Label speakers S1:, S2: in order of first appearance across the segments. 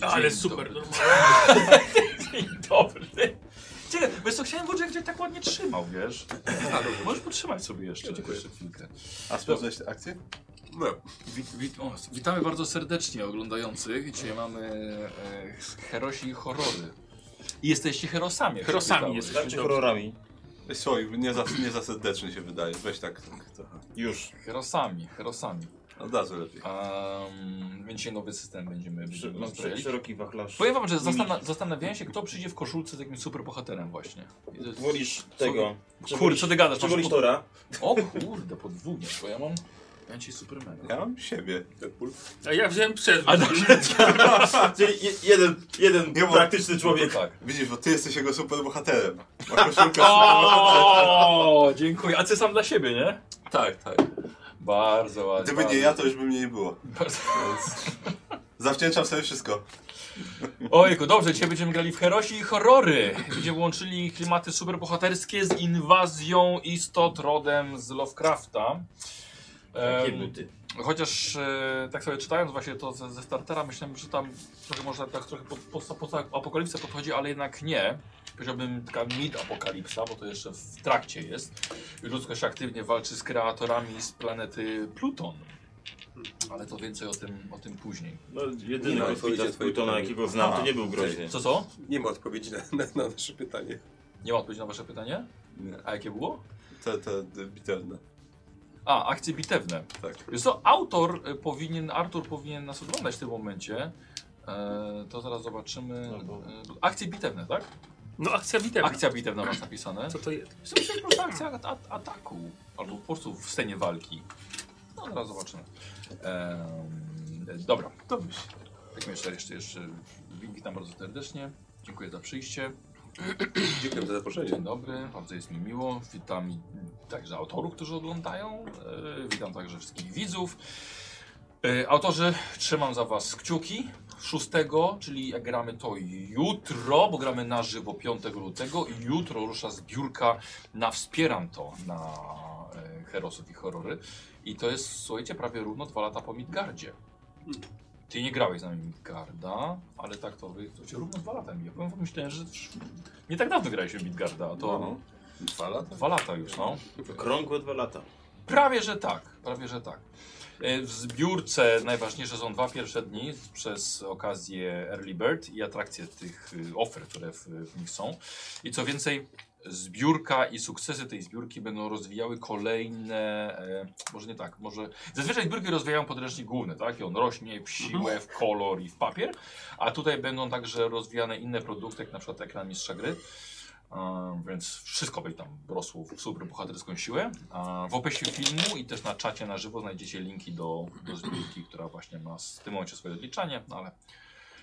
S1: No, ale
S2: Dzień
S1: super,
S2: dobry.
S1: normalnie. Dzień dobry. Czekaj, wiesz co, chciałem włączyć, jak tak ładnie trzymał, wiesz? Możesz potrzymać sobie jeszcze.
S2: Jeszcze chwilkę.
S3: A sprawdzałeś tę akcję?
S2: Wit, wit, o, witamy bardzo serdecznie oglądających. Dzisiaj mamy e, herosi i horrory.
S1: I jesteście herosami.
S2: Herosami
S1: jesteś.
S2: jesteśmy,
S3: Znaczy
S1: Dobrze.
S3: horrorami. Słuchaj, nie za, nie za serdeczny się wydaje. Weź tak. tak trochę. Już.
S2: Herosami, herosami.
S3: Od razu lepiej.
S2: Um, więc dzisiaj nowy system będziemy
S4: Przy,
S2: będziemy
S4: masz
S2: rozwijali.
S4: No szeroki wachlarz.
S2: Powiem wam, że zastana zastanawiałem się, kto przyjdzie w koszulce z takim superbohaterem właśnie. I to jest-
S4: Wolisz tego. Czy
S2: Kurde, co ty gadasz?
S4: Czy
S2: Masz
S4: wolisz
S2: pod-
S4: Tora?
S2: O kurde, podwójnie, bo ja mam... Ja dzisiaj Supermana.
S3: Ja mam siebie. Deadpool.
S1: A ja wziąłem przed.
S2: A no,
S4: Czyli je- jeden, jeden
S3: Nie, bo-
S4: praktyczny człowiek.
S2: tak.
S3: Widzisz, bo ty jesteś jego superbohaterem. Ma koszulkę
S2: O, dziękuję. A ty sam dla siebie, nie?
S3: Tak, tak.
S2: Bardzo ładnie.
S3: Gdyby
S2: bardzo,
S3: nie ja, to już by mnie nie było.
S2: Bardzo...
S3: Zawdzięczam sobie wszystko.
S2: Ojku, dobrze, dzisiaj będziemy grali w Herosi i horrory, gdzie łączyli klimaty superbohaterskie z inwazją istot rodem z Lovecrafta.
S4: Takie
S2: Em,
S4: buty.
S2: Chociaż e, tak sobie czytając właśnie to ze, ze startera, myślałem, że tam trochę może tak trochę pod, pod, pod apokalipsę podchodzi, ale jednak nie. Powiedziałbym taka mid-apokalipsa, bo to jeszcze w trakcie jest. Ludzkość aktywnie walczy z kreatorami z planety Pluton. Ale to więcej o tym, o tym później.
S4: No,
S5: Nie
S4: jedyny
S5: ma
S4: kosmita
S5: odpowiedzi
S4: z
S5: na twoje
S4: Plutona,
S5: pytanie.
S4: jakiego znam, to
S3: Aha.
S4: nie był groźny.
S2: Co, co?
S5: Nie ma odpowiedzi na, na, na nasze pytanie.
S2: Nie ma odpowiedzi na wasze pytanie? A jakie było?
S3: Te, te, te biterne.
S2: A, akcje bitewne.
S3: Tak.
S2: Wiesz co, autor y, powinien, Artur powinien nas oglądać w tym momencie. E, to zaraz zobaczymy.
S4: No bo-
S2: E, akcje bitewne, tak?
S1: No akcja witem.
S2: Akcja bitewna masz napisane.
S1: Co to jest?
S2: W sumie to jest po prostu akcja at at ataku. Albo po prostu w scenie walki. No zaraz zobaczymy. Em, e, dobra. Dobrze. Tak myślę, jeszcze, jeszcze witam bardzo serdecznie. Dziękuję za przyjście.
S5: Dziękuję za zaproszenie.
S2: Dzień dobry, bardzo jest mi miło. Witam i- także autorów, którzy oglądają. E, Witam także wszystkich widzów. E, Autorzy, trzymam za Was kciuki. 6, czyli jak gramy to jutro, bo gramy na żywo 5 lutego i jutro rusza zbiórka na Wspieram to na e, Herosów i Horrory. I to jest, słuchajcie, prawie równo dwa lata po Midgardzie. Ty nie grałeś z nami Midgarda, ale tak to wy, to się równo dwa lata mi. Ja powiem, myślałem, że nie tak dawno grałeś w Midgarda, a to
S3: No. Dwa lata?
S2: dwa lata już, no.
S4: Krągłe dwa lata.
S2: Prawie, że tak, prawie, że tak. E, W zbiórce najważniejsze są dwa pierwsze dni przez okazję Early Bird i atrakcje tych y, ofert, które w, w nich są. I co więcej, zbiórka i sukcesy tej zbiórki będą rozwijały kolejne, e, może nie tak, może zazwyczaj zbiórki rozwijają podręcznik główny, tak? I on rośnie w siłę, w kolor i w papier, a tutaj będą także rozwijane inne produkty, jak na przykład ekran mistrza gry. Um, więc wszystko będzie tam rosło w super bohaterską siłę. A w opisie filmu i też na czacie na żywo znajdziecie linki do, do zbiórki, która właśnie ma w tym momencie swoje odliczanie, no ale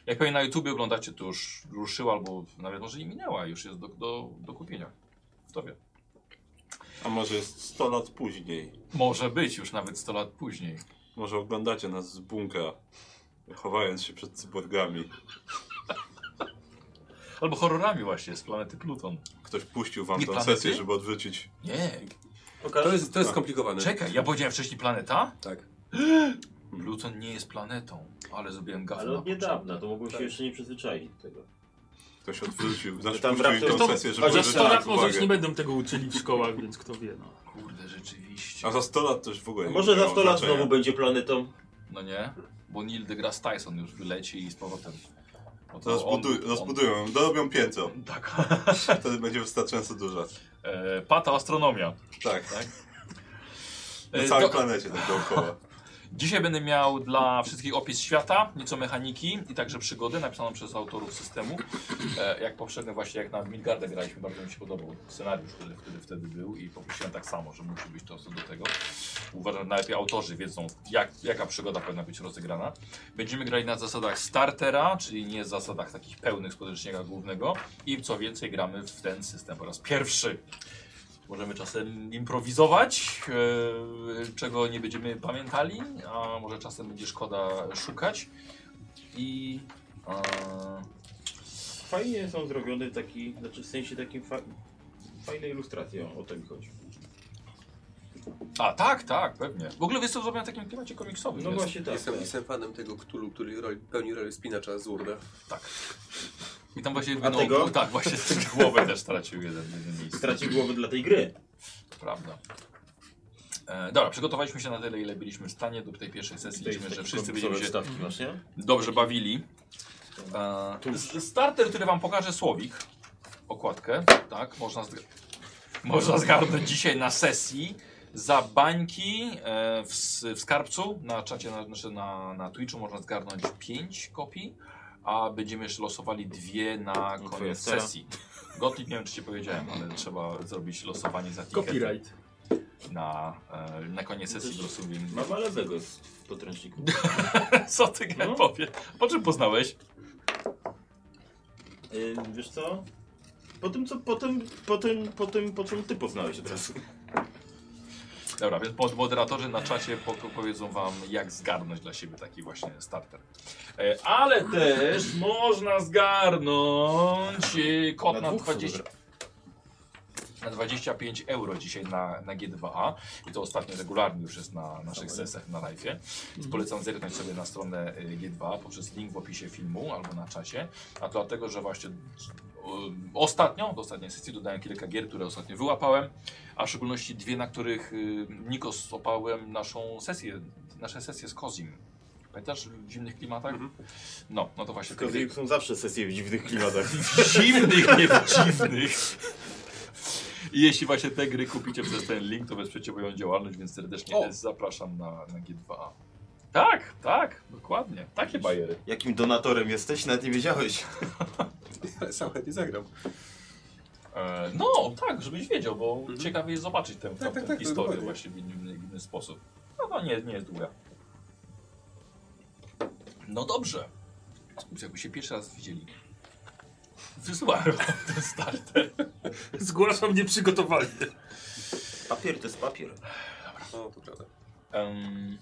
S2: jak pewnie na YouTubie oglądacie, to już ruszyła albo nawet może i minęła, już jest do, do, do kupienia. Kto wie.
S3: A może jest 100 lat później.
S2: Może być już nawet 100 lat później.
S3: Może oglądacie nas z bunkra, chowając się przed cyborgami.
S2: Albo horrorami właśnie z planety Pluton.
S3: Ktoś puścił wam
S2: Nie
S3: tę
S2: planety?
S3: sesję, żeby odwrócić.
S2: Nie,
S5: To jest, to jest skomplikowane.
S2: czekaj, ja powiedziałem wcześniej planeta?
S5: Tak.
S2: Pluton nie jest planetą, ale zrobiłem gafę
S4: Ale
S2: na
S4: od
S2: początku.
S4: niedawna, to mogłem się jeszcze nie przyzwyczaić do tego.
S3: Ktoś odwrócił, znaczy
S4: tam
S3: puścił im
S4: wraca-
S3: tę sesję, żeby
S4: a za
S1: Chociaż 100 lat
S3: odwrócić
S1: może już nie
S3: uwagę.
S1: będą tego uczyli w szkołach, więc kto wie, no.
S2: Kurde, rzeczywiście.
S3: A za 100 lat to już w ogóle nie
S4: Może za
S3: miało
S4: 100 lat
S3: znaczenia.
S4: znowu będzie planetą.
S2: No nie, bo Neil deGrasse Tyson już wyleci i z powrotem. Bo to
S3: Rozbuduj,
S2: on-
S3: rozbudują, dorobią piętro.
S2: on- Tak.
S3: Wtedy będzie wystarczająco duża.
S2: E, pata astronomia.
S3: Tak,
S2: Tak.
S3: na
S2: E,
S3: całej
S2: do-
S3: planecie tak dookoła.
S2: Dzisiaj będę miał dla wszystkich opis świata, nieco mechaniki i także przygody napisaną przez autorów systemu. E, jak poprzednio właśnie jak na Midgarda graliśmy, bardzo mi się podobał scenariusz, który, który wtedy był i poprosiłem tak samo, że musi być to co do tego. Uważam, że najlepiej autorzy wiedzą, jak, jaka przygoda powinna być rozegrana. Będziemy grali na zasadach startera, czyli nie zasadach takich pełnych z podręcznika głównego i co więcej gramy w ten system po raz pierwszy. Możemy czasem improwizować, e, czego nie będziemy pamiętali, a może czasem będzie szkoda szukać. I e,
S4: Fajnie są zrobione taki, znaczy w sensie takim fa... fajne ilustracje, o, o to mi chodzi.
S2: A, tak, tak, pewnie. W ogóle wiesz co, zrobiłem w takim klimacie komiksowym.
S4: No
S2: jest.
S4: właśnie tak.
S5: Jestem, jestem fanem tego Cthulhu, który roli, pełni rolę spinacza z Urda.
S2: Tak. I tam właśnie
S4: tego?
S2: Tak, właśnie z tych głowy też stracił jeden, jeden miejsce.
S4: Straci głowy dla tej gry.
S2: To prawda. E, dobra, przygotowaliśmy się na tyle, ile byliśmy w stanie do tej pierwszej sesji. Liczymy, że wszyscy będziemy się
S4: stawki masz, nie?
S2: dobrze bawili. E, s- starter, który wam pokaże Słowik. Okładkę, tak, można, zg można zgarnąć dzisiaj na sesji. Za bańki e, w, s- w skarbcu na czacie, na, znaczy na, na Twitchu można zgarnąć 5 kopii, a będziemy jeszcze losowali dwie na koniec
S4: teraz.
S2: sesji. Gottlieb, nie wiem czy ci powiedziałem, ale trzeba zrobić losowanie za tikety
S1: Copyright.
S2: na, e, na koniec sesji losujemy.
S4: Mam ale tego z podręczniku.
S2: Co ty no.
S4: No.
S2: powie? Po czym poznałeś?
S4: Y, wiesz co? Po tym, co, po tym, po tym, po tym, po czym ty poznałeś od razu.
S2: Dobra, więc pod- moderatorzy na czacie po, po- powiedzą wam, jak zgarnąć dla siebie taki właśnie starter. E, ale też można zgarnąć e, kod na,
S4: Na dwóch
S2: 20. Na 25 euro dzisiaj na, na G2A i to ostatnio regularnie już jest na naszych sesjach na live. Więc polecam zerknąć sobie na stronę e, G2 poprzez link w opisie filmu albo na czasie. A to dlatego, że właśnie um, ostatnio, do ostatniej sesji dodałem kilka gier, które ostatnio wyłapałem, a w szczególności dwie, na których y, Nikos opałem naszą sesję, nasze sesje z Kozim. Pamiętasz w zimnych klimatach? No, no to właśnie. te
S4: Tylko
S2: gry.
S4: są zawsze sesje w dziwnych klimatach.
S2: Zimnych, nie w dziwnych. I jeśli właśnie te gry kupicie przez ten link, to wesprzecie moją działalność, więc serdecznie
S5: O.
S2: zapraszam na, na G2A. Tak, tak, dokładnie. Takie bajery.
S4: Jakim donatorem jesteś? Nawet nie wiedziałeś.
S5: Ale sam chętnie zagram.
S2: E, no, tak, żebyś wiedział, bo
S5: Mhm.
S2: ciekawie jest zobaczyć tę,
S5: tak,
S2: tę
S5: tak,
S2: historię
S5: dokładnie.
S2: właśnie w inny, inny sposób. No to nie, nie jest długa. No dobrze. Kurczę, Jakby się pierwszy raz widzieli. Wysłałem wam ten starter.
S1: Zgłaszam nieprzygotowany.
S4: Papier to jest papier.
S5: O, to prawda.
S2: Em,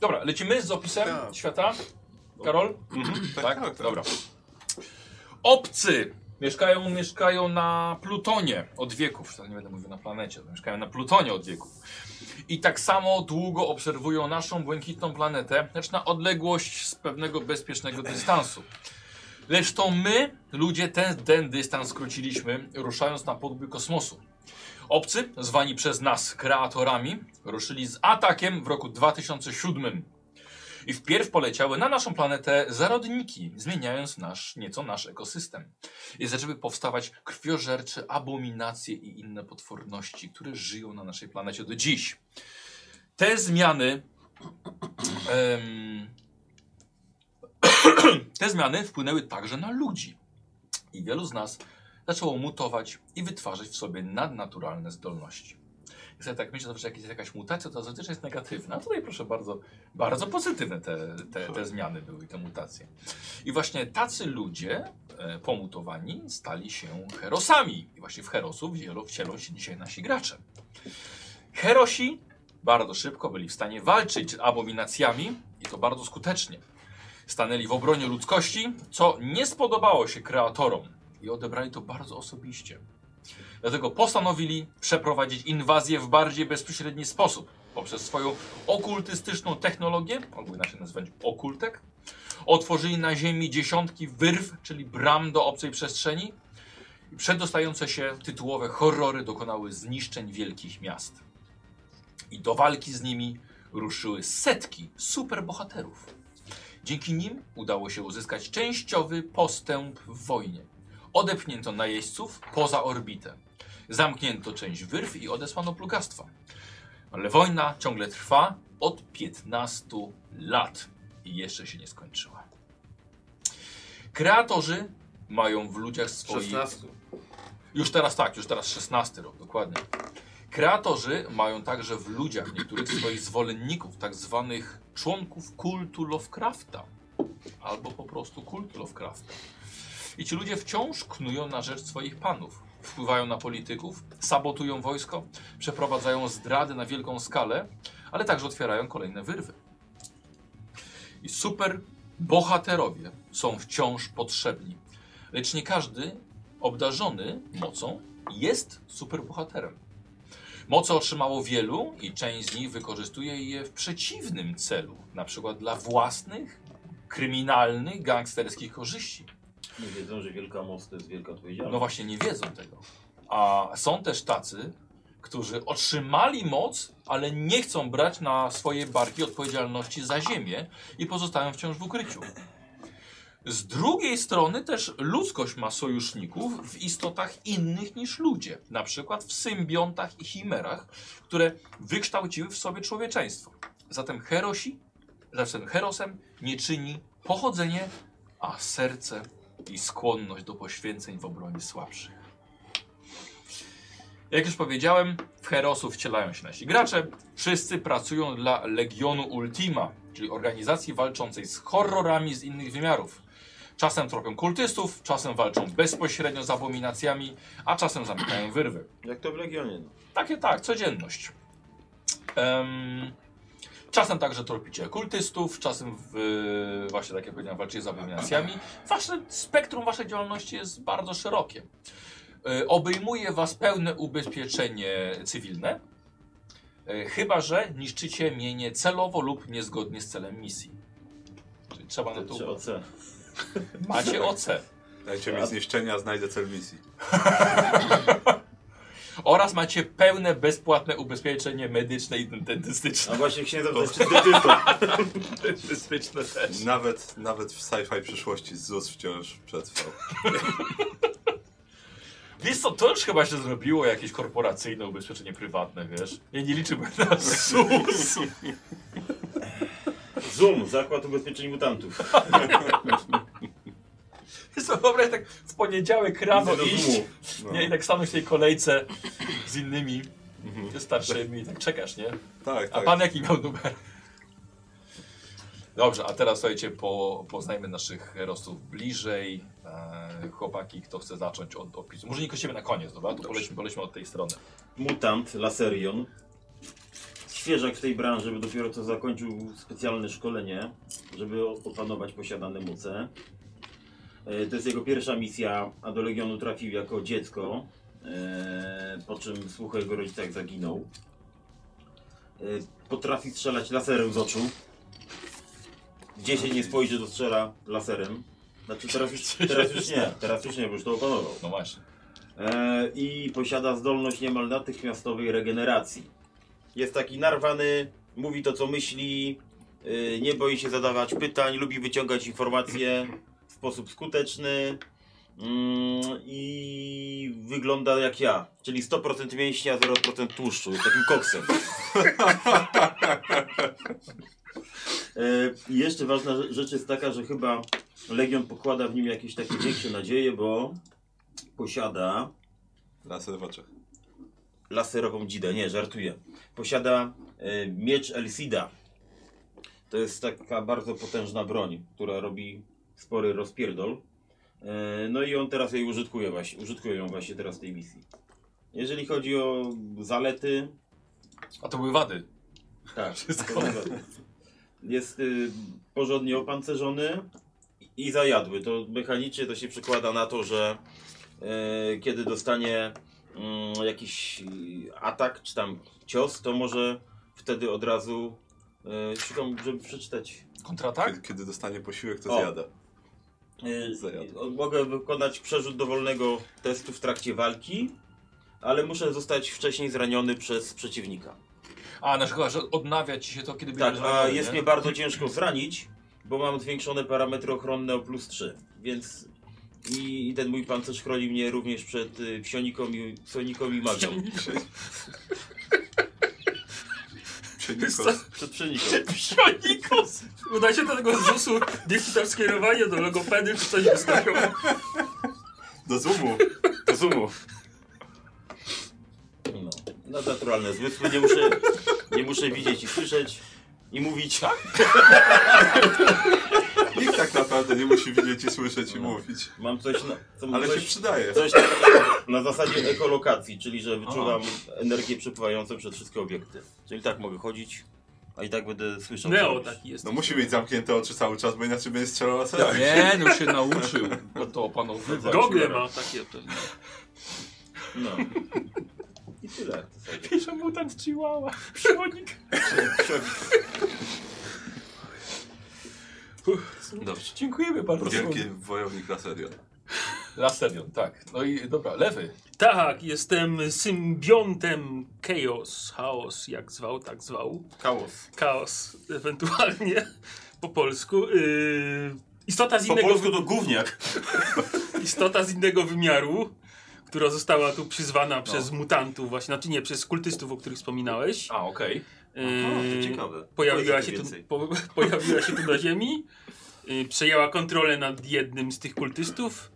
S2: dobra, lecimy z opisem
S5: Tak.
S2: świata. Karol? tak,
S3: Tak, tak, tak.
S2: dobra. Obcy mieszkają, mieszkają na Plutonie od wieków. To nie będę mówił na planecie, to mieszkają na Plutonie od wieków. I tak samo długo obserwują naszą błękitną planetę, lecz na odległość z pewnego bezpiecznego dystansu. Lecz to my, ludzie, ten, ten dystans skróciliśmy, ruszając na podbój kosmosu. Obcy, zwani przez nas kreatorami, ruszyli z atakiem w roku 2007. I wpierw poleciały na naszą planetę zarodniki, zmieniając nasz, nieco nasz ekosystem. I zaczęły powstawać krwiożercze abominacje i inne potworności, które żyją na naszej planecie do dziś. Te zmiany. em, te zmiany wpłynęły także na ludzi. I wielu z nas zaczęło mutować i wytwarzać w sobie nadnaturalne zdolności. Jak sobie tak myślę, że jak jest jakaś mutacja, to zazwyczaj jest negatywna. A tutaj proszę bardzo, bardzo pozytywne te, te, te zmiany były, i te mutacje. I właśnie tacy ludzie e, pomutowani stali się herosami. I właśnie w herosów wielo- wcielą się dzisiaj nasi gracze. Herosi bardzo szybko byli w stanie walczyć z abominacjami i to bardzo skutecznie. Stanęli w obronie ludzkości, co nie spodobało się kreatorom i odebrali to bardzo osobiście. Dlatego postanowili przeprowadzić inwazję w bardziej bezpośredni sposób poprzez swoją okultystyczną technologię, albo inaczej nazwać okultek. Otworzyli na Ziemi dziesiątki wyrw, czyli bram do obcej przestrzeni. I Przedostające się tytułowe horrory dokonały zniszczeń wielkich miast. I do walki z nimi ruszyły setki superbohaterów. Dzięki nim udało się uzyskać częściowy postęp w wojnie. Odepchnięto najeźdźców poza orbitę. Zamknięto część wyrw i odesłano plugastwa. Ale wojna ciągle trwa od 15 lat i jeszcze się nie skończyła. Kreatorzy mają w ludziach swoich...
S4: 16.
S2: Już teraz tak, już teraz 16 rok, dokładnie. Kreatorzy mają także w ludziach niektórych swoich zwolenników, tak zwanych członków kultu Lovecrafta. Albo po prostu kultu Lovecrafta. I ci ludzie wciąż knują na rzecz swoich panów. Wpływają na polityków, sabotują wojsko, przeprowadzają zdrady na wielką skalę, ale także otwierają kolejne wyrwy. I super bohaterowie są wciąż potrzebni. Lecz nie każdy obdarzony mocą jest superbohaterem. Moce otrzymało wielu i część z nich wykorzystuje je w przeciwnym celu, na przykład dla własnych, kryminalnych, gangsterskich korzyści.
S4: Nie wiedzą, że wielka moc to jest wielka odpowiedzialność.
S2: No właśnie, nie wiedzą tego. A są też tacy, którzy otrzymali moc, ale nie chcą brać na swoje barki odpowiedzialności za ziemię i pozostają wciąż w ukryciu. Z drugiej strony też ludzkość ma sojuszników w istotach innych niż ludzie, na przykład w symbiontach i chimerach, które wykształciły w sobie człowieczeństwo. Zatem herosi, zatem herosem nie czyni pochodzenie, a serce i skłonność do poświęceń w obronie słabszych. Jak już powiedziałem, w Herosów wcielają się nasi gracze. Wszyscy pracują dla Legionu Ultima, czyli organizacji walczącej z horrorami z innych wymiarów. Czasem tropią kultystów, czasem walczą bezpośrednio z abominacjami, a czasem zamykają wyrwy.
S4: Jak to w Legionie. No.
S2: Takie tak, codzienność. Em, czasem także tropicie kultystów, czasem w, właśnie tak jak powiedziałem, walczycie z abominacjami. Wasze spektrum waszej działalności jest bardzo szerokie. E, Obejmuje was pełne ubezpieczenie cywilne, e, chyba że niszczycie mienie celowo lub niezgodnie z celem misji. Czyli trzeba na to
S4: Trzeba
S2: uważać.
S4: C.
S2: Macie OC.
S3: Dajcie mi zniszczenia, znajdę cel misji.
S2: Oraz macie pełne bezpłatne ubezpieczenie medyczne i dentystyczne.
S4: A właśnie księdza to jest dentysta.
S2: Dentystyczne też.
S3: Nawet, nawet w sci-fi przyszłości ZUS wciąż przetrwał.
S2: Wiesz co, to już chyba się zrobiło jakieś korporacyjne ubezpieczenie prywatne, wiesz? Ja nie liczyłem na SUS.
S4: Zoom, Zakład Ubezpieczeń Mutantów.
S2: Wiesz co, wyobraź tak w poniedziałek rano
S4: Idę do
S2: iść,
S4: Zoomu.
S3: No.
S2: nie, i tak stanąć w tej kolejce z innymi starszymi i tak czekasz, nie?
S3: Tak,
S2: A
S3: tak.
S2: pan jaki miał numer? Dobrze, a teraz słuchajcie, po, poznajmy naszych herosów bliżej. Eee, chłopaki, kto chce zacząć od opisu? Może nie kościemy na koniec, dobra? To polećmy, polećmy od tej strony.
S4: Mutant, Laserion. Świeżak w tej branży, bo dopiero co zakończył specjalne szkolenie, żeby o- opanować posiadane moce. E, To jest jego pierwsza misja, a do Legionu trafił jako dziecko, e, po czym słuchał jego rodzica jak zaginął. E, Potrafi strzelać laserem z oczu. Gdzie się nie spojrzy, to strzela laserem. Znaczy teraz już, teraz już nie, teraz już nie, bo już to opanował.
S2: No właśnie.
S4: E, i posiada zdolność niemal natychmiastowej regeneracji. Jest taki narwany, mówi to co myśli, y, nie boi się zadawać pytań, lubi wyciągać informacje w sposób skuteczny mm, i wygląda jak ja, czyli 100% mięśnia, 0% tłuszczu, jest takim koksem. E, I jeszcze ważna rze- rzecz jest taka, że chyba Legion pokłada w nim jakieś takie większe nadzieje, bo posiada
S3: Laser w oczach.
S4: laserową dzidę, nie, żartuję. Posiada e, miecz Elsida. To jest taka bardzo potężna broń, która robi spory rozpierdol. E, no i on teraz jej użytkuje właśnie, użytkuje ją właśnie teraz w tej misji. Jeżeli chodzi o zalety,
S2: A to były wady.
S4: tak, wszystko. Jest y, porządnie opancerzony i- i zajadły. To mechanicznie to się przekłada na to, że y, kiedy dostanie mm, jakiś y, atak czy tam cios, to może wtedy od razu y, szukam, żeby przeczytać.
S2: Kontratak?
S3: Kiedy, kiedy dostanie posiłek, to
S4: O.
S3: zjada.
S4: Y,
S3: Zajadły.
S4: o- mogę wykonać przerzut dowolnego testu w trakcie walki, ale muszę zostać wcześniej zraniony przez przeciwnika.
S2: A, no chyba, że odnawia ci się to, kiedy
S4: Tak,
S2: będziesz
S4: a
S2: robiony,
S4: jest
S2: nie?
S4: mnie bardzo ciężko zranić, bo mam zwiększone parametry ochronne o plus 3, więc i, i ten mój pancerz chroni mnie również przed y, psioniką i, psioniką i magią.
S3: Psionico.
S4: Przed psioniką.
S1: Psionikos! Udajcie do tego ZUS-u, niech ci tam skierowanie do logopedy czy coś wystawią.
S3: Do zoomu.
S4: Do zoomu. No, no naturalne zmysły, nie muszę, nie muszę widzieć i słyszeć i mówić.
S3: Nikt tak naprawdę nie musi widzieć i słyszeć i mówić.
S4: Mam coś na, co,
S3: Ale się
S4: No coś,
S3: przydaje.
S4: coś na, na zasadzie ekolokacji, czyli że wyczuwam energię przepływającą przez wszystkie obiekty. Czyli tak mogę chodzić, a i tak będę słyszał. co
S1: Neo
S4: robisz.
S1: taki jest.
S3: No musi mieć zamknięte oczy cały czas, bo inaczej będzie strzelał laserem.
S2: Nie, no już się nauczył to opanowywać.
S1: Gogle ma takie.
S4: No. Tyle.
S2: Pisze mutant Chihuahua. Przewodnik.
S3: Dobrze.
S2: Dziękujemy bardzo.
S3: Wielki wojownik Laserion.
S6: Lasterion, tak. No i dobra, lewy.
S1: Tak, jestem symbiontem chaos, chaos, jak zwał, tak zwał.
S3: Chaos.
S1: Chaos, ewentualnie po polsku. Yy, istota, z
S3: Po
S1: innego,
S3: polsku to gówniak.
S1: istota z innego wymiaru, która została tu przyzwana przez mutantów, właśnie, znaczy nie, przez kultystów, o których wspominałeś.
S6: A, okej.
S1: Yy,
S4: to ciekawe.
S1: Pojawiła
S4: Powiedz
S1: się,
S4: mi
S1: tu,
S4: więcej.
S1: po, pojawiła się tu na ziemi, yy, przejęła kontrolę nad jednym z tych kultystów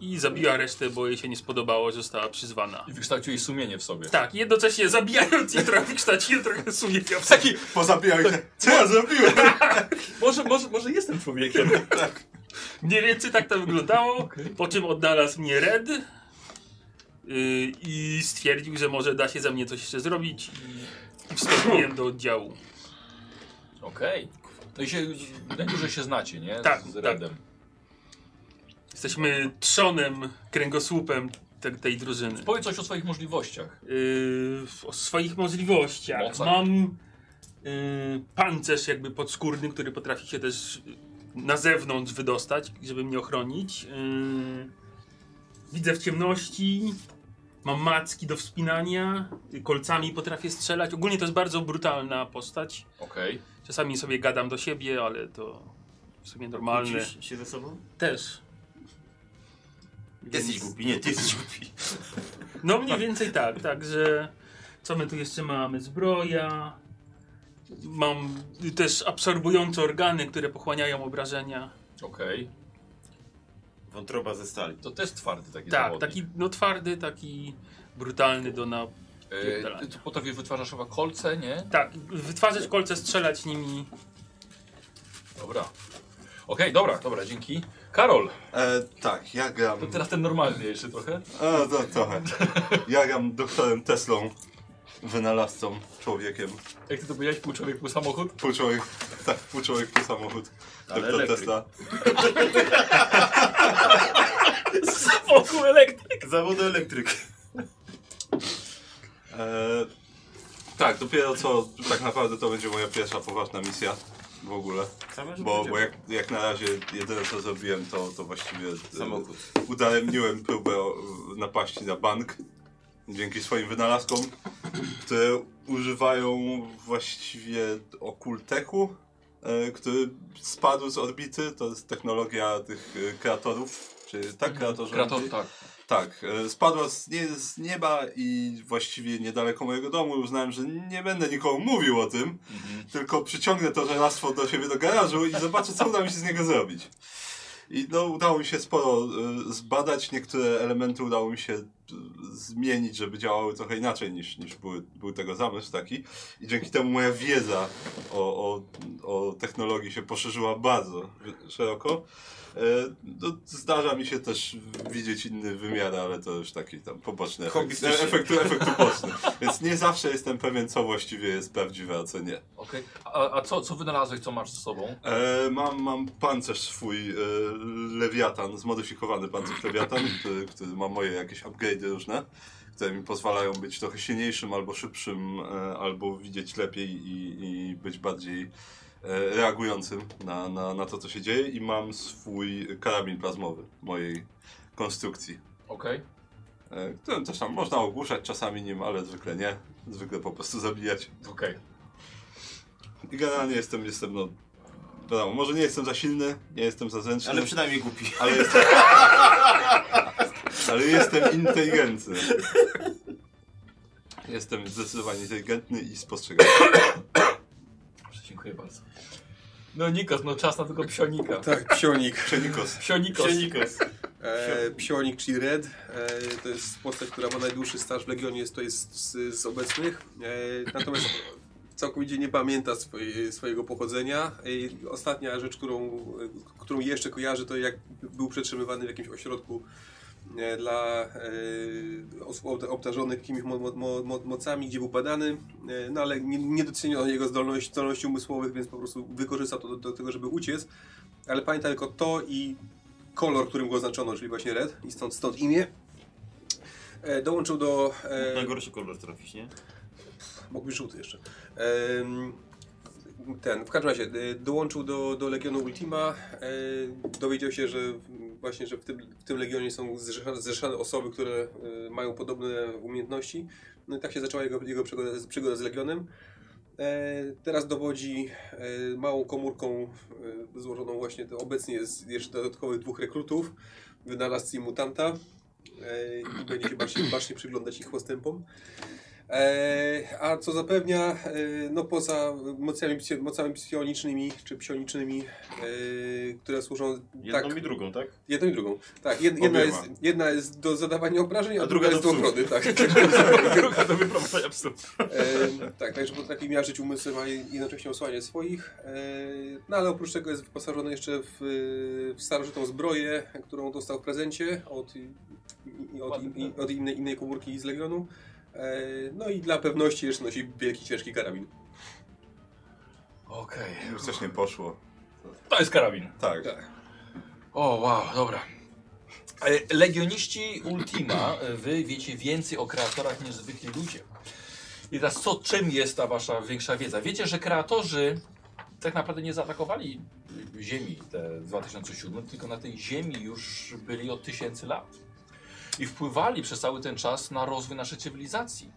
S1: i zabiła resztę, bo jej się nie spodobało, że została przyzwana.
S6: I wykształciłeś sumienie w sobie.
S1: Tak, jednocześnie zabijając i trochę wykształciłem trochę sumienia.
S3: Taki pozabijał się. Co ja zrobiłem?
S2: Tak. Może, może, może jestem człowiekiem.
S1: Mniej więcej tak to wyglądało, po czym odnalazł mnie Red yy, i stwierdził, że może da się za mnie coś jeszcze zrobić i- i wstąpiłem do oddziału.
S6: Okej. No i się, najdłużej się znacie, nie? Z,
S1: Tak,
S6: z
S1: tak.
S6: Redem.
S1: Jesteśmy trzonem, kręgosłupem te, tej drużyny.
S6: Powiedz coś o swoich możliwościach.
S1: Yy, o swoich możliwościach.
S6: Mocach.
S1: Mam yy, pancerz jakby podskórny, który potrafi się też yy, na zewnątrz wydostać, żeby mnie ochronić. Yy, widzę w ciemności. Mam macki do wspinania, yy, kolcami potrafię strzelać. Ogólnie to jest bardzo brutalna postać.
S6: Okej.
S1: Czasami sobie gadam do siebie, ale to w sumie normalne.
S4: Kłócisz się ze sobą?
S1: Też.
S4: Jesteś głupi, nie, ty jesteś głupi.
S1: No mniej więcej tak, także co my tu jeszcze mamy? Zbroja. Mam też absorbujące organy, które pochłaniają obrażenia.
S6: Okej.
S4: Wątroba ze stali.
S6: To też twardy taki
S1: Tak,
S6: zawodnik.
S1: taki no twardy, taki brutalny do na...
S6: E, ty tu potrafisz wytwarzasz chyba kolce, nie?
S1: Tak, wytwarzać kolce, strzelać nimi.
S6: Dobra. Okej, dobra, dobra, dzięki. Karol,
S3: E, tak, ja gram.
S6: to teraz ten normalny jeszcze trochę.
S3: A, tak, trochę. Ja gram doktorem Teslą, wynalazcą, człowiekiem.
S6: Jak ty to powiedziałeś, pół człowiek, pół samochód?
S3: Pół człowiek, tak, pół człowiek, pół samochód.
S4: Ale
S3: Doktor
S4: elektryk.
S3: Tesla.
S2: Wokół elektryk.
S4: Zawodu Tak, elektryk.
S3: E, tak, dopiero co, tak naprawdę to będzie moja pierwsza poważna misja w ogóle.
S4: Same
S3: Bo, bo jak, jak na razie jedyne co zrobiłem to, to właściwie e,
S4: Samochód.
S3: udaremniłem próbę o, napaści na bank dzięki swoim wynalazkom, które używają właściwie okulteku, e, który spadł z orbity. To jest technologia tych e, kreatorów. Czy tak, kreatorzy?
S6: Kratos, tak.
S3: Tak, e, spadła z, nie, z nieba i właściwie niedaleko mojego domu i uznałem, że nie będę nikomu mówił o tym, tylko przyciągnę to żelastwo do siebie do garażu i zobaczę, co uda mi się z niego zrobić. I no, udało mi się sporo e, zbadać, niektóre elementy udało mi się e, zmienić, żeby działały trochę inaczej niż, niż były, był tego zamysł taki. I dzięki temu moja wiedza o, o, o technologii się poszerzyła bardzo wy- szeroko. E, no, zdarza mi się też widzieć inny wymiar, ale to już taki tam poboczny efekt,
S4: Hobbystyczny.
S3: e, efekt, efekt uboczny. Więc nie zawsze jestem pewien, co właściwie jest prawdziwe, a co nie.
S6: Okej. A, a co, co wynalazłeś, co masz ze sobą?
S3: E, mam, mam pancerz swój, e, lewiatan, zmodyfikowany pancerz lewiatan, który, który ma moje jakieś upgrade'y różne, które mi pozwalają być trochę silniejszym albo szybszym, e, albo widzieć lepiej i, i być bardziej e, reagującym na, na, na to, co się dzieje. I mam swój karabin plazmowy mojej konstrukcji,
S6: Okej.
S3: e, którym też tam można ogłuszać czasami nim, ale zwykle nie. Zwykle po prostu zabijać.
S6: Okej.
S3: I generalnie jestem, jestem no... Wiadomo, może nie jestem za silny, nie jestem za zręczny.
S4: Ale przynajmniej głupi.
S3: Ale jestem, ale jestem inteligentny. Jestem zdecydowanie inteligentny i spostrzegawczy.
S6: Dobrze, Dziękuję bardzo. No Nikos, no czas na tego psionika.
S5: Tak, psionik.
S3: Przenikos.
S6: Psionikos.
S5: E, psionik, czyli Red. E, to jest postać, która ma najdłuższy staż w Legionie, jest, to jest z, z obecnych. E, natomiast całkowicie nie pamięta swoje, swojego pochodzenia. E, ostatnia rzecz, którą, e, którą jeszcze kojarzy, to jak był przetrzymywany w jakimś ośrodku e, dla e, osób obda- obdarzonych jakimiś mo, mo, mo, mo, mocami, gdzie był badany, e, no ale nie, nie doceniono jego zdolności, zdolności umysłowych, więc po prostu wykorzystał to do, do tego, żeby uciec. Ale pamięta tylko to i kolor, którym go oznaczono, czyli właśnie red, i stąd, stąd imię. E, dołączył do... E,
S4: Najgorszy kolor trafić, nie?
S5: mógł być żółty jeszcze. Em, ten, w każdym razie, e, dołączył do, do Legionu Ultima. E, dowiedział się, że w- właśnie, że w tym, w tym Legionie są zrzeszane, zrzeszane osoby, które e, mają podobne umiejętności. No i tak się zaczęła jego, jego przygoda, z- przygoda z Legionem. E, teraz dowodzi e, małą komórką e, złożoną właśnie do, obecnie z jeszcze dodatkowych dwóch rekrutów. Wynalazcy i mutanta. E, I będzie się bacznie, bacznie przyglądać ich postępom. E, a co zapewnia, e, no poza mocami, psi- mocami psionicznymi czy psionicznymi, e, które służą
S4: Jedną
S5: tak,
S4: i drugą, tak?
S5: jedną i drugą. Tak, jed, jedna,
S3: Obiema.
S5: jest, jedna jest do zadawania obrażeń, a,
S4: A
S5: druga,
S4: druga
S5: jest
S4: do
S5: do ochrony. Tak.
S2: Druga do wyprowadzenia psów.
S5: E, tak, także potrafi miażdżyć umysłem, a jednocześnie osłania swoich. E, no ale oprócz tego jest wyposażony jeszcze w, e, w starożytną zbroję, którą dostał w prezencie od, i, i, od, i, i- od innej, innej komórki z Legionu. E, no i dla pewności jeszcze nosi wielki, ciężki karabin.
S2: Okej.
S3: Już coś nie poszło.
S2: To jest karabin.
S3: Tak.
S5: Tak.
S2: O, wow, dobra. E, Legioniści Ultima, e, wy wiecie więcej o kreatorach niż zwykli ludzie. I teraz co, czym jest ta wasza większa wiedza? Wiecie, że kreatorzy tak naprawdę nie zaatakowali e, Ziemi te w 2007, tylko na tej Ziemi już byli od tysięcy lat. I wpływali przez cały ten czas na rozwój naszej cywilizacji.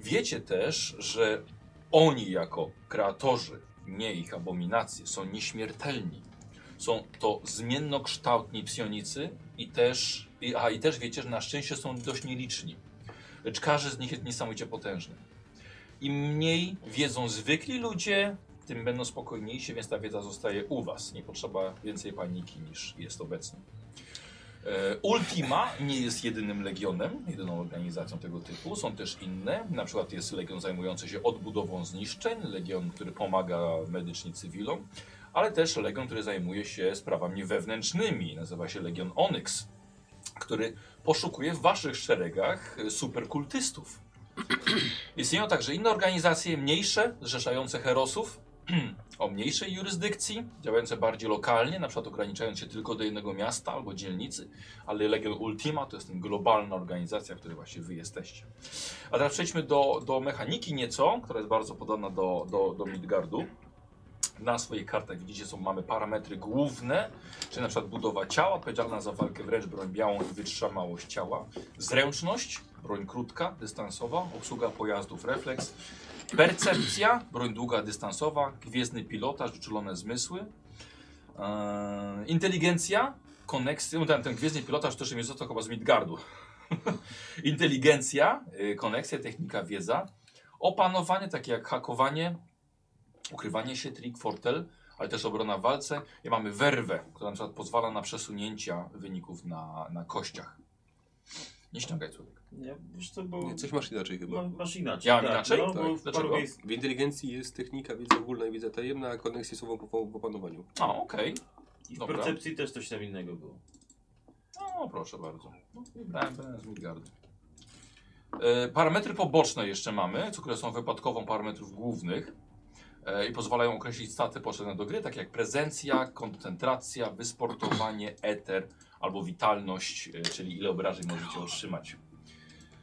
S2: Wiecie też, że oni jako kreatorzy, nie ich abominacje, są nieśmiertelni są to zmiennokształtni psionicy i też, i, a, i też wiecie, że na szczęście są dość nieliczni. Lecz każdy z nich jest niesamowicie potężny. Im mniej wiedzą zwykli ludzie, tym będą spokojniejsi, więc ta wiedza zostaje u was. Nie potrzeba więcej paniki niż jest obecnie. E, Ultima nie jest jedynym legionem, jedyną organizacją tego typu. Są też inne. Na przykład jest legion zajmujący się odbudową zniszczeń, legion, który pomaga medycznie cywilom ale też legion, który zajmuje się sprawami wewnętrznymi. Nazywa się Legion Onyx, który poszukuje w waszych szeregach e, superkultystów. Istnieją także inne organizacje mniejsze, zrzeszające herosów o mniejszej jurysdykcji, działające bardziej lokalnie, na przykład ograniczając się tylko do jednego miasta albo dzielnicy, ale Legion Ultima to jest ten globalna organizacja, w której właśnie wy jesteście. A teraz przejdźmy do, do mechaniki nieco, która jest bardzo podobna do, do, do Midgardu. Na swoich kartach widzicie, są mamy parametry główne, czyli na przykład budowa ciała, odpowiedzialna za walkę wręcz, broń białą i wytrzymałość ciała, zręczność, broń krótka, dystansowa, obsługa pojazdów, refleks, percepcja, broń długa, dystansowa, gwiezdny pilotaż, wyczulone zmysły, eee, inteligencja, koneksja, no ten, ten gwiezdny pilotaż też jest to chyba z Midgardu. inteligencja, y, koneksja, technika, wiedza, opanowanie, takie jak hakowanie, ukrywanie się, trik, fortel, ale też obrona w walce. I mamy werwę, która na przykład pozwala na przesunięcia wyników na, na kościach. Nie ściągaj człowiek.
S4: Nie, wiesz co, bo...
S5: Nie, coś masz inaczej chyba.
S4: ma- Masz inaczej.
S2: Ja mam inaczej?
S4: No,
S2: Tak.
S4: bo w
S2: Dlaczego?
S4: paru miejsc...
S5: W inteligencji jest technika, wiedza ogólna i wiedza tajemna, a koneksje słową po, po, po panowaniu.
S2: A, okej.
S4: I w
S2: Dobra.
S4: percepcji też coś tam innego było.
S2: No, proszę bardzo. No, Wybrałem ten z Midgardu. E, Parametry poboczne jeszcze mamy, co- które są wypadkową parametrów głównych e, i pozwalają określić staty potrzebne do gry, takie jak prezencja, koncentracja, wysportowanie, eter albo witalność, e, czyli ile obrażeń możecie otrzymać.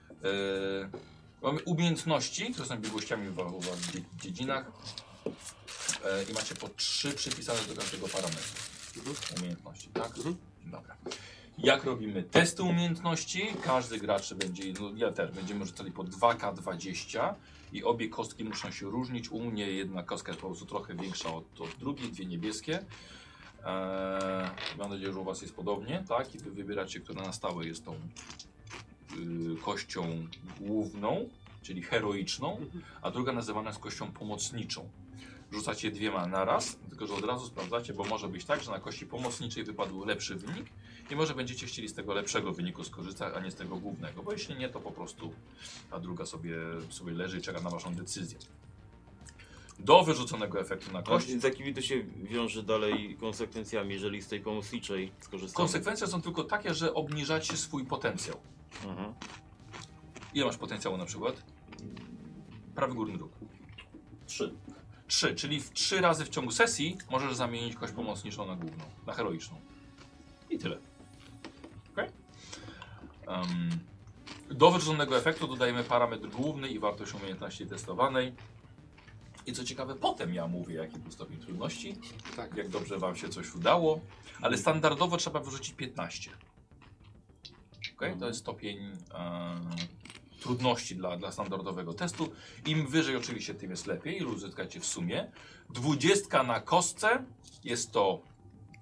S2: E, Mamy umiejętności, które są biegłościami w, w, w dziedzinach e, i macie po trzy przypisane do każdego parametru. Umiejętności, tak? Dobra. Jak robimy testy umiejętności, każdy gracz będzie, no ja też, będziemy rzucali po 2K20 i obie kostki muszą się różnić. U mnie jedna kostka jest po prostu trochę większa od, od drugiej, dwie niebieskie. Eee, mam nadzieję, że u Was jest podobnie, tak? I Wy wybieracie, która na stałe jest tą yy, kością główną, czyli heroiczną, a druga nazywana jest kością pomocniczą. Rzucacie dwiema naraz, tylko że od razu sprawdzacie, bo może być tak, że na kości pomocniczej wypadł lepszy wynik i może będziecie chcieli z tego lepszego wyniku skorzystać, a nie z tego głównego, bo jeśli nie, to po prostu ta druga sobie, sobie leży i czeka na Waszą decyzję. Do wyrzuconego efektu na kości
S4: Z jakimi to się wiąże dalej konsekwencjami, jeżeli z tej pomocniczej skorzystamy?
S2: Konsekwencje są tylko takie, że obniżacie swój potencjał.
S4: Mhm.
S2: Ile masz potencjału na przykład? Prawy górny róg.
S4: Trzy.
S2: Trzy, czyli w trzy razy w ciągu sesji możesz zamienić kość pomocniczą na główną, na heroiczną. I tyle. Ok? Um, Do wyrzuconego efektu dodajemy parametr główny i wartość umiejętności testowanej. I co ciekawe, potem ja mówię, jaki był stopień trudności,
S5: Tak.
S2: jak dobrze wam się coś udało, ale standardowo trzeba wyrzucić 15. Ok, To jest stopień e, trudności dla, dla standardowego testu. Im wyżej oczywiście, tym jest lepiej, ilu uzyskacie w sumie. 20 na kostce jest to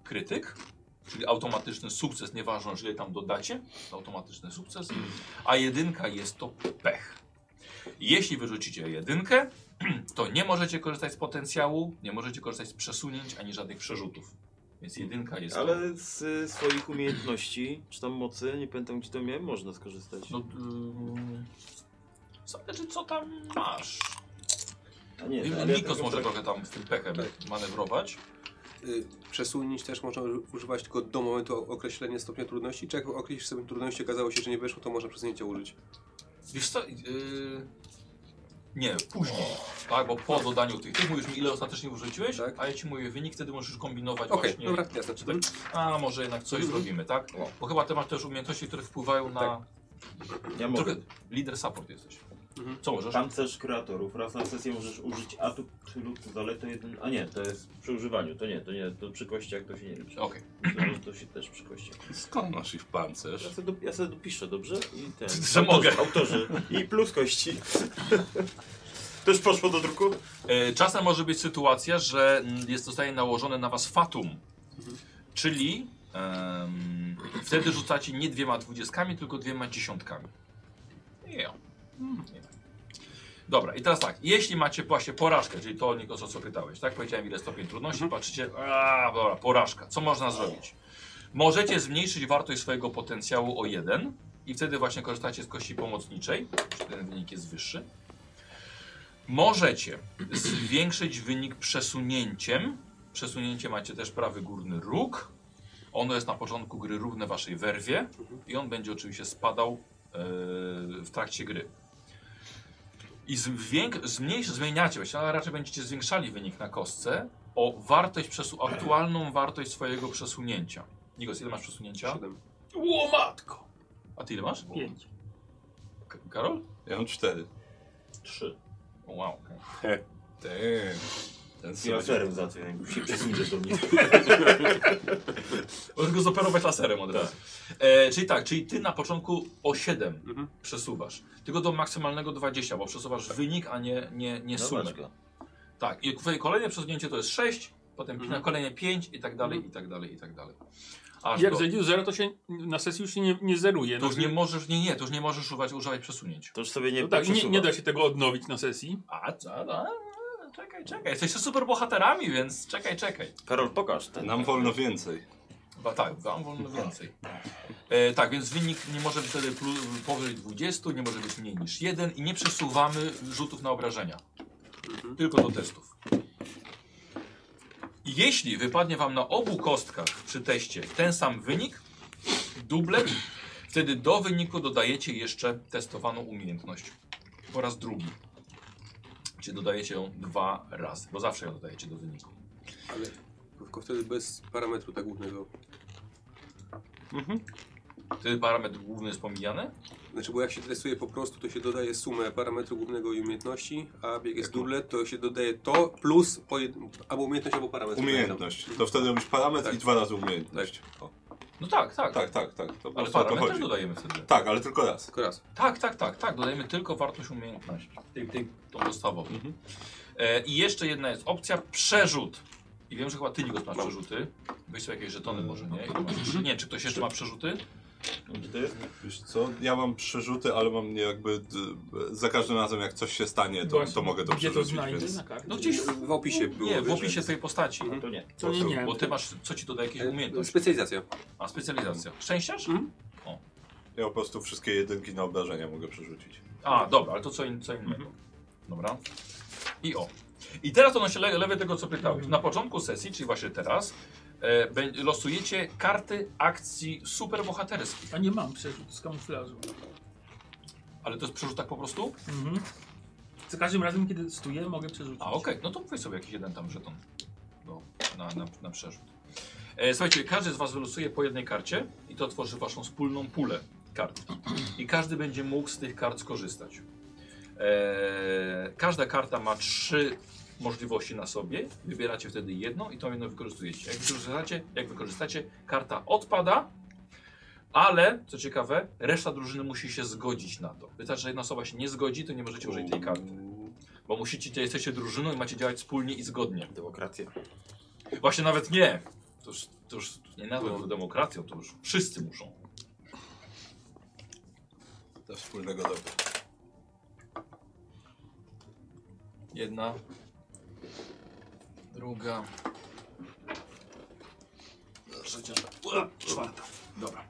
S2: krytyk, czyli automatyczny sukces, nieważne ile tam dodacie, to automatyczny sukces, a jedynka jest to pech. Jeśli wyrzucicie jedynkę, to nie możecie korzystać z potencjału, nie możecie korzystać z przesunięć ani żadnych przerzutów. Więc jedynka jest. to-
S4: Ale z y, swoich umiejętności, czy tam mocy, nie pamiętam gdzie to miałem, można skorzystać.
S2: No, ym, zależy co tam masz.
S4: A nie,
S2: Wiem,
S4: ale
S2: że
S4: ja tak-
S2: Nikos
S4: tego-
S2: może trochę tam z tym pechem manewrować.
S5: Y, Przesunięć też można używać tylko do momentu określenia stopnia trudności. Czy jak określisz sobie trudności, okazało się, że nie weszło, to można przesunięcia użyć.
S2: Wiesz co? Yy... Nie, później. Tak, bo po dodaniu tych. Ty mówisz mi, ile ostatecznie użyciłeś,
S5: Tak.
S2: a ja ci mówię wynik, wtedy możesz kombinować
S5: Okej,
S2: No właśnie.
S5: dobra, jasne.
S2: Czy tak, a może jednak coś
S5: Mhm.
S2: zrobimy, tak? Bo chyba ty masz też umiejętności, które wpływają na.
S4: Ja mogę.
S2: Trochę lider support jesteś.
S5: Tak. Mhm.
S2: Co możesz?
S4: Pancerz kreatorów. Raz na sesję możesz użyć atut lub zalety jeden. A nie, to jest przy używaniu, to nie, to nie, to przy kościach to się nie liczy.
S2: Okej.
S4: Myślę, że To się też przy kościach.
S3: Skąd masz ich
S4: Ja
S3: pancerz?
S4: sobie, dop- ja sobie dopiszę, dobrze? I ten.
S2: Że mogę.
S4: Autorzy. I plus kości. Też poszło do druku?
S2: E, Czasem może być sytuacja, że mm, jest zostaje nałożone na was fatum. Czyli em, wtedy rzucacie nie dwiema dwudziestkami, tylko dwiema dziesiątkami. Nie. Hmm, Nie. Dobra, i teraz tak, jeśli macie właśnie porażkę, czyli to Nikos, o co pytałeś, tak? Powiedziałem ile stopień trudności, patrzycie, a dobra, porażka, co można zrobić? Możecie zmniejszyć wartość swojego potencjału o jeden i wtedy właśnie korzystacie z kości pomocniczej, czyli ten wynik jest wyższy. Możecie zwiększyć wynik przesunięciem. Przesunięcie macie też prawy górny róg. Ono jest na początku gry równe waszej werwie i on będzie oczywiście spadał e, w trakcie gry. I zwięk- zmniejsz- zmieniacie, właściwie, ale raczej będziecie zwiększali wynik na kostce o wartość przesu- aktualną wartość swojego przesunięcia. Nikos, ile masz przesunięcia?
S5: Siedem.
S7: Ło matko!
S2: A ty ile masz?
S1: Pięć.
S2: K- Karol?
S3: Ja mam cztery.
S4: Trzy.
S2: O, Wow.
S3: Damn. Ten
S4: Z laserem za to, jakby się przesuniesz do mnie.
S2: Możesz go zoperować laserem od razu. E, czyli tak, czyli ty na początku o 7
S1: Mhm.
S2: przesuwasz. Tylko do maksymalnego 20, bo przesuwasz
S1: Tak.
S2: wynik, a nie, nie,
S4: No
S2: nie sumę.
S4: Dobra.
S2: Tak, i twoje kolejne przesunięcie to jest 6, potem
S5: Mhm.
S2: na kolejne 5 i tak dalej, i tak dalej, i tak dalej. Aż
S1: Mhm. Jak
S2: do,
S1: zejdzie do zera, to się na sesji już się nie, nie zeruje.
S2: to już
S1: No,
S2: nie możesz, nie, nie, to już nie możesz używać, używać przesunięć.
S4: To już sobie nie
S1: no tak, nie,
S4: przesuwa.
S1: nie da się tego odnowić na sesji.
S2: A, co? A, a, czekaj, czekaj, jesteście super bohaterami, więc czekaj, czekaj.
S4: Karol, pokaż. Ten.
S1: No.
S3: Nam wolno więcej.
S2: Chyba tak, wam wolno więcej. E, tak, więc wynik nie może być wtedy plus, powyżej 20, nie może być mniej niż 1 i nie przesuwamy rzutów na obrażenia. Tylko do testów. Jeśli wypadnie wam na obu kostkach przy teście ten sam wynik, dublet, wtedy do wyniku dodajecie jeszcze testowaną umiejętność. Po raz drugi. Czyli dodajecie ją dwa razy, bo zawsze ją dodajecie do wyniku.
S5: Ale tylko wtedy bez parametru tak głównego.
S2: Wtedy parametr główny jest pomijany?
S5: Znaczy, bo jak się testuje po prostu, to się dodaje sumę parametru głównego i umiejętności, a jak jest dublet, to się dodaje to plus po jed... albo umiejętność, albo parametr.
S3: Umiejętność. To wtedy robisz parametr
S5: Tak.
S3: i dwa razy umiejętność. O,
S2: No tak, tak.
S3: tak, tak, tak. To po
S2: Ale
S3: prostu o to
S2: parametr też
S3: chodzi.
S2: dodajemy wtedy.
S3: Tak, ale tylko raz.
S5: Tylko raz.
S2: Tak, tak, tak, tak. Dodajemy tylko wartość umiejętności. Tej, tej, tą podstawową. E, I jeszcze jedna jest opcja przerzut. I wiem, że chyba ty Nikos masz przerzuty. Weź sobie jakieś żetony
S5: Mm.
S2: może, nie? Ile masz? Nie wiem, czy ktoś jeszcze ma przerzuty?
S4: Gdzie to jest?
S3: Wiesz co? Ja mam przerzuty, ale mam nie jakby... d- Za każdym razem jak coś się stanie, to,
S1: Właśnie,
S3: to mogę to
S1: Gdzie to
S3: przerzucić,
S1: znajdę
S3: więc...
S1: na kartę?
S2: No gdzieś
S5: W opisie było.
S2: Nie, w
S5: wyżej.
S2: opisie twojej postaci.
S4: A to nie.
S1: To nie, nie.
S2: Bo ty masz, co ci doda jakieś
S5: E, Mhm.
S2: umiejętność?
S5: Specjalizacja.
S2: A, specjalizacja. Szczęściarz?
S3: Ja po prostu wszystkie jedynki na obrażenia mogę przerzucić.
S2: A, dobra, ale to co, in, co innego. Dobra. I o. I teraz ono się le lewe tego, co pytałeś. Na początku sesji, czyli właśnie teraz, e, bę- losujecie karty akcji superbohaterskich.
S1: A nie mam przerzut z kamuflażu.
S2: Ale to jest przerzut tak po prostu?
S1: Mhm. Za każdym razem, kiedy stuję, mogę przerzucić.
S2: A, okej. No to weź sobie jakiś jeden tam żeton do, na, na, na przerzut. E, słuchajcie, każdy z was wylosuje po jednej karcie i to tworzy waszą wspólną pulę. kart. I każdy będzie mógł z tych kart skorzystać. Eee, każda karta ma trzy możliwości na sobie. Wybieracie wtedy jedną i tą jedną wykorzystujecie. Jak wykorzystacie, jak wykorzystacie karta odpada, ale, co ciekawe, reszta drużyny musi się zgodzić na to. Wystarczy, że jedna osoba się nie zgodzi, to nie możecie użyć tej karty. Bo musicie, jesteście drużyną i macie działać wspólnie i zgodnie.
S4: Demokracja.
S2: Właśnie nawet nie. To już, to już nie nawet no. demokracją, to już wszyscy muszą.
S3: Dla wspólnego dobra.
S2: Jedna. Druga. Trzecia. Ua, Czwarta. Dobra.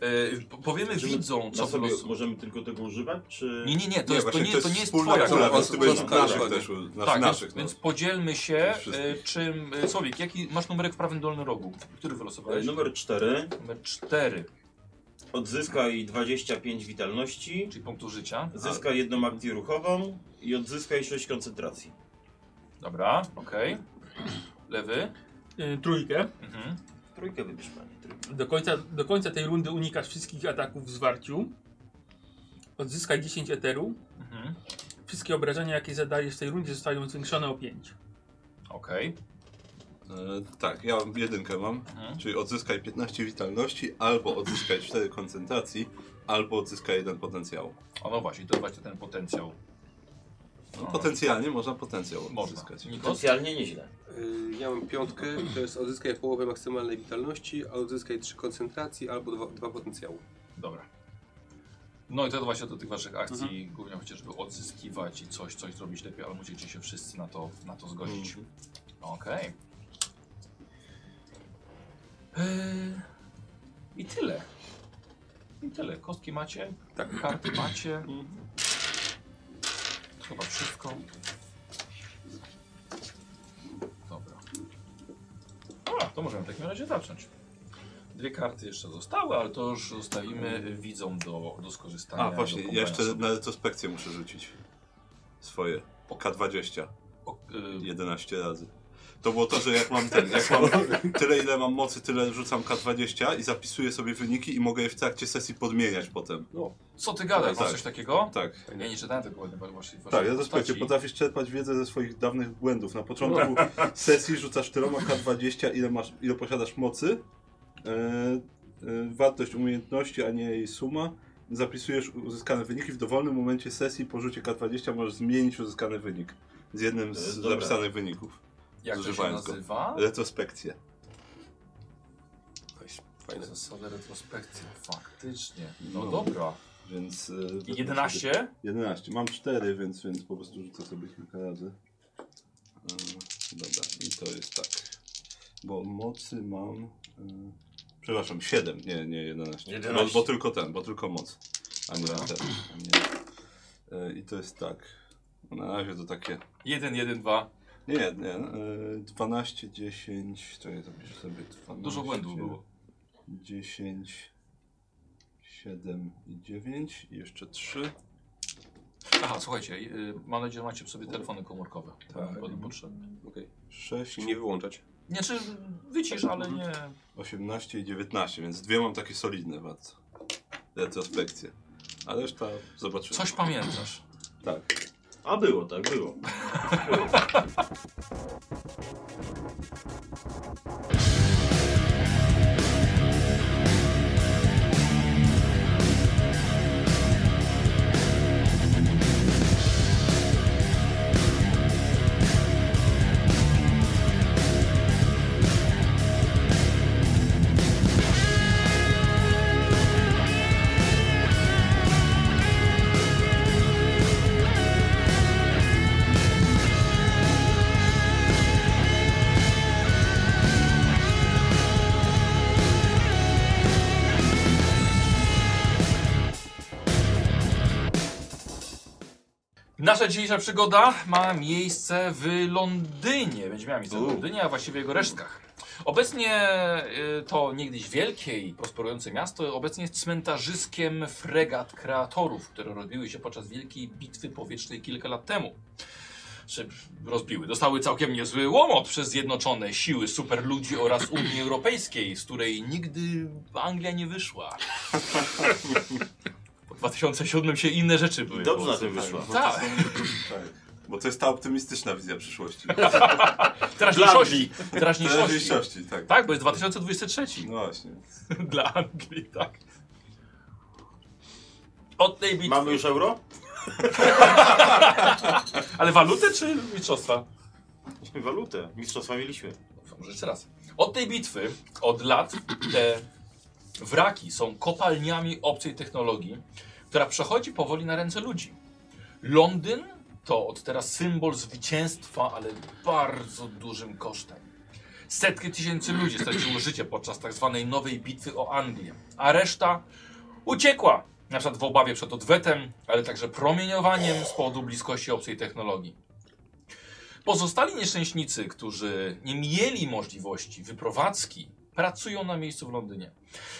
S2: E, po- powiemy
S4: Możemy-
S2: widzom,
S4: Co
S2: co
S4: No sobie
S2: wylosu.
S4: możemy tylko tego używać, czy...
S2: Nie, nie, nie, to,
S3: Nie,
S2: jest, to,
S3: właśnie
S2: nie, to nie jest
S3: wspólna
S2: twoja
S3: kula,
S2: kula.
S3: więc ty będziesz
S5: Tak,
S3: naszych
S5: tak.
S3: też, u- nas-
S2: Tak,
S3: naszych. no.
S2: więc, więc podzielmy się, e,
S3: Wszystkich.
S2: czym... E, Słowik, jaki masz numerek w prawym dolnym rogu? Który
S4: E,
S2: wylosowałeś?
S4: Numer 4.
S2: Numer 4,
S4: Odzyskaj 25 witalności,
S2: czyli punktu życia.
S4: zyskaj jedną akcję ruchową i odzyskaj 6 koncentracji.
S2: Dobra, okej. Lewy.
S1: Yy, trójkę.
S2: Mhm.
S4: Trójkę wybierz, panie. Trójkę.
S1: Do końca, do końca tej rundy unikasz wszystkich ataków w zwarciu. Odzyskaj 10 eteru.
S2: Mhm.
S1: Wszystkie obrażenia, jakie zadajesz w tej rundzie, zostają zwiększone o 5.
S2: Okej.
S3: E, tak, ja jedynkę mam,
S2: Mhm.
S3: czyli odzyskaj 15 witalności, albo odzyskaj 4 koncentracji, albo odzyskaj jeden potencjał.
S2: O no właśnie, to właśnie ten potencjał.
S3: No,
S2: No.
S3: potencjalnie można potencjał
S2: Można.
S3: odzyskać.
S2: Nikos?
S4: Potencjalnie nieźle.
S5: Y, Ja mam piątkę, to jest odzyskaj połowę maksymalnej witalności, a odzyskaj trzy koncentracji albo dwa, dwa potencjału.
S2: Dobra. No i to właśnie do tych waszych akcji głównie chodzi, żeby odzyskiwać i coś, coś zrobić lepiej, ale musicie się wszyscy na to, na to zgodzić. Okej. Eee, I tyle. I tyle. Kostki macie, tak. karty macie.
S3: Mhm.
S2: To Chyba wszystko. Dobra. A, to możemy w takim razie zacząć. Dwie karty jeszcze zostały, ale to już zostawimy widzom do, do skorzystania.
S3: A właśnie,
S2: do
S3: ja jeszcze
S2: pobrania
S3: na retrospekcję muszę rzucić swoje. K20,
S2: sobie. O, y,
S3: 11 razy. To było to, że jak mam ten, jak mam tyle ile mam mocy, tyle rzucam K20 i zapisuję sobie wyniki i mogę je w trakcie sesji podmieniać potem.
S2: co ty gadasz? Masz
S3: Tak.
S2: coś takiego?
S3: Tak.
S2: Ja nie czytałem tego ładnie, bo właśnie
S3: Tak, ja retrospekcję. Potrafisz czerpać wiedzę ze swoich dawnych błędów. Na początku sesji rzucasz tyloma K20, ile, masz, ile posiadasz mocy, e, e, wartość umiejętności, a nie jej suma. Zapisujesz uzyskane wyniki. W dowolnym momencie sesji po rzucie K20 możesz zmienić uzyskany wynik z jednym
S4: To
S3: z
S4: jest dobre.
S3: zapisanych wyników.
S2: Jak to się
S3: używając go.
S2: nazywa?
S3: Retrospekcję.
S5: Fajne.
S2: Zasada retrospekcji. Faktycznie. No, dobra.
S3: Więc, e,
S2: I 11?
S3: 11. Mam 4, więc, więc po prostu rzucę sobie kilka razy. E, Dobra, i to jest tak. Bo mocy mam. e, Przepraszam, 7, nie, nie 11.
S4: 11.
S3: Bo, bo tylko ten, bo tylko moc. A nie ten. A nie. E, I to jest tak. Na razie to takie.
S2: 1, 1, 2.
S3: Nie, nie. e, 12, 10. To ja to piszę sobie 12.
S2: Dużo błędów było.
S3: 10, 7 i 9. I jeszcze 3.
S2: Aha, słuchajcie, y, mam nadzieję, że macie w sobie telefony komórkowe.
S3: Tak.
S2: Będą potrzebne.
S5: Okej.
S3: 6,
S5: Czyli nie wyłączać.
S2: Nie, czy wycisz, ale nie.
S3: 18 i 19, więc dwie mam takie solidne bardzo. Retrospekcje. A reszta zobaczymy.
S2: Coś pamiętasz.
S3: Tak.
S4: A było, tak, było.
S2: Nasza dzisiejsza przygoda ma miejsce w Londynie. Będzie miała miejsce w Londynie, a właściwie jego resztkach. Obecnie y, to niegdyś wielkie i prosperujące miasto, obecnie jest cmentarzyskiem fregat kreatorów, które rozbiły się podczas wielkiej bitwy powietrznej kilka lat temu. się rozbiły. Dostały całkiem niezły łomot przez Zjednoczone Siły Superludzi oraz Unii Europejskiej, z której nigdy Anglia nie wyszła. Po 2007 się inne rzeczy były.
S4: Dobrze na
S2: po-
S4: tym wyszła.
S2: Tak,
S3: Tak. Bo to jest ta optymistyczna wizja przyszłości.
S2: teraźniejszości. Teraźniejszości.
S3: Teraźniejszości, tak.
S2: Tak, bo jest 2023.
S3: No właśnie.
S2: Dla Anglii, tak. Od tej bitwy.
S4: Mamy już euro?
S2: Ale walutę czy mistrzostwa?
S4: Walutę. Mistrzostwa mieliśmy.
S2: Dobrze, Może jeszcze raz. Od tej bitwy, od lat, te wraki są kopalniami obcej technologii, która przechodzi powoli na ręce ludzi. Londyn to od teraz symbol zwycięstwa, ale bardzo dużym kosztem. Setki tysięcy ludzi straciło życie podczas tak zwanej nowej bitwy o Anglię, a reszta uciekła, na przykład w obawie przed odwetem, ale także promieniowaniem z powodu bliskości obcej technologii. Pozostali nieszczęśnicy, którzy nie mieli możliwości wyprowadzki, pracują na miejscu w Londynie.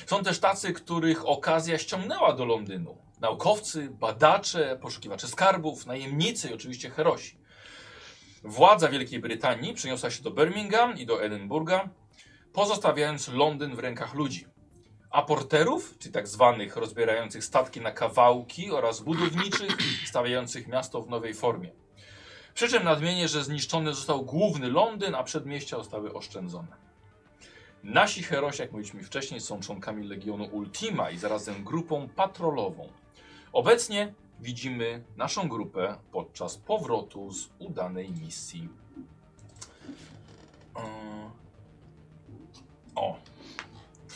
S2: Są też tacy, których okazja ściągnęła do Londynu. Naukowcy, badacze, poszukiwacze skarbów, najemnicy i oczywiście herosi. Władza Wielkiej Brytanii przeniosła się do Birmingham i do Edynburga, pozostawiając Londyn w rękach ludzi. Aporterów, czyli tak zwanych rozbierających statki na kawałki oraz budowniczych stawiających miasto w nowej formie. Przy czym nadmienię, że zniszczony został główny Londyn, a przedmieścia zostały oszczędzone. Nasi herosi, jak mówiliśmy wcześniej, są członkami Legionu Ultima i zarazem grupą patrolową. Obecnie widzimy naszą grupę podczas powrotu z udanej misji. Yy. O.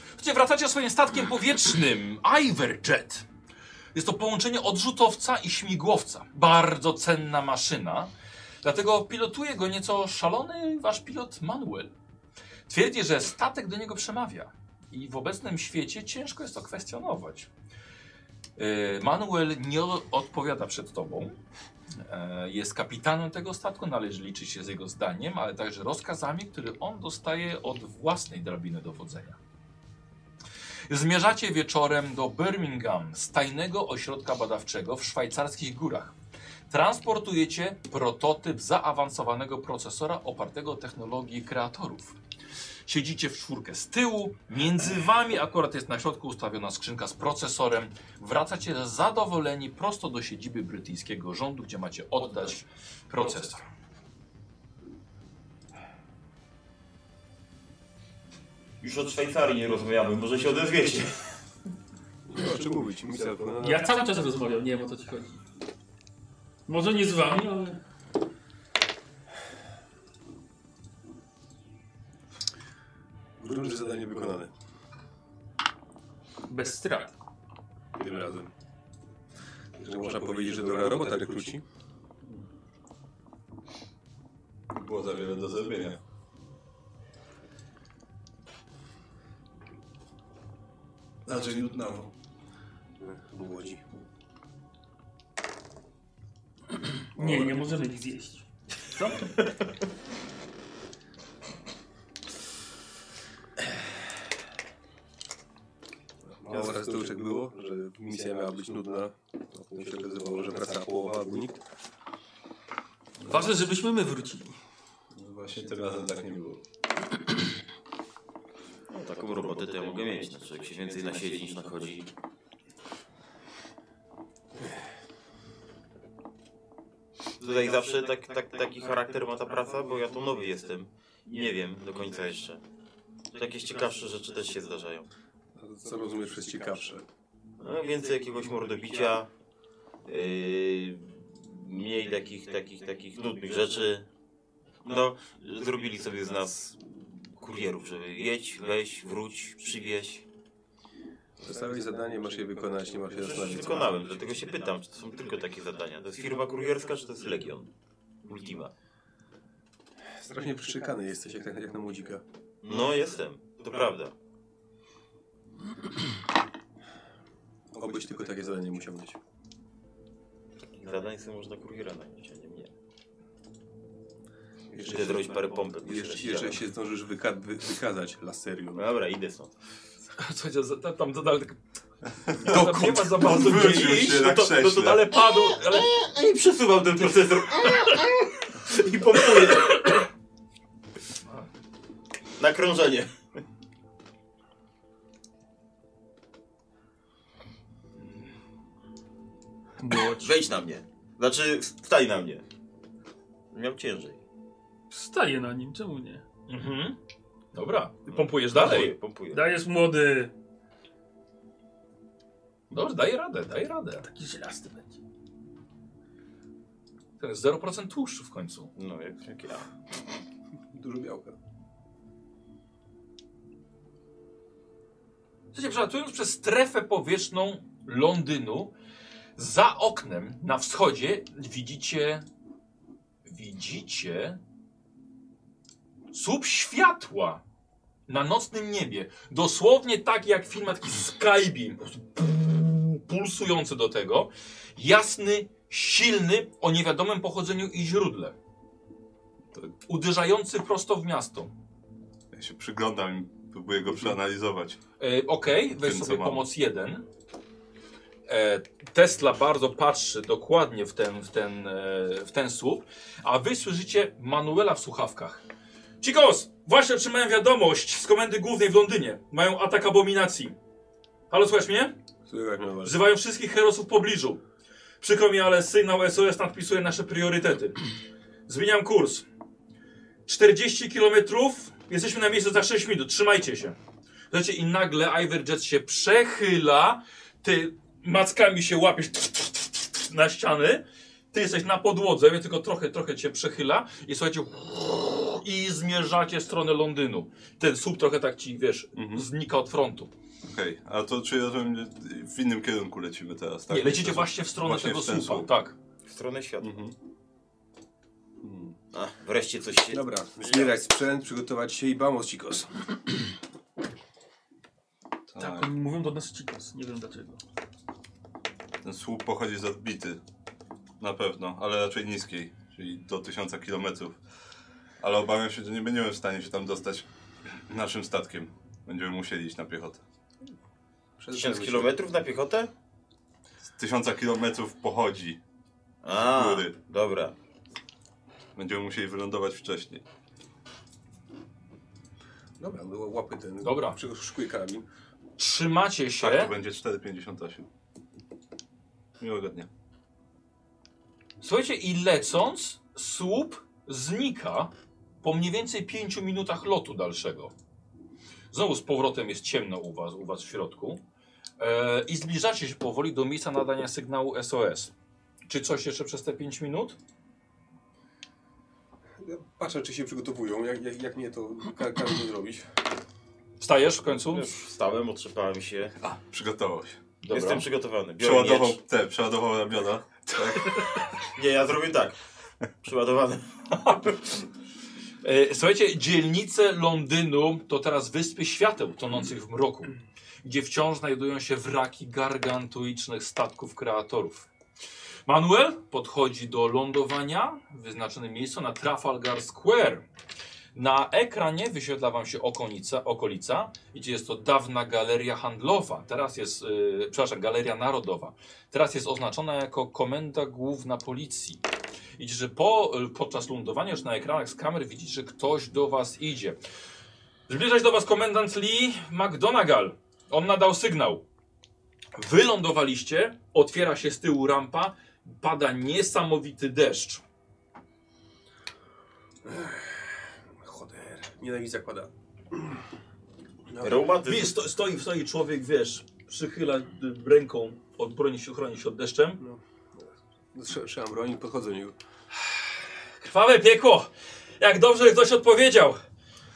S2: Słuchajcie, wracacie swoim statkiem powietrznym Iverjet. Jest to połączenie odrzutowca i śmigłowca. Bardzo cenna maszyna. Dlatego pilotuje go nieco szalony wasz pilot Manuel. Twierdzi, że statek do niego przemawia. I w obecnym świecie ciężko jest to kwestionować. Yy, Manuel nie o- odpowiada przed tobą. E, Jest kapitanem tego statku, należy liczyć się z jego zdaniem, ale także rozkazami, które on dostaje od własnej drabiny dowodzenia. Zmierzacie wieczorem do Birmingham, z tajnego ośrodka badawczego w szwajcarskich górach. Transportujecie prototyp zaawansowanego procesora opartego o technologii kreatorów. Siedzicie w czwórkę z tyłu, między wami akurat jest na środku ustawiona skrzynka z procesorem. Wracacie zadowoleni prosto do siedziby brytyjskiego rządu, gdzie macie oddać procesor.
S4: Już od Szwajcarii nie rozmawiamy, może się odezwiecie.
S5: Nie ma o czym mówić, misja. No,
S1: Ja cały czas rozmawiam, nie wiem o co ci chodzi. Może nie z wami, ale...
S5: Duże zadanie wykonane.
S1: Bez strat.
S5: Tym razem. Że można powiedzieć, że dobra robota rekruci.
S3: Było za wiele do zrobienia. Znaczy nudna.
S5: Młodzi.
S1: Nie, nie możemy ich zjeść. Co?
S5: Mało raz to już tak było, że misja miała być nudna. a Potem się okazywało, że wraca połowa albo nikt.
S1: Ważne, żebyśmy my wrócili.
S3: Właśnie tym razem tak nie było.
S4: No, taką robotę to ja mogę mieć, znaczy jak się więcej nasiedzi niż nachodzi. Tutaj zawsze tak, tak, taki charakter ma ta praca, bo ja tu nowy jestem. Nie wiem do końca jeszcze. Jakieś ciekawsze rzeczy też się zdarzają.
S5: Co rozumiesz przez ciekawsze?
S4: No, więcej jakiegoś mordobicia, yy, mniej takich, takich, takich nudnych rzeczy. No, zrobili sobie z nas kurierów, żeby jedź, weź, wróć, przywieź.
S5: Dostałeś zadanie, masz je wykonać, nie masz się
S4: Przecież
S5: zastanawiać.
S4: wykonałem, dlatego się pytam, czy to są tylko takie zadania. To jest firma kurierska, czy to jest Legion? Ultima.
S5: Strasznie przyczykany jesteś, jak, jak na młodzika.
S4: No, jestem, to prawda.
S5: Obyś tylko takie zadanie musiał mieć.
S4: Takich zadań sobie można kuriera najmniej, a nie mnie.
S5: Jeszcze,
S4: Idę zrobić parę pompek. myślę,
S5: jeszcze,
S4: że
S5: jeszcze
S4: działa.
S5: się zdążysz wyka wy wykazać laserio.
S4: No Dobra, idę stąd.
S2: Słuchajcie, za- tam dodal tak...
S5: Dokąd?
S2: Nie ma za bardzo
S3: Odwrócił
S2: gdzie
S3: się
S2: iść,
S3: na
S2: no to, no to
S3: krześle.
S2: dalej padł, ale...
S4: I przesuwam ten procesor. i pompuje. Na krążenie. Wejdź na mnie. Znaczy, wstaj na mnie. Miał ciężej.
S1: Staję na nim, czemu nie?
S2: Mhm. Dobra, pompujesz dalej.
S4: pompuję.
S1: Dajesz młody.
S2: Dobrze, daj radę, daj radę.
S1: Taki żelasty będzie.
S2: To jest 0% tłuszczu w końcu.
S4: No, jak, jak ja.
S5: Dużo białka.
S2: Słuchajcie, przelatując przez strefę powietrzną Londynu, za oknem na wschodzie widzicie. Widzicie. Słup światła na nocnym niebie. Dosłownie tak jak w filmach, taki skybeam. Po prostu Pulsujący do tego. Jasny, silny, o niewiadomym pochodzeniu i źródle. Uderzający prosto w miasto.
S3: Ja się przyglądam i próbuję go przeanalizować.
S2: E, Okej, weź
S3: Tym, co
S2: sobie
S3: mam.
S2: pomoc jeden. E, Tesla bardzo patrzy dokładnie w ten, w ten, e, w ten słup, a wy słyszycie Manuela w słuchawkach. Chicos, właśnie otrzymałem wiadomość z komendy głównej w Londynie. Mają atak abominacji. Halo, słuchasz mnie?
S5: Słychać mnie was.
S2: Wzywają wszystkich herosów w pobliżu. Przykro mi, ale sygnał SOS nadpisuje nasze priorytety. Zmieniam kurs. 40 km. Jesteśmy na miejscu za 6 minut. Trzymajcie się. Słuchajcie, i nagle Iver Jet się przechyla. Ty mackami się łapiesz na ściany. Ty jesteś na podłodze, więc tylko trochę, trochę cię przechyla. I słuchajcie, i zmierzacie w stronę Londynu. Ten słup trochę tak ci, wiesz,
S3: Mhm.
S2: znika od frontu.
S3: Okej, a to czy ja rozumiem, w innym kierunku lecimy teraz, tak?
S2: Nie, lecicie
S3: Teraz-
S2: właśnie w stronę
S3: właśnie
S2: tego
S3: w ten
S2: słupa.
S3: słup.
S2: Tak.
S4: W stronę światła.
S3: Mhm.
S4: A, wreszcie coś się...
S5: Dobra, zbierać sprzęt, przygotować się i vamos, chicos.
S1: Tak, oni mówią do nas cikos, nie wiem dlaczego.
S3: Ten słup pochodzi z odbity. Na pewno, ale raczej niskiej, czyli do 1000 km. Ale obawiam się, że nie będziemy w stanie się tam dostać naszym statkiem. Będziemy musieli iść na piechotę.
S4: Tysiąc kilometrów na piechotę?
S3: Z 1000 km pochodzi.
S4: A,
S3: Góry.
S4: dobra.
S3: Będziemy musieli wylądować wcześniej.
S5: Dobra, no łapy ten.
S2: Dobra.
S5: Przyszukuję karabin.
S2: Trzymacie się.
S3: Tak, to będzie 4,58. Miłego dnia.
S2: Słuchajcie, i lecąc, słup znika po mniej więcej 5 minutach lotu dalszego. Znowu z powrotem jest ciemno u was, u was w środku. E, I zbliżacie się powoli do miejsca nadania sygnału SOS. Czy coś jeszcze przez te 5 minut?
S5: Patrzę, czy się przygotowują. Jak, jak, jak nie, to ka- karabin zrobić.
S2: Wstajesz w końcu?
S4: Już wstałem, otrzepałem się.
S3: A, przygotował się.
S2: Dobra.
S4: Jestem przygotowany. Biorę
S3: Przeładował
S4: miecz.
S3: te, przeładował ramiona.
S4: Nie, ja zrobię tak. Przeładowany.
S2: E, Słuchajcie, dzielnice Londynu to teraz wyspy świateł tonących w mroku, gdzie wciąż znajdują się wraki gargantuicznych statków kreatorów. Manuel podchodzi do lądowania w wyznaczonym miejscu na Trafalgar Square. Na ekranie wyświetla wam się okolica, okolica gdzie jest to dawna galeria handlowa, teraz jest, yy, przepraszam, galeria narodowa. Teraz jest oznaczona jako komenda główna policji. Widzicie, że po, podczas lądowania już na ekranach z kamer widzicie, że ktoś do was idzie. Zbliża się do was komendant Lee McDonagall. On nadał sygnał. Wylądowaliście, otwiera się z tyłu rampa, pada niesamowity deszcz.
S5: Choder. Nienawidzę zakłada.
S4: Reumatyzm.
S2: Widzisz, sto, stoi, stoi człowiek, wiesz, przychyla y, ręką, od, broni się, chroni się od deszczem.
S5: Trzymam No, broń, podchodzę do niego.
S2: Krwawe piekło! Jak dobrze, że ktoś odpowiedział.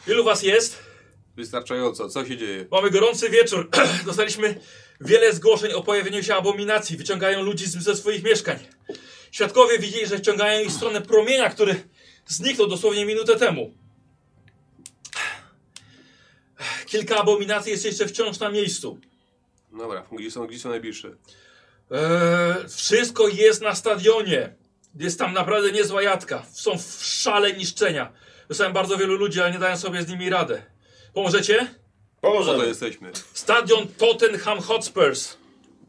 S2: Ilu was jest?
S5: Wystarczająco, co się dzieje?
S2: Mamy gorący wieczór. Dostaliśmy wiele zgłoszeń o pojawieniu się abominacji. Wyciągają ludzi z, ze swoich mieszkań. Świadkowie widzieli, że ciągają ich w stronę promienia, który zniknął dosłownie minutę temu. Kilka abominacji jest jeszcze wciąż na miejscu.
S5: Dobra, gdzie są, gdzie są najbliższe?
S2: Eee, wszystko jest na stadionie. Jest tam naprawdę niezła jatka. Są w szale niszczenia. Wysłałem bardzo wielu ludzi, ale nie dają sobie z nimi radę. Pomożecie?
S5: Po to
S4: Pomożemy.
S5: jesteśmy.
S2: Stadion Tottenham Hotspurs.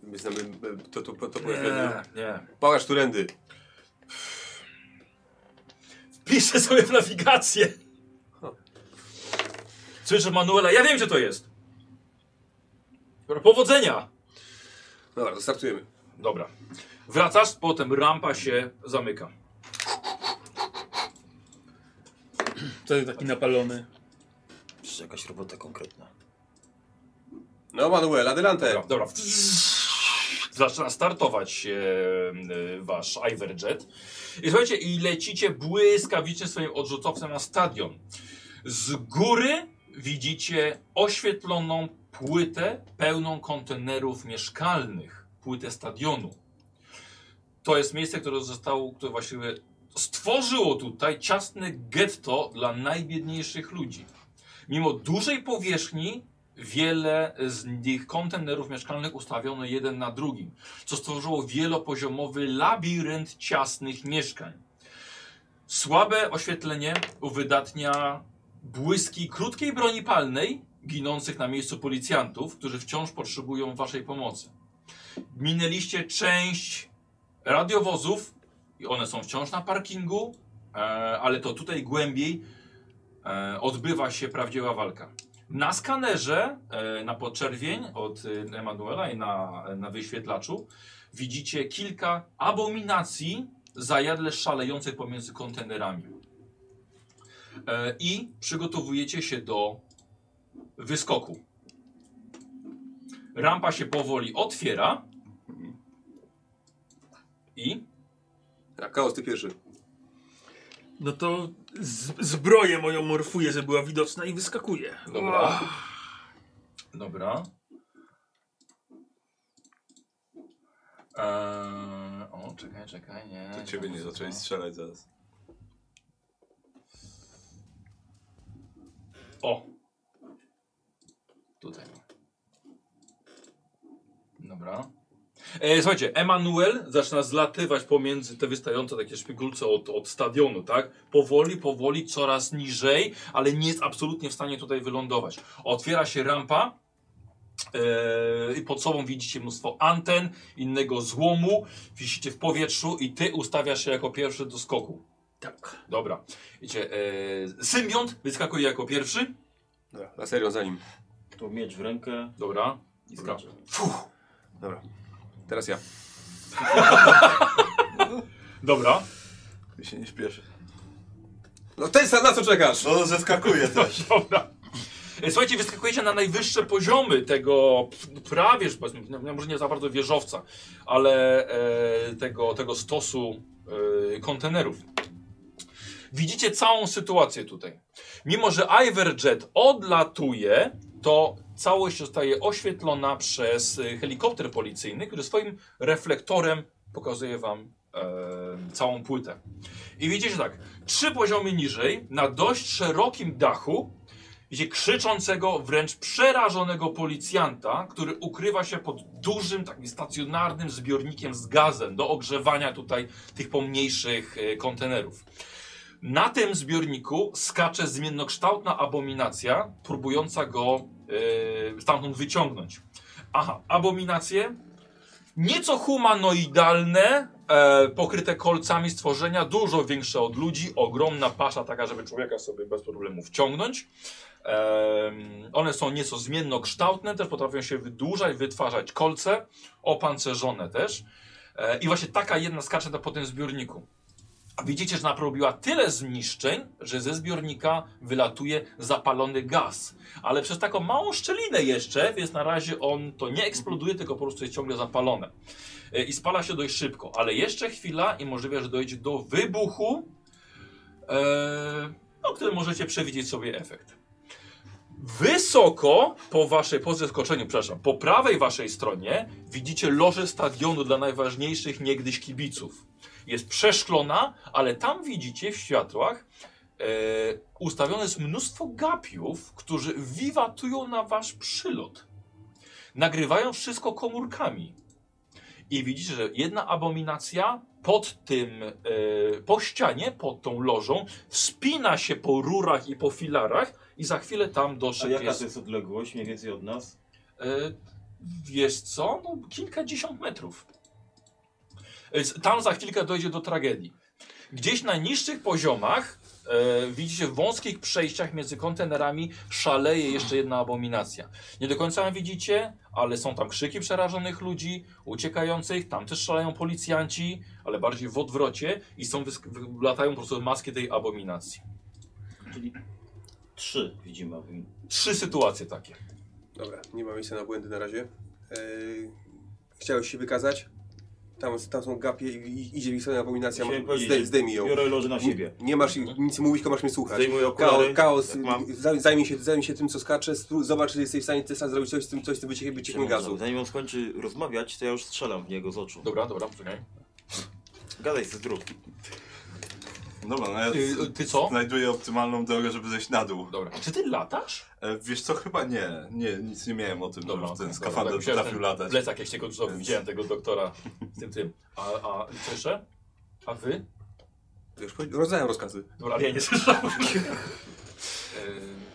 S5: My znamy e, to, to, to, to
S2: Nie,
S5: powiedzenie.
S2: nie.
S5: Pokaż tu rędy.
S2: Piszę sobie w nawigację. Słyszę Manuela, ja wiem, że to jest. Dobra, Powodzenia!
S5: Dobra, to startujemy.
S2: Dobra. Wracasz, potem rampa się zamyka.
S1: To jest taki napalony.
S4: Przecież jakaś robota konkretna.
S5: No Manuel, adelante.
S2: Dobra, dobra. Zaczyna startować się e, wasz Iverjet. I słuchajcie, i lecicie błyskawicznie swoim odrzutowcem na stadion. Z góry widzicie oświetloną płytę pełną kontenerów mieszkalnych. Płytę stadionu. To jest miejsce, które zostało, które właściwie stworzyło tutaj ciasne getto dla najbiedniejszych ludzi. Mimo dużej powierzchni wiele z nich kontenerów mieszkalnych ustawiono jeden na drugim, co stworzyło wielopoziomowy labirynt ciasnych mieszkań. Słabe oświetlenie uwydatnia błyski krótkiej broni palnej ginących na miejscu policjantów, którzy wciąż potrzebują waszej pomocy. Minęliście część radiowozów i one są wciąż na parkingu, e, ale to tutaj głębiej e, odbywa się prawdziwa walka. Na skanerze, e, na podczerwień od e, Emanuela i na, na wyświetlaczu widzicie kilka abominacji zajadle szalejących pomiędzy kontenerami. E, I przygotowujecie się do wyskoku. Rampa się powoli otwiera. I
S5: Tak, Chaos, ty pierwszy.
S1: No to z- zbroję moją morfuję, żeby była widoczna i wyskakuje.
S2: Dobra. Dobra. Eee, E, o, czekaj, czekaj, nie.
S3: Tak, no, To ciebie nie
S2: muszę-
S3: zaczęli strzelać zaraz.
S2: O! Tutaj. Dobra. E, słuchajcie, Emanuel zaczyna zlatywać pomiędzy te wystające takie szpikulce od, od stadionu, tak? Powoli, powoli, coraz niżej, ale nie jest absolutnie w stanie tutaj wylądować. Otwiera się rampa e, i pod sobą widzicie mnóstwo anten, innego złomu, wisicie w powietrzu i ty ustawiasz się jako pierwszy do skoku. Tak. Dobra. Wiecie, e, symbiont wyskakuje jako pierwszy.
S5: Dobra, na serio, za nim.
S4: To miecz w rękę
S2: Dobra.
S4: i
S2: Dobra.
S4: skacze.
S5: Dobra. Teraz ja.
S2: Dobra.
S3: Ty się nie śpieszy.
S5: No ten sam, na co czekasz?
S3: No, zeskakuje też.
S2: Dobra. E, Słuchajcie, wyskakujecie na najwyższe poziomy tego p- prawie, że powiedzmy, no, no, może nie za bardzo wieżowca, ale e, tego, tego stosu e, kontenerów. Widzicie całą sytuację tutaj. Mimo, że Iverjet odlatuje, to całość zostaje oświetlona przez e, helikopter policyjny, który swoim reflektorem pokazuje wam e, całą płytę. I widzicie tak, trzy poziomy niżej, na dość szerokim dachu, widzicie krzyczącego, wręcz przerażonego policjanta, który ukrywa się pod dużym, takim stacjonarnym zbiornikiem z gazem do ogrzewania tutaj tych pomniejszych e, kontenerów. Na tym zbiorniku skacze zmiennokształtna abominacja, próbująca go e, stamtąd wyciągnąć. Aha, abominacje nieco humanoidalne, e, pokryte kolcami stworzenia, dużo większe od ludzi, ogromna pasza taka, żeby człowieka sobie bez problemu wciągnąć. Em, one są nieco zmiennokształtne, też potrafią się wydłużać, wytwarzać kolce, opancerzone też. E, I właśnie taka jedna skacze na- po tym zbiorniku. A widzicie, że naprobiła tyle zniszczeń, że ze zbiornika wylatuje zapalony gaz. Ale przez taką małą szczelinę jeszcze, więc na razie on to nie eksploduje, tylko po prostu jest ciągle zapalone. E, I spala się dość szybko, ale jeszcze chwila i możliwe, że dojdzie do wybuchu, e, o którym możecie przewidzieć sobie efekt. Wysoko po waszej, po zeskoczeniu, przepraszam, po prawej waszej stronie widzicie loże stadionu dla najważniejszych niegdyś kibiców. Jest przeszklona, ale tam widzicie w światłach e, ustawione jest mnóstwo gapiów, którzy wiwatują na wasz przylot. Nagrywają wszystko komórkami. I widzicie, że jedna abominacja pod tym, e, po ścianie, pod tą lożą, wspina się po rurach i po filarach i za chwilę tam
S4: A
S2: doszedł
S4: jaka
S2: jest...
S4: to jest odległość mniej więcej od nas?
S2: E, Wiesz co? No, kilkadziesiąt metrów. E, s- Tam za chwilkę dojdzie do tragedii. Gdzieś na niższych poziomach e, widzicie w wąskich przejściach między kontenerami szaleje jeszcze jedna abominacja. Nie do końca ją widzicie, ale są tam krzyki przerażonych ludzi, uciekających, tam też szaleją policjanci, ale bardziej w odwrocie i są wysk- wy- latają po prostu maski tej abominacji.
S4: Czyli trzy widzimy. abomin-
S2: Trzy sytuacje takie.
S5: Dobra, nie ma miejsca na błędy na razie. Yy, chciałeś się wykazać? Tam, tam są gapie i, i idzie mi sobie abominacja,
S4: Chciałem
S5: ma-
S4: powiedzieć,
S5: zdej, zdejmij ją.
S4: Biorę loży na siebie.
S5: Nie masz im nic mówić, tylko masz mnie słuchać.
S4: Zdejmuję
S5: Kao,
S4: okulary.
S5: chaos,
S4: jak mam.
S5: zaj- zajmij się, zajmij się tym, co skacze, spró- zobacz, czy jesteś w stanie Tesla zrobić coś z tym, coś z tym wyciekiem, wyciekiem gazu.
S4: Zanim on skończy rozmawiać, to ja już strzelam w niego z oczu.
S2: Dobra, dobra, poczekaj.
S4: Gadaj ze zdrów.
S3: Dobra, no ja
S2: Ty, ty co?
S3: znajduję optymalną drogę, żeby zejść na dół.
S2: Dobra. Czy ty latasz?
S3: E, wiesz co, chyba nie, nie, nic nie miałem o tym,
S2: Dobra,
S3: że ten
S2: okej,
S3: skafander
S2: dobra, tak,
S3: potrafił
S2: myślałem,
S3: latać.
S2: Plecak, jak się go rzucał,
S3: Więc-
S2: widziałem tego doktora z tym tym. A, a co jeszcze? A wy?
S5: Wiesz, powiedz- rozdałem rozkazy.
S2: Dobra, ale ja nie słyszałem. Ehm,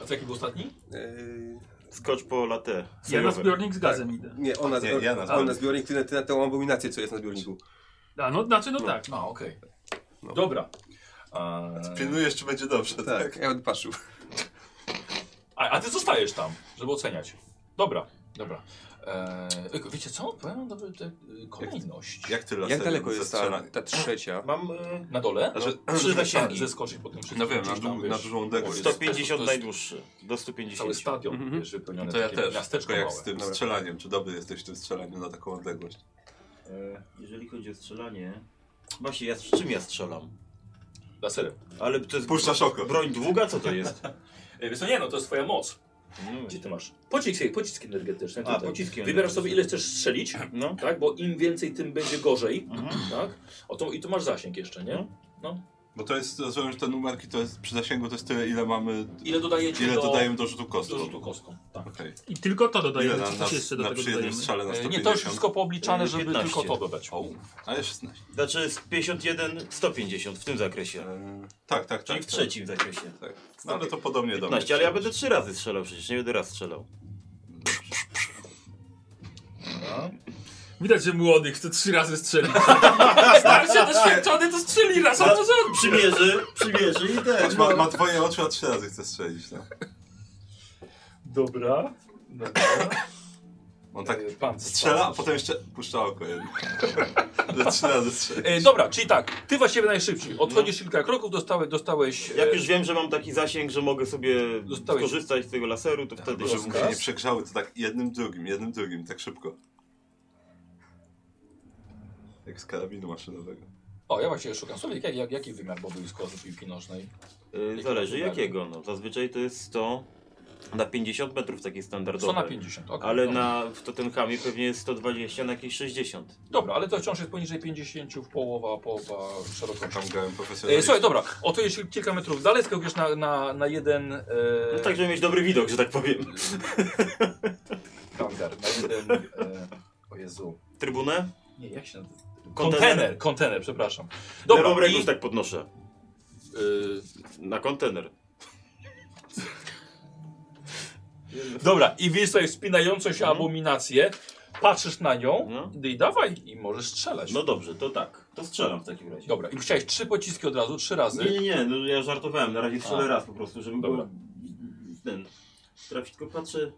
S2: a co, jaki był ostatni?
S5: Yy,
S4: Skocz po latę.
S1: Ja na
S4: Sojowe.
S1: zbiornik z gazem idę.
S5: nie, ona,
S3: Nie, ja na
S5: ona
S3: zbiornik.
S5: na zbiornik, ty na, ty na tą abominację, co jest na zbiorniku.
S1: A no, znaczy, no tak.
S2: A, okej. No. Dobra. Ehm,
S3: Pilnujesz, czy będzie dobrze, tak?
S5: Tak, ja będę patrzył.
S2: a, a ty zostajesz tam, żeby oceniać. Dobra, dobra. Ehm, wiecie co? Powiem wam tę e, kolejność.
S3: Jak ty laserem
S5: Jak daleko jest ta,
S3: zastrzela-
S5: ta trzecia?
S4: Mam e,
S2: Na dole?
S3: A że-
S2: Trzy zasięgi.
S3: zasięgi.
S2: Zeskoczyć po tym wszystkim.
S3: znaczy, tak, No wiem, na
S2: Gdzieś tam,
S3: dół-
S2: wiesz,
S3: na dużą dekę.
S2: to jest-
S4: 150
S2: to jest
S4: najdłuższy. Do
S2: Cały
S4: 150.
S2: stadion
S5: Mhm.
S2: wiesz, wypełniony.
S3: To ja
S2: takie
S3: też,
S2: Miasteczko
S3: tylko jak
S2: małe.
S3: z tym
S5: Dobra.
S3: strzelaniem, czy dobry jesteś w tym strzelaniu na taką odległość?
S2: Ehm,
S4: E, Jeżeli chodzi o strzelanie... Właśnie, ja, z czym ja strzelam?
S2: Laserem.
S4: Ale to jest
S3: Puszczasz oko.
S4: broń długa? Co to jest?
S2: E, Wiesz, co, nie, no to jest twoja moc.
S4: No,
S2: Gdzie ty masz? Pocisk, pocisk energetyczny.
S4: A,
S2: tutaj.
S4: pociski
S2: Wybierasz
S4: energetyczne.
S2: sobie ile chcesz strzelić,
S4: no.
S2: tak? Bo im więcej, tym będzie gorzej,
S4: Mhm.
S2: tak? O to, I tu masz zasięg jeszcze, nie?
S3: Bo to jest, rozumiem, że te numerki to jest, przy zasięgu to jest tyle, ile mamy,
S2: Ile dodajecie
S3: ile
S2: do,
S3: dodajemy do rzutu
S2: do
S3: kostką.
S2: rzutu kostką. Tak.
S3: Okej.
S1: I tylko to
S3: Ile
S1: dodajemy,
S3: na,
S1: czy
S3: na,
S1: coś jeszcze do
S3: na
S1: tego
S3: przy jednym
S1: dodajemy.
S3: strzale na
S2: E,
S3: 150?
S2: Nie, to już wszystko
S4: E,
S2: poobliczane, żeby
S4: 15.
S2: tylko to dodać.
S3: O, ale 16.
S4: Znaczy z 51, 150 w tym zakresie.
S3: E, tak, tak,
S4: Czyli
S3: tak.
S4: w trzecim zakresie.
S3: Tak. No, ale to podobnie do mnie.
S4: 15, ale ja będę trzy razy strzelał przecież, nie będę raz strzelał.
S1: Widać, że młodych chce trzy razy strzelić. Starszy, doświadczony to strzeli raz, a to rząd.
S4: Przymierzy, przymierzy i ten.
S3: Patrz, ma, ma twoje oczy, a trzy razy chce strzelić. No.
S2: Dobra.
S3: On tak
S2: E, Pan
S3: strzela, a potem jeszcze puszcza oko jedno. Że trzy razy strzeli.
S2: E, dobra, czyli tak, ty właściwie najszybciej. Odchodzisz kilka kroków, dostałeś, dostałeś e,
S4: Jak już wiem, że mam taki zasięg, że mogę sobie
S2: Dostałeś-
S4: skorzystać z tego laseru, to wtedy Y,
S3: Żeby mu się nie
S2: Rozkaz?
S3: przegrzały, to tak jednym, drugim, jednym, drugim, tak szybko. Jak z karabinu maszynowego.
S2: O, ja właśnie szukam sobie, jak, jak, jaki wymiar boisko z piłki nożnej.
S4: Y, Zależy jakiego. No. Zazwyczaj to jest 100 na 50 metrów takie
S2: 100
S4: standardowe.
S2: na 50, okej.
S4: No Ale
S2: dobra.
S4: na, w Tottenhamie pewnie jest 120 na jakieś 60.
S2: Dobra, ale to wciąż jest poniżej 50, w połowa, połowa szerokości.
S3: Tam grałem
S2: E,
S3: profesjonalnie.
S2: słuchaj, dobra, oto jeśli kilka metrów dalej, skakujesz na, na, na jeden... E,
S4: No tak, żeby mieć dobry widok, że tak powiem.
S2: hangar, na jeden... E, o Jezu.
S4: Trybunę?
S2: Nie, jak się nazywa?
S4: Kontener?
S2: Kontener, kontener, przepraszam.
S4: Dobra,
S2: Dobra,
S4: Lewą ręką
S2: i,
S4: już tak podnoszę.
S2: e,
S4: Na kontener.
S2: dobra, i widzisz sobie wspinającą się
S4: Mhm.
S2: abominację, patrzysz na nią
S4: No.
S2: i dawaj, i możesz strzelać.
S4: No dobrze, to tak. To strzelam w takim razie.
S2: Dobra, i chciałeś trzy pociski od razu, trzy
S4: Nie,
S2: razy.
S4: nie, nie, no ja żartowałem, na razie strzelę
S2: A.
S4: raz po prostu, żeby
S2: Dobra.
S4: było ten. Trafić tylko patrzę.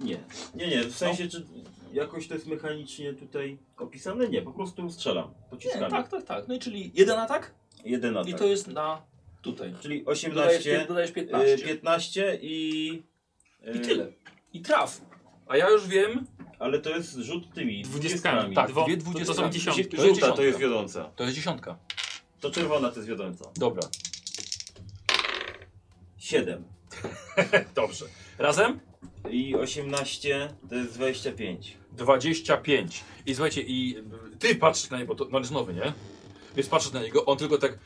S4: Nie. Nie, nie, w sensie czy jakoś to jest mechanicznie tutaj opisane? Nie, po prostu strzelam
S2: Nie,
S4: pociskami.
S2: tak, tak, tak. No i czyli jeden atak
S4: Jeden atak.
S2: i to jest na tutaj.
S4: Czyli
S2: Dodajesz,
S4: 18,
S2: pię-
S4: y,
S2: dodajesz 15.
S4: 15 i...
S2: I
S4: y,
S2: tyle. I traf. A ja już wiem.
S4: Ale to jest rzut tymi
S1: Dwudziestkami.
S4: dwudziestkami.
S2: Tak,
S1: dwo-
S2: dwie
S1: to- To
S2: dwudziestkami.
S1: są dziesiątki.
S2: To jest
S4: Żółta to
S2: dziesiątka.
S4: jest wiodąca.
S2: To jest dziesiątka.
S4: To czerwona to jest wiodąca.
S2: Dobra.
S4: 7.
S2: Dobrze. Razem?
S4: I 18 to jest 25.
S2: 25. I słuchajcie, i y, ty patrzysz na niego, bo to no, jest nowy, nie? Więc patrzysz na niego, on tylko tak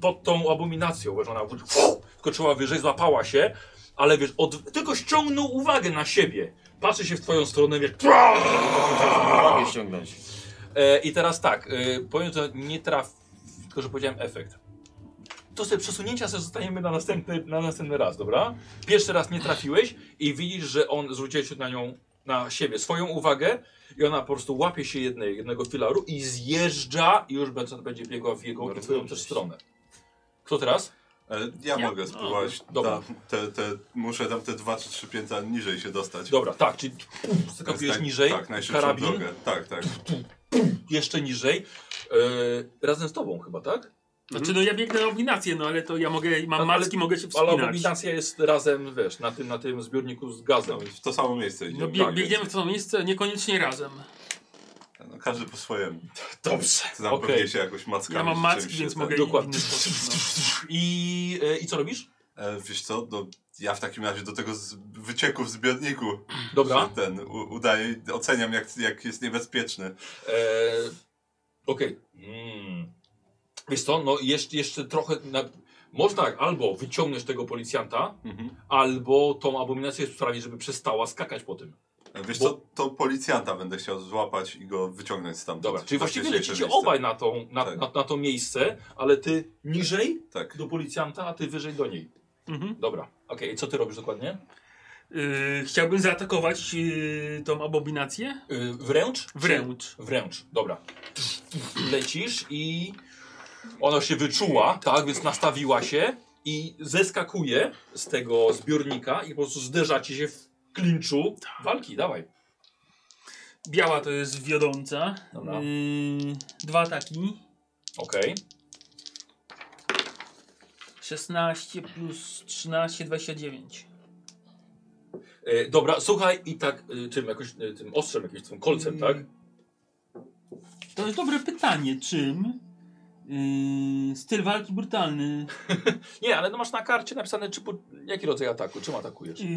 S2: pod tą abominacją, wiesz, ona skoczyła wyżej, złapała się, ale wiesz, od, tylko ściągnął uwagę na siebie. Patrzy się w twoją stronę, wiesz,
S4: Mogę ściągnąć.
S2: E, I teraz tak, e, powiem to nie traf, tylko że powiedziałem efekt. To sobie przesunięcia sobie zostaniemy na następny, na następny raz, dobra? Pierwszy raz nie trafiłeś i widzisz, że on zwróciłeś się na nią na siebie swoją uwagę i ona po prostu łapie się jednej, jednego filaru i zjeżdża i już będzie, będzie biegła w jego i
S4: Bardzo
S2: twoją
S4: dobrze.
S2: też stronę. Kto teraz?
S3: E, Ja,
S1: Ja-
S3: mogę spróbować.
S2: No, dobra.
S3: tam, te, te, muszę tam te dwa czy trzy piętra niżej się dostać.
S2: Dobra, tak, czyli
S3: To jest
S2: skakujesz
S3: naj-
S2: niżej,
S3: Tak, najszybszą
S2: karabin,
S3: drogę. Tak, tak.
S2: jeszcze niżej, e, razem z tobą chyba, tak?
S1: Znaczy, no ja biegnę na ominację, no ale to ja mogę, mam
S2: Ale-
S1: macki, mogę się
S2: Ale
S1: wspinać.
S2: abominacja jest razem, wiesz, na tym, na tym zbiorniku z gazem.
S3: No, w to samo miejsce
S1: No
S3: idziemy.
S1: bieg,
S3: Tak,
S1: biegniemy w to miejsce, niekoniecznie razem.
S3: więc- no, Każdy po swojemu.
S2: Dobrze,
S3: Ty tam
S2: okej.
S3: pewnie się jakoś mackami.
S1: Ja mam
S3: czy
S1: macki,
S3: czymś
S1: więc
S3: się
S1: mogę
S3: ten-
S1: i w
S2: Dokładnie.
S1: inny sposób. No.
S2: I, e, I co robisz?
S3: E, wiesz co, no, ja w takim razie do tego z... wycieku w zbiorniku
S2: Dobra.
S3: że ten u, udaję, oceniam jak, jak jest niebezpieczny.
S2: E, Okej. Mm. Wiesz co, no jeszcze, jeszcze trochę... Na... Można tak, albo wyciągniesz tego policjanta, albo tą abominację sprawić, żeby przestała skakać po tym.
S3: E, Wiesz
S2: Bo-
S3: co, to policjanta będę chciał złapać i go wyciągnąć stamtąd. Tak
S2: Dobra, czyli
S3: Na
S2: właściwie
S3: wcześniejsze
S2: lecicie
S3: miejsce.
S2: obaj na, tą, na,
S3: Tak.
S2: na, na to miejsce, ale ty niżej
S3: Tak.
S2: do policjanta, a ty wyżej do niej.
S1: Mhm.
S2: Dobra, okej, i co ty robisz dokładnie?
S1: Yy, chciałbym zaatakować yy, tą abominację
S2: Yy, wręcz?
S1: wręcz.
S2: Wręcz, dobra. Lecisz i ona się wyczuła, tak, więc nastawiła się i zeskakuje z tego zbiornika i po prostu zderzacie się w klinczu walki, dawaj.
S1: Biała to jest wiodąca.
S2: Dobra.
S1: Yy, dwa ataki.
S2: Okej,
S1: 16 plus 13, 29.
S2: E, dobra, słuchaj i tak y, tym jakoś, y, tym ostrzem, jakimś tym kolcem, tak?
S1: Mm. To jest dobre pytanie, czym? Yy, styl walki brutalny.
S2: Nie, ale no masz na karcie napisane, czy, po- jaki rodzaj ataku, czym atakujesz?
S1: Yy,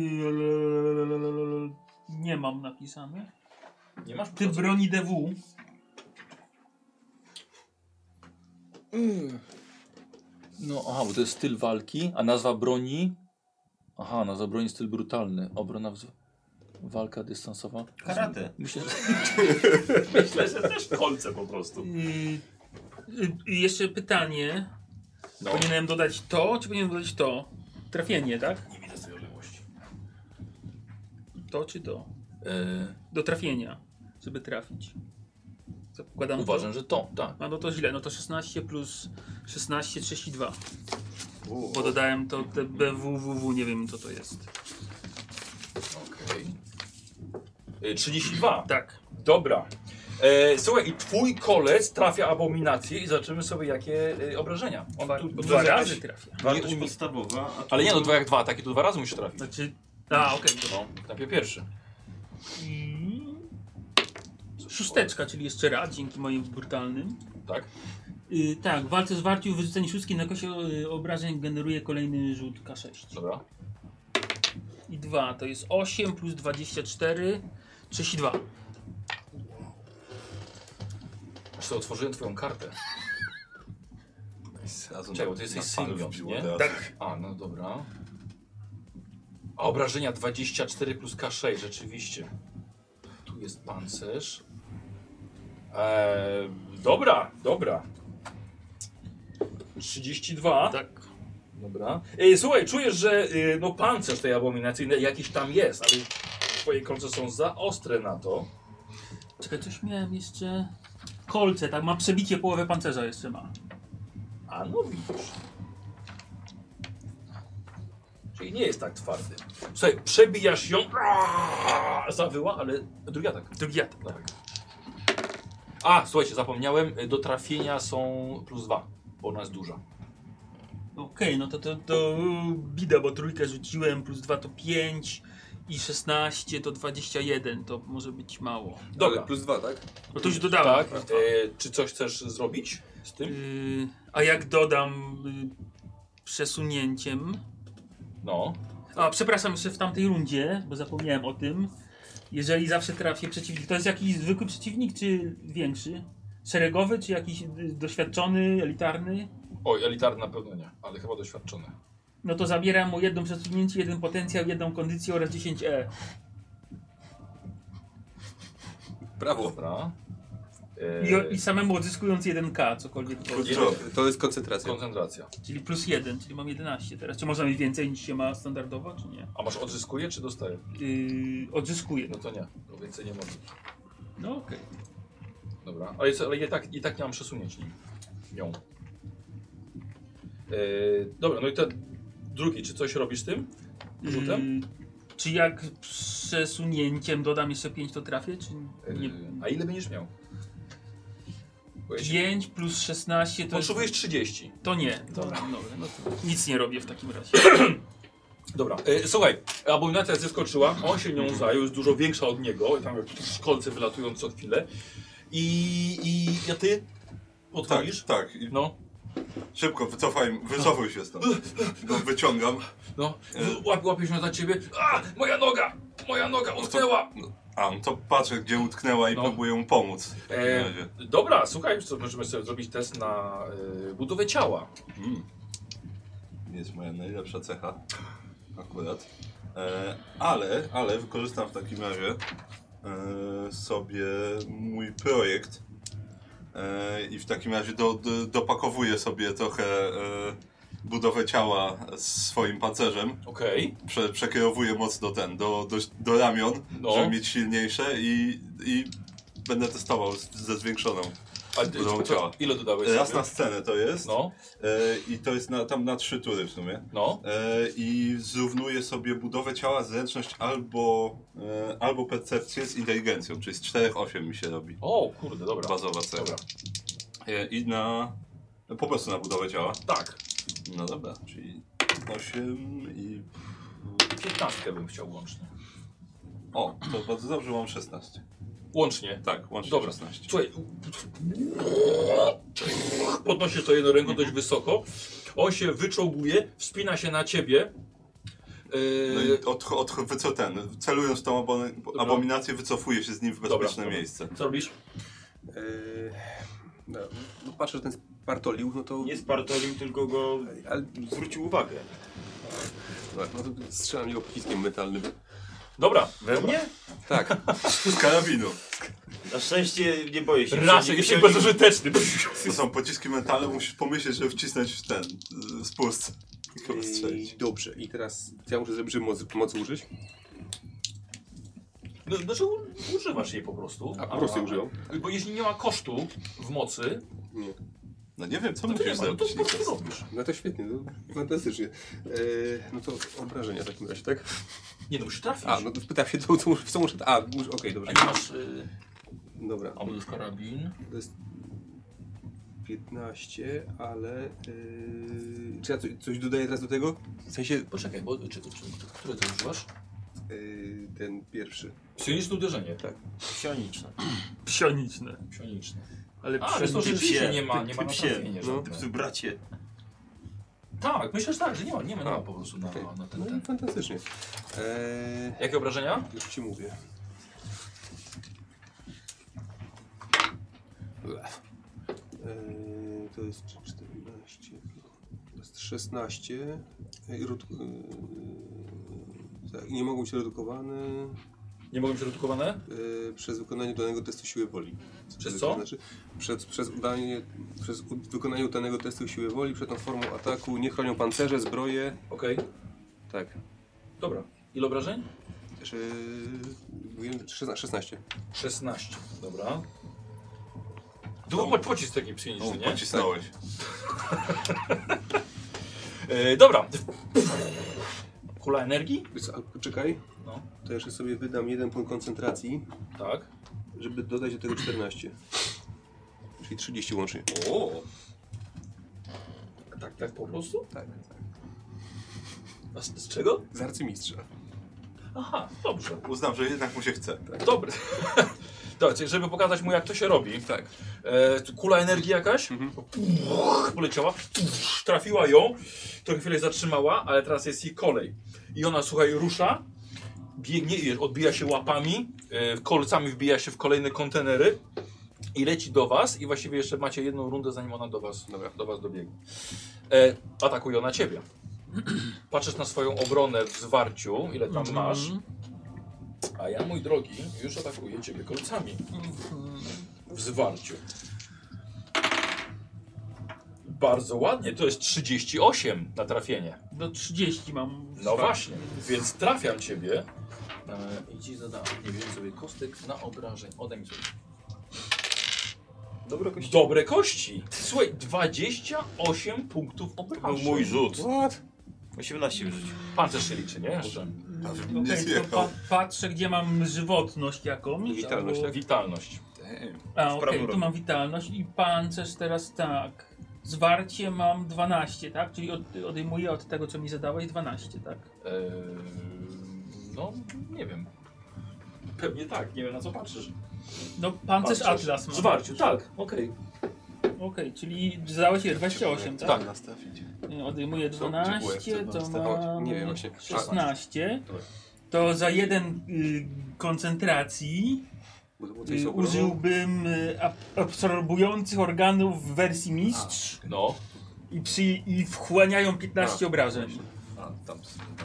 S1: nie mam napisane.
S2: Nie masz?
S1: Ty broni DW.
S2: No, aha, bo to jest styl walki, a nazwa broni. Aha, nazwa broni styl brutalny. Obrona wz... walka dystansowa.
S4: Karate.
S2: Myślę, że.
S8: Myślę, że też kolce po prostu.
S1: Yy, yy, jeszcze pytanie.
S2: No.
S1: Powinienem dodać to, czy powinienem dodać to? Trafienie, tak?
S8: Nie widzę tej odległości.
S1: To czy to?
S2: E,
S1: Do trafienia, żeby trafić. Zakładam to?
S2: uważam, że to, tak.
S1: A no to źle, no to 16 plus 16, 32. Bo dodałem to te BWWW, nie wiem co to jest.
S2: Okej. E, 32.
S1: Tak.
S2: Dobra. E, słuchaj, i twój kolec trafia abominację i zobaczymy sobie, jakie e, obrażenia. On
S1: Dwa,
S2: tu,
S1: dwa razy trafia.
S4: Wartość
S2: umie-
S4: podstawowa. A
S2: Ale nie, no dwa jak dwa ataki, to dwa razy musi trafić.
S1: Znaczy. A, okej. dobra.
S2: No, najpierw pierwszy.
S1: Mm. Szósteczka, czyli jeszcze raz, dzięki moim brutalnym.
S2: Tak?
S1: Yy, tak, w walce z warciu wyrzucenie szóstki na kosie yy, obrażeń generuje kolejny rzut K6.
S2: Dobra.
S1: I 2 to jest 8 plus 24, 32.
S2: Aż to otworzyłem twoją kartę. Czekaj, bo ty jesteś senior, nie?
S3: Tak.
S2: A, no dobra. A obrażenia 24 plus K6, rzeczywiście. Tu jest pancerz. Eee, dobra, dobra. 32.
S1: Tak.
S2: Dobra. Ej, słuchaj, czujesz, że y, no pancerz tej abominacyjnej jakiś tam jest, ale twoje kolce są za ostre na to.
S1: Czekaj, coś miałem jeszcze. Kolce, tak, ma przebicie połowę pancerza jeszcze ma.
S2: A no widzisz. Czyli nie jest tak twardy. Słuchaj, przebijasz ją. aaa, Zawyła, ale drugi atak.
S1: Drugi atak.
S2: Tak. A, słuchajcie, zapomniałem, e, do trafienia są plus dwa, bo ona jest duża.
S1: Okej, no to, to, to y, bida, bo trójkę rzuciłem, plus 2 to 5 i 16 to 21, to może być mało.
S2: Dobra,
S5: Ale plus dwa, tak?
S1: No to już dodałem.
S2: tak. E, czy coś chcesz zrobić z tym?
S1: Yy, a jak dodam yy, przesunięciem.
S2: No.
S1: A przepraszam, jeszcze w tamtej rundzie, bo zapomniałem o tym. Jeżeli zawsze trafię przeciwnik, to jest jakiś zwykły przeciwnik, czy większy? Szeregowy, czy jakiś y, doświadczony, elitarny?
S2: Oj, elitarny na pewno nie, ale chyba doświadczony.
S1: No to zabieram mu jedno przesunięcie, jeden potencjał, jedną kondycję oraz 10 E.
S5: Brawo.
S2: Dobra. E,
S1: I, I samemu odzyskując 1K, cokolwiek to
S3: Good
S1: jest.
S3: job.
S5: To jest koncentracja.
S6: Koncentracja.
S1: Czyli plus 1, czyli mam 11 teraz. Czy można mieć więcej niż się ma standardowo, czy nie?
S6: A masz odzyskuje czy dostaje?
S1: Yy, odzyskuję.
S6: No to nie, to więcej nie mogę.
S1: No okej.
S6: Dobra, ale, jest, ale i, tak, i tak nie mam przesunięć nim. Nią. Yy, dobra, no i ten drugi, czy coś robisz z tym? Rzutem?
S1: Yy, czy jak przesunięciem dodam jeszcze 5, to trafię, czy nie?
S6: Yy, a ile będziesz miał? Bo jeśli-
S1: 5 plus 16 to jest...
S6: Potrzebujesz 30.
S1: To nie.
S6: Dobra.
S1: No, dobra, no to nic nie robię w takim razie.
S6: Dobra, e, słuchaj, abominacja zeskoczyła, on się nią zajął, jest dużo większa od niego, i tam jak szkolce wylatują co chwilę. I, i a ty
S3: Tak,
S6: odchodzisz?
S3: tak. I
S6: No,
S3: szybko, wycofaj,
S2: No.
S3: wycofuj się stąd. Go wyciągam.
S6: no, łap, łapie się za ciebie, a, moja noga, moja noga utknęła.
S3: A, no to patrzę, gdzie utknęła i
S6: No.
S3: próbuję mu pomóc. W takim
S6: E,
S3: razie.
S6: dobra, słuchaj, wiesz co, możemy sobie zrobić test na e, budowę ciała.
S3: Mm. Nie jest moja najlepsza cecha. Akurat. E, ale, ale wykorzystam w takim razie e, sobie mój projekt. E, I w takim razie do, do, dopakowuję sobie trochę e, budowę ciała swoim pancerzem.
S6: Okej,
S3: Prze, przekierowuję mocno ten, do, do, do ramion,
S6: No.
S3: żeby mieć silniejsze i, i będę testował z- ze zwiększoną.
S6: a ty,
S3: Budowę
S6: co-
S3: ciała.
S6: ile dodałeś
S3: Raz
S6: sobie?
S3: na scenę to jest.
S6: No,
S3: E, I to jest na, tam na trzy tury w sumie.
S6: no,
S3: E, i zrównuje sobie budowę ciała, zręczność albo, e, albo percepcję z inteligencją, czyli z 4-8 mi się robi
S6: o kurde, dobra.
S3: bazowa cecha.
S6: Dobra.
S3: E, I na, no po prostu na budowę ciała.
S6: Tak,
S3: No dobra, czyli 8 i...
S6: 15 bym chciał łącznie.
S3: O, to bardzo dobrze, mam 16.
S6: Łącznie.
S3: Tak, łącznie
S6: Dobra.
S3: 16.
S6: Słuchaj, podnosisz to jedną ręką dość wysoko. On się wyczołguje, wspina się na ciebie. Yy,
S3: No i od, od, wyco ten, celując tą abon, abominację, wycofuję się z nim w
S6: Dobra,
S3: bezpieczne
S6: dobra.
S3: miejsce.
S6: Co robisz?
S5: Eee, no, no patrzę, że ten spartolił, no to...
S4: Nie spartolił, tylko go
S5: Ale,
S4: zwrócił uwagę.
S5: no to strzelam jego pociskiem metalnym.
S6: Dobra.
S4: We mnie?
S5: Tak,
S3: Z karabinu.
S4: Na szczęście nie boję się.
S6: Rasek,
S4: Psionik-
S6: jesteś
S4: psionik-
S6: bezużyteczny.
S3: To są pociski metale, musisz pomyśleć, żeby wcisnąć w ten, y, spust. I kogoś strzelić.
S5: I Yy, dobrze. I teraz ja muszę żeby moc, moc użyć.
S6: No, Znaczy u- używasz jej po prostu.
S5: A po prostu jej używam.
S6: Bo jeśli nie ma kosztu w mocy,
S5: Nie.
S3: No nie wiem, co
S6: no to nie
S3: musisz
S6: ma, no to
S3: zrobić.
S6: po prostu robisz.
S5: No to świetnie, no, fantastycznie. Eee, no to obrażenia w takim razie, tak?
S6: Nie, no musisz trafić.
S5: A, no to pytam się, co, co, muszę- w co muszę... A, muszę- okej,
S6: A
S5: dobrze.
S6: nie masz...
S2: e,
S6: Yy,
S5: Dobra.
S6: albo już karabin.
S5: To jest 15, ale... Yy, czy ja coś, coś dodaję teraz do tego? W sensie
S6: Poczekaj, bo czy, czy, czy, które to używasz?
S5: yy, ten pierwszy.
S6: Psioniczne uderzenie. Tak.
S4: Psioniczne.
S1: Psioniczne.
S6: Psioniczne.
S1: Ale
S4: no
S6: A, ale to
S4: Ty
S6: rzeczywiście
S4: psie,
S6: nie ma,
S4: ty-
S6: nie ma
S4: ty
S6: na
S4: psie.
S6: trafienie
S5: No.
S6: żadne.
S4: Ty bracie.
S6: Tak, myślę, że tak, że nie ma, nie ma, nie
S5: A,
S6: ma po prostu na,
S5: okej.
S6: na ten,
S5: No i
S6: ten.
S5: fantastycznie. Eee,
S6: Jakie obrażenia?
S5: już ci mówię. Ech. Eee, to jest 14, to jest E, 16. Ej, redu- eee, tak, nie mogą być redukowane
S6: Nie mogą być redukowane?
S5: eee, przez wykonanie danego testu siły woli.
S6: Przez
S5: to
S6: co?
S5: Znaczy, przez, przez, udanie, przez u- wykonanie danego testu siły woli, przed tą formą ataku nie chronią pancerze, zbroje.
S6: Okej,
S5: Tak.
S6: dobra. Ile obrażeń?
S5: Też, eee, mówiłem, 16.
S6: 16, dobra. Długo pocisk taki
S3: No,
S6: psychiczny, nie?
S3: pocisnąłeś.
S6: E, dobra. Kula energii?
S5: Wiesz co, a Czekaj.
S6: No.
S5: To jeszcze sobie wydam jeden punkt koncentracji,
S6: Tak.
S5: żeby dodać do tego 14. Czyli 30 łącznie.
S6: O. Tak, tak po prostu?
S5: Tak, tak.
S6: A z, z czego?
S5: Z arcymistrza.
S6: Aha, dobrze.
S3: Uznam, że jednak mu się chce.
S6: Mm, Dobry. Dobra, czyli żeby pokazać mu jak to się robi. Tak. E, tu kula energii jakaś Puch, poleciała, Puch, trafiła ją, trochę chwilę zatrzymała, ale teraz jest jej kolej. I ona, słuchaj, rusza, biegnie, i odbija się łapami, e, kolcami wbija się w kolejne kontenery i leci do was i właściwie jeszcze macie jedną rundę zanim ona do was,
S5: Dobra.
S6: do was dobiegnie. E, atakuje ona ciebie. Patrzysz na swoją obronę w zwarciu, ile tam
S5: Mhm.
S2: Mhm.
S6: masz. A ja, mój drogi, już atakuję ciebie kolcami. w zwarciu. Bardzo ładnie, to jest 38 na trafienie.
S1: Do 30 mam.
S6: No właśnie, więc trafiam ciebie. E, I ci zadam, nie wiem sobie, kostek na obrażeń. Odaj mi sobie.
S4: Dobra kości.
S6: Dobre kości. Słuchaj, 28 punktów
S9: Był
S6: obrażeń.
S9: mój rzut.
S3: What?
S9: 18 w życiu.
S6: Pancerz się liczy, nie? Jeszcze.
S3: Nie
S1: Okej, to
S3: zjechał.
S1: pa patrzę, gdzie mam żywotność jakąś.
S5: Witalność, tak?
S6: Witalność.
S1: A, okej,
S9: prawo
S1: tu mam witalność i pancerz teraz tak. Zwarcie mam 12, tak? Czyli od, odejmuję od tego, co mi zadałeś 12, tak?
S6: E, no, nie wiem. Pewnie tak, nie wiem na co patrzysz.
S1: No, pancerz, Atlas mam.
S6: Zwarciu, tak, okej.
S1: Okej, czyli zadałeś je 28, tak?
S6: Tak.
S3: Nas trafić.
S1: Y, Odejmuję
S5: Co? Gdzie
S1: 12,
S5: byłem? Co
S1: to
S5: byłem? O,
S1: mam
S5: nie wiem właśnie.
S1: 16. To za jeden y, koncentracji
S5: Bo to było coś z
S1: y,
S5: ogólną-
S1: użyłbym y, ab- absorbujących organów w wersji mistrz
S6: No,
S1: i, przy, i wchłaniają 15 obrażeń.
S2: A, tam.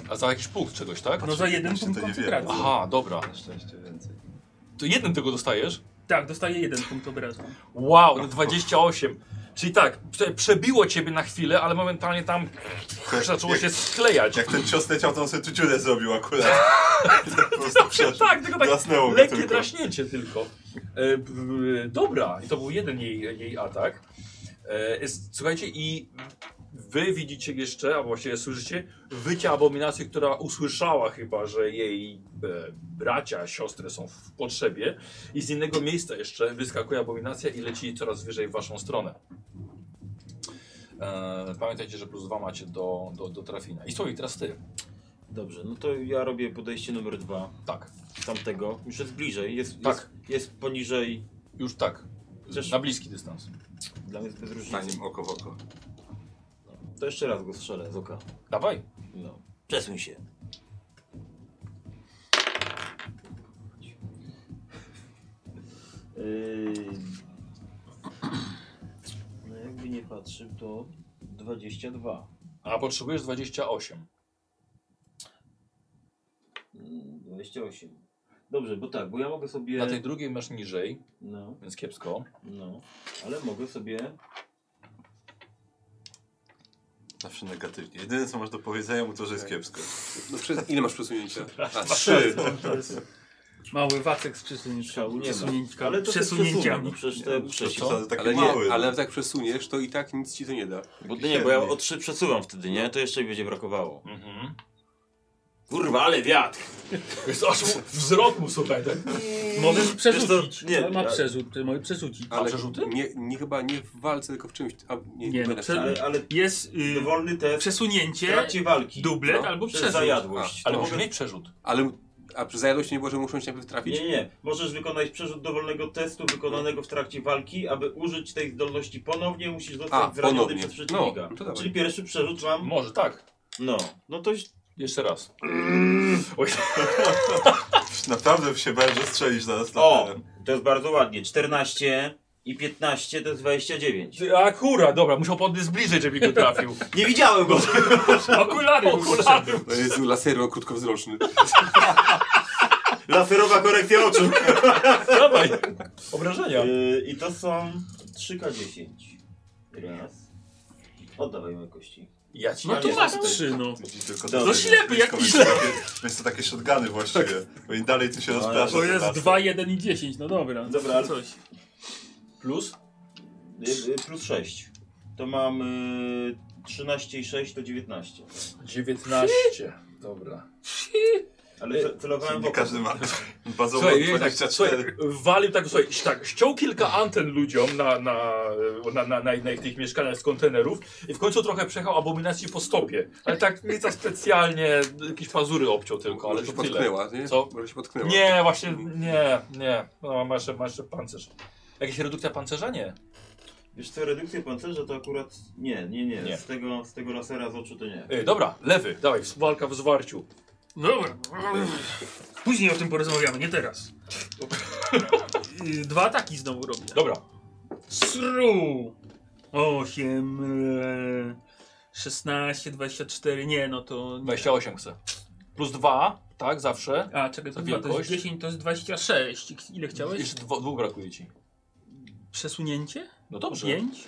S6: a za jakiś punkt czegoś, tak?
S1: No za jeden
S3: Właśnie
S1: punkt
S3: to nie wiem.
S1: koncentracji.
S6: Aha, dobra.
S2: Na szczęście więcej.
S6: To jeden tego dostajesz?
S1: Tak, dostaję jeden punkt obrazu.
S6: Wow, na 28. Czyli tak, prze- przebiło ciebie na chwilę, ale momentalnie tam zaczęło się sklejać.
S3: Jak ten cios leciał, to on sobie tu dziurę zrobił akurat. po prostu przeszedł.
S6: Tak, tylko tak
S3: Drasnęło go
S6: lekkie
S3: tylko.
S6: draśnięcie tylko. E, b- b- dobra, i to był jeden jej, jej atak. E, jest, słuchajcie, i wy widzicie jeszcze, a właściwie słyszycie, wycie abominacji, która usłyszała chyba, że jej e, bracia, siostry są w potrzebie. I z innego miejsca jeszcze wyskakuje abominacja i leci coraz wyżej w waszą stronę. E, pamiętajcie, że plus dwa macie do, do, do trafienia. I słuchaj, teraz ty.
S4: Dobrze, no to ja robię podejście numer dwa
S6: Tak,
S4: tamtego. Już jest bliżej, jest,
S6: Tak.
S4: jest, jest poniżej.
S6: już tak.
S4: Chcesz-
S6: Na bliski dystans.
S4: Dla mnie to bez różnicy.
S3: Tanim oko w oko.
S4: To jeszcze raz go strzelę z oka.
S6: Dawaj.
S4: No. Przesuń się. Yy, No jakby nie patrzył, to 22.
S6: A potrzebujesz 28.
S4: Mm, 28. Dobrze, bo tak, bo ja mogę sobie.
S6: Na tej drugiej masz niżej,
S4: No,
S6: więc kiepsko.
S4: no, ale mogę sobie.
S3: Zawsze negatywnie. Jedyne co masz do powiedzenia mu to, że jest kiepsko.
S5: No, przez, ile masz przesunięcia? A,
S6: Trzy.
S1: To jest mały wacek z przesunięciami.
S4: Szału nie ma.
S1: Przesunięcia,
S4: Ale to się przesunę,
S1: przesunięciami.
S4: no Przecież te
S3: To
S4: przeciw.
S3: są takie
S5: ale,
S3: małe.
S5: nie, ale jak tak przesuniesz, to i tak nic ci to nie da.
S4: Bo No nie, bo ja o 3 przesuwam wtedy, nie? To jeszcze mi będzie brakowało.
S6: Mhm.
S4: Kurwa, ale wiatr!
S6: Jest aż mu- wzrok mu słuchaj. Tak?
S1: Mm. Możesz przerzucić.
S4: Wiesz co, nie,
S1: nie, ma
S4: ale-
S1: przerzut, to może przerzucić.
S5: Ale
S6: przerzuty?
S5: Nie, nie chyba nie w walce, tylko w czymś. A, nie,
S1: Nie,
S5: nie,
S1: no,
S5: będę
S1: prze-
S5: chciał.
S4: Ale, ale
S1: Jest y,
S4: dowolny test w
S1: przesunięcie,
S4: trakcie walki.
S1: dublet
S5: No,
S1: albo
S4: Przez
S1: przerzut.
S4: zajadłość. No.
S6: Ale
S4: To
S6: może
S4: mogę-
S6: mieć przerzut.
S5: ale a przy zajadłości nie było, że muszą się najpierw trafić?
S4: Nie, nie. Możesz wykonać przerzut dowolnego testu wykonanego w trakcie walki. Aby użyć tej zdolności ponownie, musisz
S5: A,
S4: zostać zraniony
S5: ponownie.
S4: przez przeciwnika.
S5: No, to dawaj.
S4: Czyli pierwszy przerzut mam.
S6: Może tak.
S4: No, no to
S6: Jeszcze raz. Oj,
S3: Naprawdę się bałem, że strzelisz zaraz na
S4: O,
S3: teren.
S4: to jest bardzo ładnie. 14 i 15 to jest 29.
S6: ty- akura, dobra, musiał podnieść bliżej, żeby go trafił.
S4: Nie widziałem go!
S6: Okulary, okulary.
S5: No Jezu, laserio krótkowzroczny.
S4: Laserowa korekcja oczu.
S6: Dawaj. Obrażenia.
S4: Yy, I to są 3K10. Raz. Oddawaj moje kości.
S6: Ja ci
S1: No
S6: ja
S1: to
S6: nie-
S1: masz trzy, no.
S3: Widzisz tylko
S4: No
S3: to, że
S1: ślepy,
S3: blisko
S1: jaki
S3: więc
S1: ślepy.
S3: takie- Więc to takie shotguny właściwie. Bo im dalej ty się
S4: No, ale
S3: rozpraszasz.
S1: To jest
S3: tym
S1: 2, 1 i 10, no dobra.
S4: Dobra, ale-
S1: Coś.
S6: Plus?
S4: Yy, yy, plus 6. To mam yy, 13 i 6 to 19.
S6: 19. Dobra.
S4: Ale ce- celowałem
S3: razem.
S4: w
S3: Nie
S4: oko.
S3: każdy ma bazową
S6: Słuchaj, tak,
S3: 24.
S6: słuchaj, walił tak, słuchaj, tak, ściął kilka anten ludziom na, na, na, na, na, na ich tych mieszkaniach z kontenerów i w końcu trochę przejechał abominacji po stopie. Ale tak nie za specjalnie, jakieś pazury obciął tylko, ale
S5: Może się
S6: to tyle.
S5: potknęła, nie?
S6: Co?
S5: Może się potknęła.
S6: Nie, właśnie, nie, nie, no, masz, jeszcze- masz jeszcze pancerz. Jakaś redukcja pancerza? Nie.
S4: Wiesz co, redukcję pancerza to akurat... Nie, nie, nie.
S6: Nie.
S4: Z, tego, z tego lasera z oczu to nie.
S6: Ej, dobra, lewy, dawaj, walka w zwarciu.
S1: Dobra. Później o tym porozmawiamy, nie teraz. Y, Dwa ataki znowu robię.
S6: Dobra,
S1: Sru! 8, e, 16, 24, nie no to... Nie.
S6: 28 chcę. Plus dwa, tak, zawsze.
S1: A, czekaj, to,
S6: To
S1: dwa, to jest
S6: wielkość?
S1: 10, to jest 26. Ile chciałeś?
S6: Jeszcze dwo, dwóch brakuje ci.
S1: Przesunięcie?
S6: No dobrze.
S1: Pięć?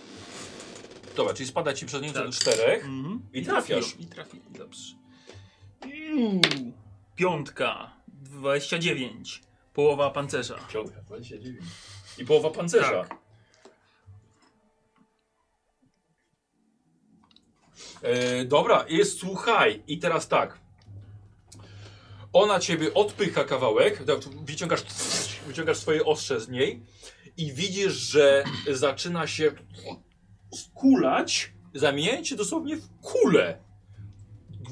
S6: Dobra, czyli spada ci przesunięcie
S1: Tak.
S6: do czterech.
S1: Mhm.
S6: I trafiasz.
S1: trafiłem, I trafiłem, dobrze. Iu, Piątka, 29. Połowa pancerza.
S6: Piątka, 29. I połowa pancerza.
S1: Tak.
S6: E, dobra, jest, słuchaj, i teraz tak. Ona ciebie odpycha kawałek, tak, wyciągasz, wyciągasz swoje ostrze z niej i widzisz, że zaczyna się skulać, zamieniając się dosłownie w kulę.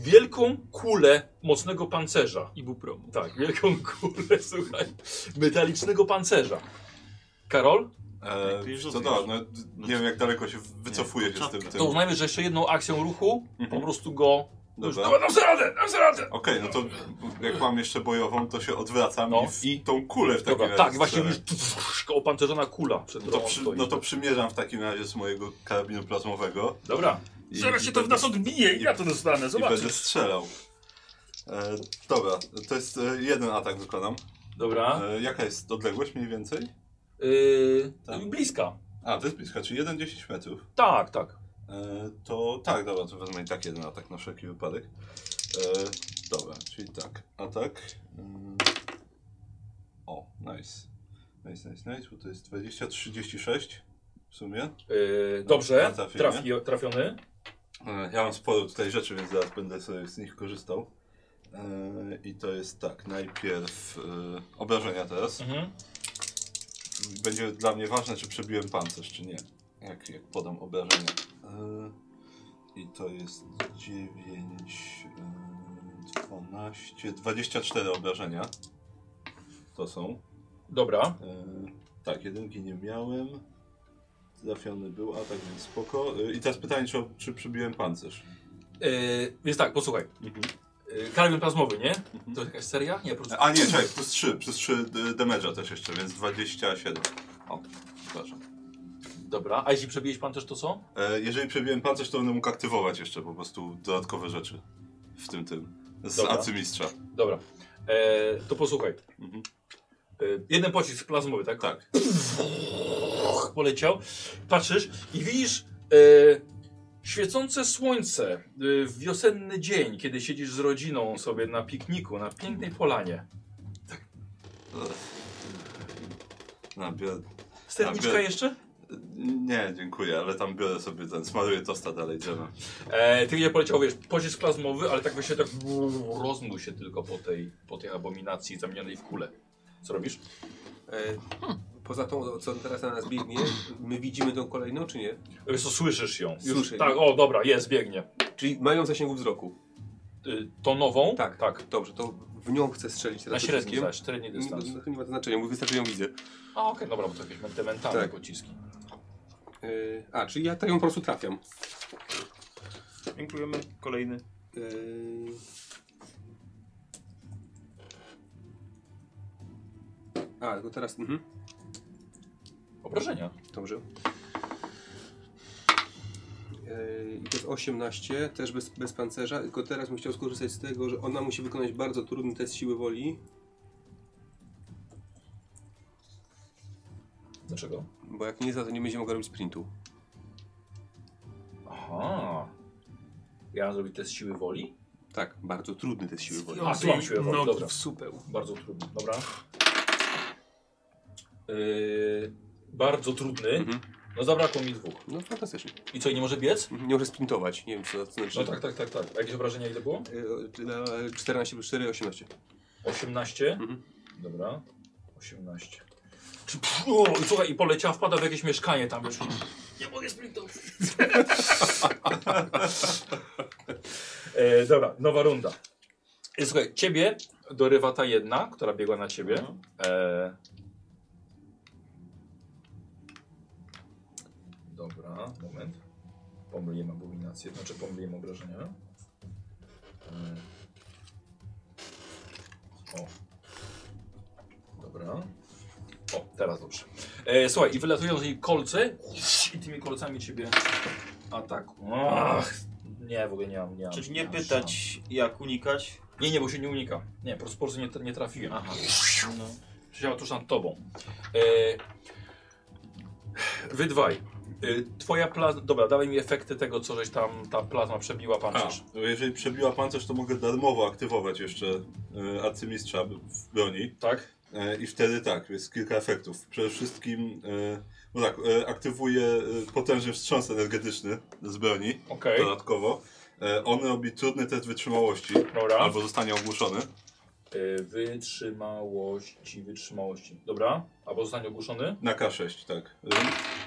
S6: Wielką kulę mocnego pancerza.
S1: I bupromu.
S6: Tak, wielką kulę, słuchaj, metalicznego pancerza. Karol,
S3: E,
S2: Ty już
S3: to
S2: rozumiesz.
S3: dobra, no, nie wiem jak daleko się wycofuje się z tym. tym.
S6: to
S3: Okej,
S6: uznajmy, że jeszcze jedną akcją ruchu po
S3: Mhm. tak.
S6: prostu go... No już,
S3: Dobra.
S6: dobra, dam sobie radę, dam sobie radę!
S3: no to jak mam jeszcze bojową, to się odwracam
S6: No
S3: i w
S6: i-
S3: tą kulę w takim
S6: Dobra,
S3: razie
S6: tak, właśnie
S3: strzelę.
S6: już tu- tu- tu- opancerzona kula przed
S3: No to,
S6: tobą
S3: przy,
S6: stoi.
S3: no to przymierzam w takim razie z mojego karabinu plazmowego
S6: Dobra,
S3: i,
S1: Zaraz
S3: i
S1: się to w nas odbije i ja to dostanę,
S3: i będę
S1: zobaczysz.
S3: strzelał. E, dobra, to jest e, jeden atak wykonam.
S6: dobra.
S3: E, jaka jest odległość mniej więcej?
S6: Yy,
S3: Tak.
S6: Bliska.
S3: A, to jest bliska, czyli 1-10 metrów.
S6: Tak, tak.
S3: E, to tak, dobra, to wezmę i tak jeden atak na wszelki wypadek. E, dobra, czyli tak, atak. Mm. O, nice. Nice, nice, nice, bo to jest 20-36 w sumie.
S6: Yy,
S3: Na
S6: dobrze,
S3: trafienie.
S6: trafi, trafiony.
S3: E, ja mam sporo tutaj rzeczy, więc zaraz będę sobie z nich korzystał. E, I to jest tak, najpierw e, obrażenia teraz.
S6: Mhm.
S3: Będzie dla mnie ważne, czy przebiłem pancerz, czy nie. Jak, jak podam obrażenia. E, I to jest 9, e, 12, 24 obrażenia. To są.
S6: Dobra.
S3: E, tak, jedynki nie miałem. Trafiony był atak, więc spoko. E, I teraz pytanie, czy, czy przebiłem pancerz.
S6: Yy, więc tak, posłuchaj.
S3: Mhm.
S6: Yy, karabin plazmowy, nie? To jakaś seria? Nie, po prostu.
S3: A nie, czekaj, plus 3, plus 3 damage'a też jeszcze, więc 27. O, przepraszam.
S6: Dobra, a jeśli przebijeś pan też to co?
S3: E, jeżeli przebiłem pancerz, to będę mógł aktywować jeszcze po prostu dodatkowe rzeczy w tym tym. Z
S6: Dobra.
S3: arcymistrza.
S6: Dobra. E, to posłuchaj.
S3: Mhm.
S6: E, jeden pocisk plazmowy, tak?
S3: Tak.
S6: Och, poleciał. Patrzysz i widzisz e, świecące słońce e, w wiosenny dzień, kiedy siedzisz z rodziną sobie na pikniku, na pięknej polanie.
S3: No, biorę... A,
S6: Sterniczka
S3: biorę-
S6: jeszcze?
S3: Nie, dziękuję, ale tam biorę sobie ten, smaruję tosta dalej drzewem.
S6: E, ty nie poleciał, wiesz, pocisk plazmowy, ale tak właśnie tak rozmył się tylko po tej, po tej abominacji zamienionej w kulę. Co robisz?
S5: E, poza tą, co teraz na nas biegnie, my widzimy tą kolejną, czy nie?
S6: E, Wiesz co, słyszysz ją. Już,
S5: Słyszę.
S6: Tak, o dobra, jest, biegnie.
S5: Czyli mają w zasięgu wzroku.
S6: E, tą nową?
S5: Tak.
S6: tak.
S5: Dobrze, to w nią chcę strzelić
S6: Na Mm.
S5: teraz.
S6: średni
S5: pociskiem.
S6: zaś, Znaczy, średni dystans.
S5: No, to nie ma to znaczenia, bo wystarczy ją widzę.
S6: A okej, dobra, bo to jakieś ment- mentalne
S5: Tak.
S6: pociski.
S5: E, a, czyli ja tak ją po prostu trafiam.
S2: Dziękujemy. Kolejny.
S5: E, a, tylko teraz... Mhm.
S6: Obrażenia.
S5: Dobrze. Yy, I to jest 18, też bez, bez pancerza, tylko teraz bym chciał skorzystać z tego, że ona musi wykonać bardzo trudny test siły woli,
S6: Dlaczego?
S5: bo jak nie za to nie będzie mogła robić sprintu.
S6: Aha. Ja mam zrobić test siły woli?
S5: Tak, bardzo trudny test siły woli.
S6: A, tu mam siłę woli,
S1: nogi
S6: dobra.
S1: w supeł.
S6: Bardzo trudny, dobra. Yy, bardzo trudny.
S5: Mhm.
S6: No zabrakło mi dwóch.
S5: No fantastycznie.
S6: I co, i nie może biec?
S5: Mhm, Nie może sprintować, nie wiem co to znaczy.
S6: No tak, tak, tak, tak. A jakieś obrażenia ile było?
S5: Yy, na 14 plus 4, 18.
S6: 18.
S5: Mhm.
S6: Dobra. 18. Czy, pff, o, i słuchaj, i poleciała, wpada w jakieś mieszkanie tam już. Nie mogę sprintować. e, dobra, nowa runda. I słuchaj, ciebie dorywa ta jedna, która biegła na ciebie. E... Dobra, moment. Pomyliłem abominację, znaczy pomyliłem obrażenia. E... O. Dobra. O, teraz dobrze. E, słuchaj, i wylatują z niej kolce i tymi kolcami ciebie ataku. Ach, nie, w ogóle nie mam. Nie mam
S4: Czyli
S6: nie
S4: nie
S6: mam szans.
S4: pytać, jak unikać.
S6: Nie, nie, bo się nie unika. Nie, po prostu, po prostu nie, nie trafiłem. Aha. No. Siedziała tuż nad tobą. E... Wy dwaj. Y, Twoja plazma. Dobra, dawaj mi efekty tego, No co żeś tam ta plazma przebiła
S3: A,
S6: pancerz.
S3: no jeżeli przebiła pancerz, to mogę darmowo aktywować jeszcze e, arcymistrza w broni.
S6: Tak?
S3: E, I wtedy tak, jest kilka efektów. Przede wszystkim, e, no tak, e, aktywuje e, potężny wstrząs energetyczny z broni
S6: Okej.
S3: dodatkowo. E, on robi trudny test wytrzymałości,
S6: Dobra.
S3: albo zostanie ogłuszony.
S6: Y, Wytrzymałości, wytrzymałości. Dobra, albo zostanie ogłuszony.
S3: Na K6, tak. E,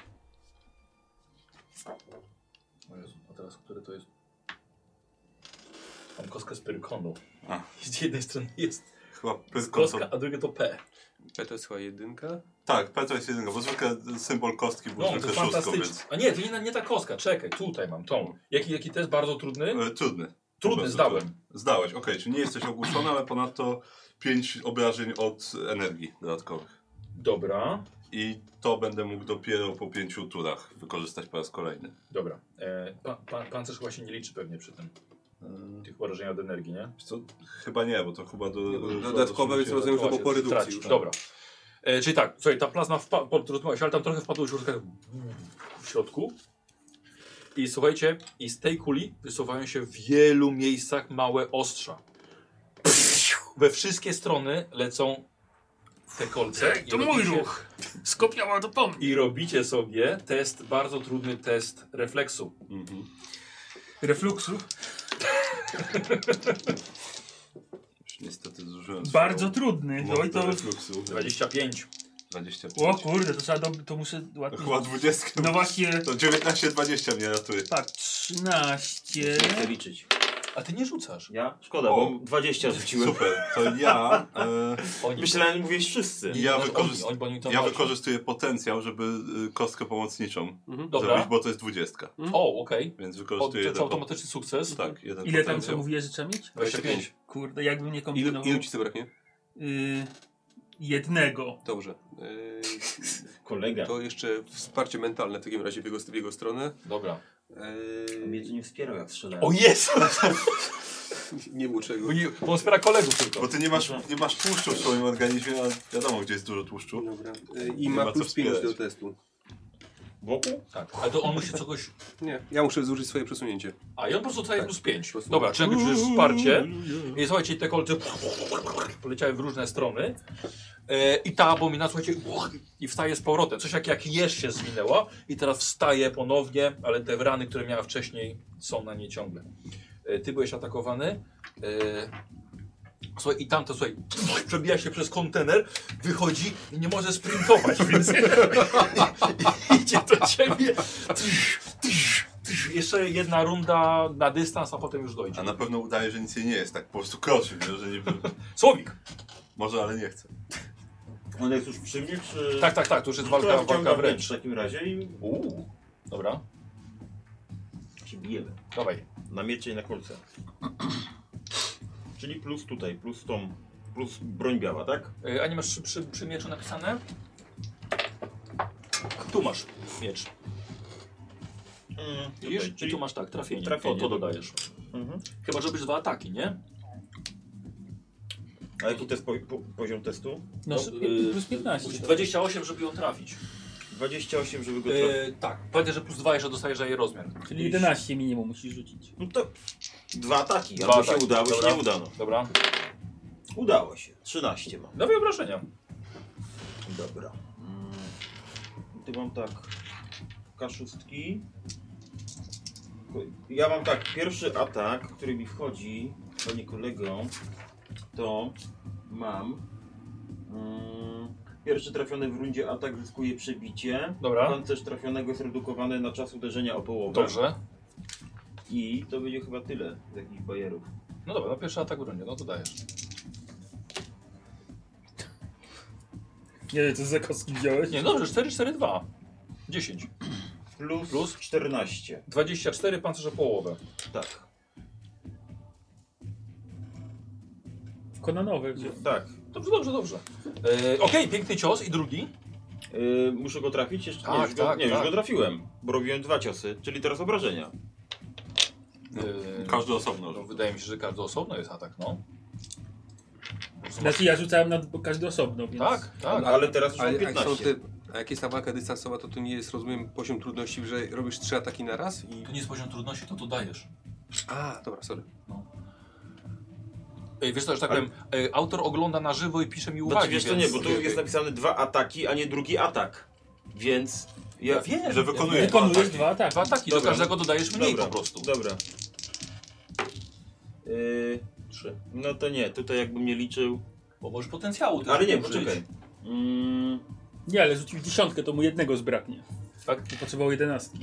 S6: O Jezu, a teraz który to jest? Mam kostkę z pyrkonu.
S3: A.
S6: Z jednej strony jest
S3: chyba pyrkon to...
S6: kostka, a drugie to P.
S5: E, To jest chyba jedynka.
S3: Tak, P to jest jednego, bo zwykle symbol kostki był
S6: No, to
S3: zwykle
S6: jest
S3: szóstką,
S6: fantastyczne.
S3: więc...
S6: A nie, to nie, nie ta kostka, czekaj, tutaj mam tą. Jaki, jaki test bardzo trudny?
S3: E, trudny. Po
S6: Trudny,
S3: prostu
S6: zdałem.
S3: trudny. Zdałeś, okej, czyli nie jesteś ogłuszony, ale ponadto 5 obrażeń od energii dodatkowych.
S6: Dobra,
S3: I to będę mógł dopiero po pięciu turach wykorzystać po raz kolejny.
S6: dobra. E, pa, pa, pancerz chyba się nie liczy pewnie przy tym.
S5: E.
S6: Tych urażeń od energii, nie?
S3: Wiesz Co? Chyba nie, bo to chyba do.
S5: Dodatkowe jest rozumiem, że
S6: Chyba
S5: po
S6: się
S5: porydukcji
S6: traci.
S5: już. tak.
S6: Dobra. E, czyli tak, słuchaj, ta plazma wpa- podróżowała się, ale tam trochę wpadło już tak w środku. I słuchajcie, i z tej kuli wysuwają się w wielu miejscach małe ostrza. We wszystkie strony lecą te kolce.
S1: Ej,
S6: i
S1: to mój
S6: robicie-
S1: ruch. Skopiała to po mnie.
S6: I robicie sobie test, bardzo trudny test refleksu.
S3: Mhm.
S1: Refluksu.
S3: Już niestety zużyłem.
S1: Bardzo
S3: swoją
S1: trudny.
S3: moc
S1: Oj,
S3: do
S1: to...
S3: refluksu.
S6: 25.
S3: 25.
S1: O kurde, to trzeba... Do... To muszę ładnie...
S3: Chyba 20.
S1: No właśnie...
S3: To 19-20 mnie ratuje.
S1: Tak, 13...
S4: Nie chcę liczyć.
S6: A ty nie rzucasz.
S4: Ja? Szkoda,
S3: O.
S4: bo 20 rzuciłem.
S3: Super. To ja. E,
S6: Oni.
S4: Myślałem, mówiłeś wszyscy.
S6: nie,
S3: ja
S6: oni-
S3: wykorzyst-
S6: oni- bo oni to
S3: ja
S6: walczą.
S3: wykorzystuję potencjał, żeby y, kostkę pomocniczą zrobić,
S6: Dobra.
S3: bo to jest 20.
S6: O, okej.
S3: Więc
S6: O, To
S3: wykorzystuję
S6: jest
S3: jeden. po-
S6: automatyczny sukces.
S3: Tak, jeden
S1: Ile tam, co
S3: potencjał.
S1: mówiłeś, że trzeba mieć?
S6: 25.
S1: Kurde, jakbym nie
S5: Ilu,
S1: kombinował...
S5: ilu ci zabraknie?
S1: Y, jednego.
S5: Dobrze. Yy,
S4: Kolega.
S5: to jeszcze wsparcie mentalne w takim razie w jego, w jego stronę.
S6: Dobra.
S4: Mnie
S5: Yy,
S4: to nie wspierał, jak strzelałem.
S6: O jest!
S5: nie mu czego.
S6: Bo, No nie, bo on wspiera kolegów tylko.
S3: Bo ty nie masz, nie masz tłuszczu w swoim organizmie, a wiadomo, gdzie jest dużo tłuszczu.
S5: Dobra. Yy, I
S3: Nie ma
S5: ma
S3: co
S5: plus 5 do
S3: wspierać.
S5: testu.
S4: Boku?
S6: Tak. Ale to on musi czegoś...
S5: Nie, ja muszę zużyć swoje przesunięcie.
S6: A i on po prostu tutaj
S5: Tak,
S6: plus 5.
S5: po prostu.
S6: Dobra, czyli już jest wsparcie. I słuchajcie, te kolce poleciały w różne strony. E, I ta abomina, słuchajcie, i wstaje z powrotem. Coś jak, jak jeż się zwinęła i teraz wstaje ponownie, ale te rany, które miała wcześniej są na niej ciągle. E, ty byłeś atakowany. E, słuchaj, i tamto, słuchaj, przebija się przez kontener, wychodzi i nie może sprintować, więc idzie do ciebie. Tyś, tyś, tyś. Jeszcze jedna runda na dystans, a potem już dojdzie.
S3: A na pewno udaje, że nic jej nie jest, tak po prostu kroczy, wiesz, że nie,
S6: Słowik!
S3: może, ale nie chce.
S4: On jest już przy mnie, czy...
S6: Tak, tak, tak, to już jest
S4: To ja
S6: walka,
S4: wyciągam
S6: walka
S4: miecz
S6: wręcz.
S4: W takim razie i
S6: Uuu, dobra,
S4: się bijemy.
S6: dawaj.
S4: Na miecze i na kolce. Czyli plus tutaj, plus tą, plus broń biała, tak?
S6: Y, A nie masz przy, przy, przy mieczu napisane? Tu masz miecz.
S4: Mm,
S6: Widzisz?
S4: tutaj,
S6: I tu masz tak, trafienie.
S4: trafienie,
S6: to, to
S4: dobra.
S6: dodajesz.
S4: Mhm.
S6: Chyba, żebyś dwa ataki, nie?
S4: A jaki test po, po, poziom testu?
S1: No,
S6: No, y,
S1: plus tak. 15.
S6: Musisz 28, żeby ją trafić.
S4: 28, żeby go trafić.
S6: Y, tak, pamiętaj, że plus 2 jeszcze dostajesz za jej rozmiar.
S1: Czyli 11 minimum musisz rzucić.
S4: No to dwa ataki,
S6: Dwa
S4: albo
S6: ataki,
S4: się udało,
S6: dobra.
S4: się nie udano.
S6: Dobra.
S4: Udało się, 13 mam.
S6: Dawaj obrażenia.
S4: Dobra. Ty Mm. mam tak. K6. Ja mam tak. Pierwszy atak, który mi wchodzi, panie kolego, to mam. mm, Pierwszy trafiony w rundzie atak zyskuje przebicie.
S6: Dobra.
S4: Pancerz trafionego jest redukowany na czas uderzenia o połowę.
S6: Dobrze.
S4: I to będzie chyba tyle z jakichś bajerów.
S6: No dobra, no pierwszy atak w rundzie, no to dajesz.
S1: Nie wiem, co za kostki wziąłeś.
S6: Nie, dobrze, 4, 4, 2. 10.
S4: Plus,
S6: Plus?
S4: Plus? 14.
S6: 24 pancerze połowę.
S4: Tak.
S1: Konanowe wziął.
S4: Tak.
S6: Dobrze, dobrze, dobrze. E, Okej, piękny cios i drugi.
S4: Yy, muszę go trafić? Jeszcze nie,
S6: Tak,
S4: już, go,
S6: tak,
S4: nie
S6: tak.
S4: już go trafiłem, bo robiłem dwa ciosy, czyli teraz obrażenia.
S6: E,
S3: Każdy osobno.
S6: No, wydaje mi się, że każdy osobno jest atak, no.
S1: Znaczy ja rzucałem na każdy osobno, więc...
S6: Tak, tak.
S5: A-
S4: Ale teraz już
S5: Ale
S4: mam
S5: jak są
S4: 15.
S5: te A jak jest ta walka dystansowa, to tu nie jest, rozumiem, poziom trudności, że robisz trzy ataki na raz i...
S6: To nie jest poziom trudności, to to dajesz.
S5: A, dobra, sorry.
S6: Ej, wiesz co, że tak powiem, e, autor ogląda na żywo i pisze mi
S4: Znaczy
S6: uwagi,
S4: wiesz to nie,
S6: więc...
S4: bo tu
S5: okej,
S4: jest
S5: okej.
S4: napisane dwa ataki, a nie drugi atak. Więc ja...
S6: Ja wiem,
S3: Że wykonuje.
S1: Wykonujesz dwa tak. ataki.
S6: dwa ataki, do
S4: Dobra.
S6: każdego dodajesz mniej
S4: Dobra,
S6: po prostu.
S4: Dobra. Yy,
S6: Trzy.
S4: no to nie, tutaj jakbym nie liczył...
S6: Bo możesz potencjału też
S4: Ale nie,
S6: użyć.
S4: poczekaj. Mm,
S1: Nie, ale rzucił dziesiątkę, to mu jednego zbraknie.
S6: Tak?
S1: Bo potrzebował jedenastki.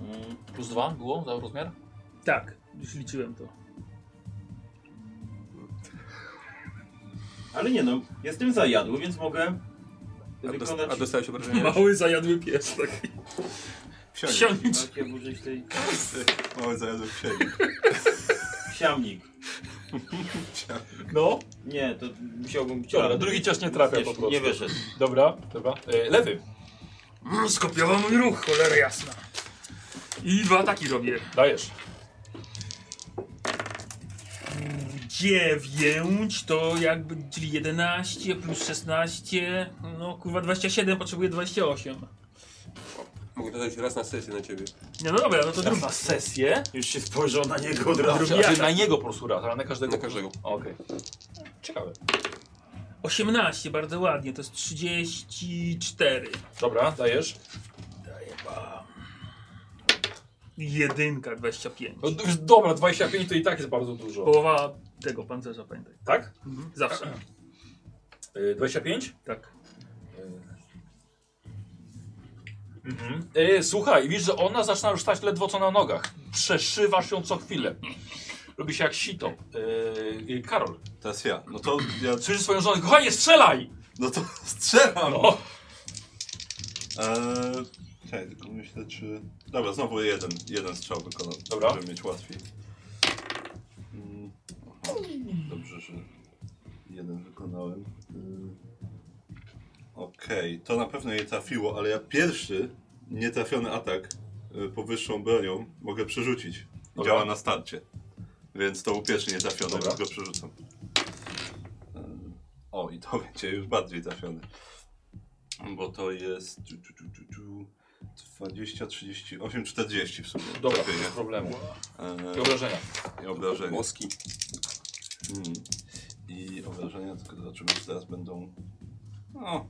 S4: mm,
S6: Plus dwa było za rozmiar?
S1: Tak, już liczyłem to.
S4: ale nie no, jestem zajadły, więc mogę
S5: A, dos
S4: wykonać...
S5: a dostałeś
S6: No.
S5: obrażenia?
S1: Mały zajadły pies tak. taki. Wsiądź.
S4: Jak użyć tej...
S3: Mały zajazd księgi.
S4: Siamnik.
S6: No.
S4: Nie, to musiałbym...
S6: Dobra, drugi cios nie trafia
S4: Wiesz,
S6: po prostu.
S4: Nie wyszedł.
S6: Dobra, dobra. E, lewy,
S1: Mm, skopiował mój ruch, cholera jasna. I dwa ataki robię.
S6: dajesz.
S1: Dziewięć to jakby, czyli 11 plus 16, no kurwa 27, potrzebuję 28.
S5: Mogę dodać raz na sesję na ciebie.
S1: No, no dobra, no to drugi.
S6: Na sesję.
S4: Już się spojrzał na niego od razu.
S6: Znaczy,
S1: Drugi
S6: znaczy
S1: atak.
S6: na niego po prostu raz, ale na każdego.
S5: Na każdego.
S6: Okej. Ciekawe.
S1: 18, bardzo ładnie, to jest 34.
S6: Dobra, dajesz.
S1: Jedynka 25.
S6: No, d- już dobra, 25 to i tak jest bardzo dużo.
S1: Połowa tego pancerza, pamiętaj.
S6: Tak?
S1: Zawsze.
S6: E, 25?
S1: Tak.
S6: Mhm. E, słuchaj, widzisz, że ona zaczyna już stać ledwo co na nogach. Przeszywasz ją co chwilę. Robi się jak sito. E, e, Karol,
S3: Teraz ja. No to ja.
S6: słyszysz swoją żonę, kochanie, strzelaj!
S3: No to strzelam!
S6: No.
S3: Eee, czekaj, tylko myślę, czy. Dobra, znowu jeden, jeden strzał wykonał.
S6: Dobra.
S3: Żeby mieć łatwiej. Mm, aha, Dobrze, że jeden wykonałem. Mm, Okej, to na pewno nie trafiło, ale ja pierwszy nietrafiony atak y, powyższą bronią mogę przerzucić.
S6: Dobra.
S3: Działa na starcie. Więc to był pierwszy nietrafiony,
S6: Dobra.
S3: więc go przerzucam. Ym, O, i to będzie już bardziej trafiony. Bo to jest ciu, ciu, ciu, ciu, ciu, 20, 38, 40 w sumie.
S6: Dobra,
S3: Trafienie.
S6: bez problemu. I
S3: Eee,
S6: obrażenia.
S3: I obrażenia.
S5: Moski.
S3: Mm. I obrażenia, tylko zobaczymy, czy teraz będą. No.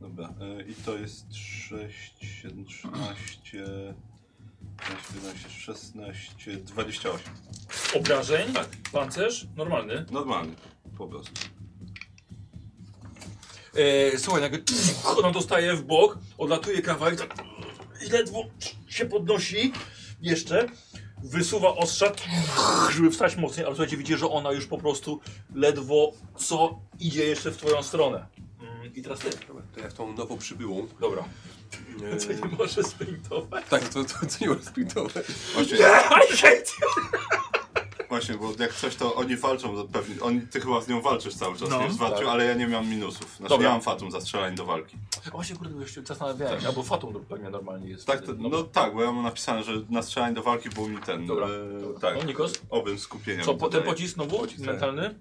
S3: Dobra, e, i to jest 6, 7, 13, 14, 16, 28.
S6: Obrażeń, pancerz, normalny.
S3: Normalny, po prostu.
S6: E, słuchaj, nagle ona dostaje w bok, odlatuje kawałek, tak i ledwo się podnosi jeszcze, wysuwa ostrza, żeby wstać mocniej, ale słuchajcie, widzicie, że ona już po prostu ledwo co idzie jeszcze w twoją stronę. Mm, I teraz ty.
S5: Dobra, to jak tą nowo przybyłą.
S6: Dobra.
S5: e,
S6: Co nie może sprintować?
S5: Tak, to, to, to nie było sprintowe.
S3: Właśnie,
S6: I hate you!
S3: właśnie, bo jak coś, to oni walczą, to pewnie, oni, ty chyba z nią walczysz cały czas,
S1: No.
S3: nie? W walczy,
S6: Tak.
S3: ale ja nie miałam minusów. Znaczy,
S6: Dobra.
S3: ja mam fatum za strzelanie do walki.
S6: Właśnie, kurde, już się zastanawiałem, albo Fatum pewnie normalnie jest.
S3: Tak, to,
S6: no,
S3: no tak, bo ja mam napisane, że na strzelanie do walki był mi ten.
S6: Dobra.
S3: E, tak,
S6: No, Nikos?
S3: obym skupienia.
S6: Co,
S3: mi
S6: po, ten
S3: dodaje.
S6: pocisk znowu?
S5: Pocisk, tak.
S6: mentalny?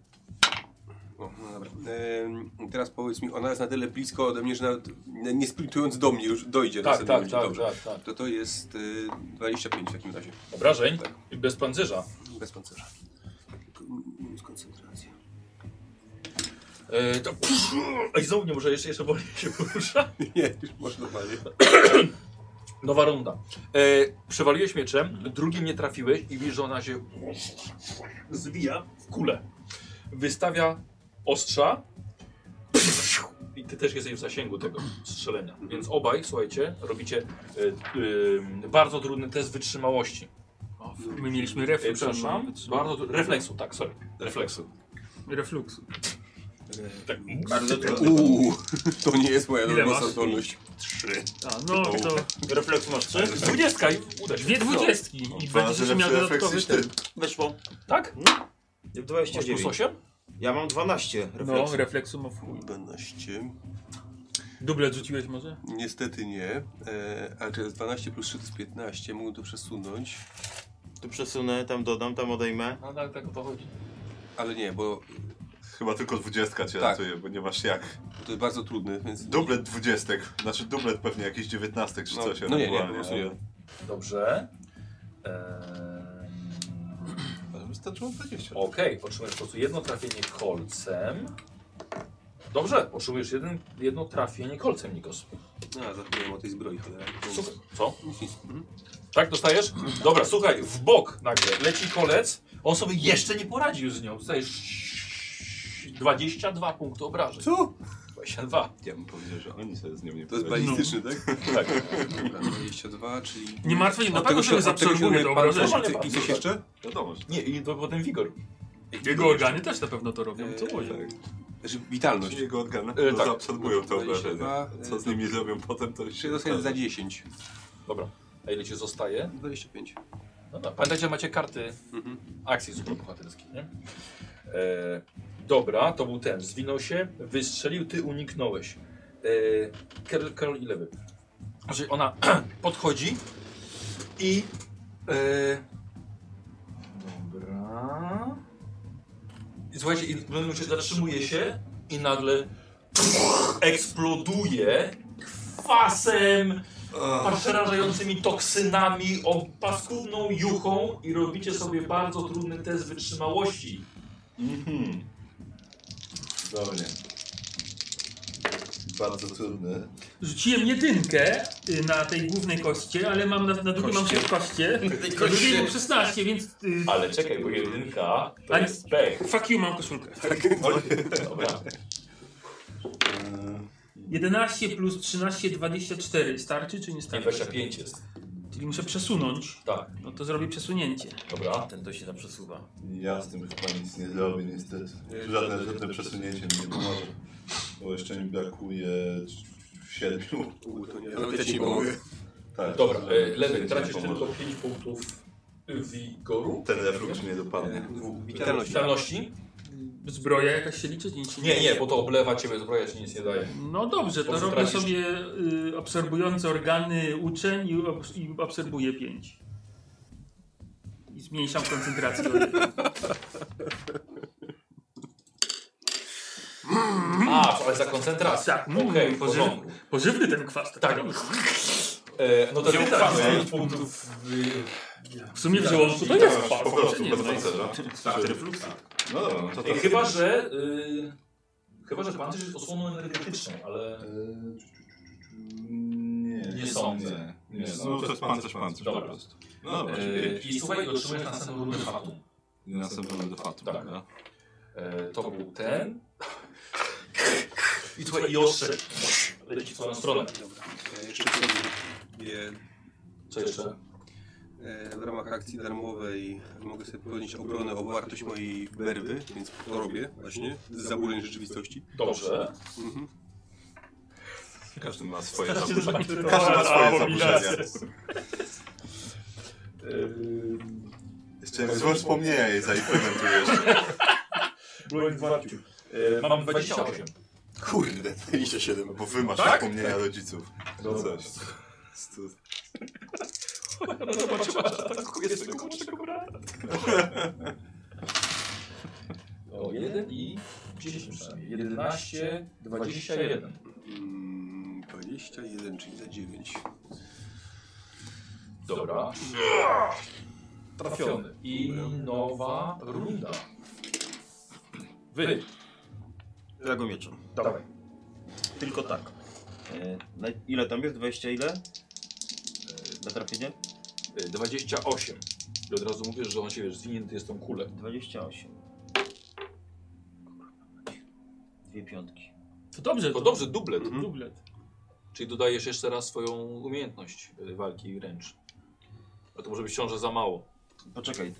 S5: O, no dobra. Em, teraz powiedz mi, ona jest na tyle blisko ode mnie, że nawet nie nie sprintując do mnie już dojdzie. do
S6: Tak,
S5: następnego
S6: tak,
S5: cię.
S6: tak,
S5: Dobrze.
S6: tak, tak.
S5: To to jest y, 25 w takim razie.
S6: Obrażeń i bez pancerza.
S5: Bez pancerza. Tylko minus koncentracja.
S6: E, to... Ej, znowu nie może, jeszcze, jeszcze wolniej się porusza.
S5: Nie, już może normalnie.
S6: Nowa runda. E, przewaliłeś mieczem, drugim nie trafiłeś i widzisz, że ona się zwija w kulę. Wystawia ostrza i ty też jesteś w zasięgu tego strzelenia. Więc obaj, słuchajcie, robicie e, e, bardzo trudny test wytrzymałości.
S1: My mieliśmy
S6: E,
S1: reflux.
S6: przepraszam, bardzo tru- refleksu, tak, sorry. Refleksu.
S1: Reflux.
S6: Tak.
S4: Bardzo trudny.
S5: Uuu, to nie jest moja
S1: Ile
S5: normalna
S1: masz?
S5: zdolność.
S1: A, no to
S4: Refleks masz trzy?
S6: Dwudziestka i uda się.
S1: dwie dwudziestki i
S3: Dwa razy
S1: będziesz jeszcze miał
S3: lepszy refleks
S1: dodatkowy
S3: niż ty.
S1: ten.
S4: Weszło.
S6: Tak? Masz plus
S4: 29.
S6: 8?
S4: Ja mam 12 refleks.
S1: No, refleksu ma w chuj.
S5: 12.
S1: Dublet rzuciłeś może?
S5: Niestety nie, e, ale to jest 12 plus 3 to jest 15, mógłbym to przesunąć,
S4: Tu przesunę, tam dodam, tam odejmę.
S6: No tak, tak o to chodzi.
S5: ale nie, bo
S3: Chyba tylko dwudziestka cię
S5: Tak.
S3: ratuje, bo nie masz jak.
S5: To jest bardzo trudny, więc...
S3: Dublet dwudziestek, znaczy dublet pewnie jakiś dziewiętnastek czy
S5: No,
S3: coś.
S5: no nie, nie,
S3: ewentualnie,
S5: po prostu nie.
S3: ale-
S6: Dobrze. e, Eee...
S3: ale Wystarczyło 20.
S6: Okej, otrzymujesz po prostu jedno trafienie kolcem. Dobrze, otrzymujesz jeden, jedno trafienie kolcem, Nikos.
S5: No, A, zapomniałem o tej zbroi, cholera.
S6: Słuchaj, co? Tak dostajesz? Dobra, słuchaj, w bok nagle leci kolec. On sobie jeszcze nie poradził z nią. Dostajesz 22 punkty obrażeń.
S5: Co?
S6: 22.
S3: Ja bym powiedział, że oni sobie z nią nie
S5: To jest
S3: poradzili.
S5: balistyczny, tak?
S6: Tak.
S5: Dobra, 22, czyli...
S1: No. Nie martw się, na
S5: Od
S1: pewno
S5: No, tego się-
S1: sobie
S5: od tego się
S1: zaabsorbuje to
S5: robi pan-
S1: obrażenie.
S6: Normalnie
S5: I
S6: bardzo,
S5: coś
S6: tak.
S5: jeszcze?
S3: Wiadomo, że
S6: Nie, i to potem wigor.
S1: Jego organy też na pewno to robią, co
S5: Eee,
S1: mówię.
S5: Znaczy, witalność.
S3: Czy jego organy
S6: E,
S3: to
S6: tak.
S3: zaabsorbują te obrażenia.
S5: 22,
S3: Co z nimi zrobią potem, to
S5: Czy
S3: się
S5: dostanie za 10?
S6: Dobra. A ile ci zostaje?
S5: 25.
S6: No Dobra. Pamiętajcie, macie karty
S5: Mhm.
S6: akcji superbohaterskiej, nie? E, dobra, to był ten. Zwinął się, wystrzelił, ty uniknąłeś. E, Karol, Karol i lewy. Znaczy ona podchodzi i... E, dobra... I słuchajcie, i w pewnym momencie zatrzymuje się i nagle eksploduje kwasem, przerażającymi toksynami, o paskudną juchą i robicie sobie bardzo trudny test wytrzymałości.
S3: Mhm. Dobrze. Bardzo trudny.
S1: Rzuciłem jedynkę y, na tej głównej koście, ale mam na, na drugiej mam
S5: Koście.
S1: 6 koście. Na drugiej mam 16, więc. y,
S6: Ale czekaj, bo jedynka to
S1: Ale-
S6: jest pech.
S1: Fuck you, mam koszulkę.
S6: Dobra.
S1: 11 plus 13, 24. Starczy czy nie starczy?
S6: 25 jest.
S1: Czyli muszę przesunąć.
S6: Tak,
S1: No to zrobię przesunięcie.
S6: dobra.
S9: Ten to się tam przesuwa.
S3: Ja z tym chyba nic nie zrobię niestety. Żadne, żadne przesunięcie mi nie pomoże. Bo jeszcze mi brakuje siedmiu.
S5: U, to nie,
S3: Ja
S5: nawet
S3: też
S5: ja ci
S3: nie
S5: nie
S3: pomogę.
S5: pomogę.
S3: Tak,
S6: Dobra,
S3: że-
S6: e,
S3: że
S6: lewy,
S3: nie
S6: tracisz
S3: pomoże.
S6: tylko 5 punktów wigoru.
S3: Ten reflux mnie dopadnie.
S5: Witalność.
S6: Witalności?
S1: Zbroja jakaś się liczy? Nic się
S6: Nie, nie, bo to oblewa ciebie, zbroja ci nic nie daje.
S1: No dobrze, to
S6: Bo
S1: robię
S6: stracisz.
S1: sobie y, obserwujące organy uczeń i, obs- i obserwuję 5. I zmniejszam koncentrację. o jeden.
S6: A, ale za koncentrację.
S1: Tak, mm,
S6: Okej, w
S1: pożyw,
S6: porządku.
S1: pożywny ten kwas. Tak, naprawdę.
S6: E, no to jest
S1: tak,
S6: kwas
S1: nie?
S6: 5 punktów y,
S1: w sumie w żołądzu to jest kwas.
S3: Tak, Po
S1: czy
S3: prostu,
S1: nie? no
S3: bez pancerza.
S4: Tak, refluksy.
S3: No dobra, no to
S6: Ej,
S3: tak.
S6: Chyba, że. Y, chyba, że pancerz jest osłoną energetyczną, ale.
S3: Eee, Nie,
S6: Nie sądzę.
S3: Nie, nie, no, to jest pancerz, pancerz
S6: Dobra.
S3: po prostu. No dobra,
S6: Y,
S3: czyli
S6: I słuchaj, otrzymujesz następną rundę fatum.
S3: następny do fatu.
S6: Tak.
S3: dobra.
S6: Y, to był ten. I słuchaj, i ostrze. Leci w twoją stronę.
S5: E, Jeszcze sobie
S6: Co jeszcze?
S5: e, w ramach akcji darmowej mogę sobie podnieść obronę o wartość mojej werwy, więc to robię właśnie z zaburzeń rzeczywistości.
S6: Dobrze.
S5: Mhm.
S3: Każdy ma swoje zaburzenie. Każdy ma swoje zaburzenia. Jeszcze złe wspomnienia jej zaimplementujesz.
S6: Y, mam 28.
S3: Kurde, 27. Bo wy masz
S6: Tak?
S3: wspomnienia rodziców. No coś. Stu-
S6: O, 1 i 10 przynajmniej. 11, 21.
S5: Mm, 21, czyli za 9.
S6: Dobra. Trafiony. I nowa runda. Wy.
S4: Dragomieczem.
S6: Dawaj.
S4: Tylko tak. E, na, ile tam jest? 20 ile? E, na trafienie?
S6: Y, 28. I od razu mówisz, że on się wiesz, zwinięty jest tą kulę.
S4: 28. Dwie piątki.
S1: To dobrze,
S6: To dobrze, dublet.
S1: Dublet.
S6: Czyli dodajesz jeszcze raz swoją umiejętność y, walki wręcz. A to może być ciąże za mało.
S4: Poczekaj, e,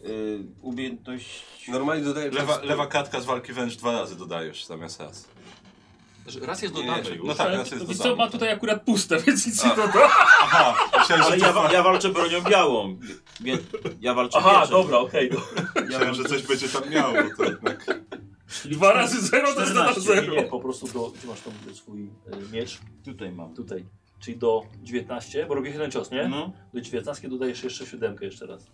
S4: umiejętność...
S5: Normalnie dodaję
S3: Lewa, lewa katka z walki wręcz dwa razy dodajesz zamiast raz.
S6: Znaczy, raz jest
S3: Nie,
S6: dodany
S3: nie,
S6: już.
S3: no tak. teraz jest
S1: wiesz co,
S3: dodane.
S1: ma tutaj akurat puste, więc nic nie to
S3: Aha, myślałem,
S4: Ale
S3: że,
S4: ja,
S3: to,
S4: wa- ja walczę bronią białą. Wie, ja walczę
S6: Aha,
S4: mieczem.
S6: dobra, okej.
S4: Ja
S3: myślałem,
S4: walczę
S3: że coś będzie tam miało. To jednak.
S1: Dwa razy zero to jest na
S9: 14,
S1: zero.
S9: nie, po prostu do, ty masz tą swój y, miecz,
S4: Tutaj mam.
S9: tutaj, czyli do 19, bo robię jeden cios, nie?
S4: No,
S9: Do 19 dodajesz jeszcze siódemkę jeszcze raz.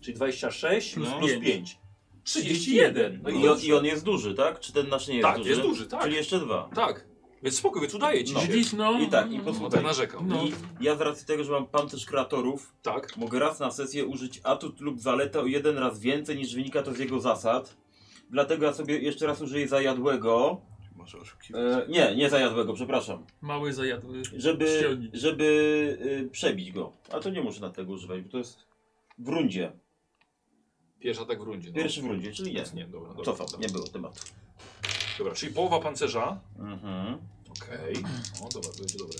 S9: Czyli 26 plus,
S4: No.
S9: plus
S1: Pięć.
S9: 5.
S6: 31.
S9: No
S6: No
S9: i-
S6: i
S4: I on, I on jest duży, tak? Czy ten nasz nie jest
S6: Tak,
S4: duży?
S6: jest duży, tak.
S4: Czyli jeszcze dwa.
S6: Tak. Więc spoko, więc udaje ci
S4: No.
S6: się.
S1: Widzisz, no.
S4: I tak, i
S6: No tak
S4: posłuchaj.
S6: narzekam.
S1: No.
S4: I ja z racji tego, że mam pancerz kreatorów,
S6: Tak.
S4: mogę raz na sesję użyć atut lub zaletę o jeden raz więcej niż wynika to z jego zasad. Dlatego ja sobie jeszcze raz użyję zajadłego.
S3: Może oszukiwać.
S4: E, nie, nie zajadłego, przepraszam.
S1: Mały zajadły.
S4: Żeby,
S1: Ściągnij.
S4: żeby e, przebić go. A to nie muszę na tego używać, bo to jest w rundzie.
S6: Pierwszy atak w rundzie. No.
S4: Pierwszy w rundzie, czyli nie.
S6: Jest, nie, dobra, dobra.
S4: Cofam, nie było tematu.
S6: Dobra, czyli połowa pancerza.
S4: Mhm.
S6: Okej. O, dobra, to będzie dobre.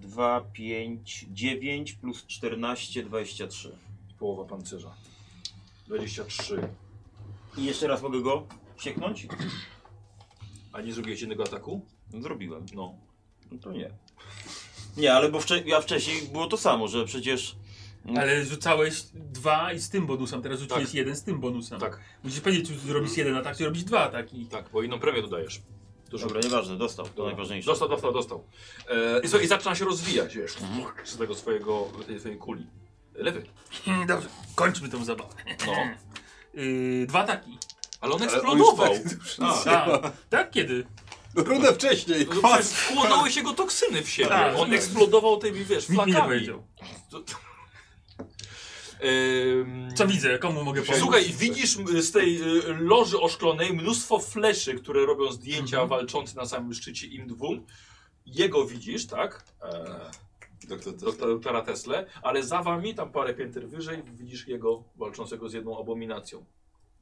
S4: 2, 5, 9 plus 14, 23.
S6: Połowa pancerza. 23.
S4: I jeszcze raz mogę go sieknąć?
S6: A nie zrobiłeś innego ataku?
S4: No, Zrobiłem.
S6: No.
S4: No to nie. Nie, ale bo wcze ja wcześniej było to samo, że przecież.
S1: Ale rzucałeś dwa i z tym bonusem, teraz rzuciłeś
S6: Tak.
S1: jeden z tym bonusem.
S6: Tak,
S1: Musisz powiedzieć, czy zrobisz jeden atak, czy robisz dwa ataki.
S6: tak, bo inną premię dodajesz. Dużo.
S4: Dobra, nieważne, dostał. To najważniejsze.
S6: Dostał, dostał, dostał. E, i, co, I zaczyna się rozwijać, wiesz, z tego swojego, tej swojej kuli. Lewy.
S1: Hmm, Dobrze, kończmy tą zabawę.
S6: No.
S1: Yy, dwa ataki.
S6: Ale on
S3: Ale on już
S6: eksplodował.
S3: tak- już
S6: A.
S3: nic nie
S1: A,
S3: ma.
S1: tak kiedy?
S3: Rundę wcześniej.
S6: No, Przecież wchłonąłeś jego toksyny w siebie.
S1: Tak,
S6: on
S1: tak.
S6: eksplodował tymi, wiesz,
S1: Nikt mi nie
S6: flakami.
S1: powiedział.
S6: To- to- Em,
S1: Co widzę, komu mogę pomóc?
S6: Słuchaj, widzisz m, z tej y, loży oszklonej mnóstwo fleszy, które robią zdjęcia
S1: Mhm.
S6: walczący na samym szczycie im dwóm. Jego widzisz, tak? E,
S3: Doktor Tesla.
S6: doktor- doktora Tesla, ale za wami, tam parę pięter wyżej, widzisz jego walczącego z jedną abominacją.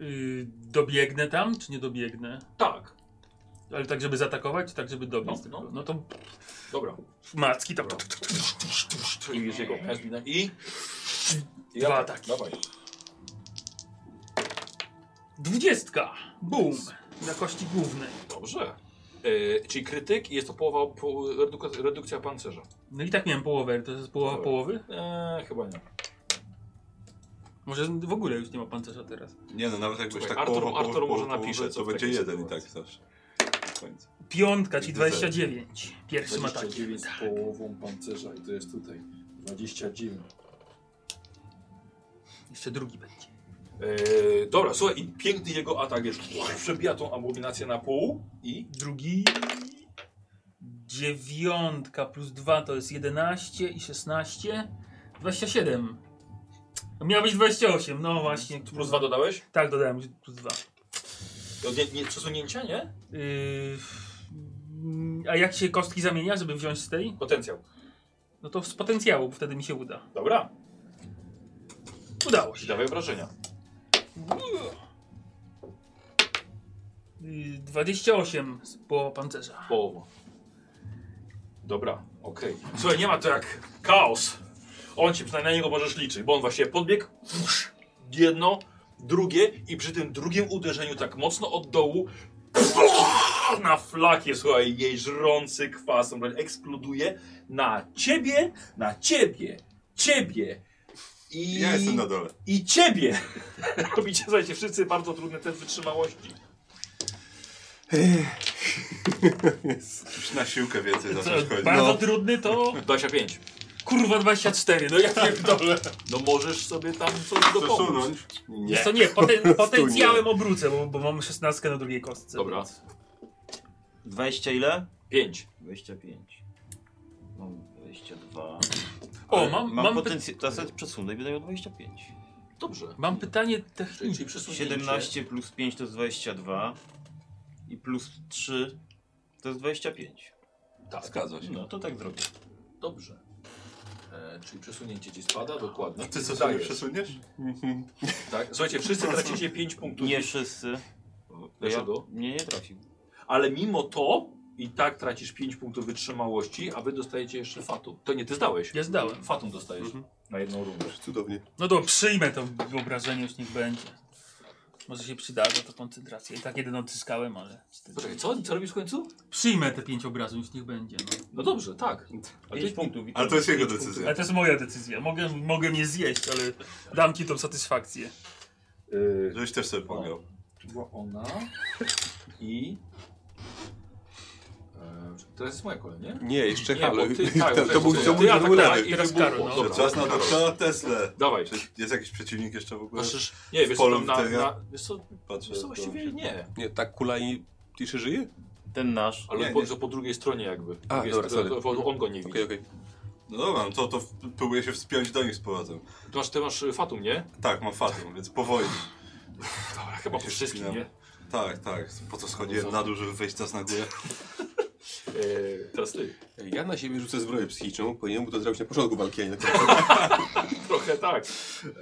S1: Yy, dobiegnę tam, czy nie dobiegnę?
S6: Tak,
S1: Ale tak, żeby zaatakować, czy tak, żeby dobić?
S6: No,
S1: tylko?
S6: no.
S1: no to
S6: dobra.
S1: macki tam.
S6: Dobra. I widzisz jego pędzlinę i... I
S1: Dwa
S6: atak.
S1: ataki.
S6: tak, Dawaj.
S1: Dwudziestka! Boom! Na kości głównej.
S6: Dobrze. E, czyli krytyk i jest to połowa, po, redukcja, redukcja pancerza.
S1: No i tak miałem połowę, to jest połowa
S6: Dobra.
S1: połowy?
S6: E, chyba nie.
S1: Może w ogóle już nie ma pancerza teraz.
S3: Nie no, nawet jakbyś
S6: Słuchaj,
S3: tak
S6: Artur-
S3: połową, połową,
S6: Artur może
S3: połową,
S6: napisze,
S3: połowę,
S6: co
S3: to
S6: w
S3: będzie
S6: takiej
S3: jeden i tak
S6: sytuacji.
S3: zawsze. Koniec.
S1: Piątka, czyli
S3: Widzę, że-
S1: 29. Pierwszym atakiem. Tak.
S6: 29 z połową pancerza i to jest tutaj. 29.
S1: Jeszcze drugi będzie.
S6: Eee, dobra, słuchaj, i piękny jego atak jest. Przebija tą abominację na pół i
S1: Drugi. Dziewiątka plus 2 to jest 11 i 16. 27. No Miało być 28, no właśnie.
S6: plus dwa dodałeś?
S1: Tak, dodałem plus 2.
S6: To nie, nie, przesunięcia, nie?
S1: Yy, a jak się kostki zamienia, żeby wziąć z tej?
S6: Potencjał.
S1: No to z potencjału, bo wtedy mi się uda.
S6: Dobra,
S1: Udało się.
S6: dawaj obrażenia.
S1: Yy, 28 z połowa pancerza.
S6: Połowa. Dobra, okej. Słuchaj, nie ma to jak chaos. On ci przynajmniej na niego możesz liczyć, bo on właśnie podbiegł. Jedno, drugie i przy tym drugim uderzeniu tak mocno od dołu na flakie, słuchaj, jej żrący kwas on eksploduje na ciebie, na ciebie, ciebie i,
S3: Ja jestem na dole.
S6: i ciebie. Robicie, słuchajcie, wszyscy bardzo trudny test wytrzymałości.
S3: Już na siłkę więcej zacząć
S1: Co,
S3: chodzić.
S1: bardzo
S3: No.
S1: trudny to
S6: 25.
S1: kurwa 24, no ja pierdolę.
S6: No możesz sobie tam coś dopomóc.
S3: Przesunąć?
S1: Jest to nie, poten, potencjałem obrócę, bo, bo mam 16 na drugiej kostce.
S6: Dobra,
S4: 20 ile?
S6: 5.
S4: 25. Mam 22.
S1: O, mam,
S4: mam
S1: mam, py,
S4: potencjał. Teraz sobie przesunę i będę miał 25.
S6: Dobrze.
S1: mam pytanie
S6: Czyli,
S1: techniczne.
S6: czyli przesunięcie.
S4: 17 plus 5 to jest 22. I plus 3 to jest 25.
S6: Tak,
S3: Zgadza się.
S4: No to tak zrobię.
S6: dobrze. E, czyli przesunięcie ci spada, dokładnie.
S3: Ty co sobie
S6: Dajesz,
S3: przesuniesz?
S6: tak? Słuchajcie, wszyscy tracicie 5 punktów.
S4: Nie wszyscy.
S6: Dlaczego?
S4: Nie, nie trafił.
S6: Ale mimo to i tak tracisz 5 punktów wytrzymałości, a wy dostajecie jeszcze fatum. To nie, ty zdałeś.
S1: Ja zdałem.
S6: Fatum dostajesz na jedną rundę.
S3: Cudownie.
S1: No to przyjmę to wyobrażenie, już niech będzie. Może się przydarza to koncentracja. I tak jeden odzyskałem, ale...
S6: Poczekaj, co? Co robisz w końcu?
S1: Przyjmę te 5 obrazów, już niech będzie. No.
S6: No dobrze, tak. Ale
S4: 5
S6: ty-
S4: punktów.
S3: Ale to jest jego decyzja.
S1: Ale to jest moja decyzja. Mogę, mogę je zjeść, ale dam ci tą satysfakcję.
S6: Yy,
S3: Żebyś też sobie pomagał.
S6: była ona i... E, Teraz jest moja kolej, nie?
S5: Nie, jeszcze
S6: Nie,
S5: Halo.
S6: bo ty- tak,
S5: to, to
S6: bo
S5: był
S6: to
S5: to
S6: ty,
S5: był
S6: a tak,
S5: drugi
S6: tak,
S5: lewy.
S6: i
S1: Teraz
S6: wybuchło.
S1: Karol, no.
S6: Dobra.
S3: Czas na doktora Tesla.
S6: Dawaj.
S3: Jest jakiś przeciwnik jeszcze w ogóle?
S6: Patrzysz, nie, wiesz co,
S3: polu
S6: tam na,
S3: tego.
S6: na, wiesz co,
S3: Patrzę.
S6: wiesz co, no, właściwie nie.
S5: Nie, tak kula i ciszy żyje?
S9: Ten nasz.
S6: Ale
S3: Nie,
S6: po,
S3: nie.
S6: Że po drugiej stronie jakby.
S5: A,
S6: Jest-
S5: dobra,
S6: to-
S5: sorry.
S6: to- to on go nie widzi.
S5: Okej, okej.
S3: No dobra, no to, to w- próbuję się wspiąć do nich z powrotem.
S6: Ty masz, ty masz y, Fatum, nie?
S3: Tak, mam fatum, więc powoli.
S6: Dobra, chyba po
S3: się
S6: wszystkim,
S3: wspinam.
S6: nie?
S3: Tak, tak. Po co schodziłem na dół, żeby wejść teraz na górę?
S6: E, teraz ty.
S5: Ja na siebie rzucę zbroję psychiczną, powinienem był to zrobić na początku walki, a nie na końcu.
S6: Trochę tak.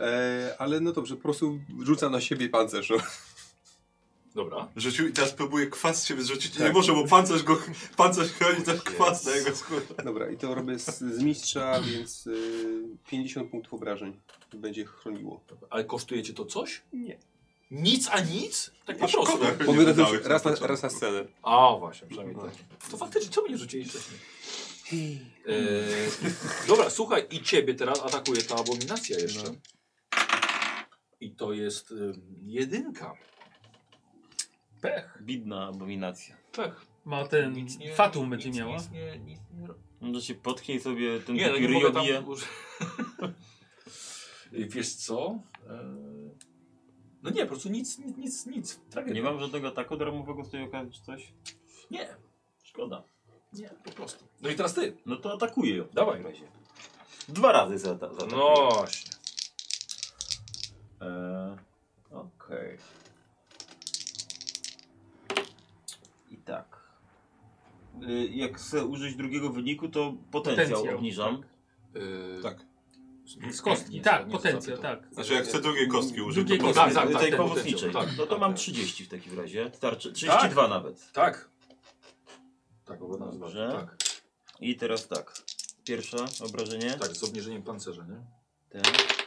S5: E, ale no dobrze, po prostu rzucam na siebie pancerz. No.
S6: Dobra.
S3: Rzucił i teraz próbuję kwas z siebie zrzucić.
S5: Tak.
S3: Nie może, bo pancerz go pancerz chroni ten kwas na jego skórze.
S5: Dobra, i to robię z, z mistrza, więc y, 50 punktów obrażeń będzie chroniło.
S6: Ale kosztuje cię to coś? Nie. Nic a nic? Tak po prostu.
S3: Szkoda, No. że nie
S5: Mogę to
S3: wydałeś
S5: już raz na,
S3: początku.
S5: raz na scenę.
S6: A właśnie, przynajmniej tak. To faktycznie, czemu nie rzucili wcześniej? E, dobra, słuchaj, i ciebie teraz atakuje ta abominacja jeszcze.
S3: No.
S6: I to jest ym, jedynka. Pech,
S9: Bidna abominacja.
S6: pech.
S1: Ma ten.
S6: Nic nie-
S1: Fatum będzie
S6: nic,
S1: miała.
S6: Nic nie, nic nie ro-
S4: No się potknij sobie ten
S6: Nie, no nie
S4: kupiry
S6: mogę tam
S4: jobije.
S6: uż- Wiesz co? Eee, No nie, po prostu nic, nic, nic, nic.
S4: Tak, Nie
S6: Tragedia.
S4: mam żadnego ataku darmowego z tej okazji czy coś?
S6: Nie,
S4: Szkoda.
S6: nie, po prostu. No i teraz ty.
S4: No to atakuję ją.
S6: Dawaj. Razie.
S4: Dwa razy za atakuję.
S6: No właśnie.
S4: Eee, Okej. I tak. Y, Jak chcę użyć drugiego wyniku, to potencjał,
S1: Potencjał,
S4: obniżam.
S6: Eee,
S3: Tak.
S6: Z kostki.
S1: Tak,
S6: nie
S1: potencjał,
S6: zapytam.
S1: tak.
S3: Znaczy, jak chcę drugiej kostki użyć,
S1: Drugiej
S3: to
S1: kostki.
S3: potem-
S6: Tak, tak, tak.
S4: tej
S6: ten
S4: pomocniczej.
S6: potencjał, tak,
S4: no to
S6: tak,
S4: mam
S6: tak.
S4: 30 w takim razie. Starczy. 32 nawet.
S6: Tak. Tak, bo go nazywa.
S4: Dobrze.
S6: Tak,
S4: I teraz tak. Pierwsze obrażenie.
S6: tak, z obniżeniem pancerza, nie?
S4: Ten. Tak.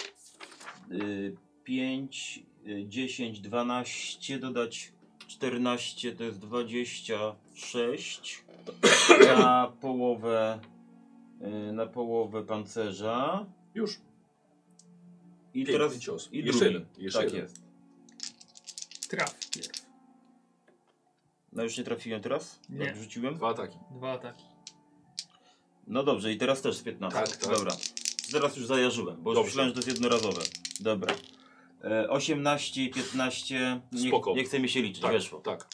S4: Y, 5, y, 10, 12, dodać 14 to jest 26. Na połowę y, na połowę pancerza.
S6: Już.
S4: I
S6: Piękny
S4: teraz
S6: cios.
S4: i
S6: Jeszcze
S4: drugi.
S6: jeden, jeszcze
S4: tak
S6: jeden.
S4: jest.
S1: Traf pierw.
S4: No już nie trafiłem teraz?
S1: Nie.
S4: Jak rzuciłem?
S6: Dwa ataki.
S1: Dwa ataki.
S4: No dobrze, i teraz też z 15.
S6: Tak, tak.
S4: Dobra. Teraz już zajarzyłem, bo już
S6: Dobrze.
S4: myślałem, że to jest jednorazowe. Dobra. E, 18, 15. Nie,
S6: Spoko.
S4: nie chce mi się liczyć,
S6: Tak,
S4: weszło.
S6: tak.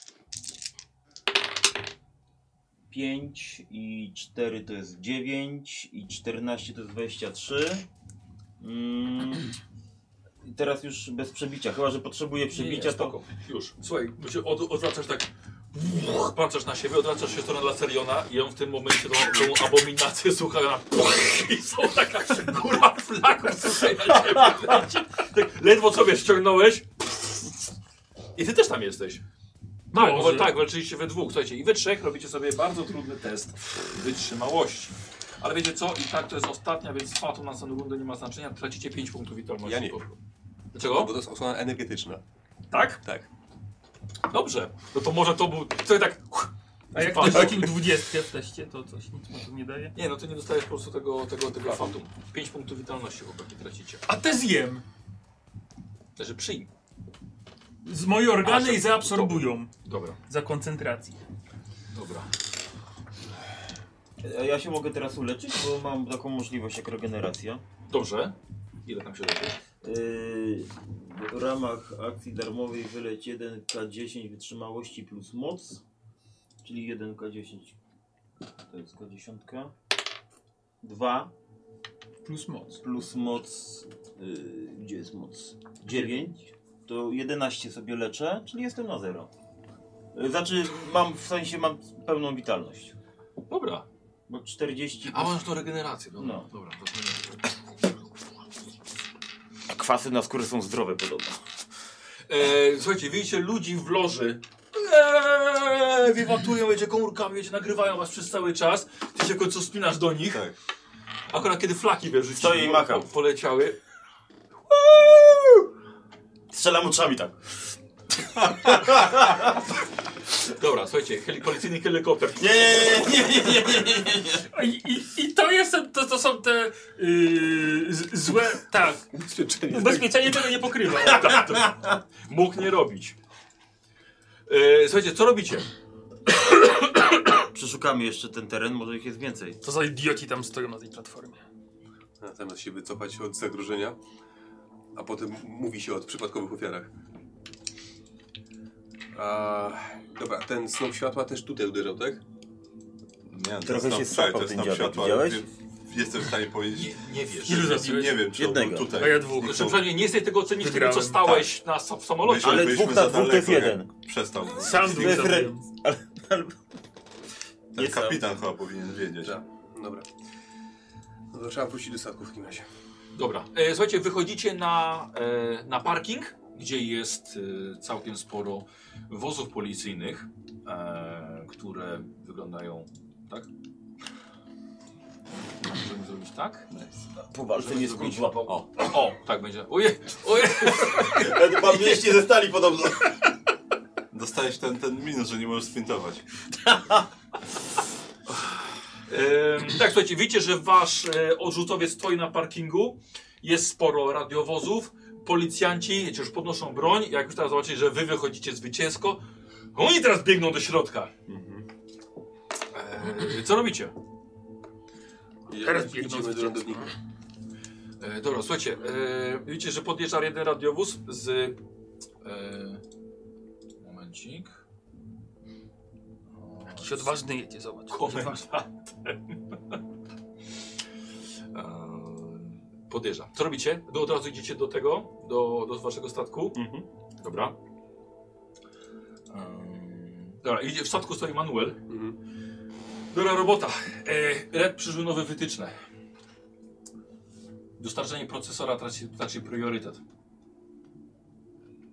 S4: 5 i 4 to jest 9 i 14 to jest 23. Mm. I teraz już bez przebicia, chyba że potrzebuję przebicia, to
S6: spoko. Już. Słuchaj, bo się od, odwracasz tak. Wuch, Patrzysz na siebie, odwracasz się w stronę Laceriona i on w tym momencie tą, tą abominację słucha na i są taka góra flaków słuchaj na ciebie. leci. Tak, ledwo sobie ściągnąłeś. I ty też tam jesteś. Tak,
S1: Boże.
S6: bo, tak, walczyliście we dwóch, słuchajcie, i we trzech robicie sobie bardzo trudny test wytrzymałości. Ale wiecie co, i tak to jest ostatnia, więc fatu na następną rundę nie ma znaczenia, tracicie 5 punktów witalności.
S5: Ja nie.
S6: Po- Dlaczego?
S5: Bo to jest osłona energetyczna.
S6: Tak?
S5: Tak.
S6: Dobrze, no to może to był. To tak.
S1: A jak
S6: Spadło.
S1: ktoś rzucił 20 w teście, to coś nic mu tu nie daje.
S6: Nie, no to nie dostajesz po prostu tego, tego, tego fatum. 5 punktów witalności chłopaki tracicie. Znaczy,
S1: A te zjem!
S6: Także przyjm.
S1: Z moje organy
S6: A,
S1: i
S6: że-
S1: zaabsorbują.
S6: Dobra,
S1: Za koncentrację.
S6: dobra.
S4: A ja się mogę teraz uleczyć, bo mam taką możliwość jak regeneracja.
S6: Dobrze. Ile tam się robi?
S4: Yy, w ramach akcji darmowej wyleć 1K10 wytrzymałości plus moc, czyli 1K10 to jest K10. 2
S1: Plus moc.
S4: plus moc, yy, gdzie jest moc? 9, to 11 sobie leczę, czyli jestem na 0. Znaczy mam, w sensie mam pełną witalność,
S6: Dobra.
S4: bo 40
S6: A
S4: plus...
S6: masz to regenerację, dobra.
S4: No.
S6: Dobra, to zmieniamy.
S4: Kwasy na skórze są zdrowe podobno.
S6: E, słuchajcie, widzicie ludzi w loży. Eee, wiwatują, wiecie, komórkami, wiecie, nagrywają was przez cały czas. Ty się w końcu spinasz do nich.
S3: Tak.
S6: Akurat kiedy flaki wierzycie,
S4: Stoję i macham.
S6: poleciały.
S4: Strzelam oczami tak.
S6: Dobra, słuchajcie, heli policyjny helikopter.
S4: Nie, nie, nie, nie, nie, nie, nie.
S1: A I, i, i to jest, to, to są te yy, z, złe, tak.
S5: Ubezpieczenie.
S1: Ubezpieczenie tego nie pokrywa.
S6: Mógł nie robić. E, słuchajcie, co robicie?
S4: Przeszukamy jeszcze ten teren, może ich jest więcej.
S1: To za idioci tam stoją na tej platformie.
S5: Natomiast się wycofać od zagrożenia, a potem mówi się o przypadkowych ofiarach. A, dobra, ten snop światła też tutaj uderzał, tak?
S3: Nie,
S4: Trochę
S3: to jest
S4: się
S3: tam-
S4: sapał
S3: to jest
S4: ten
S3: tam
S4: dziadek,
S3: światło,
S4: widziałeś?
S3: ale wie- Jestem w stanie powiedzieć.
S2: Nie, nie wiesz.
S1: Ilu
S3: Nie,
S1: zabiłeś?
S3: nie wiem, czy on
S4: Jednego.
S3: był tutaj.
S1: A ja dwóch.
S3: Zniknął.
S2: Znaczy, przynajmniej nie jesteś tego ocenić tego, co
S1: Wygrałem.
S2: stałeś na sa- w samolocie.
S3: Myślę,
S4: Ale
S3: byliśmy
S4: dwóch na
S3: za
S4: dwóch to
S3: daleko,
S4: jest
S3: jak
S4: jeden.
S3: Przestał.
S1: Sam dwóch
S4: Wyfre-
S1: zabiłem.
S4: Ale, ale...
S3: Ten
S4: Nie sam.
S3: kapitan chyba powinien wiedzieć.
S5: Tak. Dobra. No to trzeba wrócić do statku w takim razie.
S2: Dobra. E, słuchajcie, wychodzicie na, e, na parking, gdzie jest e, całkiem sporo wozów policyjnych, e, które wyglądają tak. Możemy zrobić tak?
S4: Po walce nie
S2: Zrobić-
S4: skudziła.
S2: O, o, tak będzie. Ojej, ojej.
S4: Pan mieście ze stali podobno.
S3: Dostałeś ten, ten minus, że nie możesz sprintować.
S2: Em, tak, słuchajcie, widzicie, że wasz e, odrzutowiec stoi na parkingu, jest sporo radiowozów, policjanci wiecie, już podnoszą broń, jak już teraz zobaczycie, że wy wychodzicie zwycięsko, oni teraz biegną do środka. E, co robicie?
S1: Teraz
S5: idziemy do lądownika.
S2: E, dobra, słuchajcie, e, widzicie, że podjeżdża jeden radiowóz z... E, momencik... O,
S1: Jakiś odważny jedzie, zobacz.
S2: komentatem. Podjeżdża. Co robicie? Do, od razu idziecie do tego, do, do waszego statku. Dobra. Ehm, Dobra, idzie, w statku stoi Manuel.
S5: Mhm.
S2: Dobra robota. E, Red przyżył nowe wytyczne. Dostarczenie procesora traci, traci priorytet.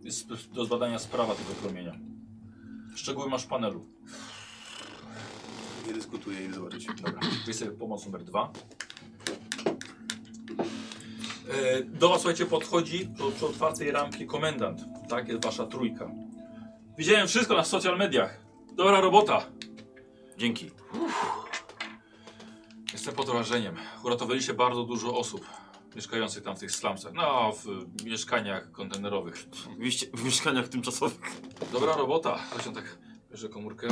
S2: Jest sp- do zbadania sprawa tego promienia. Szczegóły masz w panelu.
S5: Nie dyskutuję i zobaczyć.
S2: Dobra, weź sobie pomoc numer dwa. E, Do was, słuchajcie, podchodzi do, przy otwartej ramki komendant. Tak, jest wasza trójka. Widziałem wszystko na social mediach. Dobra robota.
S10: Dzięki.
S2: Jestem pod wrażeniem. Uratowaliście bardzo dużo osób mieszkających tam w tych slumsach. No, w y, mieszkaniach kontenerowych.
S10: W, mieście, w mieszkaniach tymczasowych.
S2: Dobra robota. Ale się tak bierze komórkę.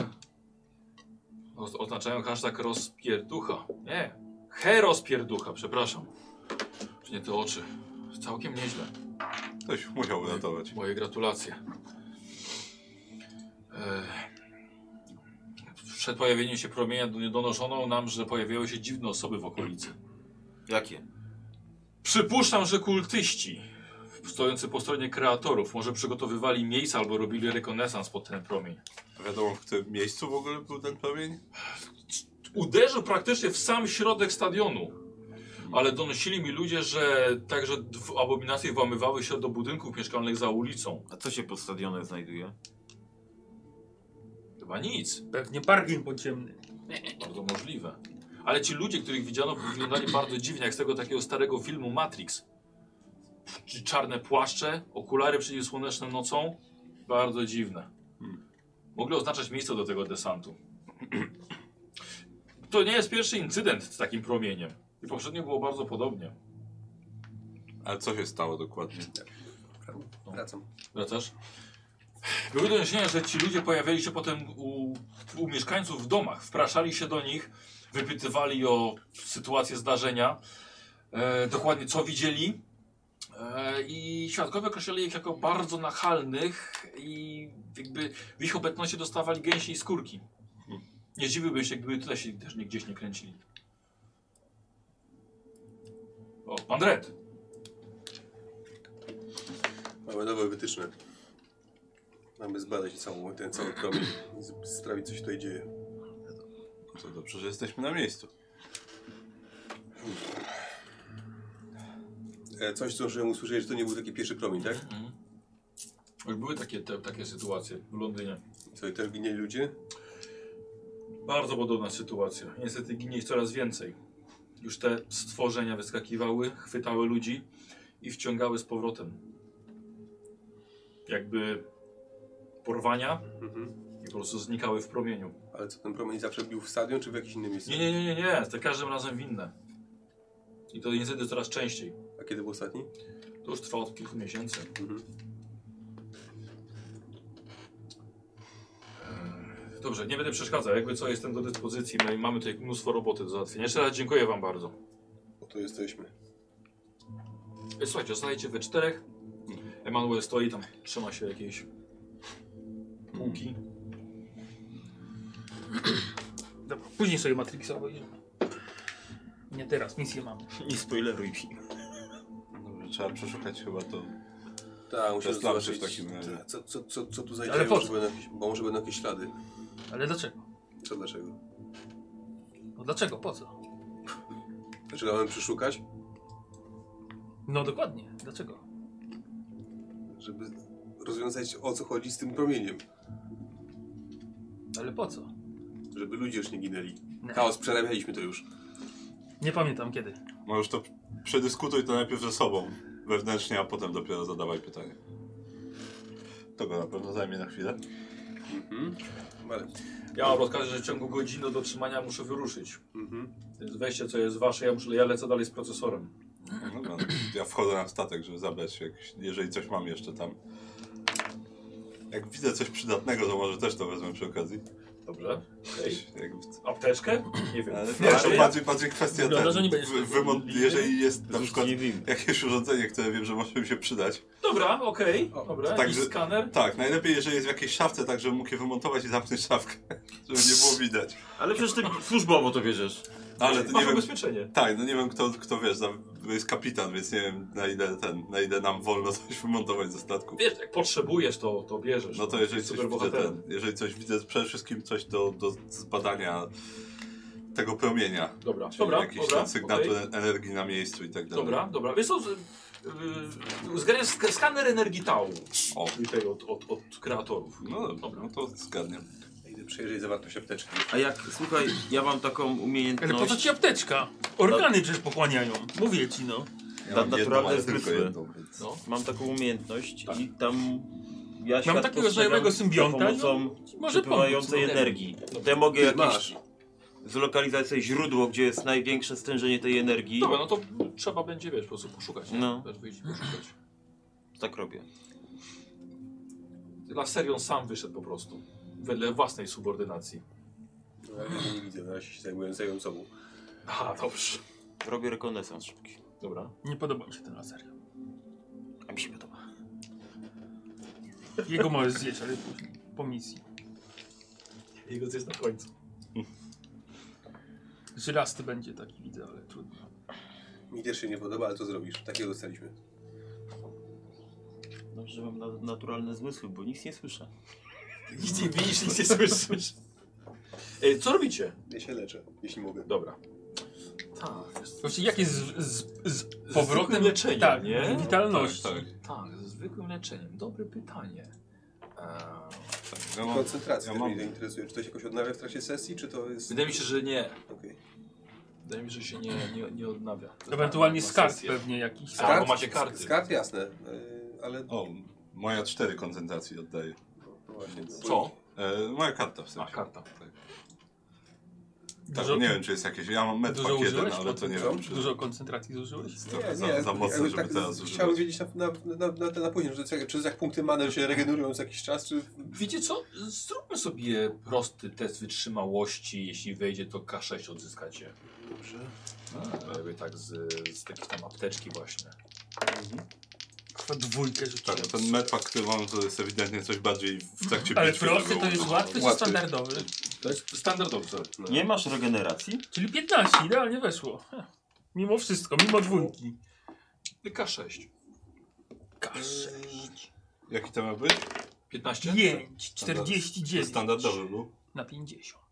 S2: O- Oznaczają hashtag rozpierducha. Nie, herozpierducha, przepraszam. Czy nie te oczy. Całkiem nieźle.
S3: Ktoś musiał uratować.
S2: Moje gratulacje. E, Przed pojawieniem się promienia don- donoszono nam, że pojawiały się dziwne osoby w okolicy.
S10: Jakie?
S2: Przypuszczam, że kultyści stojący po stronie kreatorów może przygotowywali miejsca albo robili rekonesans pod ten promień.
S3: A wiadomo, w którym miejscu w ogóle był ten promień?
S2: uderzył praktycznie w sam środek stadionu. Ale donosili mi ludzie, że także dw- abominacje włamywały się do budynków mieszkalnych za ulicą.
S10: A co się pod stadionem znajduje?
S2: Chyba nic,
S1: Pewnie parking podziemny.
S2: bardzo możliwe. Ale ci ludzie, których widziano, wyglądali bardzo dziwnie, jak z tego takiego starego filmu Matrix. Czy Czarne płaszcze, okulary przeciwsłoneczne nocą. Bardzo dziwne. Mogli oznaczać miejsce do tego desantu. To nie jest pierwszy incydent z takim promieniem. I poprzednio było bardzo podobnie.
S3: Ale co się stało dokładnie?
S5: Wracam.
S2: Wracasz? Były doniesienia, że ci ludzie pojawiali się potem u, u mieszkańców w domach, wpraszali się do nich, wypytywali o sytuację zdarzenia, e, dokładnie co widzieli. E, I świadkowie określali ich jako bardzo nachalnych i jakby w ich obecności dostawali gęsi i skórki. Nie zdziwiłbym się, gdyby tutaj się też nie- gdzieś nie kręcili. O, pan Red.
S5: Mamy nowe wytyczne. Mamy zbadać całą, ten cały promień i z- sprawdzić, co się tutaj dzieje.
S3: To dobrze, że jesteśmy na miejscu.
S5: E, coś, co żebym usłyszeć, że to nie był taki pierwszy promień, tak?
S2: Już były takie, te, takie sytuacje w Londynie.
S5: Co, i też ginęli ludzie?
S2: Bardzo podobna sytuacja. Niestety ginie ich coraz więcej. Już te stworzenia wyskakiwały, chwytały ludzi i wciągały z powrotem. Jakby porwania
S5: Mhm.
S2: i po prostu znikały w promieniu.
S5: Ale co, ten promień zawsze bił w stadion, czy w jakieś inne miejsce?
S2: Nie, nie, nie, nie, nie. Za każdym razem winne. I to niestety coraz częściej.
S5: A kiedy był ostatni?
S2: To już trwa od kilku miesięcy.
S5: Mhm.
S2: Eee,
S6: E, Dobrze, nie będę przeszkadzał. Jakby co, jestem do dyspozycji. My mamy tutaj mnóstwo roboty do załatwienia. Jeszcze raz dziękuję wam bardzo.
S5: Bo tu jesteśmy.
S6: E, Słuchajcie, zostajecie we czterech. Mhm. Emanuel stoi tam, trzyma się jakiejś półki.
S1: Dobra, później sobie Matrixa obejrzymy. Nie teraz, misję mamy.
S9: Nie spoileruj mi.
S3: Dobrze, trzeba przeszukać chyba to.
S5: Tak, musimy
S3: Bez lampy
S5: zobaczyć.
S3: w takim razie.
S5: Tak, Co, co, co, co tu znajdziemy,
S1: po
S5: może
S1: co?
S5: będą jakieś, bo może będą jakieś ślady.
S1: Ale dlaczego?
S5: Co dlaczego?
S1: No dlaczego? Po co?
S5: Dlaczego Znaczy, mamy przeszukać?
S1: No dokładnie, dlaczego?
S5: Żeby rozwiązać o co chodzi z tym promieniem.
S1: Ale po co?
S5: Żeby ludzie już nie ginęli.
S1: Nie,
S5: Chaos, przerabialiśmy to już.
S1: nie pamiętam kiedy.
S3: Możesz to przedyskutuj to najpierw ze sobą wewnętrznie, a potem dopiero zadawaj pytanie. To go na pewno zajmie na chwilę.
S5: Mhm. Ale,
S6: Ja mam rozkaz, że w ciągu godziny do trzymania muszę wyruszyć.
S5: mhm.
S6: Więc weźcie co jest wasze, ja, muszę, ja lecę dalej z procesorem.
S3: Dobra, no, ja wchodzę na statek, żeby zabrać, jak, jeżeli coś mam jeszcze tam. Jak widzę coś przydatnego, to może też to wezmę przy okazji.
S6: Dobrze? Okej.
S3: Jak,
S6: Apteczkę? Nie wiem.
S3: ale nie, to
S6: Ale-
S3: bardziej, bardziej kwestia
S1: Wygląda,
S3: ten,
S1: że nie będziesz
S3: wy-
S1: tego
S3: wymon-
S1: mieli.
S3: Jeżeli jest na przykład
S9: nie wiem.
S3: jakieś urządzenie, które wiem, że może mi się przydać.
S6: Dobra, okej.
S5: O,
S6: Dobra,
S3: tak,
S6: i
S3: że-
S6: skaner.
S3: Tak, najlepiej, jeżeli jest w jakiejś szafce, tak żebym mógł je wymontować i zamknąć szafkę, żeby nie było widać.
S9: Ale przecież ty służbowo to bierzesz.
S3: Ale to
S6: Masz
S3: nie wiem,
S6: ubezpieczenie.
S3: Tak, no nie wiem kto, kto wiesz, za- bo jest kapitan, więc nie wiem na ile ten, na ile nam wolno coś wymontować ze statku.
S6: Wiesz, jak potrzebujesz, to, to bierzesz.
S3: No to jeżeli
S6: Jesteś
S3: coś widzę,
S6: superbohaterem.
S3: ten, jeżeli coś widzę, przede wszystkim coś do, do zbadania tego promienia.
S6: Dobra,
S3: Czyli
S6: dobra,
S3: jakiś
S6: dobra,
S3: ten sygnatu
S6: okej.
S3: en- energii na miejscu i tak dalej.
S6: Dobra, dobra. Wiesz co, z- yy, zgadniam sk- skaner energii tału.
S3: O.
S6: Czyli tej od, od, od kreatorów.
S3: No dobra, no to zgadniam.
S5: idę przejrzeć zawartość apteczki.
S9: A jak, słuchaj, ja mam taką
S1: Ale po co
S9: umiejętność.
S1: ci apteczka? Organy przecież pochłaniają. Mówię ci no.
S3: Ja
S9: Ta-
S3: mam jedną,
S9: naturalne
S3: ale tylko
S9: zmysły.
S3: jedną, więc...
S6: No.
S9: Mam taką umiejętność i tam. Ja świat
S1: takiego
S9: postrzegam
S1: znajomego symbionta, no.
S9: Za pomocą
S1: Może pomóc.
S9: przepływającej
S1: No.
S9: energii. Te mogę
S5: Ty
S9: jakieś
S5: masz.
S9: zlokalizować sobie źródło, gdzie jest największe stężenie tej energii.
S6: Dobra, no to trzeba będzie, wiesz, po prostu poszukać. nie?
S9: No.
S6: Też wyjść i poszukać.
S9: Tak robię.
S6: Laserion sam wyszedł po prostu. Wedle własnej subordynacji.
S5: No, ja nie widzę, na razie się zajmuję zajmuję sobą.
S6: Aha, dobrze.
S9: Robię rekonesans szybki.
S6: Dobra.
S1: Nie podoba mi się ten laser.
S9: A mi się podoba.
S1: Jego możesz zjeść, ale później. Po misji.
S6: Jego jest na końcu.
S1: Żylasty będzie taki widzę, ale trudno.
S5: Mi też się nie podoba, ale to zrobisz. Takiego dostaliśmy.
S9: Dobrze, że mam na naturalne zmysły, bo nic nie słyszę.
S6: Nic nie widzisz, nic nie słyszysz. E, co robicie?
S5: Ja się leczę, jeśli mogę.
S6: Dobra. Tak, jest-
S1: Właściwie jak jest z, z, z
S6: Z
S1: powrotem
S6: zwykłym leczeniem,
S1: tak,
S6: nie?
S1: witalności.
S3: Tak, tak.
S6: tak, ze zwykłym leczeniem. Dobre pytanie.
S2: Eee,
S6: E,
S3: Tak, ja mam,
S5: Koncentracja
S3: ja
S5: też
S3: mam-
S5: mnie to interesuje. Czy to się jakoś odnawia w trakcie sesji, czy to jest...
S6: wydaje mi się, że nie.
S5: Okej.
S6: Wydaje mi się, że się nie, nie, nie odnawia.
S1: Ewentualnie z kart
S6: Sesję.
S1: pewnie jakiś.
S6: A,
S3: Tak,
S6: bo macie karty.
S5: Z kart, jasne. Yy, ale...
S3: o, moja cztery koncentracji oddaję.
S5: No właśnie, no.
S6: Co?
S3: E, moja karta w sensie.
S6: A, karta.
S3: Tak,
S1: Dużo,
S3: nie wiem czy jest jakieś, ja mam
S1: dużo
S3: medpak jeden,
S1: użyłeś?
S3: ale to nie
S5: Co?
S3: wiem czy...
S1: Dużo koncentracji zużyłeś?
S3: Trochę za, za mocno,
S5: jakby
S3: żeby
S9: tak
S3: teraz
S5: Chciałbym
S3: używać.
S5: wiedzieć na, na, na, na, na, na później, że, co- czy jak punkty many się regenerują za jakiś czas, czy...
S6: Wiecie co? Zróbmy sobie prosty test wytrzymałości. Jeśli wejdzie, to K6 odzyskacie.
S5: Dobrze.
S6: A, jakby tak z, z takiej tam apteczki właśnie.
S1: Chyba dwójkę
S3: Tak,
S1: rzuciłem.
S3: no ten medpak, który mam, to jest ewidentnie coś bardziej w trakcie
S1: Ale
S3: bitwy
S1: prosty
S3: było
S1: to jest
S3: używane.
S1: łatwy czy
S5: Łatwy.
S1: standardowy?
S6: To jest standardowy.
S9: Nie masz regeneracji?
S1: Czyli 15, idealnie weszło. Heh. Mimo wszystko, mimo dwójki.
S6: K6.
S3: Jaki to ma być?
S6: 15?
S1: 5, 49
S3: Standardowy był?
S1: na 50.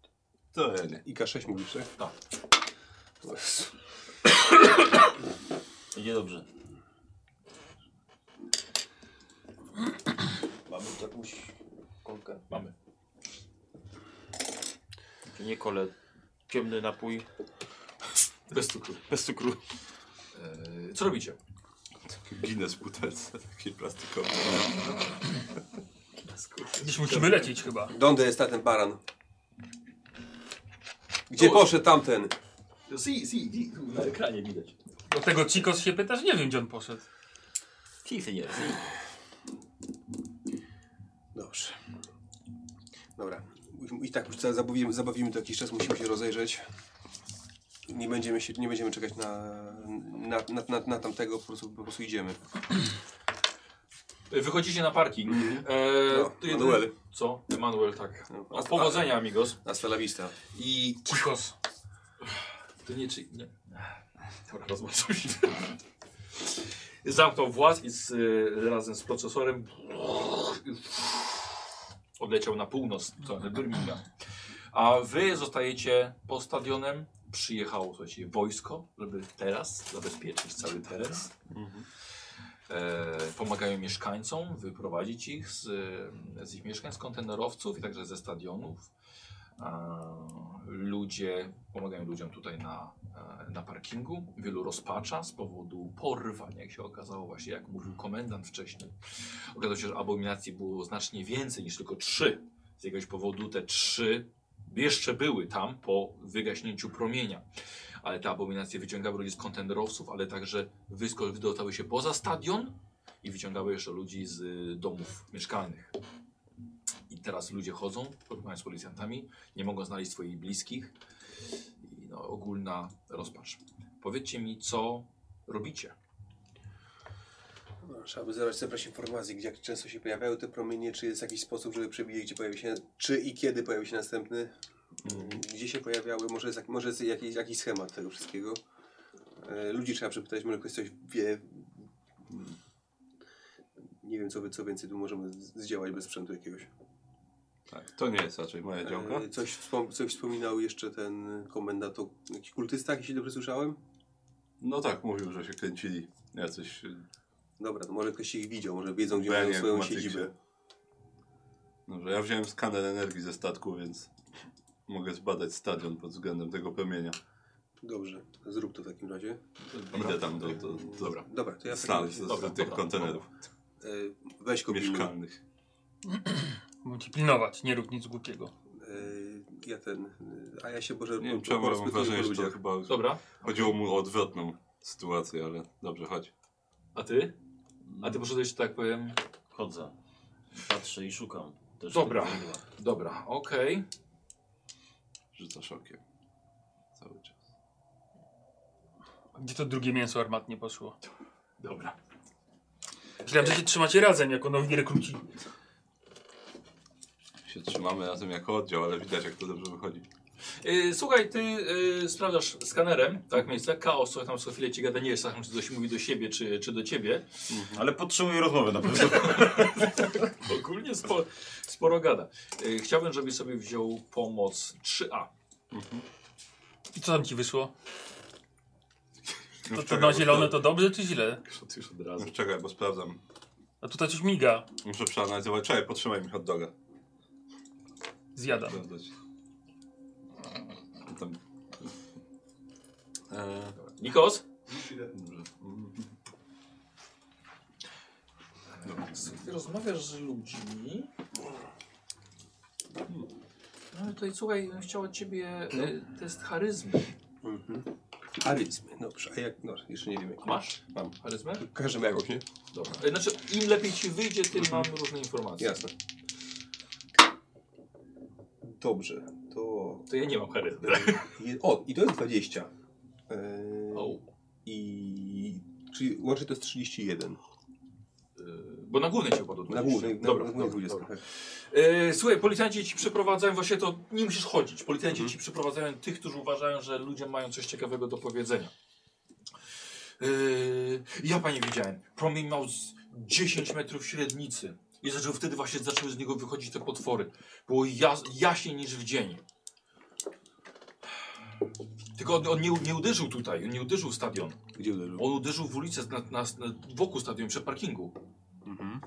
S3: To ja nie.
S5: I K6 mówisz, tak?
S6: Tak.
S9: Idzie dobrze. Mamy tu jakąś kolkę?
S6: Mamy.
S9: Czy nie kole? Ciemny napój.
S6: Bez cukru.
S9: Bez cukru.
S6: Eee, co robicie?
S3: Ginę z butelce takiej plastikowej.
S1: Gdzieś musimy lecieć chyba.
S5: Donde jest ten baran? Gdzie
S6: Tu.
S5: poszedł tamten?
S6: Si, si, si, na ekranie widać.
S1: Do tego Cikos się pytasz? Nie wiem gdzie on poszedł.
S9: Si, senior.
S5: Dobrze. Dobra. I tak już za- zabawimy, zabawimy to jakiś czas, musimy się rozejrzeć. Nie będziemy, się, nie będziemy czekać na, na, na, na, na tamtego, po prostu, po prostu idziemy.
S6: E,
S2: Wychodzicie na parking.
S6: Mhm.
S5: No,
S2: Eee,
S5: Manuel.
S2: Co? Emanuel, tak.
S5: No,
S2: No, powodzenia, amigos.
S5: Hasta la vista.
S2: I Chicos. To nie czy... Nie. Dobra, rozłączył się. Zamknął włas i z, y, razem z procesorem odleciał na północ, w stronę Birmingham. A wy zostajecie po stadionem. Przyjechało, słuchajcie, wojsko, żeby teraz zabezpieczyć cały teren. E, pomagają mieszkańcom wyprowadzić ich z, y, z ich mieszkań, z kontenerowców i także ze stadionów. E, ludzie pomagają ludziom tutaj na, e, na parkingu. Wielu rozpacza z powodu porwań, jak się okazało, właśnie jak mówił komendant wcześniej. Okazało się, że abominacji było znacznie więcej niż tylko trzy. Z jakiegoś powodu te trzy jeszcze były tam po wygaśnięciu promienia. Ale te abominacje wyciągały ludzi z kontenerowców, ale także wysko- wydostały się poza stadion i wyciągały jeszcze ludzi z y, domów mieszkalnych. I teraz ludzie chodzą, porównują z policjantami, nie mogą znaleźć swoich bliskich. I no, ogólna rozpacz. Powiedzcie mi, co robicie.
S5: No, Trzeba by zebrać, zebrać informacji, gdzie jak często się pojawiają te promienie, czy jest jakiś sposób, żeby przewidzieć, gdzie pojawi się, czy i kiedy pojawi się następny,
S3: Mhm.
S5: gdzie się pojawiały, może jest, jak- może jest jakiś, jakiś schemat tego wszystkiego. E, Ludzi trzeba przepytać, może ktoś coś wie. Nie wiem, co, wy- co więcej tu możemy z- zdziałać bez sprzętu jakiegoś.
S3: Tak, to nie jest raczej moja działka.
S5: E, Coś, wspom- coś wspominał jeszcze ten komendant o jakichś kultystach, jeśli dobrze słyszałem.
S3: No tak, mówił, że się kręcili jacyś... y,
S5: Dobra, to może ktoś ich widział, może wiedzą, gdzie
S3: Pewnie
S5: mają swoją
S3: w Matrixie.
S5: siedzibę.
S3: Dobrze, no, ja wziąłem skaner energii ze statku, więc mogę zbadać stadion pod względem tego promienia.
S5: Dobrze, zrób to w takim razie.
S3: Idę tam do, do, do,
S5: Dobra, dobra to ja w takim
S3: Stan,
S5: razie-
S3: z,
S2: Dobra,
S3: z tych
S2: dobra.
S3: kontenerów
S5: E, Weź go pilnuj.
S3: mieszkalnych.
S1: Mam ci pilnować, nie rób nic głupiego.
S5: E, Ja ten. e, A ja się Boże.
S3: Nie wiem
S5: po-
S3: czemu, ale mam
S5: porozpytuję
S3: wrażenie,
S5: po
S3: że to
S5: ludziach.
S3: chyba
S2: Dobra,
S3: chodziło mu o odwrotną sytuację, ale dobrze, chodź.
S2: a ty? A ty poszedłeś, że tak powiem.
S4: Chodzę, patrzę i szukam. Też
S2: Dobra.
S4: tego źródła.
S2: Dobra, okej.
S3: Rzuca szokiem. Cały czas.
S1: Gdzie to drugie mięso armatnie poszło?
S2: Dobra.
S1: Myślałem, że się trzymacie razem jako nowi rekruci.
S3: Się trzymamy razem jako oddział, ale widać jak to dobrze wychodzi.
S2: Y, słuchaj, ty y, sprawdzasz skanerem, tak, miejsce. Chaos, co tam co chwilę ci gada, nie jest czy coś mówi do siebie, czy, czy do ciebie.
S4: Ale potrzebuję rozmowy na pewno.
S2: Ogólnie sporo, sporo gada. Y, chciałbym, żebyś sobie wziął pomoc 3A.
S1: I co tam ci wyszło? To,
S3: Już
S1: to
S3: czekaj,
S1: na
S3: bo
S1: zielone to dobrze czy źle?
S2: Już, już od razu.
S3: Już czekaj, bo sprawdzam.
S1: A tutaj coś miga.
S3: Muszę przeanalizować. Czekaj, potrzymaj mi hot doga.
S1: Zjadam.
S3: Sprawdzać. Tam. Eee,
S2: Nikos?
S3: dobrze.
S2: Ty rozmawiasz z ludźmi. No ale tutaj słuchaj, chciał od ciebie e, test charyzmy.
S5: Charyzmy, dobrze. A jak. No, jeszcze nie wiem. Jak
S2: Masz?
S5: Mam.
S2: Charyzmę?
S5: Każemy jakoś, nie?
S2: Dobra. E, Znaczy, im lepiej ci wyjdzie, tym mam różne informacje.
S5: Jasne. Dobrze, to. E,
S2: To ja nie mam charyzmy.
S5: Je... O, i to jest 20. E,
S2: O, e,
S5: I. Czyli łącznie to jest 31.
S2: E, Bo na główny cię upadł.
S5: Na głównej, na,
S2: Dobra,
S5: na
S2: dobra,
S5: głównej 20.
S2: dobra.
S5: tak.
S2: E, słuchaj, policjanci ci przeprowadzają, właśnie to nie musisz chodzić. Policjanci ci przeprowadzają tych, którzy uważają, że ludzie mają coś ciekawego do powiedzenia. E, ja panie widziałem, promień miał z 10 metrów średnicy. I zaczął wtedy właśnie zaczęły z niego wychodzić te potwory. Było jas, jaśniej niż w dzień. Tylko on, on nie, u- nie uderzył tutaj, on nie uderzył w stadion.
S5: Gdzie uderzył?
S2: On uderzył w ulicę na, na, na, wokół stadionu, przy parkingu.
S5: Mhm.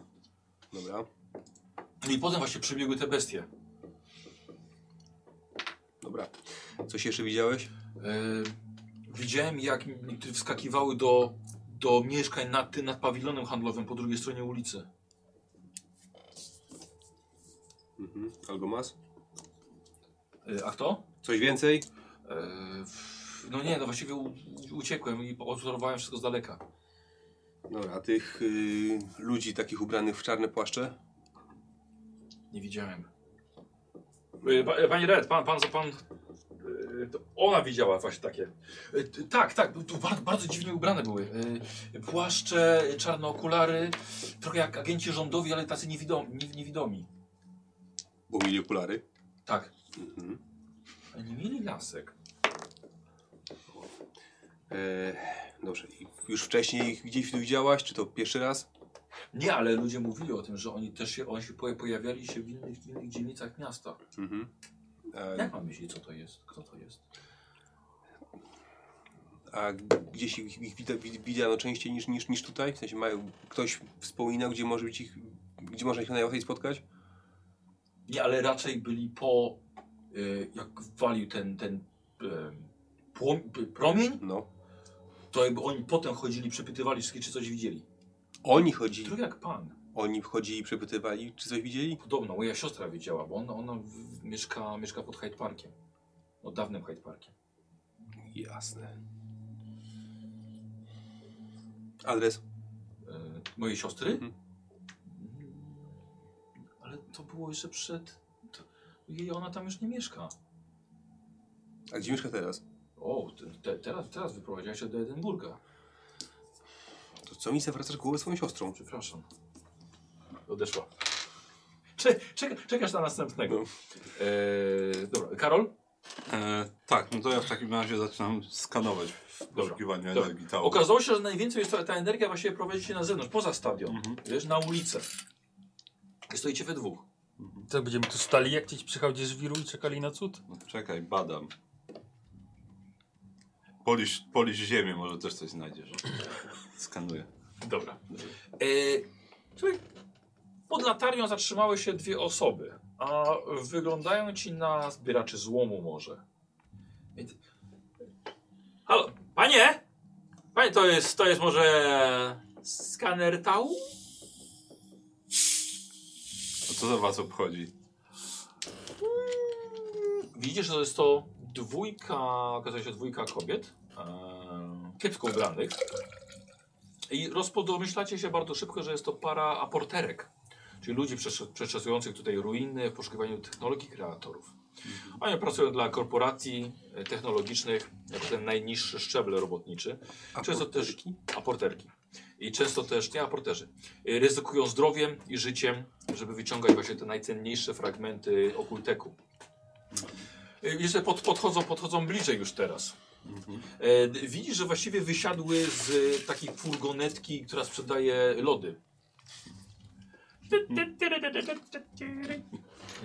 S5: Dobra,
S2: No I potem właśnie przebiegły te bestie.
S5: dobra. Coś jeszcze widziałeś?
S2: E, widziałem, jak m- ty wskakiwały do, do mieszkań nad, tym- nad pawilonem handlowym po drugiej stronie ulicy.
S5: Mhm. Albo mas?
S2: E, a kto?
S5: Coś więcej?
S2: E, w- no nie, no właściwie u, uciekłem i obserwowałem wszystko z daleka.
S5: Dobra, a tych y, ludzi takich ubranych w czarne płaszcze?
S2: Nie widziałem. Y, pa- Pani Red, pan, pan, pan, y, to ona widziała właśnie takie. Y, t- Tak, tak, tu bardzo, bardzo dziwnie ubrane były. Y, Płaszcze, czarne okulary, trochę jak agenci rządowi, ale tacy niewidomi. Nie, niewidomi.
S5: Bo mieli okulary.
S2: Tak.
S5: Mhm.
S2: Ale Nie mieli lasek.
S5: E, dobrze, I już wcześniej ich gdzieś tu widziałaś, czy to pierwszy raz?
S2: Nie, ale ludzie mówili o tym, że oni też się, oni się poja- pojawiali się w innych, w innych dzielnicach miasta.
S5: Mhm. E,
S2: Jak mam myśli, co to jest? Kto to jest?
S5: a gdzieś ich, ich wida- wi- widziano częściej niż, niż, niż tutaj? W sensie mają, ktoś wspomina, gdzie może być ich, gdzie można ich najłatwiej spotkać?
S2: Nie, ale raczej byli po. Y, jak walił ten. ten y, płom- promień,
S5: No.
S2: to jakby oni potem chodzili, przepytywali wszystkich, czy coś widzieli.
S5: Oni chodzili,
S2: Trochę jak pan.
S5: oni chodzili i przepytywali, czy coś widzieli?
S2: Podobno moja siostra wiedziała, bo ona, ona w- w- mieszka, mieszka pod Hyde Parkiem. No dawnym Hyde Parkiem.
S5: Jasne. Adres?
S2: E, mojej siostry?
S5: Mhm.
S2: Ale to było jeszcze przed... To, jej ona tam już nie mieszka.
S5: A gdzie mieszka teraz?
S2: O, te, te, teraz, teraz wyprowadziła się do Edynburga.
S5: To co mi zawracasz głowę swoją siostrą?
S2: Przepraszam. Odeszła. Cze, czeka, czekasz na następnego.
S5: No.
S2: E, dobra, Karol?
S3: E, tak, no to ja w takim razie zaczynam skanować w poszukiwaniu
S2: Dobra.
S3: energii tau.
S2: Okazało się, że najwięcej jest ta, ta energia właściwie prowadzi się na zewnątrz, poza stadion. Wiesz, na ulicę. I stoicie we dwóch.
S1: To będziemy tu stali, jak gdzieś przychodzi z wiru i czekali na cud?
S3: No, czekaj, badam. Polisz, polisz ziemię, może też coś znajdziesz. Skanuję.
S2: Dobra. E, słuchaj, pod latarnią zatrzymały się dwie osoby, a wyglądają ci na zbieraczy złomu może. Więc- Halo, panie! Panie, to jest, to jest może skaner tału?
S3: A No co za was obchodzi?
S2: Widzisz, że jest to dwójka, okazuje się dwójka kobiet, e, kiepsko ubranych. I rozpodomyślacie się bardzo szybko, że jest to para aporterek, czyli ludzi przesz- przeczesujących tutaj ruiny w poszukiwaniu technologii kreatorów. Oni pracują dla korporacji e, technologicznych jako ten najniższy szczebel robotniczy. Często też aporterki. I często też, nie aporterzy, e, ryzykują zdrowiem i życiem, żeby wyciągać właśnie te najcenniejsze fragmenty okulteku. Y, Jeszcze pod, podchodzą, podchodzą bliżej już teraz. E, d- widzisz, że właściwie wysiadły z y, takiej furgonetki, która sprzedaje lody.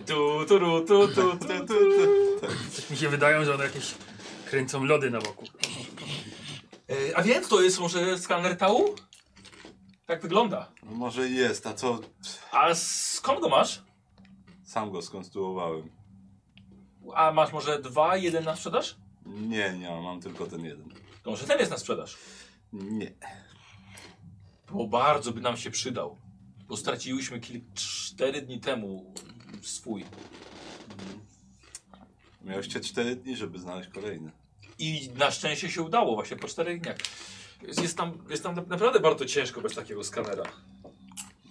S2: Tu, tu, ru, tu, tu, tu, tu.
S1: Coś Tak mi się wydają, że one jakieś kręcą lody na boku.
S2: E, A więc to jest może skaner tału? Tak wygląda.
S3: No może jest, a co?
S2: A skąd go masz?
S3: Sam go skonstruowałem.
S2: A masz może dwa, jeden na sprzedaż?
S3: Nie, nie, mam tylko ten jeden.
S2: To może ten jest na sprzedaż.
S3: Nie.
S2: Bo bardzo by nam się przydał. Bo straciłyśmy kilk, cztery dni temu swój.
S3: Miałeście 4 dni, żeby znaleźć kolejny.
S2: I na szczęście się udało właśnie po czterech dniach. Jest jest tam, jest tam na- naprawdę bardzo ciężko bez takiego skanera.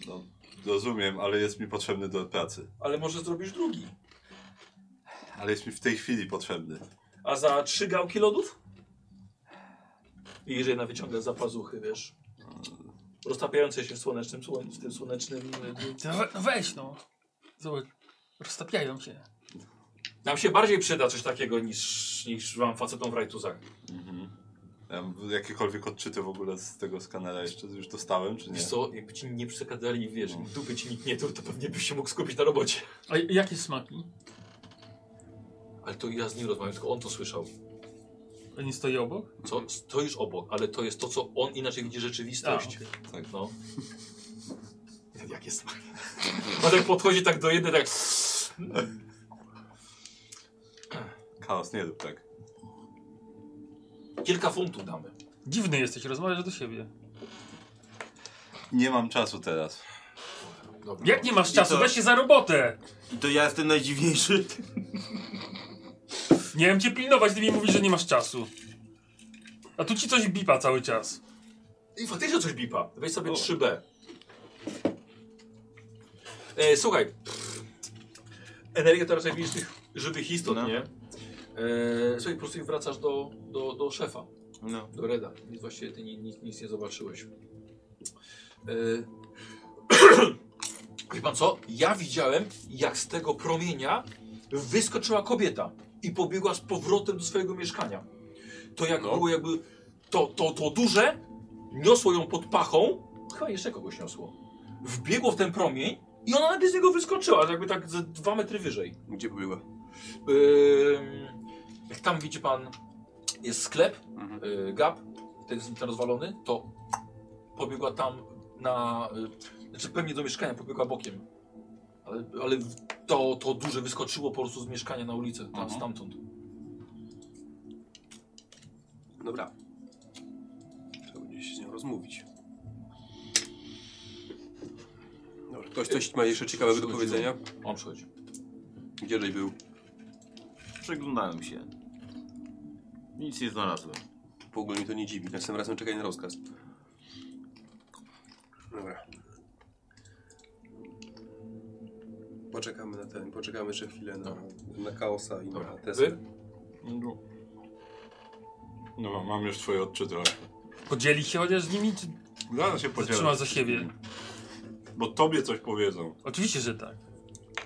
S3: No, rozumiem, ale jest mi potrzebny do pracy.
S2: Ale może zrobisz drugi.
S3: Ale jest mi w tej chwili potrzebny.
S2: A za trzy gałki lodów? I jeżeli na wyciągę za pazuchy, wiesz. Roztapiające się w słonecznym, słon- w tym słonecznym. y,
S1: No we- no weź no. Zobacz, roztapiają się.
S2: Nam się bardziej przyda coś takiego niż, niż wam facetom w rajtuzach.
S3: Ja jakiekolwiek odczyty w ogóle z tego skanera jeszcze już dostałem, czy nie?
S2: Wiesz co, jakby ci nie przekradali, wiesz, dupy ci nikt nie truł, to pewnie byś się mógł skupić na robocie.
S1: A j- jakie smaki?
S2: Ale to ja z nim rozmawiam, tylko on to słyszał.
S1: Oni stoi obok?
S2: Co, stoisz obok, ale to jest to, co on inaczej widzi rzeczywistość.
S3: Tak.
S2: No. Jak jest smaki? On tak podchodzi tak do jednej, tak...
S3: Chaos, nie rób tak.
S2: Kilka funtów damy.
S1: Dziwny jesteś, rozmawiasz do siebie.
S3: Nie mam czasu teraz.
S2: Dobra.
S1: Jak nie masz czasu,
S4: co?
S1: weź się za robotę!
S4: I to ja jestem najdziwniejszy.
S1: Nie wiem cię pilnować, ty mi mówisz, że nie masz czasu. A tu ci coś bipa cały czas.
S2: I faktycznie coś bipa. Weź sobie 3B. E, słuchaj.
S6: energię to raczej widzisz tych żywych istot,
S2: No.
S6: nie?
S2: E,
S6: Eee, słuchaj, po prostu ich wracasz do, do, do szefa,
S2: No.
S6: do Reda, więc właściwie ty ni- nic, nic nie zobaczyłeś. Eee, wie pan co? Ja widziałem, jak z tego promienia wyskoczyła kobieta i pobiegła z powrotem do swojego mieszkania. To jak
S5: No.
S6: było jakby to, to, to duże, niosło ją pod pachą, chyba jeszcze kogoś niosło, wbiegło w ten promień i ona nagle z niego wyskoczyła, jakby tak ze dwa metry wyżej.
S5: Gdzie była?
S6: Ym, jak tam widzi pan, jest sklep,
S5: Mhm.
S6: y, Gap, ten jest ten rozwalony, to pobiegła tam na. Y, znaczy pewnie do mieszkania pobiegła bokiem. Ale, ale w- to, to duże wyskoczyło po prostu z mieszkania na ulicę, tam
S2: Mhm.
S6: stamtąd.
S5: Dobra. Trzeba będzie się z nią rozmówić. Dobra, ktoś coś ma jeszcze ciekawego do powiedzenia?
S6: On przychodzi.
S5: Gdzie żeś był?
S2: Przeglądałem się. Nic nie znalazłem.
S5: W ogóle mi to nie dziwi. Następnym razem czekaj na rozkaz. Dobra. Poczekamy na ten, poczekamy jeszcze chwilę na, na chaosa i na
S6: Dobra.
S5: Tesla.
S6: Wy?
S3: No, mam już twoje odczyty. trochę.
S1: Podzieli się chociaż z nimi, czy
S3: Zaraz się
S1: zatrzyma
S3: podzielę,
S1: za siebie?
S3: bo tobie coś powiedzą.
S1: Oczywiście, że tak.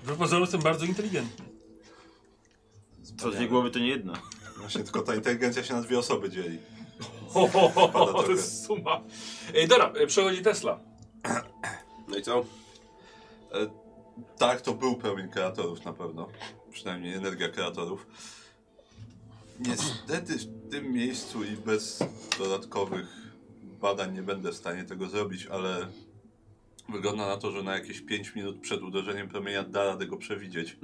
S1: W pozoru jestem bardzo inteligentny.
S9: Co dwie głowy to nie jedna.
S3: Właśnie tylko ta inteligencja się na dwie osoby dzieli.
S6: Ho, ho, ho,
S3: Pada
S6: ho, to jest suma. Ej, dobra, y, przechodzi Tesla.
S5: No i co?
S3: Tak, to był promień kreatorów na pewno. Przynajmniej energia kreatorów. Niestety w tym miejscu i bez dodatkowych badań nie będę w stanie tego zrobić, ale wygląda na to, że na jakieś 5 minut przed uderzeniem promienia da radę go przewidzieć,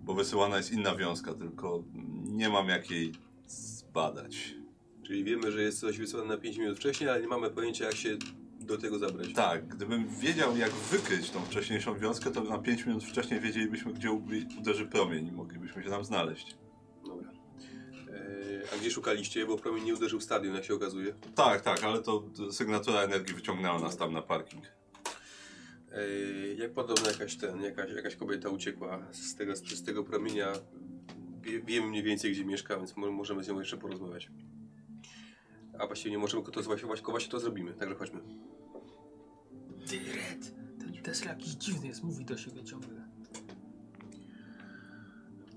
S3: bo wysyłana jest inna wiązka, tylko nie mam jak jej zbadać.
S5: Czyli wiemy, że jest coś wysłane na 5 minut wcześniej, ale nie mamy pojęcia jak się do tego zabrać.
S3: Tak, gdybym wiedział jak wykryć tą wcześniejszą wiązkę, to na 5 minut wcześniej wiedzielibyśmy, gdzie ubi- uderzy promień i moglibyśmy się tam znaleźć.
S5: Dobra. Eee, a gdzie szukaliście? Bo promień nie uderzył w stadion, jak się okazuje.
S3: Tak, tak, ale to sygnatura energii wyciągnęła nas tam na parking.
S5: Eee, jak podobno jakaś ten, jakaś, jakaś kobieta uciekła z tego, z tego promienia. Wie, wiemy mniej więcej, gdzie mieszka, więc mo- możemy z nią jeszcze porozmawiać. A właściwie nie możemy, tylko to właśnie, właśnie, właśnie to zrobimy, także chodźmy.
S1: Ty, Red, ten Tesla jakiś dziwny jest, mówi do siebie ciągle.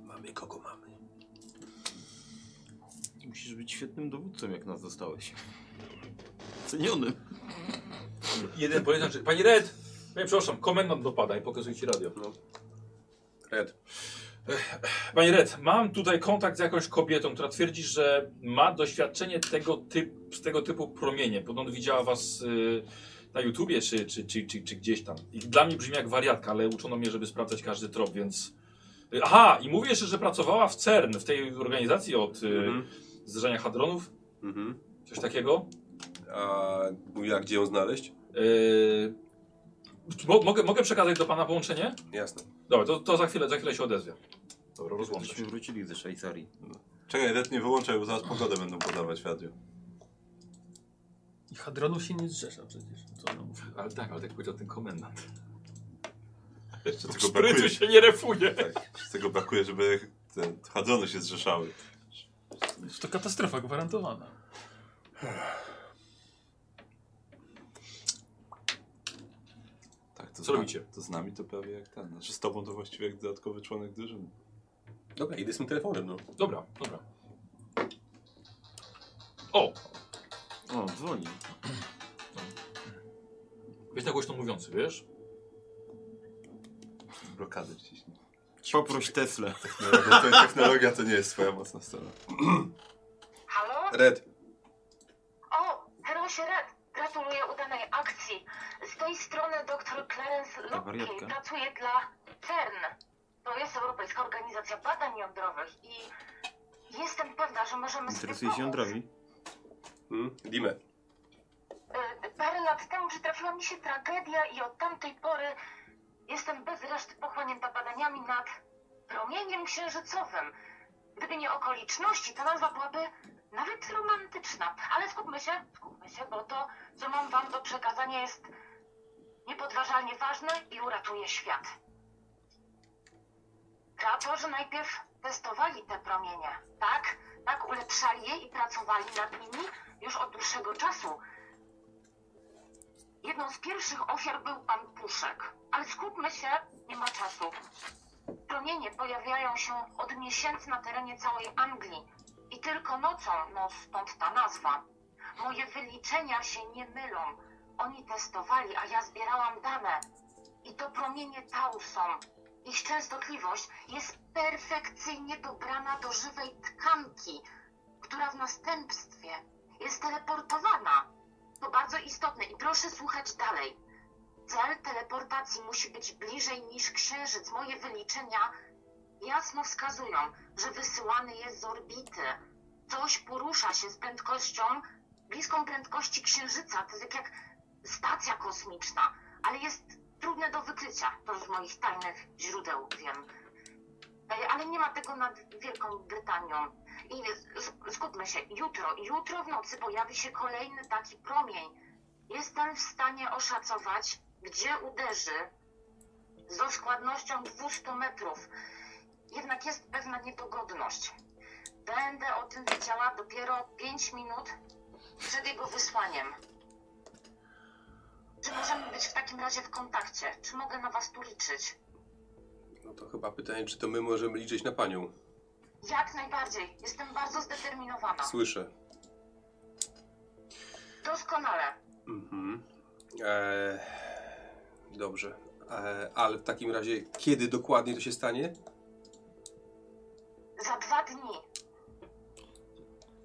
S5: Mamy kogo mamy.
S9: Musisz być świetnym dowódcą, jak nas dostałeś. Cenionym.
S6: Jeden policjant, czy- pani Red! Nie, przepraszam, komendant dopada i pokazuje ci radio.
S5: Red.
S6: Panie Red, mam tutaj kontakt z jakąś kobietą, która twierdzi, że ma doświadczenie tego typ, z tego typu promienie. Podobno widziała was y, na YouTubie czy, czy, czy, czy, czy gdzieś tam. I dla mnie brzmi jak wariatka, ale uczono mnie, żeby sprawdzać każdy trop, więc... Y, Aha, i mówi jeszcze, że pracowała w CERN, w tej organizacji od y,
S5: Mhm.
S6: zderzenia hadronów,
S5: Mhm.
S6: coś takiego.
S5: A mówiła, gdzie ją znaleźć?
S6: Y, mo, mogę, mogę przekazać do pana połączenie?
S5: Jasne.
S6: Dobra, to, to za, chwilę, za chwilę się odezwie. Dobra, rozłączę się.
S9: Myśmy wrócili ze Szwajcarii.
S3: Czekaj, Red nie wyłączaj, bo zaraz pogodę będą podawać w radio.
S1: I hadronów się nie zrzesza przecież. Co ona mówi?
S6: Ale tak, ale tak powiedział ten komendant.
S3: Jeszcze tego
S6: Sprytu
S3: brakuje,
S6: się nie refuje.
S3: tak, jeszcze tego brakuje żeby te chadzone się zrzeszały.
S1: To katastrofa gwarantowana.
S3: Tak, to
S6: Co
S3: zna-
S6: robicie?
S3: To z nami to prawie jak ten. Znaczy z tobą to właściwie jak dodatkowy członek drużyny.
S5: Dobra, idę z tym telefonem, no.
S6: Dobra, dobra. O!
S9: O, dzwoni.
S6: Jest na głośno mówiący, wiesz?
S3: Blokady wciśnij.
S9: Poproś Tesla.
S3: Technologia to, technologia to nie jest twoja mocna strona.
S11: Halo?
S5: Red.
S11: O, Herosie Red! Gratuluję udanej akcji. Z tej strony dr Clarence Locke
S9: wariatka.
S11: pracuje dla CERN. To jest Europejska Organizacja Badań Jądrowych i jestem pewna, że możemy sobie
S9: Interesuje się
S11: pomóc.
S9: jądrami.
S5: Hmm? Dime.
S11: Y, Parę lat temu przytrafiła mi się tragedia i od tamtej pory jestem bez reszty pochłonięta badaniami nad promieniem księżycowym. Gdyby nie okoliczności, ta nazwa byłaby nawet romantyczna. Ale skupmy się, skupmy się, bo to, co mam wam do przekazania jest niepodważalnie ważne i uratuje świat. Kreatorzy najpierw testowali te promienie, tak? Tak ulepszali je i pracowali nad nimi już od dłuższego czasu. Jedną z pierwszych ofiar był pan Puszek, ale skupmy się, nie ma czasu. Promienie pojawiają się od miesięcy na terenie całej Anglii i tylko nocą, no stąd ta nazwa. Moje wyliczenia się nie mylą. Oni testowali, a ja zbierałam dane. I to promienie tau są. Ich częstotliwość jest perfekcyjnie dobrana do żywej tkanki, która w następstwie jest teleportowana. To bardzo istotne i proszę słuchać dalej. Cel teleportacji musi być bliżej niż księżyc. Moje wyliczenia jasno wskazują, że wysyłany jest z orbity. Coś porusza się z prędkością bliską prędkości księżyca. To jest tak jak stacja kosmiczna, ale jest trudne do wykrycia. To z moich tajnych źródeł wiem. E, Ale nie ma tego nad Wielką Brytanią. I z- skupmy się, jutro, jutro w nocy pojawi się kolejny taki promień. Jestem w stanie oszacować, gdzie uderzy z dokładnością 200 metrów. Jednak jest pewna niedogodność. Będę o tym wiedziała dopiero 5 minut przed jego wysłaniem. Czy możemy być w takim razie w kontakcie? Czy mogę na was tu liczyć?
S5: No to chyba pytanie, czy to my możemy liczyć na panią.
S11: Jak najbardziej. Jestem bardzo zdeterminowana.
S5: Słyszę.
S11: Doskonale.
S5: Mhm. Eee, dobrze. Eee, ale w takim razie, kiedy dokładnie to się stanie?
S11: Za dwa dni.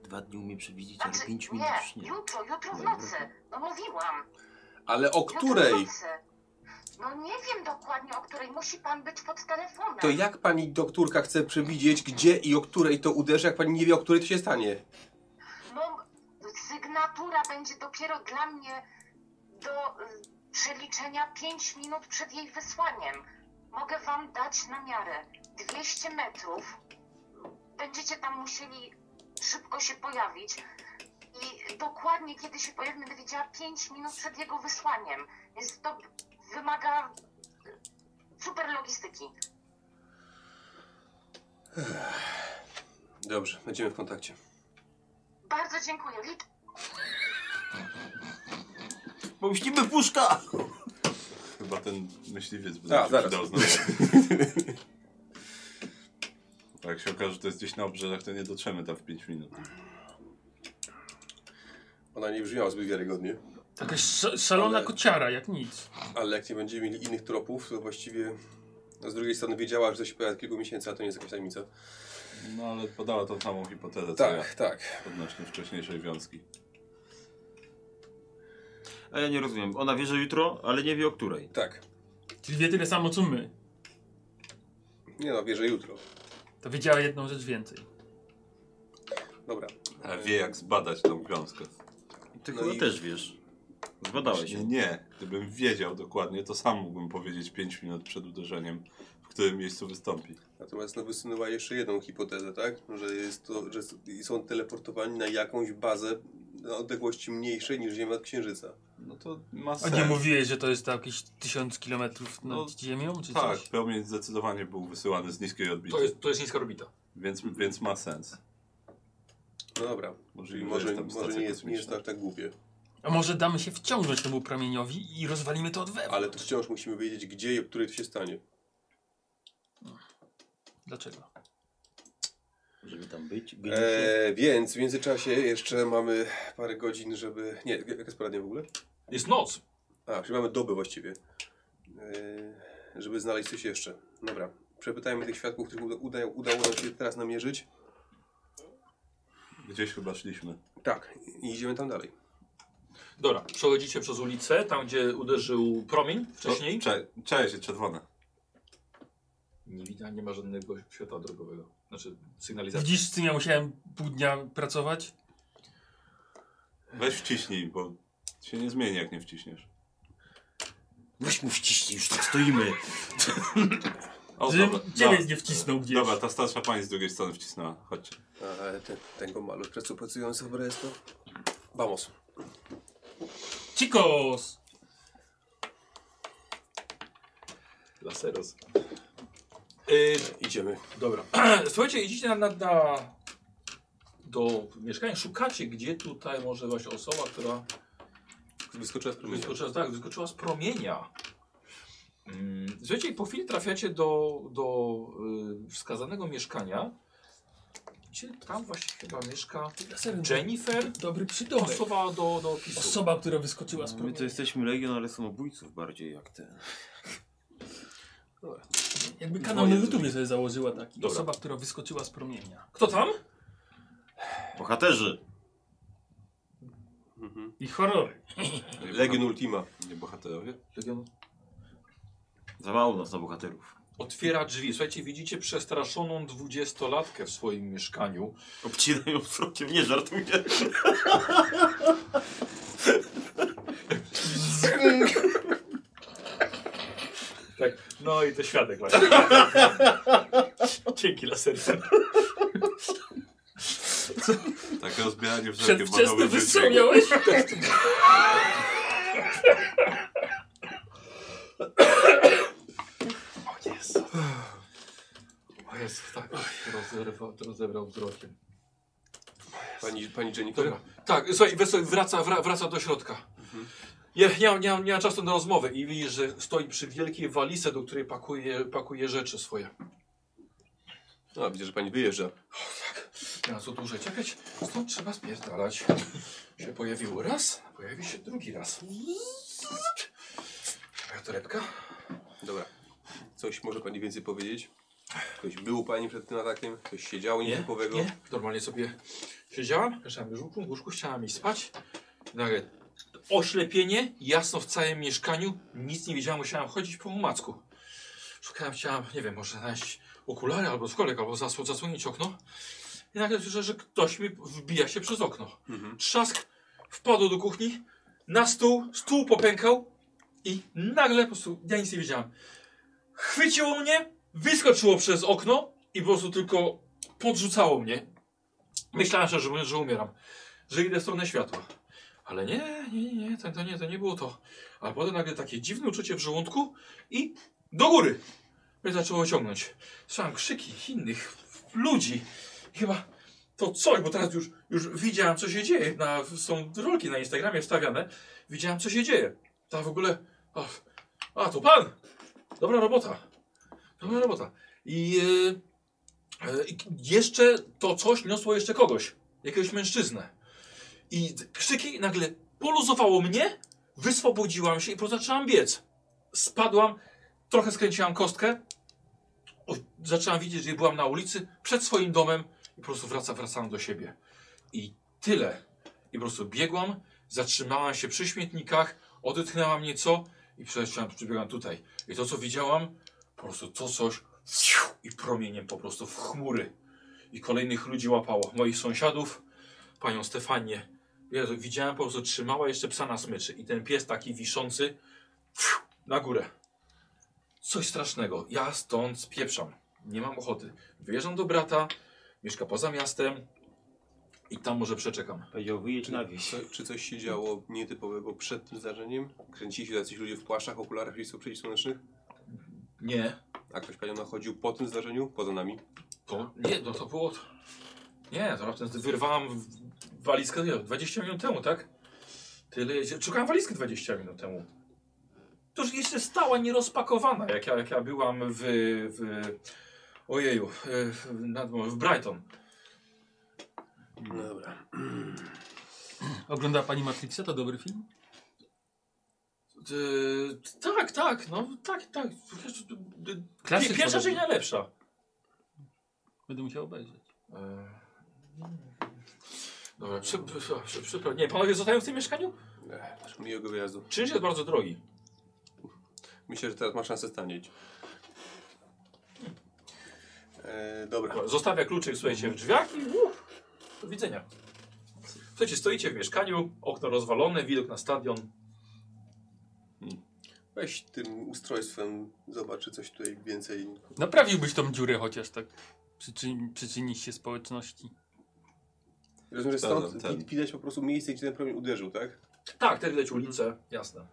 S9: Dwa dni umie przewidzieć, ale
S11: Znaczy,
S9: pięć minut już
S11: nie,
S9: nie.
S11: jutro, jutro w
S9: Dobra.
S11: nocy. No mówiłam.
S5: Ale o
S11: Jutro w
S5: której?
S11: nocy. No nie wiem dokładnie, o której musi pan być pod telefonem.
S5: To jak pani doktorka chce przewidzieć, gdzie i o której to uderzy, jak pani nie wie, o której to się stanie?
S11: Mog- sygnatura będzie dopiero dla mnie do y, przeliczenia 5 minut przed jej wysłaniem. Mogę wam dać na miarę 200 metrów. Będziecie tam musieli szybko się pojawić. I dokładnie kiedy się pojawi, będę wiedziała 5 minut przed jego wysłaniem. Więc to wymaga y, super logistyki.
S5: Dobrze, będziemy w kontakcie.
S11: Bardzo dziękuję. Liczę
S9: Bo mścimy puszka!
S3: Chyba ten myśliwiec by
S5: A,
S3: nam się
S5: zaraz.
S3: przydał znowu. A jak Tak, się okaże, że to jest gdzieś na obrzeżach, to nie dotrzemy tam w 5 minut.
S5: Ona nie brzmiała zbyt wiarygodnie,
S1: Taka sz szalona
S5: Ale-
S1: kociara, jak nic.
S5: ale jak nie będziemy mieli innych tropów, to właściwie no, z drugiej strony wiedziała, że to się pojawia od kilku miesięcy, a to nie jest jakaś tajemnica.
S3: No ale podała tą samą hipotezę, co ja
S5: Tak, tak.
S3: odnośnie wcześniejszej wiązki.
S9: A ja nie rozumiem. Ona wie, że jutro, ale nie wie o której.
S5: Tak.
S1: Czyli wie tyle samo co my.
S5: Nie no, wierzę jutro.
S1: To wiedziała jedną rzecz więcej.
S5: Dobra.
S3: A wie jak zbadać tą wiązkę.
S9: Ty
S5: No
S9: chyba
S5: i-
S9: też wiesz. Zbadałeś
S3: Nie,
S9: się.
S3: nie. Gdybym wiedział dokładnie, to sam mógłbym powiedzieć 5 minut przed uderzeniem, w którym miejscu wystąpi.
S5: Natomiast no, wysunęła jeszcze jedną hipotezę, tak? Że, jest to, że s- są teleportowani na jakąś bazę na odległości mniejszej niż Ziemia od Księżyca.
S3: No to ma
S1: A
S3: sens.
S1: nie mówiłeś, że to jest tam jakieś tysiąc kilometrów nad
S3: No,
S1: ziemią, czy
S3: Tak,
S1: coś?
S3: promień zdecydowanie był wysyłany z niskiej odbicia,
S6: To jest, to jest niska orbita.
S3: więc, więc ma sens.
S5: No dobra, czyli
S3: Możliwe, że
S5: może,
S3: jest tam
S5: może
S3: stacja
S5: nie jest, nie jest
S3: kosmiczna.
S5: tak, tak głupie.
S1: A może damy się wciągnąć temu promieniowi i rozwalimy to od wewnątrz?
S5: Ale to wciąż musimy wiedzieć, gdzie i o której to się stanie.
S1: Dlaczego?
S9: Żeby tam być. Geniusze.
S5: E, więc w międzyczasie jeszcze mamy parę godzin, żeby... Nie, jaka jest pora dnia w ogóle?
S6: Jest noc.
S5: A, czyli mamy doby właściwie. E, żeby znaleźć coś jeszcze. Dobra, przepytajmy tych świadków, których uda, uda, udało nam się teraz namierzyć.
S3: Gdzieś chyba szliśmy.
S5: Tak, i idziemy tam dalej.
S6: Dobra, przechodzicie przez ulicę, tam gdzie uderzył promień wcześniej.
S3: To- Cze cześć, czerwone.
S6: No. Nie widać, nie ma żadnego światła drogowego. Znaczy
S3: Tak.
S6: sygnalizacji.
S1: Widzisz, z tym ja musiałem pół dnia pracować?
S3: Weź wciśnij, bo się nie zmieni jak nie wciśniesz.
S9: Weź mu wciśnij, już tak stoimy.
S3: O,
S1: Żebym
S3: No, dobra,
S1: ciebie
S3: dobra.
S1: nie wcisnął gdzieś.
S3: Dobra, ta starsza pani z drugiej strony wcisnęła. Chodźcie.
S5: Ale te, tego malu pracu pracujący w Bresto. Vamos.
S1: Chicos!
S6: Laseros. Y,
S5: Idziemy.
S6: Dobra. Słuchajcie, idziecie na, na, na do mieszkania, szukacie, gdzie tutaj może właśnie osoba, która
S5: Wyskoczyła z promienia.
S6: wyskoczyła, tak, wyskoczyła z promienia. Mm, Słuchajcie, i po chwili trafiacie do, do y, wskazanego mieszkania, gdzie tam właśnie chyba mieszka Mhm. Jennifer,
S1: Dobry przydomek.
S6: osoba do, do opisu.
S1: Osoba, która wyskoczyła
S3: No,
S1: z
S9: My to
S1: promienia.
S9: jesteśmy legion, ale samobójców bardziej jak ten.
S1: Jakby kanał na YouTube sobie założyła taki.
S6: Dobra.
S1: Osoba, która wyskoczyła z promienia.
S6: Kto tam?
S9: Bohaterzy!
S5: Mhm.
S1: I horrory.
S5: Legion Ultima. Nie bohaterowie.
S6: Legion
S9: Za mało nas na bohaterów.
S6: Otwiera drzwi. Słuchajcie, widzicie przestraszoną dwudziestolatkę w swoim mieszkaniu.
S9: Obcinają wzrokiem, nie żartuję.
S6: Tak. No i to świadek właśnie. Dzięki laserce.
S3: Tak, rozbieranie wszelkie
S1: Przedwczesny
S3: badowe
S1: wystrzał
S3: dzieci.
S1: miałeś?
S6: O jest. O jest, tak. Rozerwał, rozebrał wzrokiem.
S5: Pani, pani Jennifer.
S6: Dobra. Tak, słuchaj, Wesoły wraca, wra, wraca do środka. Nie, nie, mam- nie, mam- nie mam czasu na rozmowę i widzisz, że stoi przy wielkiej walizce, do której pakuje, pakuje rzeczy swoje.
S5: A, No, widzę, że pani wyjeżdża.
S6: Nie ma co dłużej czekać, stąd trzeba spierdalać. Się pojawił raz, pojawi się drugi raz. Moja torebka?
S5: Dobra. Coś może pani więcej powiedzieć? Ktoś był pani przed tym atakiem? Coś się działo
S6: Nie,
S5: nietypowego?
S6: nie. Normalnie sobie siedziałam, leżałam w łóżku, w łóżku chciałam iść spać. Nagle oślepienie, jasno w całym mieszkaniu, nic nie widziałam, musiałam chodzić po umacku. Szukałam, chciałam, nie wiem, może znaleźć okulary albo skolek, albo zasł zasłonić okno. I nagle słyszę, że ktoś mi wbija się przez okno.
S5: Mhm.
S6: Trzask wpadł do kuchni, na stół, stół popękał i nagle po prostu, ja nic nie wiedziałam. Chwyciło mnie, wyskoczyło przez okno i po prostu tylko podrzucało mnie. Myślałem, że, że, że umieram, że idę w stronę światła. Ale nie, nie, nie, to, to nie, to nie było to. A potem nagle takie dziwne uczucie w żołądku i do góry mnie zaczęło ciągnąć. Słyszałem krzyki innych ludzi. Chyba to coś, bo teraz już, już widziałem, co się dzieje. Na, są rolki na Instagramie wstawiane. Widziałem, co się dzieje. Ta w ogóle... A, a to pan! Dobra robota. Dobra robota. I... Yy, E, i k- Jeszcze to coś niosło jeszcze kogoś, jakiegoś mężczyznę. I d- krzyki nagle poluzowało mnie, wyswobodziłam się i po- zaczęłam biec. Spadłam, trochę skręciłam kostkę, o, zaczęłam widzieć, że byłam na ulicy, przed swoim domem i po prostu wraca, wracałam do siebie. I tyle. I po prostu biegłam, zatrzymałam się przy śmietnikach, odetchnęłam nieco i przeleciałam, przybiegłam tutaj. I to, co widziałam, po prostu to coś Ciu! i promieniem po prostu w chmury. I kolejnych ludzi łapało. Moich sąsiadów, panią Stefanię. Jezu, widziałem po prostu, trzymała jeszcze psa na smyczy. I ten pies taki wiszący fiu, na górę. Coś strasznego. Ja stąd spieprzam. Nie mam ochoty. Wyjeżdżam do brata, mieszka poza miastem i tam może przeczekam.
S4: Powiedział, wyjedź na wieś.
S5: Co, czy coś się działo nietypowego przed tym zdarzeniem? Kręcili się jacyś ludzie w płaszczach, okularach i przeciwsłonecznych?
S6: Nie,
S5: A ktoś panią nachodził po tym zdarzeniu? Poza nami?
S6: To nie, no to było. Nie, to raptem wyrwałam w- walizkę nie, 20 minut temu, tak? Tyle jeździ... Szukałem walizki 20 minut temu. To już jeszcze stała nierozpakowana, jak ja, jak ja byłam w. w ojeju, e, w, nad, morzem, w Brighton. Mhm.
S5: Dobra.
S1: Oglądała pani Matrixa, to dobry film?
S6: E, tak, tak, no tak, tak. E,
S1: Klasyk
S6: Pierwsza
S1: podobny.
S6: część najlepsza.
S1: Będę musiał obejrzeć.
S6: E, Dobra, przepraszam. Prze, prze, prze, nie, panowie zostają w tym mieszkaniu?
S5: Ech, Miłego wyjazdu.
S6: Czynsz jest bardzo drogi.
S5: Myślę, że teraz masz szansę stanieć. E, dobra.
S6: Zostawia kluczyk, słuchajcie, w drzwiach i uff, do widzenia. Słuchajcie, stoicie w mieszkaniu, okno rozwalone, widok na stadion.
S5: Weź tym ustrojstwem, zobacz, czy coś tutaj więcej.
S1: Naprawiłbyś tą dziurę chociaż tak. Przyczyni, przyczynić się społeczności.
S5: Rozumiem, że
S3: Dobra,
S5: stąd
S3: ten.
S5: wi- widać po prostu miejsce, gdzie ten promień uderzył, tak?
S6: Tak, tak widać ulicę, jasne.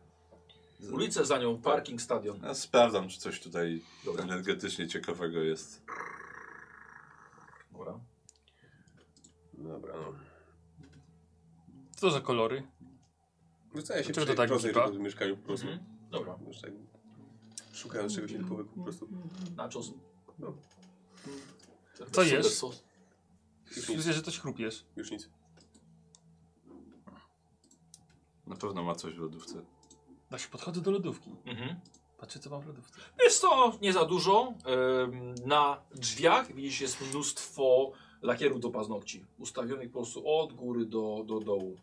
S6: Ulicę za nią, parking, stadion.
S3: Ja sprawdzam, czy coś tutaj
S6: Dobra.
S3: energetycznie ciekawego jest.
S6: Dobra.
S5: Dobra, no.
S1: Co za kolory?
S5: Wycenia się
S1: Czego
S5: przy
S1: to tak Mhm.
S5: rozejrzeć
S1: brzydko?
S5: po tym mieszkaniu po prostu.
S6: Dobra.
S5: Już tak szukając czegoś
S1: Mhm.
S5: innego po prostu.
S6: Nachos.
S5: No.
S1: Co jest?
S6: Sos.
S5: Już nic,
S1: Widzę, że coś chrupiesz.
S5: już nic.
S3: Na pewno ma coś w lodówce.
S1: No się podchodzę do lodówki.
S6: Mhm.
S1: Patrzę, co mam w lodówce.
S6: Jest to nie za dużo. Ym, Na drzwiach widzisz jest mnóstwo lakierów do paznokci. Ustawionych po prostu od góry do, do dołu.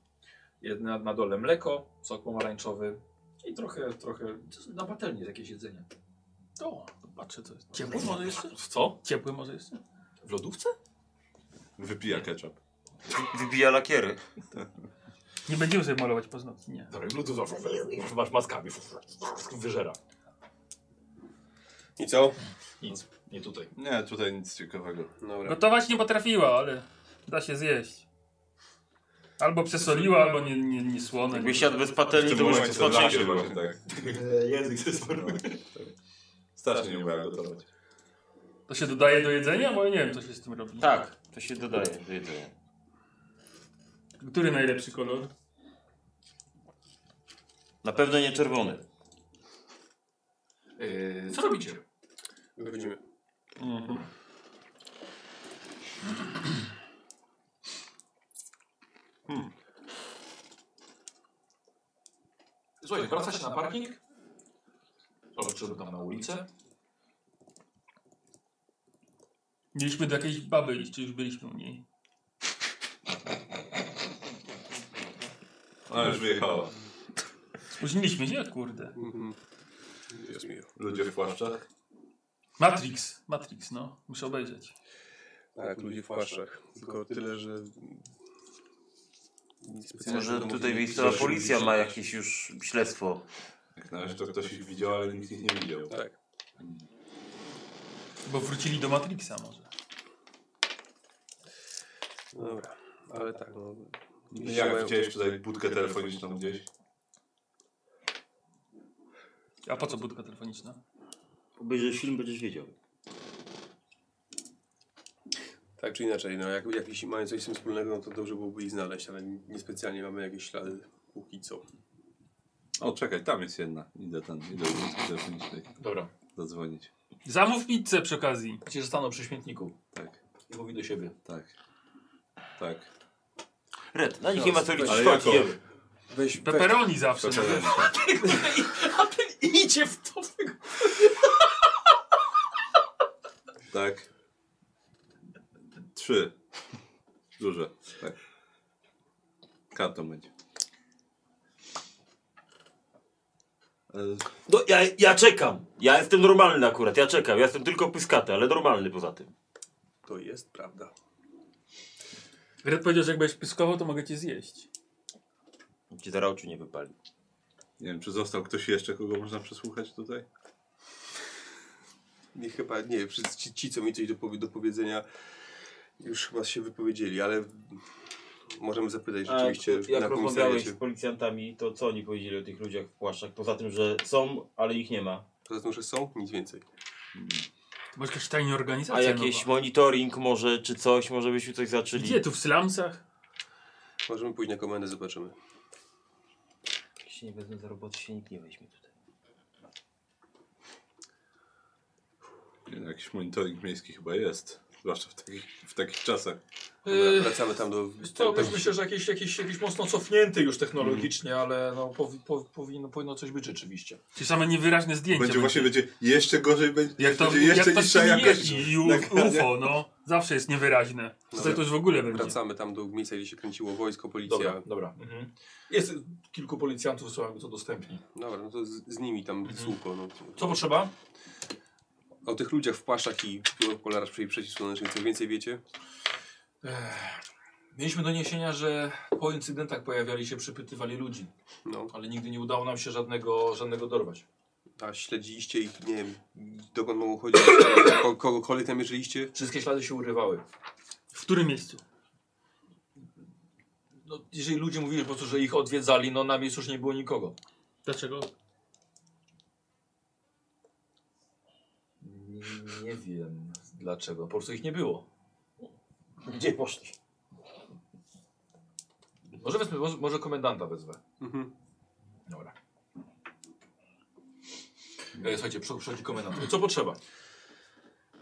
S6: Jed- Na, na dole mleko, sok pomarańczowy i trochę, trochę na patelni jest jakieś jedzenie.
S1: O, patrzę, co jest. Ciepły może jeszcze?
S6: W co?
S1: Ciepły może jeszcze?
S6: W lodówce?
S3: Wypija ketchup.
S9: Wybija lakiery.
S1: Nie będziemy sobie malować paznokci, nie.
S6: Dobra, w lodówce. Masz maskami. Wyżera.
S5: I co?
S6: Nic, nie tutaj.
S3: Nie, tutaj nic ciekawego.
S5: Dobra.
S1: Gotować nie No potrafiła, ale da się zjeść. Albo przesoliła, albo nie, nie, nie słone.
S9: Jakby
S1: Nie.
S9: siadł bez patelni, to byś
S3: strasznie
S9: spaczył.
S3: właśnie tak.
S6: Język się
S3: Strasznie nie umiałem gotować.
S1: To się dodaje do jedzenia? Bo ja nie wiem, co się z tym robi.
S9: Tak, to się dodaje do jedzenia.
S1: Który najlepszy kolor?
S9: Na pewno nie czerwony.
S6: Yy, Co robicie?
S5: Wychodzimy.
S1: Mhm. Hmm.
S6: Słuchaj, wraca się na parking. Zobaczymy tam na ulicę.
S1: Mieliśmy do jakiejś baby iść, czy już byliśmy u niej.
S3: Ona No, już wyjechała.
S1: Spóźniliśmy się, kurde.
S5: Mhm. Jest miło.
S3: Ludzie w płaszczach.
S1: Matrix, Matrix, no. Muszę obejrzeć.
S5: Tak, ludzie w płaszczach. Tylko tyle, że... Nic
S9: Może
S5: do
S9: tutaj
S5: mówienia. Tak.
S9: miejscowa policja ma jakieś już śledztwo.
S3: Jak na razie to ktoś ich widział, ale nikt ich nie widział.
S5: Tak.
S1: Bo wrócili do Matrixa może.
S5: Dobra. Ale tak, no...
S3: Jak widziałeś tutaj budkę telefoniczną gdzieś?
S1: A po co budka telefoniczna?
S4: Obejrzysz film, będziesz wiedział.
S5: Tak czy inaczej, no jak, jak jeśli mają coś z tym wspólnego, no to dobrze byłoby ich znaleźć, ale niespecjalnie mamy jakieś ślady póki co.
S3: O, czekaj, tam jest jedna. Idę ten, idę do budki telefonicznej
S6: Dobra.
S3: zadzwonić.
S1: Zamów pizzę przy okazji.
S6: Gdzie zostaną przy śmietniku
S3: Tak,
S6: i mówi do siebie.
S3: tak. Tak.
S9: Red, na nich nie ma co liczyć.
S3: Ale
S9: chodź,
S3: jako?
S9: idziemy.
S5: Weź, weź,
S1: Peperoni zawsze.
S6: A ten idzie w to.
S3: Tak. Trzy. Duże. Tak. Kartą będzie. E,
S9: No, ja, ja czekam. Ja jestem normalny akurat, ja czekam. Ja jestem tylko pyskaty, ale normalny poza tym.
S5: to jest prawda.
S1: Red powiedział, że jak będziesz pyskował, to mogę cię zjeść.
S9: Ci zaraz oczu nie wypali.
S3: Nie wiem, czy został ktoś jeszcze, kogo można przesłuchać tutaj?
S5: Nie, chyba nie, wszyscy ci, ci co mi coś do, powie- do powiedzenia już chyba się wypowiedzieli, ale możemy zapytać
S4: A
S5: rzeczywiście na
S4: jak rozmawiałeś
S5: komisariacie.
S4: z policjantami, to co oni powiedzieli o tych ludziach w płaszczach? Poza tym, że są, ale ich nie ma.
S5: Poza tym, znaczy, że są? Nic więcej.
S1: Może jakaś tajna
S9: A
S1: organizacja
S9: jakiś
S1: nowa.
S9: monitoring może, czy coś, może byśmy coś zaczęli.
S1: Gdzie? Tu w slumsach?
S5: Możemy pójść na komendę, zobaczymy.
S4: Jak się nie wezmę za roboty, się nikt nie weźmie tutaj.
S3: Nie wiem, Jakiś monitoring miejski chyba jest. Zwłaszcza w takich, w takich czasach.
S5: Dobra, wracamy tam do...
S6: To
S5: tam,
S6: już myślę, że jakiś, jakiś, jakiś mocno cofnięty już technologicznie,
S1: Mhm.
S6: ale no, powi, po, powinno, powinno coś być rzeczywiście.
S1: Czy same niewyraźne zdjęcia?
S3: Będzie właśnie będzie jeszcze gorzej, będzie,
S1: Jak to,
S3: będzie
S1: jak
S3: jeszcze
S1: to
S3: niższa jakość.
S1: jeździ i u-
S3: nagrania.
S1: UFO, no. Zawsze jest niewyraźne.
S3: No.
S1: Tutaj
S5: Dobra.
S1: to już w ogóle będzie.
S5: Wracamy tam do miejsca, gdzie się kręciło wojsko, policja.
S6: Dobra, Mhm.
S5: Dobra,
S6: dobra. Jest kilku policjantów, wysłałem to dostępnie.
S5: no to z, z nimi tam mhm. słucho. No.
S6: Co potrzeba?
S5: O tych ludziach w płaszczach i o polarach przy przeciwsłonecznych coś więcej wiecie?
S6: Mieliśmy doniesienia, że po incydentach pojawiali się, przypytywali ludzi,
S5: No.
S6: ale nigdy nie udało nam się żadnego, żadnego dorwać.
S5: A śledziliście ich, nie wiem, dokąd mogą chodzić, ko- kogokolwiek namierzyliście?
S6: Wszystkie ślady się urywały.
S1: W którym miejscu?
S6: No, jeżeli ludzie mówili po prostu, że ich odwiedzali, no na miejscu już nie było nikogo.
S1: Dlaczego?
S6: Nie wiem dlaczego. Po prostu ich nie było.
S9: Gdzie poszli?
S6: Może, wezmę, może- może komendanta wezwę.
S5: Mhm.
S6: Dobra. E, Słuchajcie, przy- przychodzi komendant. Co potrzeba?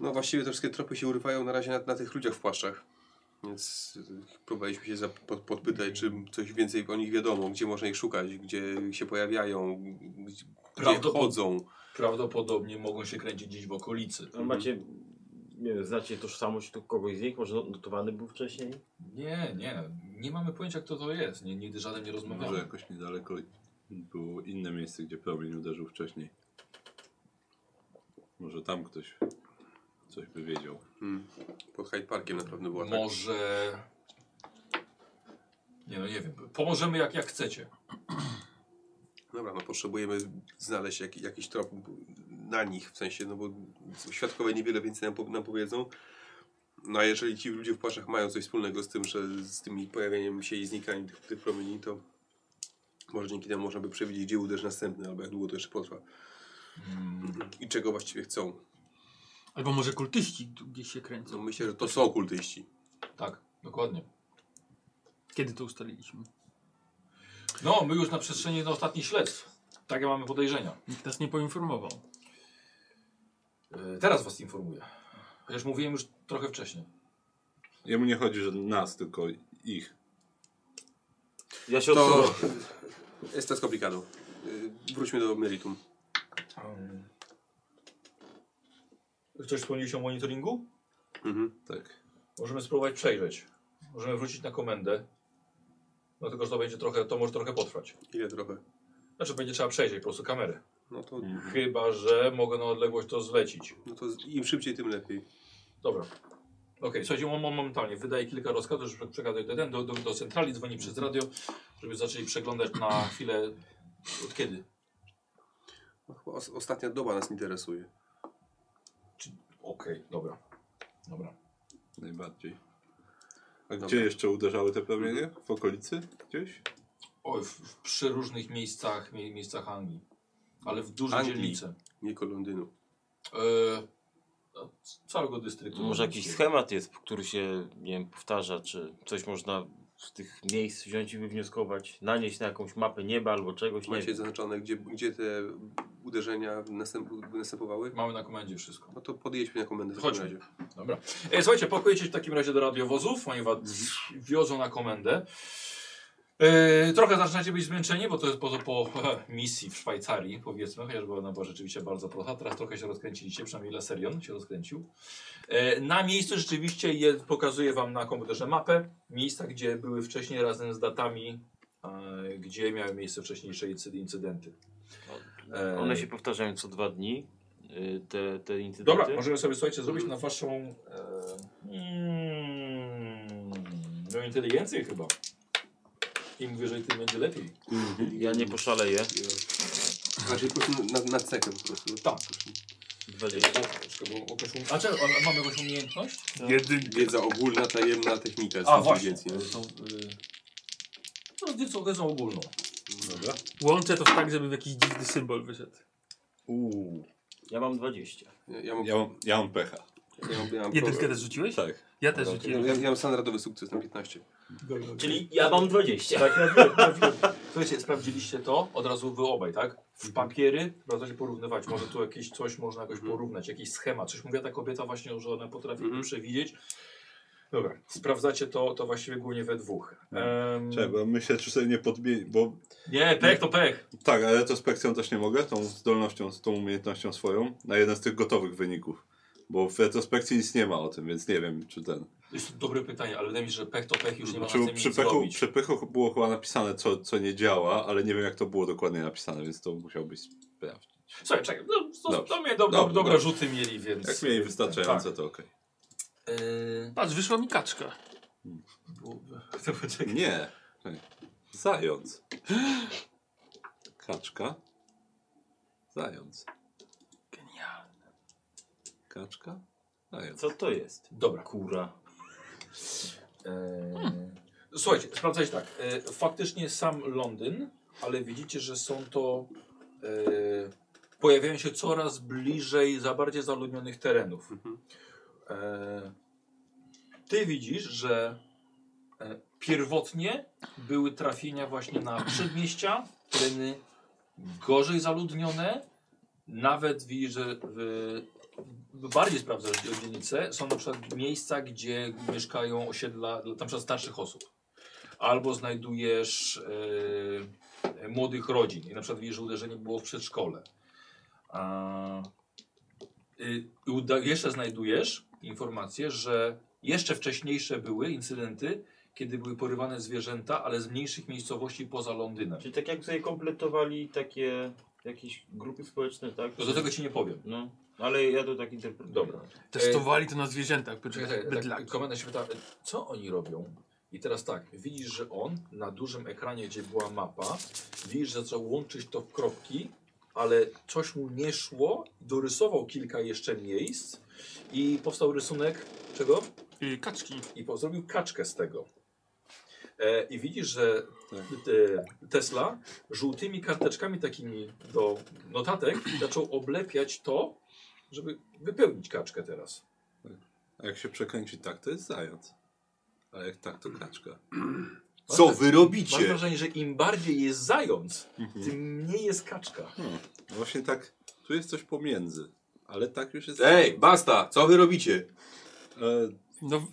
S5: No właściwie te wszystkie tropy się urywają na razie na, na tych ludziach w płaszczach. Więc y, próbowaliśmy się zap- pod, podpytać, czy coś więcej o nich wiadomo, gdzie można ich szukać, gdzie się pojawiają, gdzie
S6: Prawdopod-
S5: chodzą.
S6: Prawdopodobnie mogą się kręcić gdzieś w okolicy.
S4: A No, macie, nie wiem, znacie tożsamość tu kogoś z nich? Może notowany był wcześniej?
S6: Nie, nie. Nie mamy pojęcia, kto to jest. Nie, nigdy żaden nie
S3: Może
S6: rozmawiamy.
S3: jakoś niedaleko było inne miejsce, gdzie promień uderzył wcześniej. Może tam ktoś coś by wiedział.
S5: Mm. Pod Hyde Parkiem na pewno była tak.
S6: Może... Nie no, nie wiem. Pomożemy jak, jak chcecie.
S5: Dobra, no potrzebujemy znaleźć jak, jakiś trop na nich, w sensie, no bo świadkowie niewiele więcej nam, po, nam powiedzą. No a jeżeli ci ludzie w płaszczach mają coś wspólnego z tym, że z tymi pojawieniem się i znikaniem tych, tych promieni, to może dzięki temu można by przewidzieć, gdzie uderzy następny, albo jak długo to jeszcze potrwa. I czego właściwie chcą.
S1: Albo może kultyści tu gdzieś się
S5: No
S1: kręcą.
S5: myślę, że to są okultyści.
S6: Tak, dokładnie.
S1: Kiedy to ustaliliśmy?
S6: No, my już na przestrzeni no, ostatnich śledztw. Takie mamy podejrzenia.
S1: Nikt nas nie poinformował.
S6: E, Teraz was informuję. Chociaż mówiłem już trochę wcześniej.
S3: Jemu nie chodzi, że nas, tylko ich.
S9: Ja się odsuwam.
S5: To jest to skomplikado. Wróćmy do meritum.
S6: Um. Ktoś wspomniał się o monitoringu?
S5: Mhm.
S3: Tak.
S6: Możemy spróbować przejrzeć. Możemy wrócić na komendę. No tylko, że to będzie trochę, to może trochę potrwać.
S5: Ile trochę?
S6: Znaczy będzie trzeba przejrzeć po prostu kamerę.
S5: No to,
S6: Chyba, że mogę na odległość to zlecić.
S5: no to im szybciej, tym lepiej.
S6: Dobra. Okej, słuchajcie, mom- momentalnie wydaje kilka rozkazów, żeby przekazać do, do, do, do centrali, dzwoni przez radio, żeby zaczęli przeglądać na chwilę od kiedy?
S5: No, chyba os- ostatnia doba nas interesuje.
S6: Okej, dobra. Dobra.
S3: Najbardziej. A
S5: Dobra.
S3: gdzie jeszcze uderzały te promienie? W okolicy? Gdzieś?
S6: Oj, w, w, przy różnych miejscach, mie, miejscach Anglii. Ale w dużej
S5: Anglii.
S6: dzielnicy.
S5: Nie ko Londynu.
S6: E, no, c- całego dystryktu.
S9: Może jakiś schemat jest, który się, nie wiem, powtarza, czy coś można z tych miejsc wziąć i wywnioskować, nanieść na jakąś mapę nieba albo czegoś, nie
S5: Macie
S9: wiem.
S5: zaznaczone, gdzie, gdzie te uderzenia następ, następowały?
S6: Mamy na komendzie wszystko.
S5: No to podjedźmy na komendę w takim
S6: Chodźmy.
S5: razie.
S6: Dobra. E, słuchajcie, pakujecie się w takim razie do radiowozów, oni was wiozą na komendę. E, trochę zaczynacie być zmęczeni, bo to jest po, po misji w Szwajcarii, powiedzmy, chociaż była ona była rzeczywiście bardzo prosta. Teraz trochę się rozkręciliście, przynajmniej Laserion się rozkręcił. E, na miejscu rzeczywiście je, pokazuję wam na komputerze mapę miejsca, gdzie były wcześniej razem z datami, e, gdzie miały miejsce wcześniejsze incy- incydenty. E,
S9: One się powtarzają co dwa dni, y, te, te incydenty.
S6: Dobra, możemy sobie słuchajcie zrobić
S5: Mm.
S6: na waszą. E, mm, no inteligencję chyba. Im wyżej, tym będzie lepiej.
S9: Ja nie poszaleję.
S5: Raczej Znaczy, po prostu na, na cekę po prostu.
S6: Tak.
S9: 20.
S6: A czy ona- mamy jakąś umiejętność?
S2: No.
S1: Jedynka.
S5: Wiedza ogólna, tajemna technika. jest
S6: A, właśnie.
S5: inteligencja.
S6: Są, y, no, wiedzą, wiedzą ogólną.
S3: Dobra.
S1: Łączę to tak, żeby w jakiś dziwny symbol wyszedł.
S3: Uuu.
S9: Ja mam 20.
S5: Ja, ja mam, ja,
S3: Ja mam, ja mam pecha.
S5: mam, ja mam
S1: Jedynkę
S5: problem.
S1: też rzuciłeś?
S3: Tak.
S1: Ja też
S5: ja,
S1: rzuciłem.
S5: ja, ja mam standardowy sukces na 15.
S9: Czyli ja mam 20.
S6: Tak, ja wiem, ja wiem. Słuchajcie, sprawdziliście to od razu wy obaj, tak?
S3: Mhm.
S6: W papiery warto się porównywać. Może tu jakieś coś można jakoś porównać, jakiś schemat. Coś mówiła ta kobieta właśnie, że ona potrafi
S5: Mhm.
S6: przewidzieć. Dobra, sprawdzacie to, to właściwie głównie we dwóch.
S3: Tak.
S6: Em,
S3: Trzeba, myślę, czy sobie nie podmieni, bo
S6: nie, pech to pech.
S3: tak, ale retrospekcją też nie mogę, tą zdolnością, z tą umiejętnością swoją, na jeden z tych gotowych wyników. Bo w retrospekcji nic nie ma o tym, więc nie wiem, czy ten.
S6: Jest to dobre pytanie, ale wydaje mi się, że pech to pech już nie ma
S3: Czy
S6: na tym
S3: Znaczy, przy
S6: nic
S3: pechu,
S6: zrobić.
S3: przy pechu było chyba napisane, co, co nie działa, ale nie wiem, jak to było dokładnie napisane, więc to musiałbyś sprawdzić.
S6: Słuchaj, czekaj, no, to,
S3: Dobrze.
S6: to mnie do, do,
S3: Dobrze,
S6: dobra
S3: dobrze.
S6: rzuty mieli, więc...
S3: Jak mieli wystarczające, to okej.
S6: Tak. Yy, Hmm.
S1: Patrz, wyszła mi kaczka.
S6: to poczekaj.
S3: Nie. Czekaj. Zając. Kaczka. Zając.
S1: Genialne.
S3: Kaczka. Zając.
S9: Co to jest?
S6: Dobra.
S9: Kura.
S6: Eee,
S2: E,
S6: Słuchajcie, sprawdzajcie tak. E, faktycznie sam Londyn, ale widzicie, że są to e,
S2: pojawiają się coraz bliżej za bardziej zaludnionych terenów. E, ty widzisz, że e, pierwotnie były trafienia właśnie na przedmieścia, tereny gorzej zaludnione. Nawet widzisz, że w, bardziej sprawdzasz dzielnice, są na przykład miejsca, gdzie mieszkają osiedla dla- na przykład starszych osób. Albo znajdujesz e, młodych rodzin i na przykład widzisz, że uderzenie było w przedszkole. A, y, i uda, jeszcze znajdujesz informację, że jeszcze wcześniejsze były incydenty, kiedy były porywane zwierzęta, ale z mniejszych miejscowości poza Londynem.
S4: Czyli tak jak tutaj kompletowali takie jakieś grupy społeczne, tak?
S2: To do tego ci nie powiem.
S4: No, ale ja to tak interpretuję.
S2: Dobra.
S1: Testowali to na zwierzętach,
S2: Czekaj,
S1: poczekaj,
S2: czekaj, tak,
S1: bydlaki.
S2: komenda się pyta, co oni robią? I teraz tak, widzisz, że on na dużym ekranie, gdzie była mapa, widzisz, że zaczął łączyć to w kropki, ale coś mu nie szło, dorysował kilka jeszcze miejsc i powstał rysunek czego?
S1: Y, Kaczki.
S2: I po- zrobił kaczkę z tego. E, I widzisz, że
S3: Tak.
S2: e, Tesla żółtymi karteczkami takimi do notatek zaczął oblepiać to, żeby wypełnić kaczkę teraz.
S3: A jak się przekręci tak, to jest zając. A jak tak, to kaczka. Co wy
S2: Mam
S3: robicie?
S2: wrażenie, że im bardziej jest zając,
S3: Mhm.
S2: tym mniej jest kaczka.
S3: Właśnie tak, tu jest coś pomiędzy. Ale tak już jest...
S5: Ej, basta, co wy robicie?
S3: E,
S1: No, w-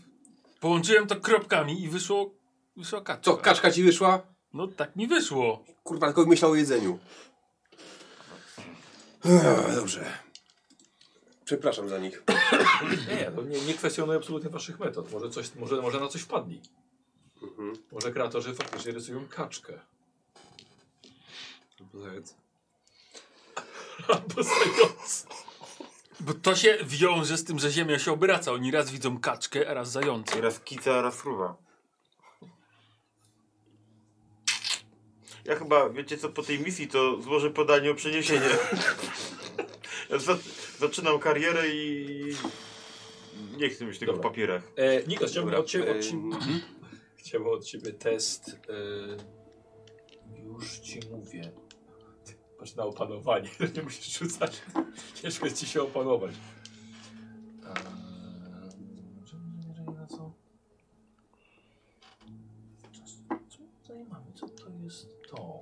S1: połączyłem to kropkami i wyszło, wyszła kaczka.
S5: Co, kaczka ci wyszła?
S1: No tak mi wyszło.
S5: Kurwa, tylko myślał o jedzeniu. Ech, Dobrze. Przepraszam za nich.
S2: Nie, to nie, nie kwestionuję absolutnie waszych metod. Może, coś, może, może na coś wpadli.
S5: Mhm.
S2: Może kreatorzy faktycznie rysują kaczkę.
S3: zając.
S2: Albo zając.
S1: Bo to się wiąże z tym, że ziemia się obraca. Oni raz widzą kaczkę, a raz zająca.
S4: Raz kica, raz fruwa. Ja chyba, wiecie co, po tej misji to złożę podanie o przeniesienie. ja za, zaczynam karierę i... Nie chcę mieć tego
S2: Dobra.
S4: w papierach.
S2: E, Nikos, chciałbym
S5: Dobra,
S2: od ciebie, od,
S5: e,
S2: ciebie, chciałbym od ciebie test. E, już ci mówię. Ty, Patrz na opanowanie. nie musisz rzucać. Ciężko jest ci się opanować. Eee, Co tutaj mamy? Co to jest to?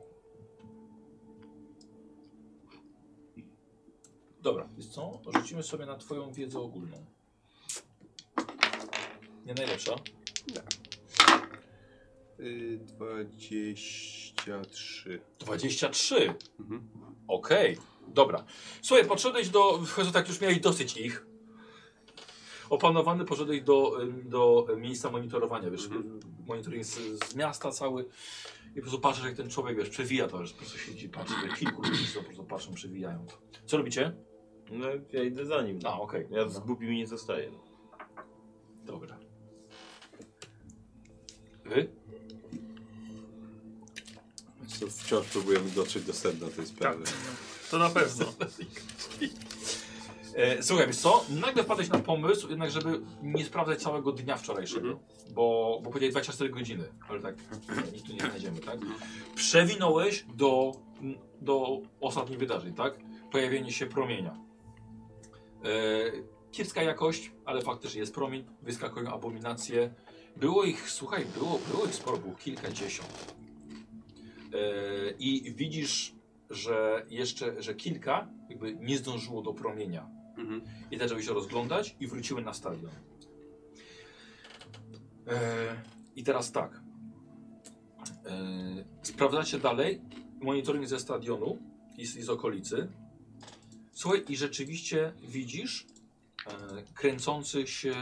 S2: Dobra, wiesz co? Rzucimy sobie na twoją wiedzę ogólną. Nie najlepsza.
S5: Y, 23.
S2: 23.
S5: Mhm.
S2: Okej, dobra. Słuchaj, podszedłeś do. Chyba tak już miałeś dosyć ich. Opanowany poszedłeś do, em, do miejsca monitorowania, wiesz,
S5: Mhm.
S2: monitoring z, z miasta cały i po prostu patrzysz jak ten człowiek, wiesz, przewija to, że po prostu siedzi, patrzy, jak kilku ludzi co po prostu patrzą, przewijają to. Co robicie?
S4: No, ja idę za nim.
S2: A, okej,
S4: Ja z głupimi nie no. zostaję.
S2: dobra. Wy?
S3: Co wciąż próbujemy dotrzeć do sedna tej sprawy.
S4: Tak,
S1: To na pewno.
S2: E, słuchaj, wiesz co? Nagle wpadłeś na pomysł, jednak żeby nie sprawdzać całego dnia wczorajszego, bo, bo powiedziałeś 24 godziny, ale tak, nic tu nie znajdziemy, tak? Przewinąłeś do, do ostatnich wydarzeń, tak? Pojawienie się promienia. E, kiepska jakość, ale faktycznie jest promień, wyskakują abominacje. Było ich, słuchaj, było, było ich sporo, było kilkadziesiąt. E, I widzisz, że jeszcze, że kilka jakby nie zdążyło do promienia. I zaczęły się rozglądać i wróciły na stadion. E, I teraz tak. E, sprawdzacie dalej monitoring ze stadionu i z, i z okolicy. Słuchaj, i rzeczywiście widzisz e, kręcących się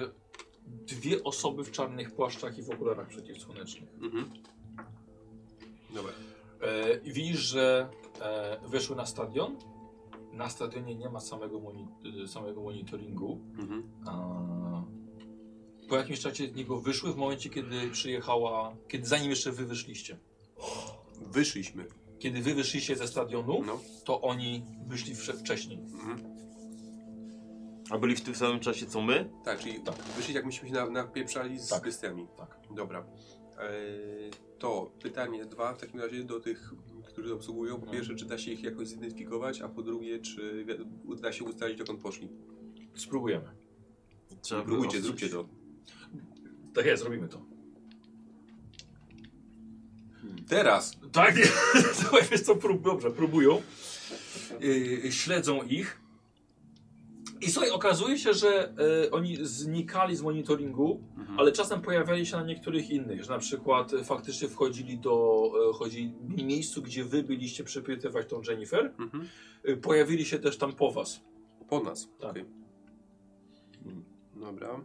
S2: dwie osoby w czarnych płaszczach i w okularach przeciwsłonecznych.
S5: Dobra.
S2: E, i widzisz, że e, weszły na stadion. Na stadionie nie ma samego, moni y, samego monitoringu.
S5: Mhm.
S2: A, po jakimś czasie z niego wyszły w momencie, kiedy przyjechała, kiedy zanim jeszcze wy wyszliście.
S5: Wyszliśmy.
S2: Kiedy wy wyszliście ze stadionu,
S5: No.
S2: to oni wyszli wsze- wcześniej.
S4: A byli w tym samym czasie co my?
S5: Tak, czyli tak. wyszli jak myśmy się na- napieprzali z
S2: Tak.
S5: bestiami. E,
S2: Tak.
S5: Dobra. Eee, to pytanie dwa w takim razie do tych którzy obsługują. Po pierwsze, czy da się ich jakoś zidentyfikować, a po drugie, czy wi- uda się ustalić, dokąd poszli.
S6: Spróbujemy.
S12: Trzeba by
S5: Próbujcie,
S12: ostrzec.
S5: zróbcie to.
S6: Tak jest, robimy to.
S5: Hmm. Teraz!
S6: Tak, to wiesz co, prób, dobrze, próbują. Yy, śledzą ich. I słuchaj, okazuje się, że e, oni znikali z monitoringu, ale czasem pojawiali się na niektórych innych, że na przykład e, faktycznie wchodzili do e, chodzili w miejscu, gdzie wy byliście przepytywać tą Jennifer.
S5: Mhm.
S6: E, pojawili się też tam po was.
S5: Po nas.
S6: Tak.
S5: Okej. Mm, Dobra.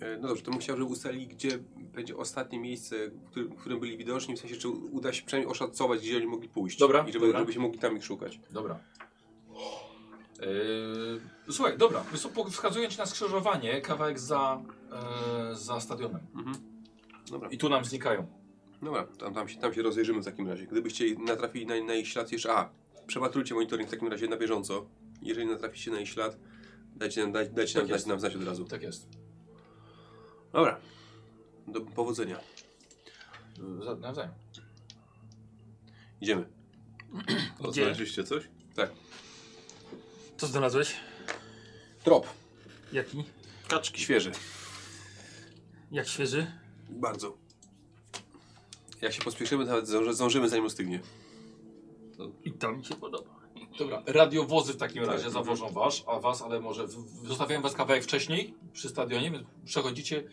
S5: E, No dobrze, to musiał, żeby ustalić, gdzie będzie ostatnie miejsce, w którym, w którym byli widoczni, w sensie, czy uda się przynajmniej oszacować, gdzie oni mogli pójść.
S6: Dobra,
S5: I żeby,
S6: dobra.
S5: żebyśmy mogli tam ich szukać.
S6: Dobra. Yy, słuchaj, dobra, wiesz co, po- wskazuję ci na skrzyżowanie, kawałek za, e, za stadionem.
S5: Mhm. Dobra.
S6: I tu nam znikają.
S5: Dobra, tam, tam, się, tam się rozejrzymy w takim razie. Gdybyście natrafili na, na ich ślad jeszcze. A, przepatrujcie monitoring w takim razie na bieżąco. Jeżeli natraficie na ich ślad, dajcie nam, daj, dajcie
S6: Tak
S5: nam,
S6: jest.
S5: dajcie nam znać od razu.
S6: Tak jest.
S5: Dobra. Do powodzenia.
S6: Za- Nawzajem.
S5: Idziemy.
S1: Gdzie?
S3: Znaleźliście coś?
S1: Co znalazłeś?
S5: Trop.
S1: Jaki?
S12: Kaczki.
S5: Świeży.
S1: Jak świeży?
S5: Bardzo. Jak się pospieszymy, nawet zdąży- zdążymy zanim ostygnie.
S1: I to mi się podoba.
S6: Dobra, radiowozy w takim razie zawożą was, a was, ale może w, w- zostawiłem was kawałek wcześniej przy stadionie, więc przechodzicie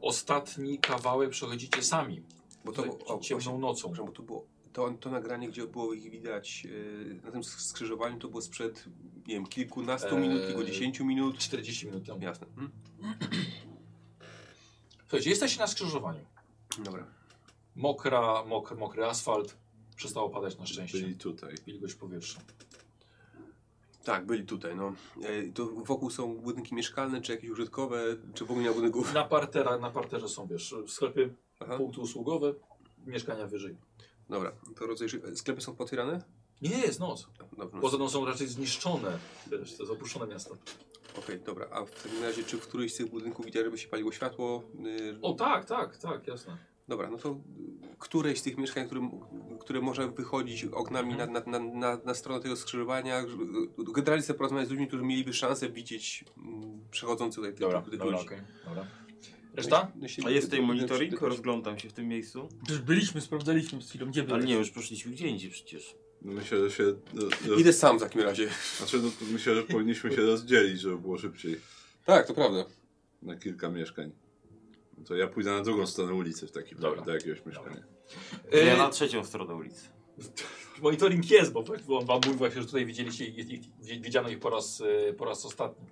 S6: ostatni kawałek, przechodzicie sami.
S5: Bo
S6: To
S5: to, o,
S6: ciemną
S5: właśnie,
S6: nocą.
S5: przepraszam, bo to było to, to nagranie, gdzie było ich widać yy, na tym skrzyżowaniu, to było sprzed, nie wiem, kilkunastu
S6: Eee.
S5: minut, kilkudziesięciu minut.
S6: 40 minut temu.
S5: Jasne. Mhm.
S6: Słuchajcie, jesteście na skrzyżowaniu.
S5: Dobra.
S6: Mokra, mok, mokry asfalt. Przestało padać na szczęście.
S3: Byli tutaj.
S6: Wilgoć powietrza.
S5: Tak, byli tutaj, no. E, to wokół są budynki mieszkalne, czy jakieś użytkowe, czy w ogóle nie ma budynków.
S6: Na, partera, na parterze są, wiesz, sklepy,
S5: Aha.
S6: punkty usługowe, mieszkania wyżej.
S5: Dobra, to rodzaj... ży- e, Sklepy są potwierane?
S6: Nie, jest noc.
S5: Dobra, no,
S6: Poza tą są raczej zniszczone. Wiesz, to jest opuszczone miasto.
S5: okej, dobra. A w takim razie, czy w którymś z tych budynków widziałem, żeby się paliło światło? Y,
S6: O tak, tak, tak, jasne.
S5: Dobra, no to y, któreś z tych mieszkań, które, m- które może wychodzić oknami na, na, na, na, na stronę tego skrzyżowania, żeby- generalnie chcę porozmawiać z ludźmi, którzy mieliby szansę widzieć mm, przechodzących tutaj tych, tych ludzi. No
S6: okej, dobra. Reszta?
S5: Jeśli- no,
S4: A jest tutaj
S5: jeśli-
S4: monitoring? Rozglądam się w tym miejscu.
S1: Przecież byliśmy, sprawdzaliśmy z chwilą, gdzie
S4: Ale
S1: byli.
S4: nie, już poszliśmy gdzie indziej przecież.
S3: Myślę, że się... No, no,
S5: Idę sam w takim razie.
S3: Znaczy, no, to myślę, że powinniśmy się rozdzielić, żeby było szybciej.
S5: Tak, to prawda.
S3: Na kilka mieszkań. No To ja pójdę na drugą stronę ulicy w takim
S6: Dobra.
S3: razie, do jakiegoś mieszkania.
S4: Ja
S6: E,
S4: na trzecią stronę ulicy.
S6: monitoring jest, bo bo on wam mówił właśnie, że tutaj widzieliście ich, ich, wi- widziano ich po raz, e, po raz ostatni.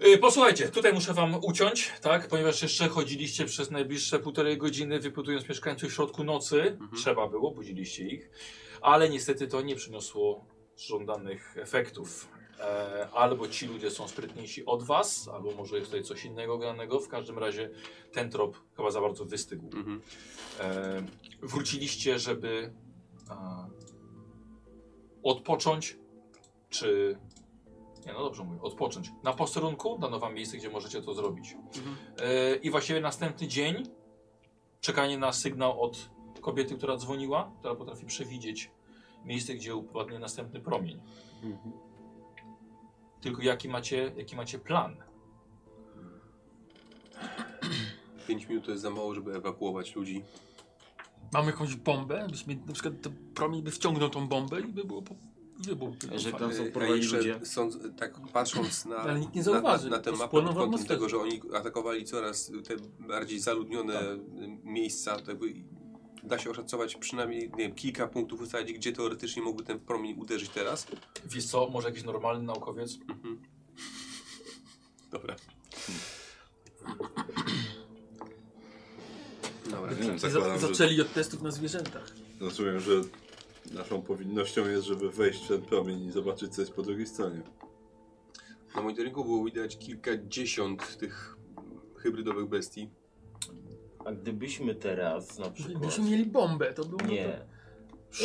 S6: E, Posłuchajcie, tutaj muszę wam uciąć, tak? Ponieważ jeszcze chodziliście przez najbliższe półtorej godziny, wypytując mieszkańców w środku nocy. Trzeba było, budziliście ich, ale niestety to nie przyniosło żądanych efektów. E, albo ci ludzie są sprytniejsi od was, albo może jest tutaj coś innego granego. W każdym razie ten trop chyba za bardzo wystygł.
S5: Mhm.
S6: E, wróciliście, żeby a, odpocząć, czy... Nie, no dobrze mówię, odpocząć. Na posterunku dano wam miejsce, gdzie możecie to zrobić. E, I właściwie następny dzień czekanie na sygnał od kobiety, która dzwoniła, która potrafi przewidzieć miejsce, gdzie upadnie następny promień. Tylko jaki macie, jaki macie plan?
S5: 5 minut to jest za mało, żeby ewakuować ludzi.
S1: Mamy jakąś bombę? Byśmy, na przykład ten promień by wciągnął tą bombę i by było po... wybuch.
S4: A Że tam
S5: Y,
S4: są
S5: a
S4: porwani
S5: jeszcze
S4: ludzie.
S5: Sądz, tak patrząc na,
S1: Ale nikt nie
S5: na, na,
S1: zauważy.
S5: na tę
S1: To
S5: mapę
S1: spłoną
S5: pod kątem
S1: atmosferze.
S5: tego, że oni atakowali coraz te bardziej zaludnione y, miejsca, to jakby da się oszacować przynajmniej nie wiem, kilka punktów ustalić, gdzie teoretycznie mógłby ten promień uderzyć teraz. Mhm.
S6: Wiesz co, może jakiś normalny naukowiec?
S5: Dobra. Dobra.
S3: Nie wiem,
S1: Za-
S3: zakładam, że
S1: Zaczęli od testów na zwierzętach.
S3: rozumiem, że naszą powinnością jest, żeby wejść w ten promień i zobaczyć, co jest po drugiej stronie.
S5: Na monitoringu było widać kilkadziesiąt tych hybrydowych bestii.
S4: A gdybyśmy teraz na przykład...
S1: Gdybyśmy mieli bombę, to byłoby...
S4: Nie.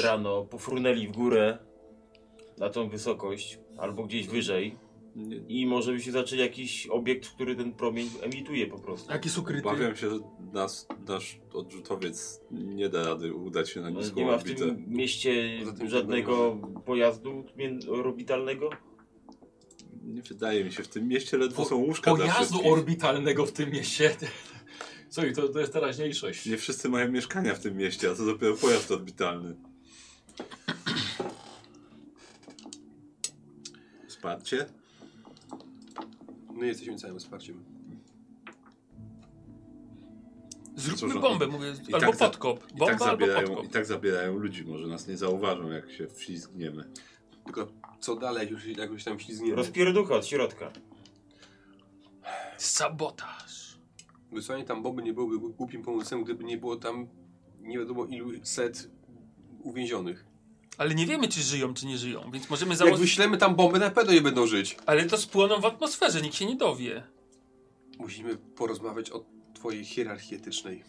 S4: Rano pofrunęli w górę na tą wysokość, albo gdzieś wyżej,
S3: Nie,
S4: I może by się zaczął jakiś obiekt, który ten promień emituje po prostu.
S1: Jaki jest ukryty?
S3: obawiam się, że nas, nasz odrzutowiec nie da rady udać się na
S4: Ale
S3: niską
S4: No, Nie ma w
S3: orbitę.
S4: tym mieście
S3: Poza tym
S4: żadnego pojazdu mię- orbitalnego?
S3: Nie wydaje mi się, w tym mieście ledwo są łóżka dla
S6: Pojazdu
S3: wszystkich.
S6: orbitalnego w tym mieście. Co i to, to jest teraźniejszość.
S3: Nie wszyscy mają mieszkania w tym mieście, a co dopiero pojazd orbitalny. Wsparcie?
S5: My jesteśmy całym wsparciem.
S3: Cóż,
S1: Zróbmy
S3: no,
S1: bombę, mówię,
S3: i
S1: albo
S3: tak za-
S1: podkop.
S3: I
S1: Bomba
S3: tak,
S1: albo
S3: zabierają,
S1: podkop.
S3: I tak zabierają ludzi, może nas nie zauważą, jak się wślizgniemy.
S5: Tylko co dalej, jak już jakoś tam ślizgniemy.
S4: Rozpierducha od środka.
S3: tak-
S1: Sabotaż.
S5: Wysłanie tam bomby nie byłoby głupim pomysłem, gdyby nie było tam nie wiadomo ilu set uwięzionych.
S1: Ale nie wiemy, czy żyją, czy nie żyją, więc możemy
S5: Jak
S1: założyć.
S5: wyślemy tam bomby, na pewno nie będą żyć.
S1: Ale to spłoną w atmosferze, nikt się nie dowie.
S5: Musimy porozmawiać o twojej hierarchii etycznej.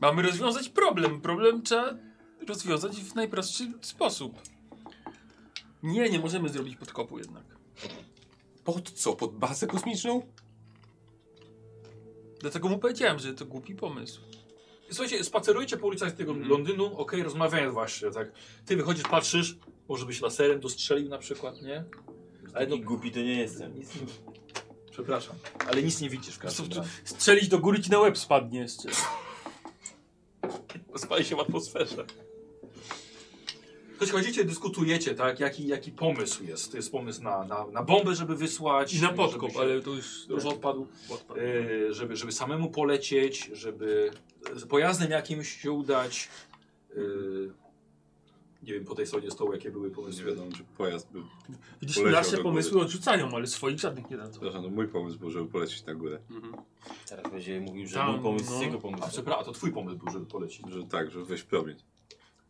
S1: Mamy rozwiązać problem. Problem trzeba rozwiązać w najprostszy sposób. Nie, nie możemy zrobić podkopu jednak.
S5: Pod co? Pod bazę kosmiczną?
S1: Dlatego mu powiedziałem, że to głupi pomysł.
S6: Słuchajcie, spacerujcie po ulicach tego
S3: Mhm.
S6: Londynu, okej, rozmawiają właśnie, tak. Ty wychodzisz, patrzysz, może byś laserem dostrzelił na przykład, nie? Ale
S4: Ale
S6: no,
S4: głupi to nie jestem.
S6: nic nie... Przepraszam, ale nic nie widzisz w każdym razie.
S1: Strzelić do góry ci na łeb spadnie jeszcze.
S6: Spali się w atmosferze. Choć chodzicie, dyskutujecie, tak? Jaki, jaki pomysł jest? To jest pomysł na, na, na bombę, żeby wysłać.
S1: I na
S6: żeby
S1: podkop,
S6: się-
S1: ale to już...
S6: Już odpadł.
S1: odpadł.
S6: E, żeby, żeby samemu polecieć, żeby z pojazdem jakimś się udać. E, nie wiem po tej stronie stołu, jakie były
S3: Nie
S6: pomysły.
S3: wiadomo, czy pojazd był.
S1: Widzisz,
S3: poleciał do
S1: nasze
S3: góry.
S1: pomysły odrzucają, ale swoich żadnych nie dadzą.
S3: Przepraszam, no mój pomysł był, żeby polecieć na górę.
S4: Teraz będzie mówił, że
S1: Tam,
S4: mój pomysł
S1: no.
S4: jest jego
S6: A
S4: pomysł.
S6: przepraszam, a to twój pomysł był, żeby polecić.
S3: Że tak, żeby wejść w promień.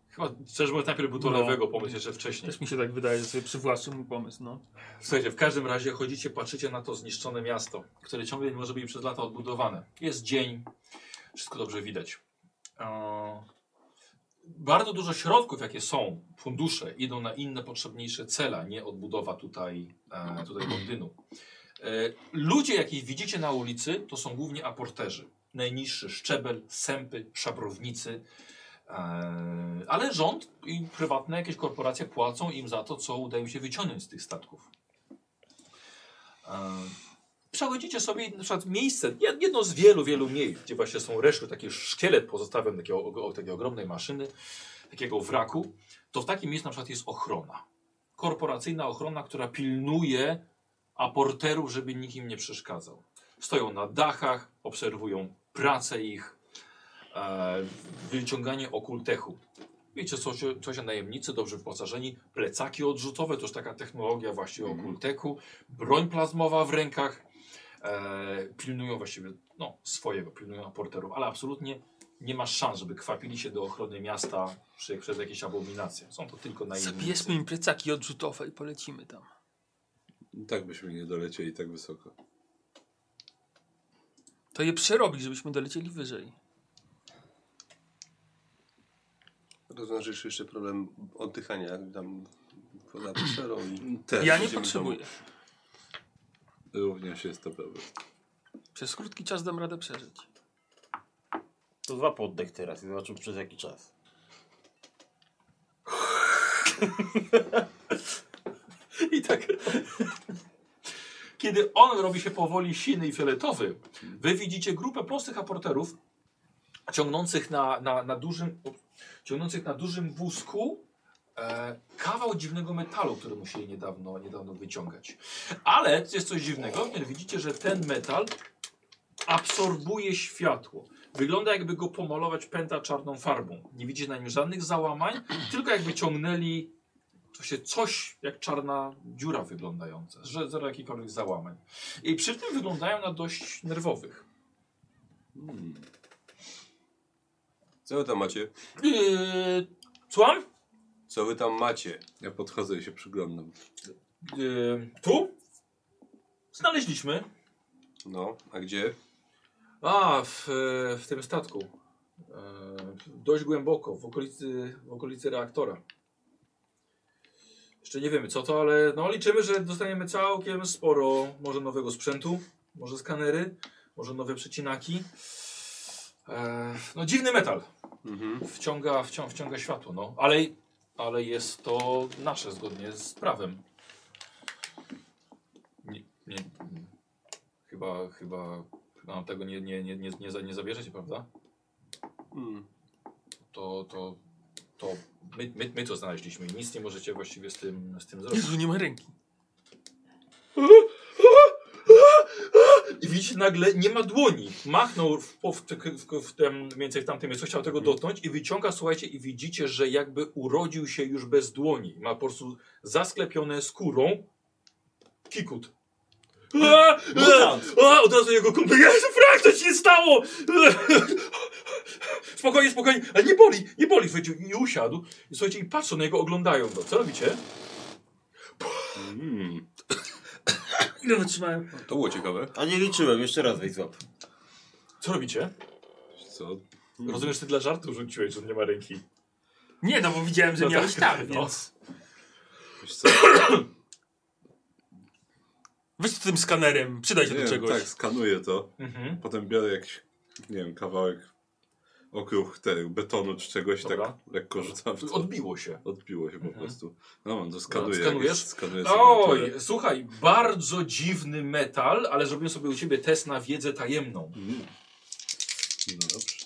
S6: Chyba, szczerze mówiąc, najpierw był to
S1: No.
S6: lewego pomysł jeszcze wcześniej.
S1: Też mi się tak wydaje, że sobie przywłaszczył mój pomysł, no.
S6: Słuchajcie, w każdym razie chodzicie, patrzycie na to zniszczone miasto, które ciągle nie może być przez lata odbudowane. Jest dzień, wszystko dobrze widać. Eee, Bardzo dużo środków, jakie są, fundusze, idą na inne, potrzebniejsze cele, a nie odbudowa tutaj, e, tutaj Londynu. E, Ludzie, jakich widzicie na ulicy, to są głównie aporterzy. Najniższy szczebel, sępy, szabrownicy. E, Ale rząd i prywatne jakieś korporacje płacą im za to, co udaje im się wyciągnąć z tych statków. E, Przechodzicie sobie na przykład miejsce, jed- jedno z wielu, wielu miejsc, gdzie właśnie są reszty, taki szkielet pozostawiony takiego, o- takiej ogromnej maszyny, takiego wraku, to w takim miejscu na przykład jest ochrona. Korporacyjna ochrona, która pilnuje aporterów, żeby nikt im nie przeszkadzał. Stoją na dachach, obserwują pracę ich, e, wyciąganie okultechu. Wiecie, co się, co się najemnicy, dobrze wyposażeni, plecaki odrzutowe, to już taka technologia właśnie okulteku, broń plazmowa w rękach, e, pilnują właściwie no, swojego, pilnują aporterów, ale absolutnie nie ma szans, żeby kwapili się do ochrony miasta przy, przez jakieś abominacje. Są to tylko najemnicy.
S1: Zabierzmy im plecaki odrzutowe i polecimy tam.
S3: I tak byśmy nie dolecieli tak wysoko.
S1: To je przerobić, żebyśmy dolecieli wyżej.
S5: Rozważysz jeszcze problem oddychania tam poza atmosferą i...
S3: Też
S1: Ja nie
S5: idziemy
S1: potrzebuję.
S3: również jest to problem.
S1: Przez krótki czas dam radę przeżyć.
S4: To dwa poddech teraz i zobaczymy przez jaki czas.
S6: I tak. Kiedy on robi się powoli siny i fioletowy, wy widzicie grupę prostych aporterów ciągnących na, na, na, dużym, ciągnących na dużym wózku e, kawał dziwnego metalu, który musieli niedawno, niedawno wyciągać. Ale jest coś dziwnego, widzicie, że ten metal absorbuje światło. Wygląda jakby go pomalować pęta czarną farbą. Nie widzicie na nim żadnych załamań, tylko jakby ciągnęli to się coś jak czarna dziura wyglądająca, że zero jakichkolwiek załamań. I przy tym wyglądają na dość nerwowych.
S5: Co wy tam macie?
S6: Yy, słucham?
S5: Co wy tam macie?
S3: Ja podchodzę i się przyglądam.
S6: Yy, tu? Znaleźliśmy.
S5: No, a gdzie?
S6: A, w, e, w tym statku. E, dość głęboko, w okolicy, w okolicy reaktora.
S2: Jeszcze nie wiemy co to, ale no, liczymy, że dostaniemy całkiem sporo może nowego sprzętu, może skanery, może nowe przecinaki. E, no dziwny metal.
S5: Mhm.
S2: Wciąga, wcią, wciąga światło, no. Ale, ale jest to nasze zgodnie z prawem. Nie, nie, chyba, chyba, chyba nam tego nie, nie, nie, nie, nie, za- nie zabierzecie, prawda?
S5: Mm.
S2: To, to, to my, my, my to znaleźliśmy i nic nie możecie właściwie z tym, z tym zrobić.
S1: Jezu, nie ma ręki.
S2: I widzicie, nagle nie ma dłoni. Machnął w, po- w, w, w tem, mniej więcej w tamtym miejscu, chciał tego dotknąć i wyciąga, słuchajcie, i widzicie, że jakby urodził się już bez dłoni. Ma po prostu zasklepione skórą kikut. A, a, a, od razu jego kumpel, Jezu, Frank, co ci się stało? Spokojnie, spokojnie, ale nie boli, nie boli, słuchajcie, i usiadł. I słuchajcie, i patrzą na niego, oglądają go. Co robicie?
S1: Ile wytrzymałem?
S5: Hmm. To było ciekawe.
S13: A nie liczyłem, jeszcze raz weź złap.
S2: Co robicie?
S5: Co?
S2: Rozumiem, że ty dla żartu rzuciłeś, że nie ma ręki.
S1: Nie, no bo widziałem, że
S2: No
S1: miałeś
S2: tak,
S1: tam,
S2: no.
S1: więc...
S3: Wiesz co?
S1: Weź to tym skanerem, przyda się
S3: Nie
S1: do
S3: wiem,
S1: czegoś.
S3: tak, skanuję to.
S2: Mhm.
S3: Potem biorę jakiś, nie wiem, kawałek okruch tego betonu czy czegoś i tak
S2: Dobra.
S3: lekko rzucam w to.
S2: Odbiło się.
S3: Odbiło się po
S2: Mhm.
S3: prostu. No mam, to skanuję.
S2: Dobra, skanujesz?
S3: jakieś- skanuję
S2: Oj,
S3: sygnaturę.
S2: słuchaj, bardzo dziwny metal, ale zrobiłem sobie u ciebie test na wiedzę tajemną.
S3: Mm. No dobrze.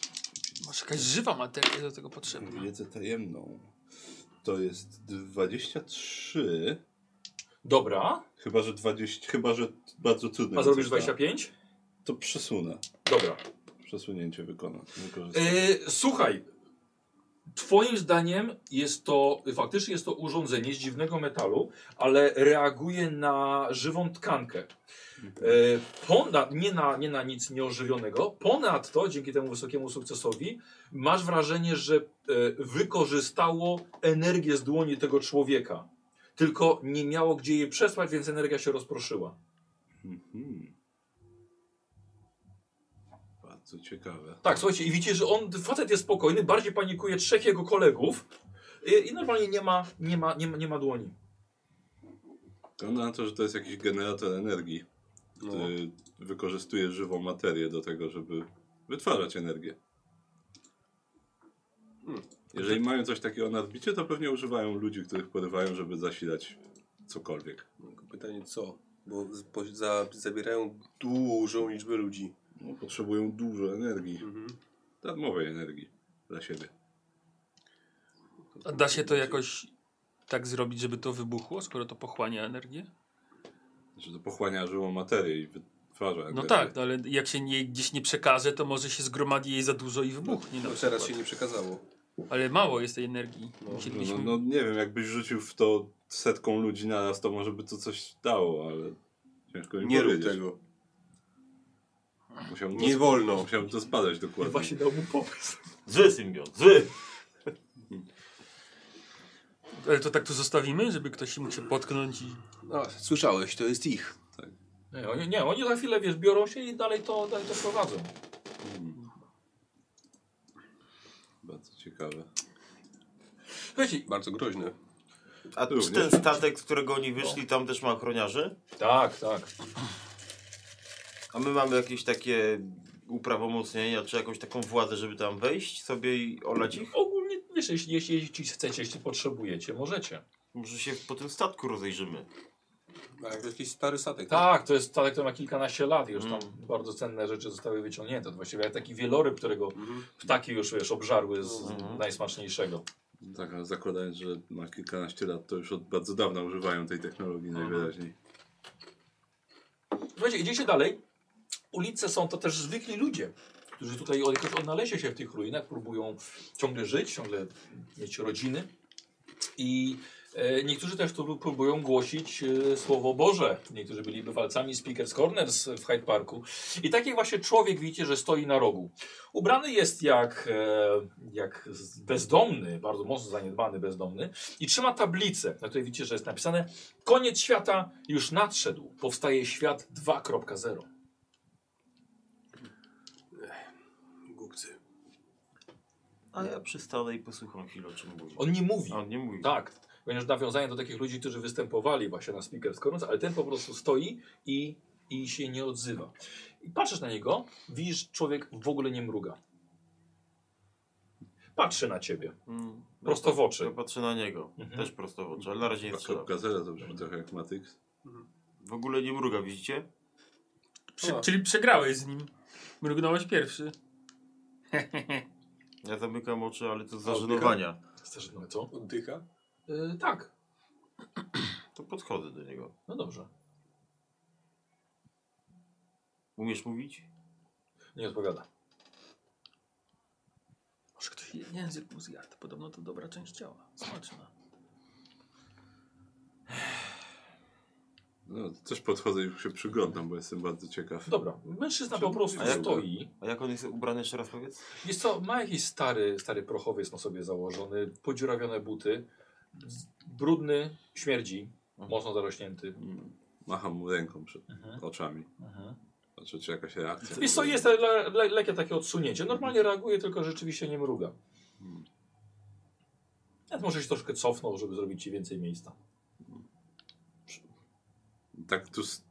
S1: Może jakaś żywa materia do tego potrzebna.
S3: Wiedzę tajemną. To jest 23.
S2: Dobra,
S3: Chyba, że 20. Chyba, że bardzo trudne.
S2: a zrobisz
S3: jest, tak.
S2: 25?
S3: To przesunę.
S2: Dobra.
S3: Przesunięcie wykonam. Wykorzystam.
S2: Yy, słuchaj, twoim zdaniem jest to, faktycznie jest to urządzenie z dziwnego metalu, ale reaguje na żywą tkankę. Yy, ponad, nie, na, nie na nic nieożywionego. Ponadto, dzięki temu wysokiemu sukcesowi, masz wrażenie, że e, wykorzystało energię z dłoni tego człowieka. Tylko nie miało gdzie jej przesłać, więc energia się rozproszyła.
S3: Mhm. Bardzo ciekawe.
S2: Tak, słuchajcie, i widzicie, że on, facet jest spokojny, bardziej panikuje trzech jego kolegów i, i normalnie nie ma, nie, ma, nie, ma, nie ma dłoni.
S3: Wygląda na to, że to jest jakiś generator energii,
S5: No.
S3: który wykorzystuje żywą materię do tego, żeby wytwarzać energię. Jeżeli mają coś takiego na odbicie, to pewnie używają ludzi, których porywają, żeby zasilać cokolwiek.
S5: Tylko Pytanie co? Bo z- po- za, zabierają dużą liczbę ludzi.
S3: No, potrzebują dużo energii,
S5: Mhm.
S3: darmowej energii dla siebie.
S1: A da się to jakoś tak zrobić, żeby to wybuchło, skoro to pochłania energię?
S3: Że to pochłania żywą materię i wytwarza energię.
S1: No tak, no ale jak się nie, gdzieś nie przekaże, to może się zgromadzi jej za dużo i wybuchnie na
S5: No teraz
S1: przykład.
S5: się nie przekazało.
S1: Ale mało jest tej energii. Musielibyśmy...
S3: No, no nie wiem, jakbyś rzucił w to setką ludzi naraz, to może by to coś dało, ale ciężko mi
S5: Nie rób
S3: powiedzieć.
S5: tego.
S3: Musiałbym
S5: Nie wolno.
S3: Musiałbym to spadać dokładnie.
S2: Właśnie dał mu pomysł.
S4: Zły symbiont, zły!
S1: Ale to tak tu zostawimy, żeby ktoś się mógł się potknąć i...
S5: No, słyszałeś, to jest ich.
S2: Nie, oni, nie, oni za chwilę, wiesz, biorą się i dalej to, dalej to prowadzą.
S3: Bardzo ciekawe.
S2: Słuchajcie,
S5: Bardzo groźne.
S4: A czy
S3: Również.
S4: ten statek, z którego oni wyszli, tam też ma ochroniarzy?
S2: tak, tak.
S4: A my mamy jakieś takie uprawomocnienia, czy jakąś taką władzę, żeby tam wejść sobie i olać ich?
S2: Ogólnie, wiesz, jeśli, jeśli, jeśli chcecie, jeśli potrzebujecie, możecie.
S4: Może się po tym statku rozejrzymy.
S5: Ale to jakiś stary statek.
S2: Tak, to jest statek, który ma kilkanaście lat i już tam
S4: Mm.
S2: bardzo cenne rzeczy zostały wyciągnięte. To właściwie jak taki wieloryb, którego ptaki już, wiesz, obżarły z
S4: Mhm.
S2: najsmaczniejszego.
S3: Tak, ale zakładając, że ma kilkanaście lat, to już od bardzo dawna używają tej technologii najwyraźniej.
S2: Słuchajcie, idziecie dalej. Ulice są to też zwykli ludzie, którzy tutaj jakoś odnaleźli się w tych ruinach, próbują ciągle żyć, ciągle mieć rodziny. I e, niektórzy też tu próbują głosić e, Słowo Boże. Niektórzy byli bywalcami z Speakers Corners w Hyde Parku. I taki właśnie człowiek widzicie, że stoi na rogu. Ubrany jest jak, e, jak z- bezdomny, bardzo mocno zaniedbany bezdomny. I trzyma tablicę, na której widzicie, że jest napisane Koniec świata już nadszedł. Powstaje świat 2.0.
S5: Głupcy.
S2: A ja przystanę i posłucham chwilę, o czym mówi.
S6: On nie mówi.
S4: A on nie mówi.
S6: Tak, ponieważ nawiązanie do takich ludzi, którzy występowali właśnie na Speaker's Corner, ale ten po prostu stoi i, i się nie odzywa. I patrzysz na niego, widzisz, człowiek w ogóle nie mruga. Patrzy na ciebie,
S4: Mm.
S6: prosto w
S4: Ja
S6: oczy.
S4: patrzę na niego.
S6: Mhm.
S4: Też prosto w oczy, ale na razie nie strzela.
S3: Kropka zera to brzmi trochę jak Matyx.
S4: W ogóle nie mruga, widzicie?
S1: Prze-
S5: O.
S1: czyli przegrałeś z nim. Mrugnąłeś pierwszy.
S4: Ja zamykam oczy, ale to z
S5: A,
S4: zażenowania.
S6: Chcesz, no co?
S5: Oddycha?
S2: Y,
S6: Yy, tak,
S4: To podchodzę do niego.
S6: no dobrze.
S4: Umiesz mówić?
S6: Nie odpowiada.
S1: Może ktoś język mu zjadł. Podobno to dobra część ciała. Smaczna.
S3: No, też podchodzę i już się przyglądam, bo jestem bardzo ciekaw.
S6: Dobra, mężczyzna po prostu
S4: A jak-
S6: stoi.
S4: A jak on jest ubrany, jeszcze raz powiedz?
S6: Jest co, ma jakiś stary, stary prochowiec na sobie założony, podziurawione buty, z- brudny, śmierdzi, mocno zarośnięty.
S3: Macham mu ręką przed
S6: Mhm.
S3: oczami.
S6: Mhm.
S3: Patrzę, czy jakaś reakcja.
S6: Wiesz co, jest le, le, lekkie takie odsunięcie. Normalnie reaguje, tylko rzeczywiście nie mruga. Nawet może się troszkę cofnął, żeby zrobić ci więcej miejsca.
S3: Tak tu... s-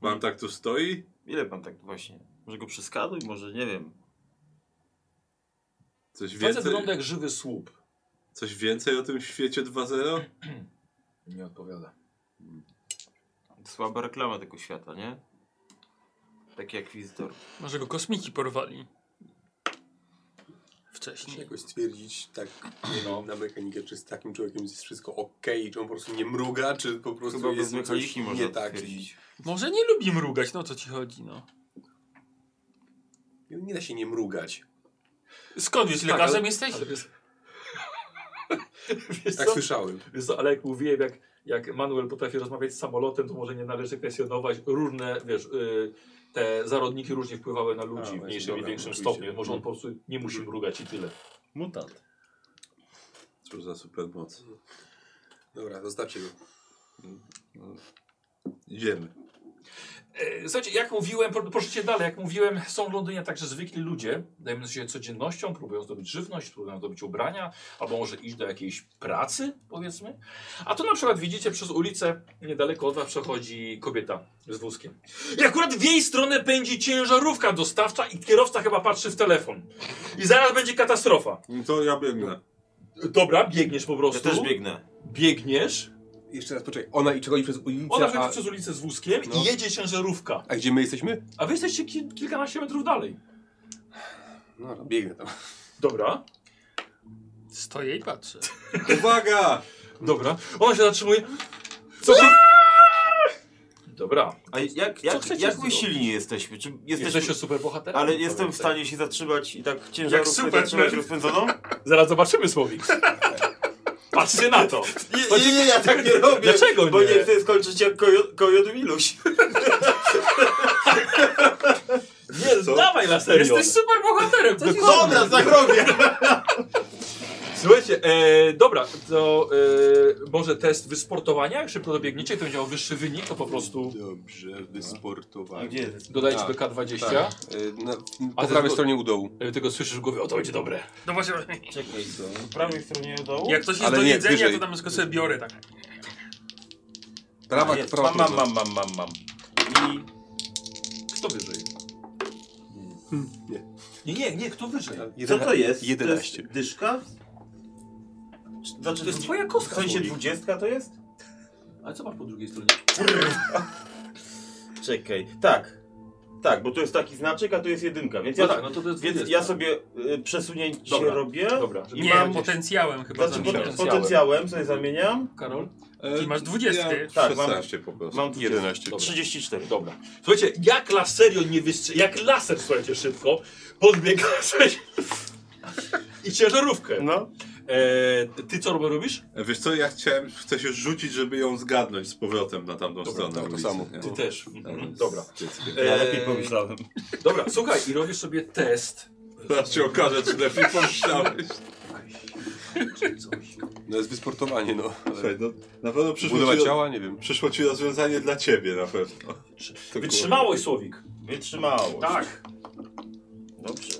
S3: Mam tak tu stoi?
S4: Ile pan tak właśnie? Może go przeskaduj? Może nie wiem.
S3: Coś
S6: Facet
S3: więcej,
S6: wygląda jak żywy słup.
S3: coś więcej o tym świecie 2.0?
S6: Nie odpowiada.
S4: Słaba reklama tego świata, nie? Taki jak wizytor.
S1: Może go kosmici porwali. Wcześniej.
S5: Jakoś stwierdzić tak
S6: No.
S5: na mechanikę, czy z takim człowiekiem jest wszystko okej, czy on po prostu nie mruga, czy po prostu
S4: Chyba bez
S5: jest mu coś
S4: mechaniki można
S5: nie
S4: to
S5: tak.
S4: stwierdzić.
S1: Może nie lubi mrugać, no o co ci chodzi, no.
S5: Nie da się nie mrugać.
S1: Skąd wiesz,
S6: Tak,
S1: lekarzem
S6: ale-
S1: jesteś?
S6: Ale wiesz, wiesz
S5: Tak
S6: co?
S5: słyszałem.
S6: Wiesz co, ale jak mówiłem, jak, jak Manuel potrafi rozmawiać z samolotem, to może nie należy kwestionować różne, wiesz, y, te zarodniki różnie wpływały na ludzi w
S5: właśnie,
S6: mniejszym i
S5: dobra,
S6: większym
S5: oczywiście.
S6: stopniu. Może on po prostu nie musi mrugać i tyle.
S14: Mutant.
S3: Cóż za supermoc.
S5: Dobra, zostawcie go.
S3: Idziemy.
S6: E, Słuchajcie, jak mówiłem, pro- poszliście dalej, jak mówiłem, są w Londynie także zwykli ludzie, zajmujący się codziennością, próbują zdobyć żywność, próbują zdobyć ubrania, albo może iść do jakiejś pracy, powiedzmy. A tu na przykład widzicie, przez ulicę niedaleko od was przechodzi kobieta z wózkiem. I akurat w jej stronę pędzi ciężarówka dostawcza i kierowca chyba patrzy w telefon. I zaraz będzie katastrofa.
S3: No To ja biegnę.
S6: Dobra, biegniesz po
S4: Ja
S6: prostu.
S4: też biegnę.
S6: Biegniesz.
S5: Jeszcze raz poczekaj. Ona i przechodzi przez ulicę,
S6: Ona
S5: a,
S6: przechodzi przez ulicę z wózkiem
S5: No.
S6: i jedzie ciężarówka.
S5: a gdzie my jesteśmy?
S6: A wy jesteście ki kilkanaście metrów dalej.
S5: No, dobra, biegnę tam.
S6: Dobra.
S1: Stoję i patrzę.
S3: Uwaga!
S6: Dobra, ona się zatrzymuje. Co się... Dobra,
S4: A jak,
S6: Co
S4: jak,
S6: chcecie
S4: jak my
S6: zrobić?
S4: silni jesteśmy? Czy jesteśmy...
S6: jesteście super bohaterem.
S4: Ale jestem w stanie się zatrzymać i tak ciężarówkę
S1: Superman.
S4: zatrzymać rozpędzoną?
S6: Zaraz zobaczymy słowik. Patrzcie na to.
S4: Nie, nie, nie, ja tak nie robię.
S6: Dlaczego
S4: Bo
S6: nie?
S4: nie chcę skończyć jak kojo- kojot Miluś.
S6: Nie, dawaj na serio.
S1: Jesteś super bohaterem, co się
S4: Dobra, tak robię.
S6: Słuchajcie, e, dobra, to e, może test wysportowania. Jak szybko dobiegniecie, to będzie miał wyższy wynik, to po prostu
S5: Dobrze,
S4: A
S5: wysportowałem.
S4: gdzie jest?
S6: dodajcie
S5: Tak,
S6: do K20.
S5: Na,
S6: A
S5: Tak. E, no, po
S6: ty-
S5: prawej stronie u dołu.
S6: E, Tego słyszysz w głowie, o to będzie dobre.
S1: No właśnie,
S4: Czekaj, co? Po prawej stronie do dołu?
S1: jak coś jest
S5: Ale
S1: do
S5: nie,
S1: jedzenia,
S5: wyżej.
S1: to tam tylko sobie biorę tak.
S5: Prawa,
S4: Jest.
S5: prawa
S4: Mam, mam,
S5: strona.
S4: mam, mam, mam, mam. I
S6: Kto wyżej?
S4: Hmm.
S6: Nie, nie, nie, kto wyżej?
S5: Jeden-
S2: Co to jest?
S5: 11.
S2: To jest dyszka? Czy- Znaczy,
S6: To jest twoja
S4: w
S6: kostka.
S4: sensie
S6: słowik.
S4: dwudziestka to jest?
S6: Ale co masz po drugiej stronie?
S2: Czekaj.
S4: Tak. Tak, bo tu jest taki znaczek, a tu jest jedynka, więc
S6: No
S4: ja,
S6: tak, no to to jest
S4: więc
S6: dwudziestka.
S4: ja sobie y, przesunięcie
S6: Dobra.
S4: robię.
S6: Dobra, żeby
S4: I
S1: Nie,
S4: mam-
S1: potencjałem chyba
S4: Znaczy
S1: zamierzam.
S4: potencjałem.
S6: Potencjałem.
S4: potencjałem sobie zamieniam.
S6: Karol?
S1: Czyli masz 20.
S3: Ja
S4: Tak,
S3: 16 po prostu.
S4: Mam 11.
S6: Dobra.
S4: 34.
S6: Dobra. Słuchajcie, jak laserio nie wystrzeli, jak laser, słuchajcie, szybko, podbiega słuchajcie, i ciężarówkę.
S4: No.
S6: E, ty co rob- robisz?
S3: E, Wiesz co, ja chciałem, chcę się rzucić, żeby ją zgadnąć z powrotem na tamtą stronę
S5: to- to
S3: ulicy.
S5: samo.
S3: nie?
S6: Ty też.
S3: Mhm.
S6: Mhm. Dobra.
S3: Styckie.
S4: Ja
S6: E,
S4: lepiej pomyślałem.
S6: Dobra, słuchaj, i robisz sobie test.
S3: Zaraz ci okaże, czy lepiej pomyślałeś.
S5: No jest wysportowanie, no.
S3: Słuchaj, no, na pewno przyszło
S5: Budowa
S3: ci,
S5: ciała, nie wiem.
S3: przyszło ci rozwiązanie dla ciebie na pewno.
S6: Wytrzymałość, Słowik.
S4: Wytrzymało.
S6: Tak.
S4: Dobrze.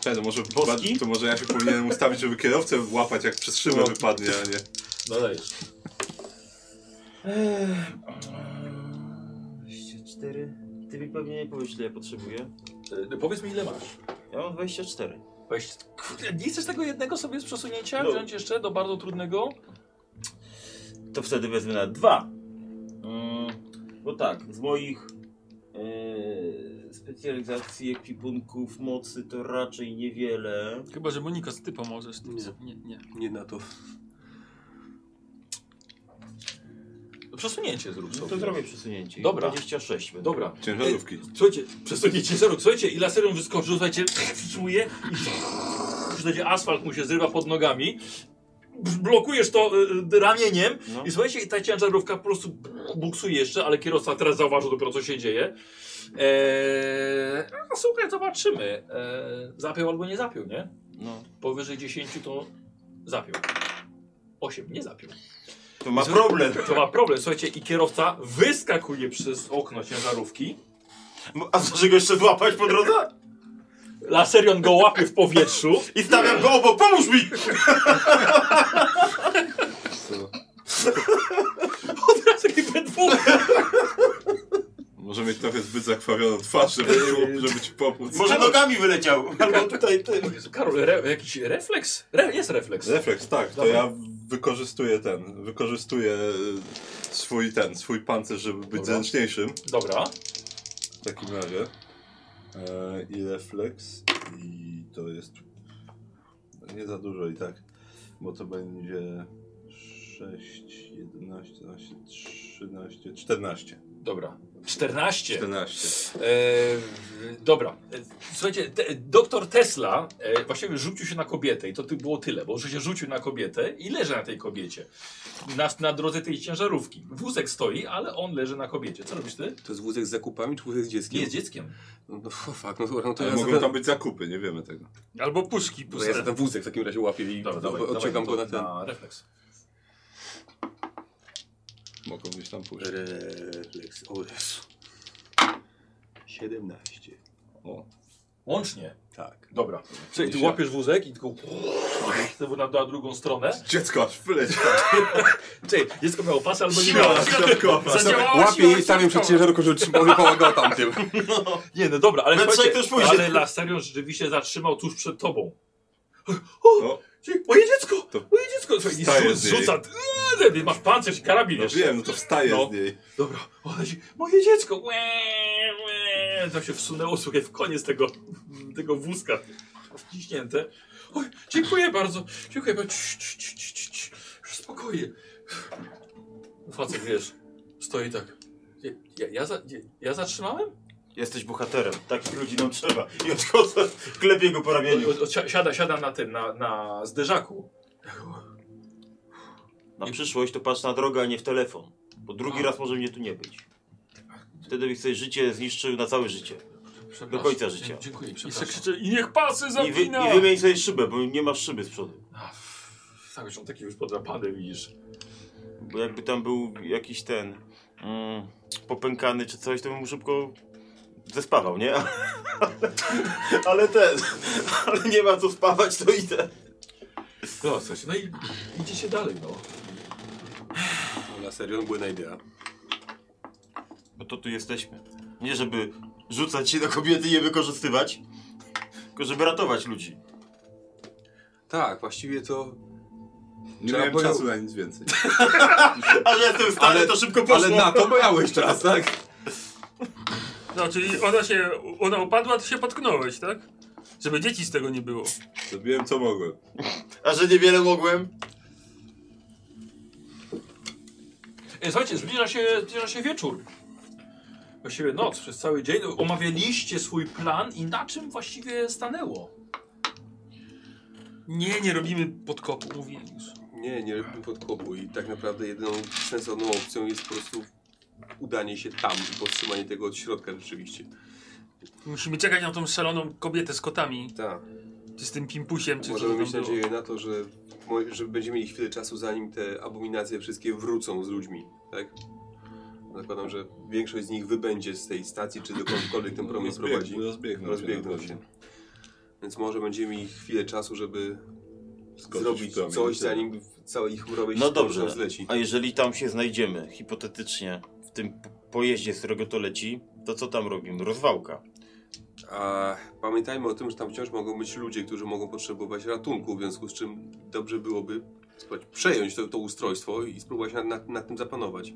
S3: Czekaj, to może,
S9: Boski?
S3: to może ja się powinienem ustawić, żeby kierowcę łapać, jak przez szybę wypadnie, a nie...
S6: Dodajesz.
S4: 24. Ty mi pewnie nie powiesz, ile ja potrzebuję.
S6: E, Powiedz mi ile masz.
S4: Ja mam 24.
S6: Weź, kurde, nie chcesz tego jednego sobie z przesunięcia
S4: No.
S6: wziąć jeszcze do bardzo trudnego?
S4: To wtedy wezmę na dwa. Mm, Bo tak, z moich e, specjalizacji, ekwipunków, mocy to raczej niewiele.
S1: Chyba, że Monikos, ty pomożesz. Tym. Nie, nie.
S5: Nie na to.
S6: Przesunięcie zrób
S4: No
S6: sobie.
S4: to zrobię przesunięcie.
S6: Dobra.
S4: 26 będę.
S6: Dobra.
S3: Ciężarówki.
S6: Słuchajcie, przesunięcie ciężaru, słuchajcie, i laserem wyskoczył, słuchajcie, wstrzymuje i słuchajcie, asfalt mu się zrywa pod nogami. Blokujesz to y, y, ramieniem
S4: No.
S6: i słuchajcie, i ta ciężarówka po prostu buksuje jeszcze, ale kierowca teraz zauważył dopiero co się dzieje. Eee, a słuchaj, zobaczymy. Eee, zapiął albo nie zapiął, nie?
S4: No.
S6: Powyżej 10 to zapiął. 8 nie zapiął.
S9: To ma problem.
S6: To ma problem, słuchajcie, i kierowca wyskakuje przez okno ciężarówki.
S9: No, A zdarzy go jeszcze złapać po drodze?
S6: Laserion go łapie w powietrzu.
S9: I stawiam go obok, pomóż mi!
S6: Od razu jakby dwóch.
S3: Może mieć trochę zbyt zakrwawioną twarz, żeby, ci- żeby ci pomóc. No,
S9: Może nogami wyleciał. Albo tutaj ty.
S6: Jezu, Karol, re, jakiś refleks? Re, jest refleks.
S3: Refleks, tak. To ja wykorzystuję ten, wykorzystuję e, swój ten, swój pancerz, żeby być
S6: Dobra.
S3: zręczniejszym
S6: Dobra.
S3: w takim razie. E, I refleks, i to jest nie za dużo i tak, bo to będzie 6, 11, 12, 13, 14.
S6: Dobra. 14.
S3: 14.
S6: E, dobra. E, Słuchajcie, te, doktor Tesla e, właściwie rzucił się na kobietę i to ty- było tyle, bo że się rzucił na kobietę i leży na tej kobiecie. Na, na drodze tej ciężarówki. Wózek stoi, ale on leży na kobiecie. Co robisz ty?
S5: To jest wózek z zakupami, czy wózek z dzieckiem?
S6: Nie jest dzieckiem.
S5: No to fuck, no dobra, no to
S3: Ale
S5: ja
S3: mogą
S5: za,
S3: tam
S5: tam...
S3: być zakupy, nie wiemy tego.
S1: Albo puszki
S5: no ja za
S1: puste.
S5: ten wózek w takim razie łapię i
S6: Dobra,
S5: dobra,
S6: dawaj,
S5: odciągam
S6: dawaj,
S5: go na
S6: to
S5: ten.
S6: Na refleks.
S3: Mogą gdzieś tam pójść.
S5: Refleks, o Jezu. 17.
S6: Łącznie.
S5: Tak.
S6: Dobra. Czyli ty łapiesz wózek i tylko znowu na, na drugą stronę.
S3: Dziecko aż wyleciało.
S6: Czyli dziecko miało pas albo nie miało.
S3: Siła środkowa.
S5: Łapię jej i stawiam przed ciężarówką, żeby trzymał go tamtym.
S6: Nie, no dobra, ale
S9: No,
S6: słuchajcie,
S9: trzeba też pójść.
S6: ale Lasterion rzeczywiście zatrzymał tuż przed tobą.
S3: O.
S6: O, czyli moje dziecko!
S3: To
S6: Moje dziecko! Słuchaj, i
S3: wstaje
S6: zrzu-
S3: z niej.
S6: zrzuca. Eee, Masz pancerz i karabin
S3: No
S6: jeszcze.
S3: wiem, no to wstaje
S6: No.
S3: z niej.
S6: Dobra, ona się, moje dziecko! Łe, łe. To się wsunęło, słuchaj, w koniec tego, tego wózka wciśnięte. Oj, dziękuję bardzo, dziękuję bardzo. Cii, cii, cii, cii, cii, cii. Spokojnie. Facet, wiesz, stoi tak. Ja, ja, ja, za, ja, ja zatrzymałem?
S9: Jesteś bohaterem. Takich ludzi nam trzeba. I odchodzę, klepię go po ramieniu.
S6: O, o, si- siada, siada na tym, na, na zderzaku.
S4: Na przyszłość to patrz na drogę, a nie w telefon. Bo drugi raz może mnie tu nie być. Wtedy byś sobie życie zniszczył na całe życie.
S6: Tak. Przepraszam.
S4: Do końca życia.
S6: Dziękuję,
S1: I se
S6: przepraszam.
S1: krzyczy, i niech pasy
S4: I, wy,
S1: zawina!
S4: I wymień sobie szybę, bo nie masz szyby z przodu.
S6: A, f- Tak, już on taki już podrapany, widzisz.
S4: Bo jakby tam był jakiś ten mm, popękany czy coś, to bym mu szybko zespawał, nie?
S9: Ale ten. Ale nie ma co spawać, to idę.
S6: No, coś, no i idzie się dalej, no.
S5: Na serio, błędna idea.
S9: Bo to tu jesteśmy. Nie żeby rzucać się na kobiety i je wykorzystywać, tylko żeby ratować ludzi.
S5: Tak, właściwie to...
S3: Nie
S5: Trzeba
S3: miałem
S5: było-
S3: czasu na nic więcej.
S9: A że jestem stary,
S5: Ale-
S9: to szybko poszło.
S5: Ale na to miałeś czas, tak?
S1: No, czyli ona się, ona upadła, ty się potknąłeś, tak? Żeby dzieci z tego nie było.
S3: Zrobiłem co mogłem.
S9: A że niewiele mogłem.
S6: E, Słuchajcie, zbliża się, zbliża się wieczór. Właściwie noc, przez cały dzień. Omawialiście swój plan i na czym właściwie stanęło.
S1: Nie, nie robimy podkopu, mówię już.
S5: Nie, nie robimy podkopu i tak naprawdę jedyną sensowną opcją jest po prostu udanie się tam i powstrzymanie tego od środka rzeczywiście.
S1: Musimy czekać na tą szaloną kobietę z kotami,
S5: Tak.
S1: czy z tym pimpusiem, czy co
S5: Możemy
S1: to
S5: mieć
S1: tam było.
S5: nadzieję na to, że, mo- że będziemy mieli chwilę czasu, zanim te abominacje wszystkie wrócą z ludźmi, tak? Zakładam, że większość z nich wybędzie z tej stacji, czy dokądkolwiek ten promień
S3: Rozbieg-
S5: prowadzi.
S3: Rozbiegną się.
S5: Rozbiegną
S3: na
S5: się.
S3: pewno.
S5: Więc może będzie mi chwilę czasu, żeby
S3: Skoczyć w
S5: zrobić
S3: promień,
S5: coś,
S3: tak.
S5: zanim całe ich chmurowe
S4: No dobrze.
S5: nam zleci.
S4: A jeżeli tam się znajdziemy, hipotetycznie, w tym po- pojeździe, z którego to leci, to co tam robimy? Rozwałka.
S5: A pamiętajmy o tym, że tam wciąż mogą być ludzie, którzy mogą potrzebować ratunku, w związku z czym dobrze byłoby spróbować przejąć to, to ustrojstwo i spróbować nad, nad, nad tym zapanować.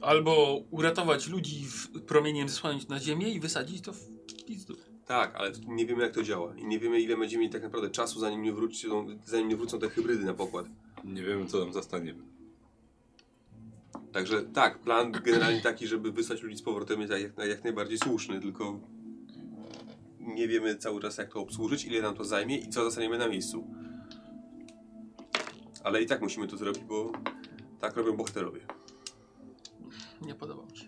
S1: Albo uratować ludzi w promieniem zesłanić na ziemię i wysadzić to w pizdu.
S5: Tak, ale nie wiemy jak to działa i nie wiemy ile będziemy mieli tak naprawdę czasu, zanim nie, wrócą, zanim nie wrócą te hybrydy na pokład.
S3: Nie wiemy, co nam zastanie.
S5: Także tak, plan generalnie taki, żeby wysłać ludzi z powrotem jest jak, jak najbardziej słuszny, tylko nie wiemy cały czas jak to obsłużyć, ile nam to zajmie i co zostaniemy na miejscu. Ale i tak musimy to zrobić, bo tak robią bohaterowie.
S1: Nie podoba mi się.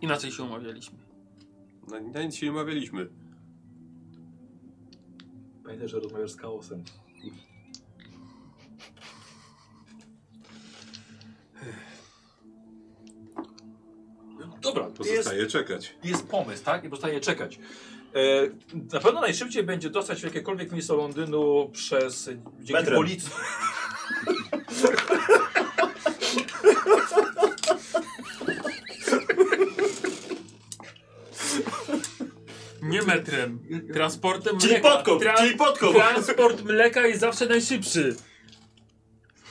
S1: Inaczej się umawialiśmy.
S5: Na, No, na nic się nie umawialiśmy.
S2: Pamiętaj, że rozmawiasz z chaosem.
S6: Dobra,
S3: Pozostaje czekać.
S6: jest pomysł, tak? I pozostaje czekać. E, na pewno najszybciej będzie dostać się w jakiekolwiek miejsce Londynu przez dzięki
S4: Metrem.
S6: policji.
S1: Nie metrem, transportem
S4: Czyli
S1: mleka.
S4: podkop,
S1: Tra-
S4: czyli podkop.
S1: Transport mleka jest zawsze najszybszy.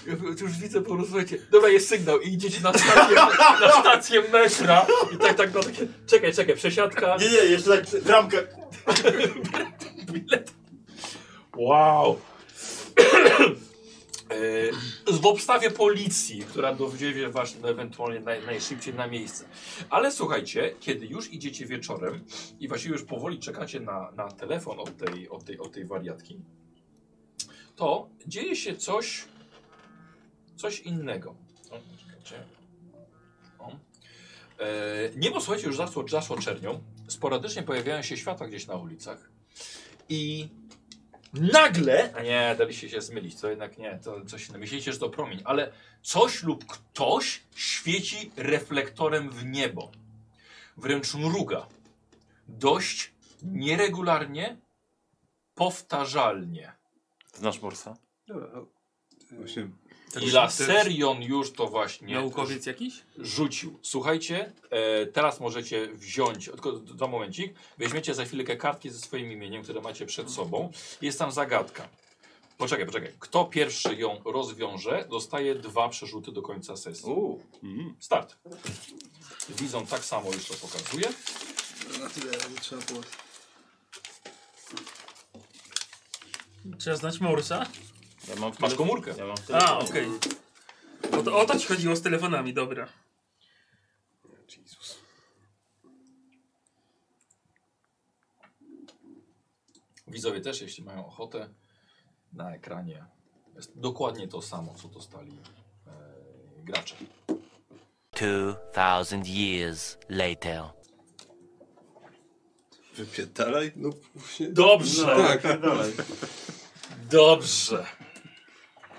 S6: Ja tu już widzę po prostu, słuchajcie, dobra jest sygnał i idziecie na stację, na stację metra i tak, tak, no takie, czekaj, czekaj, przesiadka.
S4: Nie, nie, jeszcze tak ramka.
S6: Wow. E, W obstawie policji, która dowiedzie was ewentualnie naj, najszybciej na miejsce. Ale słuchajcie, kiedy już idziecie wieczorem i właściwie już powoli czekacie na, na telefon od tej, od, tej, od tej wariatki, to dzieje się coś, coś innego. O, czekajcie. O. E, niebo, słuchajcie, już zasło, zasło czernią. Sporadycznie pojawiają się światła gdzieś na ulicach. I nagle, a nie, daliście się zmylić, to jednak nie, to coś innego. Myślicie, że to promień, ale coś lub ktoś świeci reflektorem w niebo. Wręcz mruga. Dość nieregularnie, powtarzalnie.
S4: Znasz Morsa?
S5: Dobra, no,
S3: Właśnie
S6: I Laserion już to właśnie
S1: Naukowiec jakiś?
S6: rzucił. Słuchajcie, e, teraz możecie wziąć, tylko za momencik, weźmiecie za chwilkę kartki ze swoim imieniem, które macie przed sobą. Jest tam zagadka. Poczekaj, poczekaj. Kto pierwszy ją rozwiąże, dostaje dwa przerzuty do końca sesji. Mhm. Start. Widzą tak samo już to pokazuje.
S3: na tyle razy trzeba było.
S1: Trzeba znać Morsa?
S4: Ja mam w
S6: Masz
S4: tele-
S6: komórkę.
S4: Ja mam w tele-
S1: A, okej. O, to, o to ci chodziło z telefonami, dobra.
S6: Widzowie też, jeśli mają ochotę, na ekranie jest dokładnie to samo, co dostali e, gracze.
S15: 2,000 years later.
S3: Wypierdalaj.
S5: no właśnie.
S6: Dobrze,
S3: No
S5: tak,
S6: dobrze.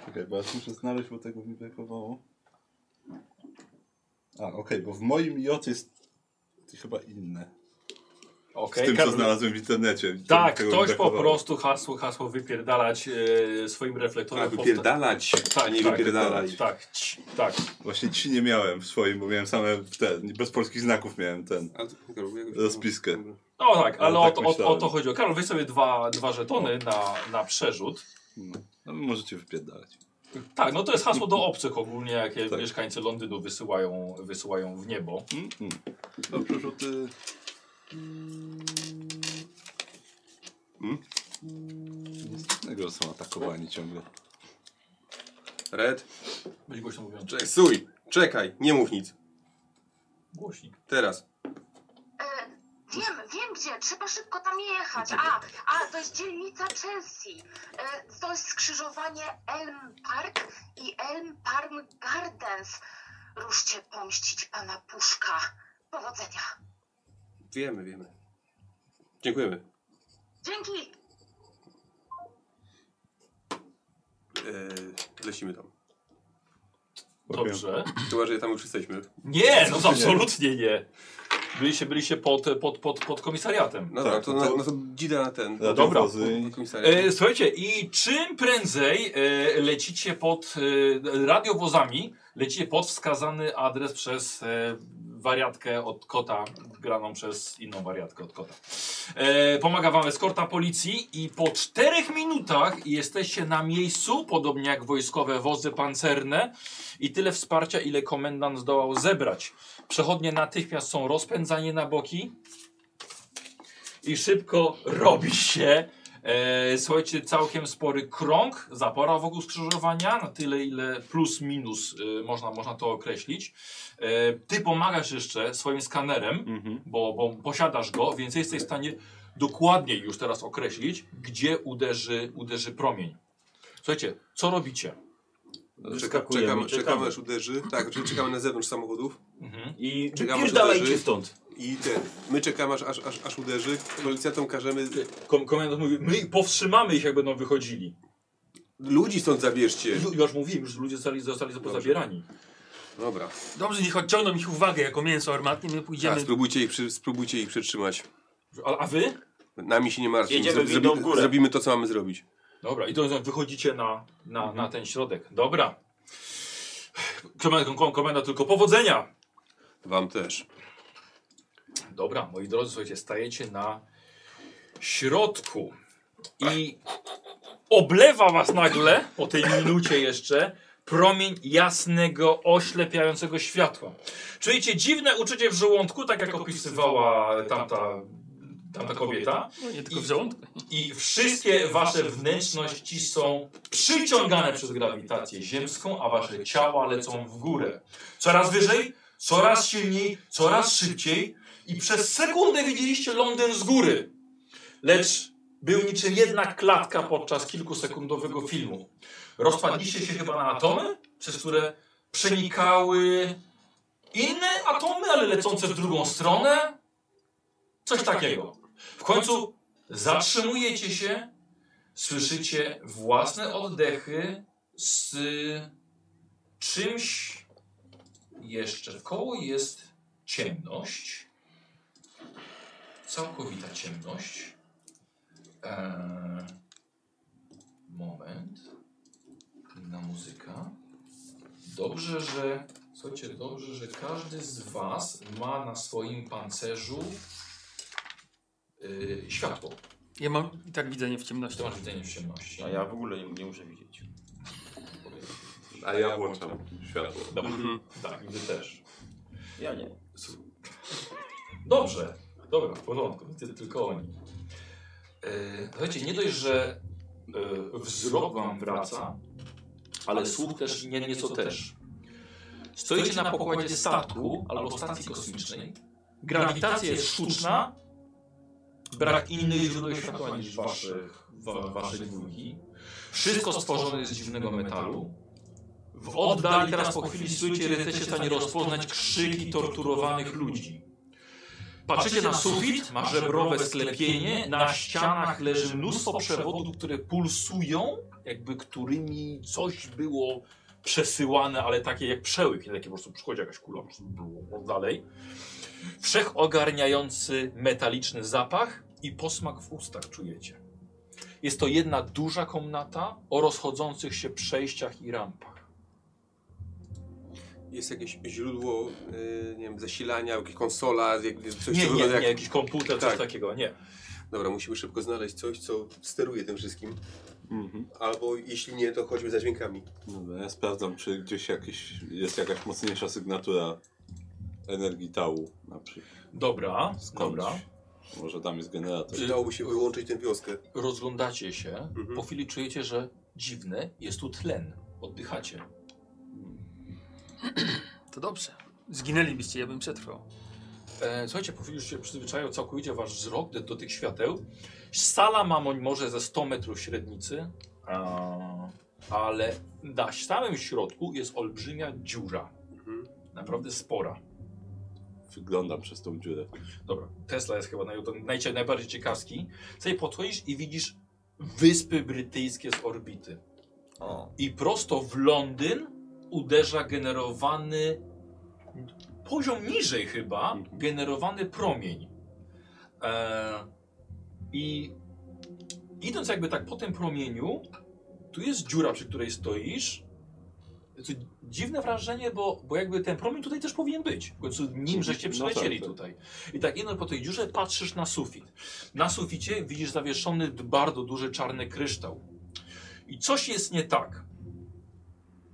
S3: Czekaj, bo ja muszę znaleźć, bo tego mi brakowało. A, okej, bo w moim J jest chyba inne. Z
S6: Okej,
S3: tym,
S6: Karol-
S3: co znalazłem w internecie.
S6: Tak,
S3: Tego mi
S6: ktoś po
S3: brakowało.
S6: prostu hasło, hasło wypierdalać e, swoim
S5: A
S3: Tak,
S6: reflektorem.
S5: wypierdalać, a nie wypierdalać.
S6: Tak, tak, ci- tak.
S3: Właśnie ci nie miałem w swoim, bo miałem same te, bez polskich znaków miałem ten.
S5: A, to- to jakoś-
S3: Rozpiskę.
S5: Dobra.
S6: No tak, ale
S3: Ale
S6: o,
S3: tak
S6: to, o, o
S3: myślałem.
S6: to chodziło. Karol, weź sobie dwa, dwa żetony na, na przerzut.
S3: No, no możecie wypierdalać.
S6: Tak, no to jest hasło do obcych ogólnie, jakie
S3: Tak.
S6: mieszkańcy Londynu wysyłają, wysyłają w niebo.
S3: Mm, mm. No przerzuty... Mm? Nic innego są atakowani ciągle.
S5: Red,
S6: Będzie głośno mówiąc.
S5: czekaj, suj, czekaj, nie mów nic.
S6: Głośnik.
S5: Teraz.
S11: E, Wiem, wiem gdzie, trzeba szybko tam jechać. A, a, to jest dzielnica Chelsea. E, to jest skrzyżowanie Elm Park i Elm Park Gardens. Ruszcie pomścić pana Puszka. Powodzenia.
S5: Wiemy, wiemy. Dziękujemy.
S11: Dzięki.
S5: E, lecimy tam.
S6: Dobrze.
S5: Chyba, że tam już jesteśmy.
S6: Nie, no absolutnie nie.
S2: Byliście, byliście pod, pod, pod, pod komisariatem.
S5: No
S3: Tak,
S5: tak, to,
S3: to-
S5: na, no to dzida na ten.
S3: Na
S2: Dobra.
S3: wozy i-
S2: E, słuchajcie, i czym prędzej e, lecicie pod e, radiowozami, lecicie pod wskazany adres przez e, wariatkę od kota, graną przez inną wariatkę od kota. E, pomaga wam eskorta policji i po czterech minutach jesteście na miejscu, podobnie jak wojskowe wozy pancerne i tyle wsparcia, ile komendant zdołał zebrać. Przechodnie natychmiast są rozpędzani na boki i szybko robi się E, słuchajcie, całkiem spory krąg, zapora wokół skrzyżowania, na tyle ile plus minus e, można, można to określić. E, ty pomagasz jeszcze swoim skanerem,
S3: Mhm.
S2: bo, bo posiadasz go, więc jesteś w stanie dokładniej już teraz określić, gdzie uderzy, uderzy promień. Słuchajcie, co robicie?
S5: Czeka,
S4: Wyskakujemy,
S5: czekamy,
S4: czekamy.
S5: czekamy aż uderzy. Tak, czyli czekamy na zewnątrz samochodów.
S2: Mhm.
S4: I
S5: Czekamy, aż
S4: pierdalajcie
S5: uderzy.
S4: stąd.
S5: I ten. My czekamy aż, aż, aż, aż uderzy. Policjantom każemy.
S2: Kom komendant mówi, my powstrzymamy ich, jak będą wychodzili.
S5: Ludzi stąd zabierzcie.
S2: Ju- Już mówiłem, już ludzie zostali, zostali pozabierani.
S5: Dobra.
S1: Dobrze, niech odciągną ich uwagę jako mięso armatnie, my
S5: Tak,
S1: pójdziemy.
S5: spróbujcie ich, przy, spróbujcie ich przetrzymać.
S2: A, a wy?
S5: Nami się nie martwi.
S4: Jedziemy windą w górę.
S5: Zrobimy to, co mamy zrobić.
S2: Dobra, i to wychodzicie na, na, na ten środek. Dobra. Komenda, kom- komenda tylko powodzenia.
S5: Wam też.
S2: Dobra, moi drodzy, słuchajcie, stajecie na środku i oblewa was nagle, po tej minucie jeszcze, promień jasnego, oślepiającego światła. Czujecie dziwne uczucie w żołądku, tak jak opisywała tamta, tamta kobieta.
S1: No nie tylko w żołądku.
S2: I wszystkie wasze wnętrzności są przyciągane przez grawitację ziemską, a wasze ciała lecą w górę. Coraz wyżej, coraz silniej, coraz szybciej i przez sekundę widzieliście Londyn z góry. Lecz był niczym jedna klatka podczas kilkusekundowego filmu. Rozpadliście się chyba na atomy, przez które przenikały inne atomy, ale lecące w drugą stronę. Coś takiego. W końcu Zatrzymujecie się, słyszycie własne oddechy z y, czymś jeszcze. Wkoło jest ciemność. Całkowita ciemność. Eee, moment. Inna muzyka. Dobrze, że. Słuchajcie, dobrze, że każdy z Was ma na swoim pancerzu y, światło.
S1: Ja mam i tak widzenie w ciemności.
S2: Czy to masz widzenie w ciemności?
S4: A ja w ogóle nie, nie muszę widzieć.
S3: A ja włączam światło.
S2: Dobra. Tak, ty też.
S4: Ja nie.
S2: Dobrze. Dobra, w porządku. Ty, tylko oni. Yy, słuchajcie, nie dość, że yy, wzrok wam wraca, ale słuch też nie nieco też. Stoicie na pokładzie statku albo stacji kosmicznej. Grawitacja jest sztuczna. Brak innych źródeł światła niż waszych, wa, waszych dwójki. Wszystko stworzone jest z dziwnego metalu. W oddali teraz po chwili słyszycie, że jesteście w stanie rozpoznać krzyki torturowanych ludzi. Patrzycie na sufit, ma żebrowe sklepienie, na ścianach leży mnóstwo przewodów, które pulsują, jakby którymi coś było przesyłane, ale takie jak przełyk, nie takie po prostu przychodzi jakaś kula, po prostu było dalej. Wszechogarniający metaliczny zapach i posmak w ustach czujecie. Jest to jedna duża komnata o rozchodzących się przejściach i rampach.
S5: Jest jakieś źródło, y, nie wiem, zasilania, jakaś konsola, jakby coś co
S2: Nie, nie,
S5: wygląda
S2: nie,
S5: jak...
S2: jakiś komputer, coś
S5: Tak.
S2: takiego, nie.
S5: Dobra, musimy szybko znaleźć coś, co steruje tym wszystkim.
S3: Mhm.
S5: Albo jeśli nie, to chodźmy za dźwiękami.
S3: Dobra, ja sprawdzam, czy gdzieś jakiś, jest jakaś mocniejsza sygnatura energii tału na przykład.
S2: Dobra,
S3: Skądś.
S2: dobra.
S3: Może tam jest generator.
S5: Przydałoby się wyłączyć tę wioskę.
S2: rozglądacie się, po chwili czujecie, że dziwny jest tu tlen. Oddychacie.
S1: To dobrze. Zginęlibyście, ja bym przetrwał.
S2: E, słuchajcie, po chwili już się przyzwyczaił całkowicie wasz wzrok do, do tych świateł. Sala ma moń może ze 100 metrów średnicy, a, ale na samym środku jest olbrzymia dziura. Naprawdę spora.
S3: Wyglądam przez tą dziurę.
S2: Dobra, Tesla jest chyba naj, to najcie, najbardziej ciekawski. Sobie podchodzisz i widzisz wyspy brytyjskie z orbity. I prosto w Londyn uderza generowany poziom niżej chyba
S16: Mhm.
S2: generowany promień. E, I idąc jakby tak po tym promieniu, tu jest dziura, przy której stoisz. To dziwne wrażenie, bo, bo jakby ten promień tutaj też powinien być. W końcu nim żeście
S3: No
S2: przylecieli
S3: tak, tak.
S2: tutaj. I tak jedno po tej dziurze patrzysz na sufit. Na suficie widzisz zawieszony bardzo duży czarny kryształ. I coś jest nie tak.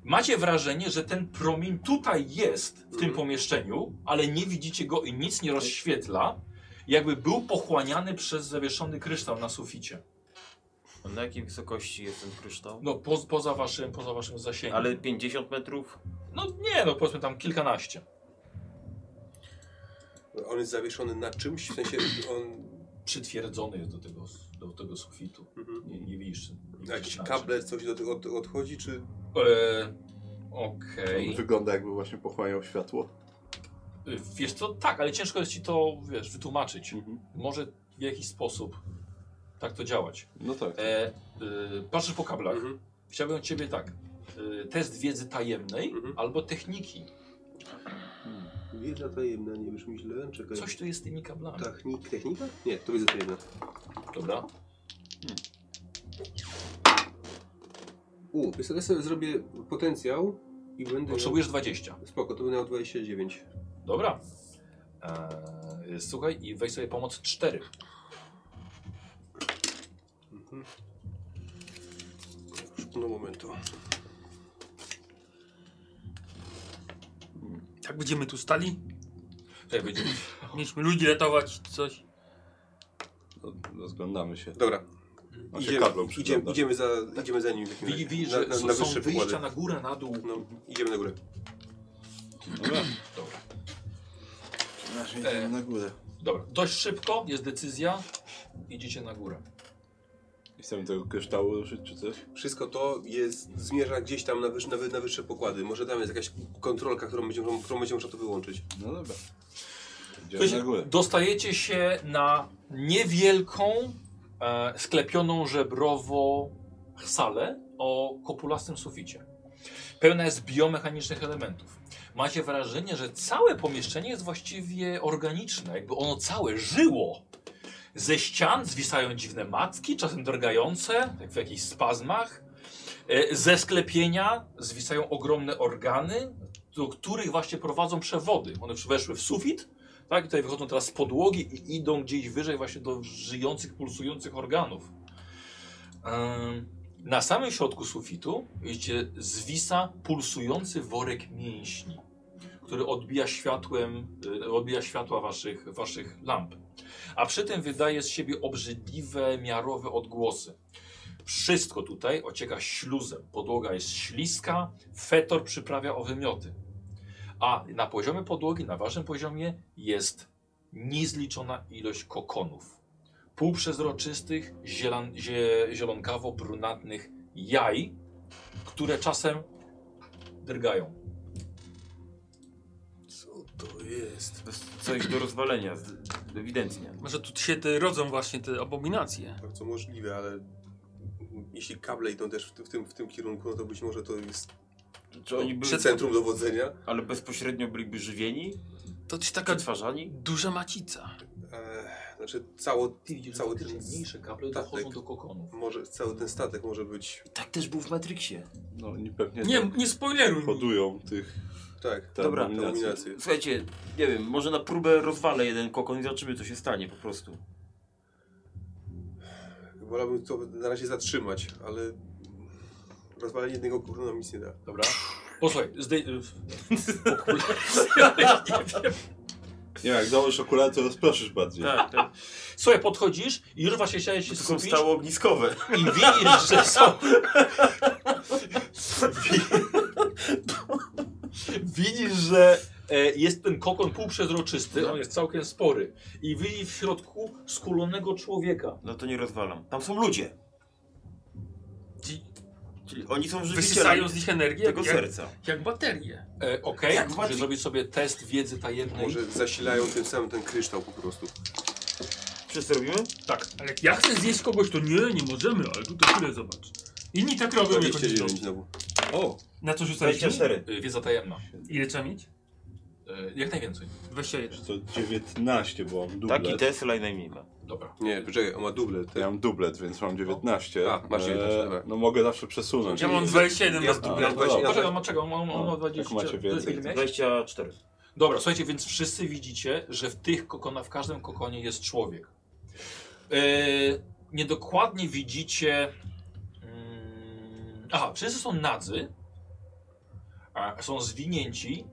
S2: Macie wrażenie, że ten promień tutaj jest w tym
S5: Mhm.
S2: pomieszczeniu, ale nie widzicie go i nic nie rozświetla. Jakby był pochłaniany przez zawieszony kryształ na suficie.
S4: Na jakiej wysokości jest ten kryształ?
S2: No po, poza, waszym, poza waszym zasięgiem.
S4: Ale 50 metrów?
S2: No nie, no powiedzmy tam kilkanaście.
S5: On jest zawieszony na czymś, w sensie on...
S2: Przytwierdzony jest do tego, do tego sufitu.
S5: Mhm.
S2: Nie, nie widzisz.
S5: Jakieś kable, coś do tego od, odchodzi, czy...
S2: Eee, Okej.
S3: On No, wygląda jakby właśnie pochłaniał światło.
S2: Y, Wiesz co, tak, ale ciężko jest ci to, wiesz, wytłumaczyć.
S3: Mhm.
S2: Może w jakiś sposób tak to działać.
S3: No tak.
S2: E, y, patrzysz po kablach.
S5: Mhm.
S2: Chciałbym od ciebie tak. Y, test wiedzy tajemnej
S5: Mhm.
S2: albo techniki.
S5: Wiedza tajemna, nie brzmi źle, czekaj.
S2: Coś tu jest z tymi kablami.
S5: Technik, Tak, technika? Nie, to wiedza tajemna.
S2: Dobra.
S5: U, wiesz co, ja sobie zrobię potencjał i będę...
S2: Potrzebujesz 20.
S5: Miał... Spoko, to będę miał 29.
S2: Dobra. E, słuchaj i weź sobie pomoc 4.
S5: No momentu.
S1: Tak będziemy tu stali?
S2: Tutaj będzie
S1: Mieliśmy ludzi ratować, coś.
S3: Rozglądamy się.
S5: Dobra.
S3: On się
S5: Idziemy,
S3: kablą
S5: idziemy,
S3: przygląda.
S5: idziemy, za, idziemy za nim. w takim razie.
S2: Widzi- Widzisz,
S5: na,
S2: że
S5: na,
S2: są-
S5: na
S2: są
S5: wyższe
S2: wyjścia
S5: pokłady.
S2: na górę, na dół.
S5: No, idziemy na górę.
S3: Dobra.
S2: Dobra.
S3: Nasz
S2: E.
S3: idziemy na górę.
S2: Dobra. Dość szybko jest decyzja. Idziecie na górę.
S3: I chcemy tego kryształu ruszyć czy coś?
S5: Wszystko to jest, zmierza gdzieś tam na, wyż, na, wy- na wyższe pokłady. Może tam jest jakaś kontrolka, którą będzie, którą będzie można to wyłączyć.
S3: No dobra. Idziemy
S2: Słuchajcie,
S3: na górę.
S2: Dostajecie się na niewielką, e, sklepioną żebrowo salę o kopulastym suficie. Pełna jest biomechanicznych elementów. Macie wrażenie, że całe pomieszczenie jest właściwie organiczne, jakby ono całe żyło. Ze ścian zwisają dziwne macki, czasem drgające, jak w jakichś spazmach. E, Ze sklepienia zwisają ogromne organy, do których właśnie prowadzą przewody. One weszły w sufit, tak, tutaj wychodzą teraz z podłogi i idą gdzieś wyżej właśnie do żyjących, pulsujących organów. Ym, Na samym środku sufitu widzicie, zwisa pulsujący worek mięśni, który odbija światłem, y, odbija światła waszych, waszych lamp. A przy tym wydaje z siebie obrzydliwe, miarowe odgłosy. Wszystko tutaj ocieka śluzem. Podłoga jest śliska, fetor przyprawia o wymioty. A na poziomie podłogi, na waszym poziomie jest niezliczona ilość kokonów. Półprzezroczystych, zielan, zie, zielonkawo-brunatnych jaj, które czasem drgają.
S5: Co to jest?
S4: To jest coś do rozwalenia, z- ewidentnie.
S1: Może tu się te rodzą właśnie te abominacje.
S5: Bardzo możliwe, ale jeśli kable idą też w, ty- w, tym, w tym kierunku, no to być może to jest
S4: Czy oni byli,
S5: przy centrum dowodzenia.
S4: ale bezpośrednio byliby żywieni?
S1: To jest taka
S4: Przetwarzani?
S1: duża macica.
S5: Eee, znaczy cało, cały ten,
S2: mniejsze kable
S5: tak,
S2: dochodzą
S5: tak.
S2: do kokonów.
S5: może, cały ten statek może być...
S4: Tak też był w Matrixie.
S3: No oni pewnie
S1: Nie,
S3: tam
S1: nie spoileruj mi.
S3: hodują tych
S5: Tak,
S3: te
S4: Dobra,
S3: abominacje.
S5: dominację.
S4: Słuchajcie, nie wiem, może na próbę rozwalę jeden kokon i zobaczymy co się stanie po prostu.
S5: Wolałbym to na razie zatrzymać, ale rozwalenie jednego kurna nam nic nie da.
S2: Dobra. Posłuchaj, zdej...
S3: Nie, jak założysz okulary, to rozproszysz bardziej.
S4: Tak, tak.
S2: Słuchaj, podchodzisz i już właśnie chciałeś
S1: No,
S2: się
S4: To są
S2: skupić
S4: stało ogniskowe.
S2: i widzisz, że są... widzisz, że e, jest ten kokon półprzezroczysty, on jest całkiem spory i widzisz w środku skulonego człowieka.
S4: No to nie rozwalam. Tam są ludzie.
S1: Ci-
S4: Czyli oni są
S1: Wysysają
S4: żywicielami
S1: z nich energię
S4: tego
S1: jak, jak,
S4: serca.
S1: jak baterie.
S2: E, Okej,
S4: Jak
S2: musisz
S4: macie-
S2: zrobić sobie test wiedzy tajemnej.
S5: Może zasilają tym samym ten kryształ po prostu.
S4: Wszyscy robimy?
S1: Tak. Ale jak ja chcę zjeść kogoś, to nie, nie możemy, ale tu to tyle zobacz. Inni tak robią, jak oni
S5: 29
S1: robią.
S5: znowu.
S1: Na co rzucaliśmy?
S4: 24.
S6: Y,
S2: E, Wiedza tajemna.
S1: Ile trzeba mieć?
S2: E,
S6: E, jak najwięcej.
S1: 21.
S3: To 19, bo mam dublet.
S9: Taki Tesla i najmniej
S6: Dobra.
S5: Nie, poczekaj, on ma duble.
S3: Ja mam dublet, więc mam 19.
S5: A, masz tak. 19, dobra.
S3: No mogę zawsze przesunąć.
S1: Ja mam 27
S5: Ja
S1: bez
S3: A,
S1: dubla.
S5: Ja
S3: no
S5: właśnie-
S3: dobra.
S6: Poczekaj, on ma czego? On ma, on ma, on ma
S3: No,
S6: 20.
S3: jak macie więcej,
S6: ile
S3: to-
S6: miałeś?
S12: 24.
S6: Dobra, słuchajcie, więc wszyscy widzicie, że w tych kokona, w każdym kokonie jest człowiek. Yy, niedokładnie widzicie. Mm, aha, wszyscy są nadzy, a są zwinięci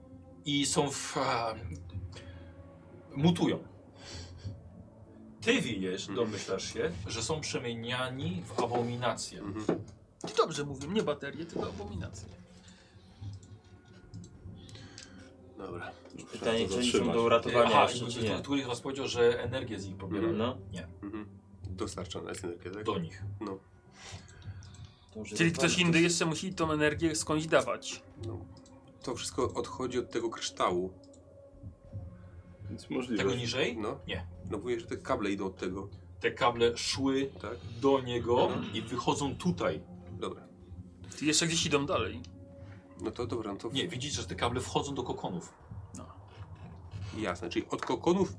S6: i są w. A, mutują. Ty wiesz,
S12: Mhm.
S6: domyślasz się, że są przemieniani w abominację.
S12: Mhm.
S1: Ty dobrze mówię, nie baterie, tylko abominacje.
S5: Dobra.
S12: Pytanie,
S3: to
S12: czy oni są
S3: zatrzymać.
S12: do uratowania
S6: E, Aha,
S12: jeszcze, czy
S6: i
S12: nie.
S6: któryś z was powiedział, że energię z nich pobiera
S12: No.
S5: Dostarczona jest energia, tak?
S6: do nich.
S12: To już
S1: Czyli
S12: jest
S1: ktoś
S12: ważne.
S1: inny jeszcze musi tą energię skądś dawać.
S5: To wszystko odchodzi od tego kryształu.
S3: Więc możliwe.
S6: Tego niżej?
S5: No.
S6: Nie.
S5: No mówię, że te kable idą od tego.
S6: te kable szły
S5: Tak.
S6: do niego
S12: Mhm.
S6: i wychodzą tutaj.
S5: Dobra.
S1: Ty jeszcze gdzieś idą dalej.
S5: No to dobra, no to
S6: Nie, widzicie, że te kable wchodzą do kokonów.
S5: jasne. Czyli od kokonów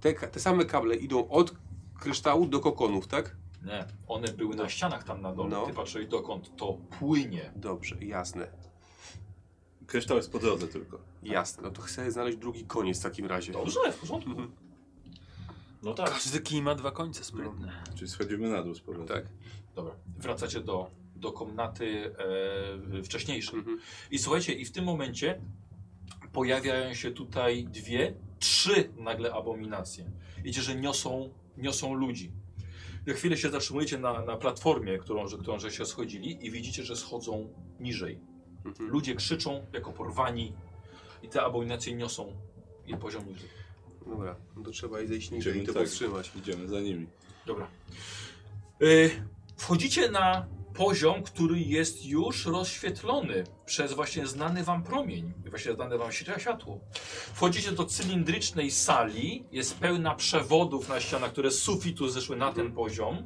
S5: te, ka- te same kable idą od kryształu do kokonów, tak?
S6: Nie, one były na ścianach tam na dole.
S5: No.
S6: Ty patrzyłeś dokąd to płynie.
S5: Dobrze, jasne.
S3: Kryształ jest po drodze tylko.
S5: Jasne. No to chcę znaleźć drugi koniec w takim razie.
S6: Dobrze, w porządku.
S12: No tak.
S1: Każdy kij ma dwa końce sprytne.
S3: Czyli schodzimy na dół z powrotem.
S5: Tak.
S6: Dobra, wracacie do, do komnaty e, wcześniejszej.
S5: Mhm.
S6: I słuchajcie, i w tym momencie pojawiają się tutaj dwie, trzy nagle abominacje. Widzicie, że niosą, niosą ludzi. Na chwilę się zatrzymujecie na, na platformie, którą, że, którą że się schodzili i widzicie, że schodzą niżej.
S5: Mhm.
S6: Ludzie krzyczą jako porwani i te abominacje niosą je poziom niżej.
S5: Dobra, no to trzeba i zejść niżej
S3: Idziemy
S5: i to
S3: tak.
S5: powstrzymać.
S3: Idziemy za nimi.
S6: Dobra. Y, wchodzicie na poziom, który jest już rozświetlony przez właśnie znany wam promień, właśnie znane wam świ- światło. Wchodzicie do cylindrycznej sali, jest pełna przewodów na ścianach, które z sufitu zeszły na ten poziom. Y,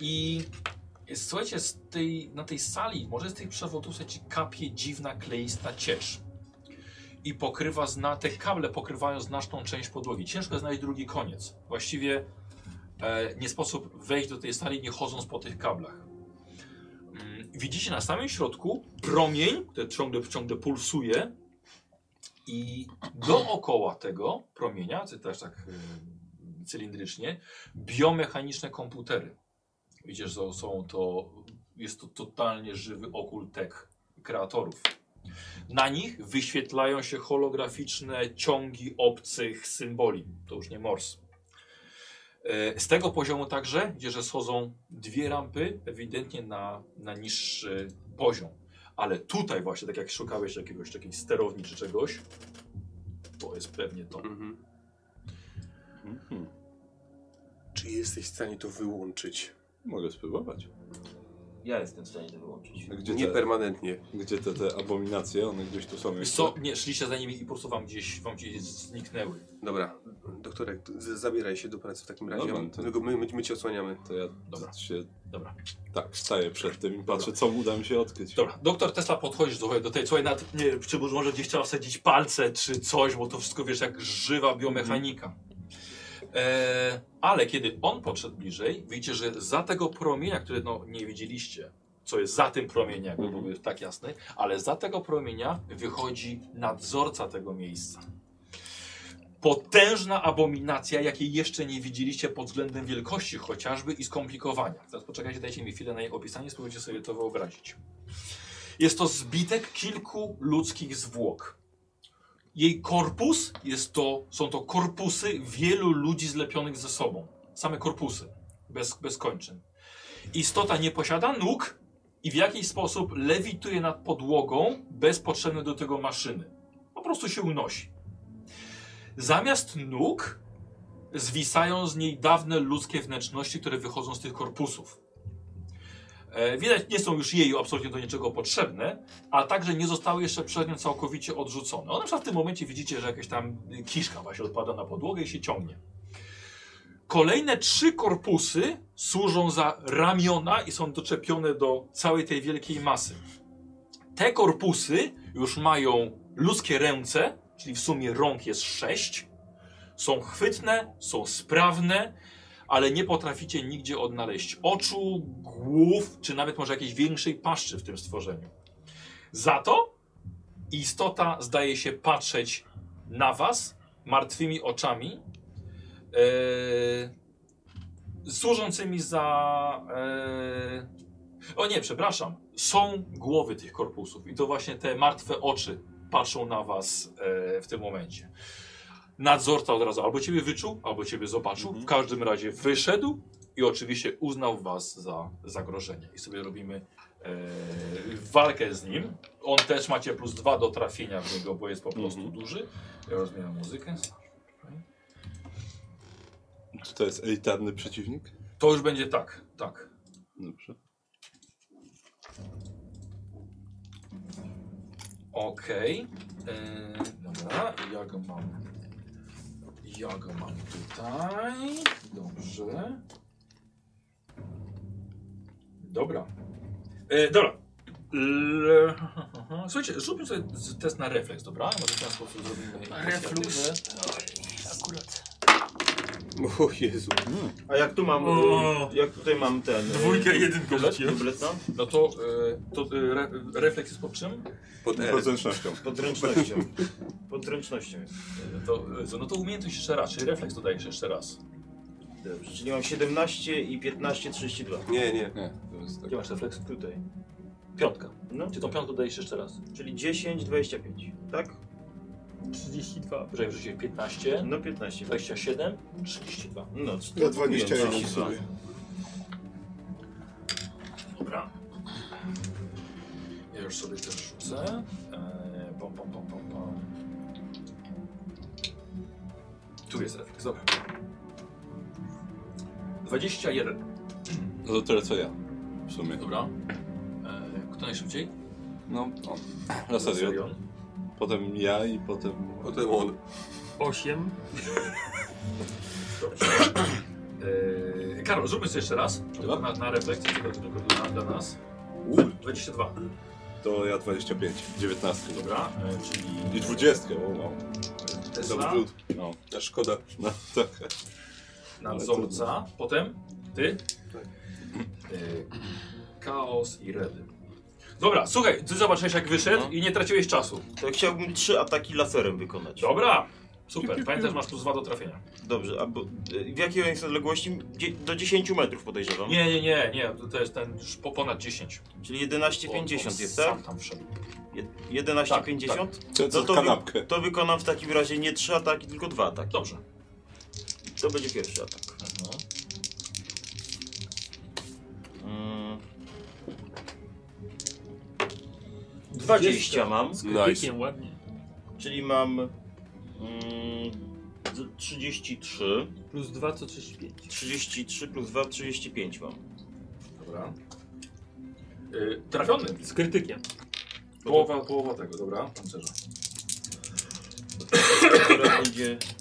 S6: I słuchajcie, z tej, na tej sali, może z tych przewodów, słuchajcie, kapie dziwna kleista ciecz. I pokrywa zna, te kable pokrywają znaczną część podłogi. Ciężko znaleźć drugi koniec. Właściwie E, nie sposób wejść do tej sali nie chodząc po tych kablach. Mm, Widzicie na samym środku promień, który ciągle, ciągle pulsuje i dookoła tego promienia, czy też tak y, cylindrycznie, biomechaniczne komputery. Widzisz, że są to, jest to totalnie żywy okultek kreatorów. Na nich wyświetlają się holograficzne ciągi obcych symboli. To już nie Morse. E, Z tego poziomu także, gdzie że schodzą dwie rampy, ewidentnie na, na niższy poziom. Ale tutaj właśnie, tak jak szukałeś jakiegoś takiej sterowni czy czegoś, to jest pewnie to.
S5: Mhm.
S3: Mhm.
S5: Czy jesteś w stanie to wyłączyć?
S3: Mogę spróbować.
S12: Ja jestem w stanie to wyłączyć.
S3: A Gdzie
S5: nie
S3: te,
S5: permanentnie.
S3: gdzie te, te abominacje? One gdzieś tu są
S6: Wiesz
S3: jeszcze.
S6: co, nie, szliście za nimi i po prostu wam gdzieś, wam gdzieś zniknęły.
S5: Dobra, doktorek, z- zabieraj się do pracy w takim razie.
S3: Dobra, to-
S5: My, go- my, my, my cię osłaniamy.
S3: To ja
S6: Dobra.
S3: się
S6: Dobra.
S3: tak staję przed tym i patrzę, co uda mi się odkryć.
S6: Dobra, doktor Tesla podchodzisz do, do tej, słuchaj, nawet nie, czy może gdzieś trzeba wsadzić palce czy coś, bo to wszystko wiesz jak żywa biomechanika. E, ale kiedy on podszedł bliżej, widzicie, że za tego promienia, które no, nie widzieliście, co jest za tym promieniem, jakby
S3: Mhm.
S6: byłby tak jasny, ale za tego promienia wychodzi nadzorca tego miejsca. Potężna abominacja, jakiej jeszcze nie widzieliście pod względem wielkości chociażby i skomplikowania. Teraz poczekajcie, dajcie mi chwilę na jej opisanie, spróbujcie sobie to wyobrazić. Jest to zbitek kilku ludzkich zwłok. Jej korpus jest to, są to korpusy wielu ludzi zlepionych ze sobą. Same korpusy, bez, bez kończyn. Istota nie posiada nóg i w jakiś sposób lewituje nad podłogą bez potrzebnej do tego maszyny. Po prostu się unosi. Zamiast nóg zwisają z niej dawne ludzkie wnętrzności, które wychodzą z tych korpusów. E, Widać, nie są już jej absolutnie do niczego potrzebne, a także nie zostały jeszcze przed nią całkowicie odrzucone. Ona na przykład w tym momencie widzicie, że jakaś tam y, kiszka właśnie odpada na podłogę i się ciągnie. Kolejne trzy korpusy służą za ramiona i są doczepione do całej tej wielkiej masy. Te korpusy
S2: już mają ludzkie ręce, czyli w sumie rąk jest sześć. Są chwytne, są sprawne, ale nie potraficie nigdzie odnaleźć oczu, głów, czy nawet może jakiejś większej paszczy w tym stworzeniu. Za to istota zdaje się patrzeć na was martwymi oczami, e, służącymi za... E, o nie, przepraszam. Są głowy tych korpusów i to właśnie te martwe oczy patrzą na was e, w tym momencie. Nadzorca od razu albo ciebie wyczuł, albo ciebie zobaczył. W każdym razie wyszedł i oczywiście uznał was za zagrożenie. I sobie robimy e, walkę z nim. On też macie plus dwa do trafienia w niego, bo jest po prostu duży. Ja rozmieniam muzykę.
S3: Czy to jest elitarny przeciwnik?
S2: To już będzie tak, tak.
S3: Dobrze.
S2: Okej. Yy, Dobra, ja go mam. Ja go mam tutaj. Dobrze. Dobra. Yy, dobra. L... Słuchajcie, zróbmy sobie z- test na refleks, dobra? Może w ten sposób zrobimy
S1: Reflux.
S5: O Jezu.
S4: A jak tu mam,
S1: O.
S4: jak tutaj mam ten... e,
S1: Dwójkę, jedynkę rzuciłem.
S4: Tabletna?
S2: No to, yy, to yy, re, refleks jest po czym?
S5: Pod R.
S3: Podręcznością.
S4: Podręcznością. Podręcznością jest.
S2: Yy, To, yy, co, no to umiejętność jeszcze raz, czyli refleks dodajesz jeszcze raz.
S4: Dobrze, czyli mam 17 i 15, 32.
S5: Nie, nie.
S3: Nie, to jest tak.
S2: Gdzie masz refleks?
S4: Tutaj.
S2: Piątka.
S4: No,
S2: Czy tą piątkę dodajesz jeszcze raz?
S4: czyli 10, 25, tak?
S2: 32. Poczekaj, wrzuciłeś 15,
S4: No 15.
S2: 27, 32.
S4: No,
S17: Ja
S3: no,
S17: 21
S4: 32.
S17: sobie.
S2: Dobra. Ja już sobie też rzucę. Eee, pom, pom, pom, pom, pom. Tu jest refleks, dobra. 21.
S3: No to tyle co ja. W sumie.
S2: Dobra. Eee, kto najszybciej?
S3: No, on. Na serio.
S2: Serion.
S3: Potem ja i potem...
S5: Potem on.
S1: 8.
S2: Eee, Karol, zróbmy sobie jeszcze raz. Tylko na, na refleks, tylko, tylko dla, dla nas.
S3: U,
S2: 22.
S3: to ja 25. 19.
S2: Dobra,
S3: Dobra.
S2: eee, czyli...
S3: I 20. O, wow.
S2: Tesla,
S5: Dobry rzut.
S3: No,
S5: A szkoda.
S3: no tak.
S2: nadzorca, potem ty,
S3: Tak.
S2: y, chaos i redy. Dobra, słuchaj, ty zobaczyłeś jak wyszedł
S3: No.
S2: i nie traciłeś czasu.
S4: To chciałbym trzy ataki laserem wykonać.
S2: Dobra, super, pamiętasz masz plus dwa do trafienia.
S4: Dobrze, a bo, y, w jakiej on jest odległości? Dzie- do 10 metrów podejrzewam.
S2: Nie, nie, nie, nie, to- to jest ten już po ponad 10.
S4: Czyli
S2: Bo
S4: 11,50
S2: on
S4: jest,
S2: sam Tak,
S4: tak?
S2: tam wszedł.
S4: Je- 11,50?
S3: Co, co
S4: No to,
S3: w kanapkę.
S4: wy- to wykonam w takim razie nie trzy ataki, tylko dwa ataki.
S2: tak. Dobrze.
S4: To będzie pierwszy atak.
S2: No.
S4: Mm. 20 mam,
S1: Z
S17: Nice.
S1: nice. ładnie.
S4: czyli mam mm, d- 33.
S1: Plus 2 co 35.
S4: 33 plus 2, 35 mam.
S2: Dobra. Y, trafiony.
S1: Z krytykiem.
S2: Połowa, połowa tego, dobra, pancerza.
S4: Teraz będzie 3,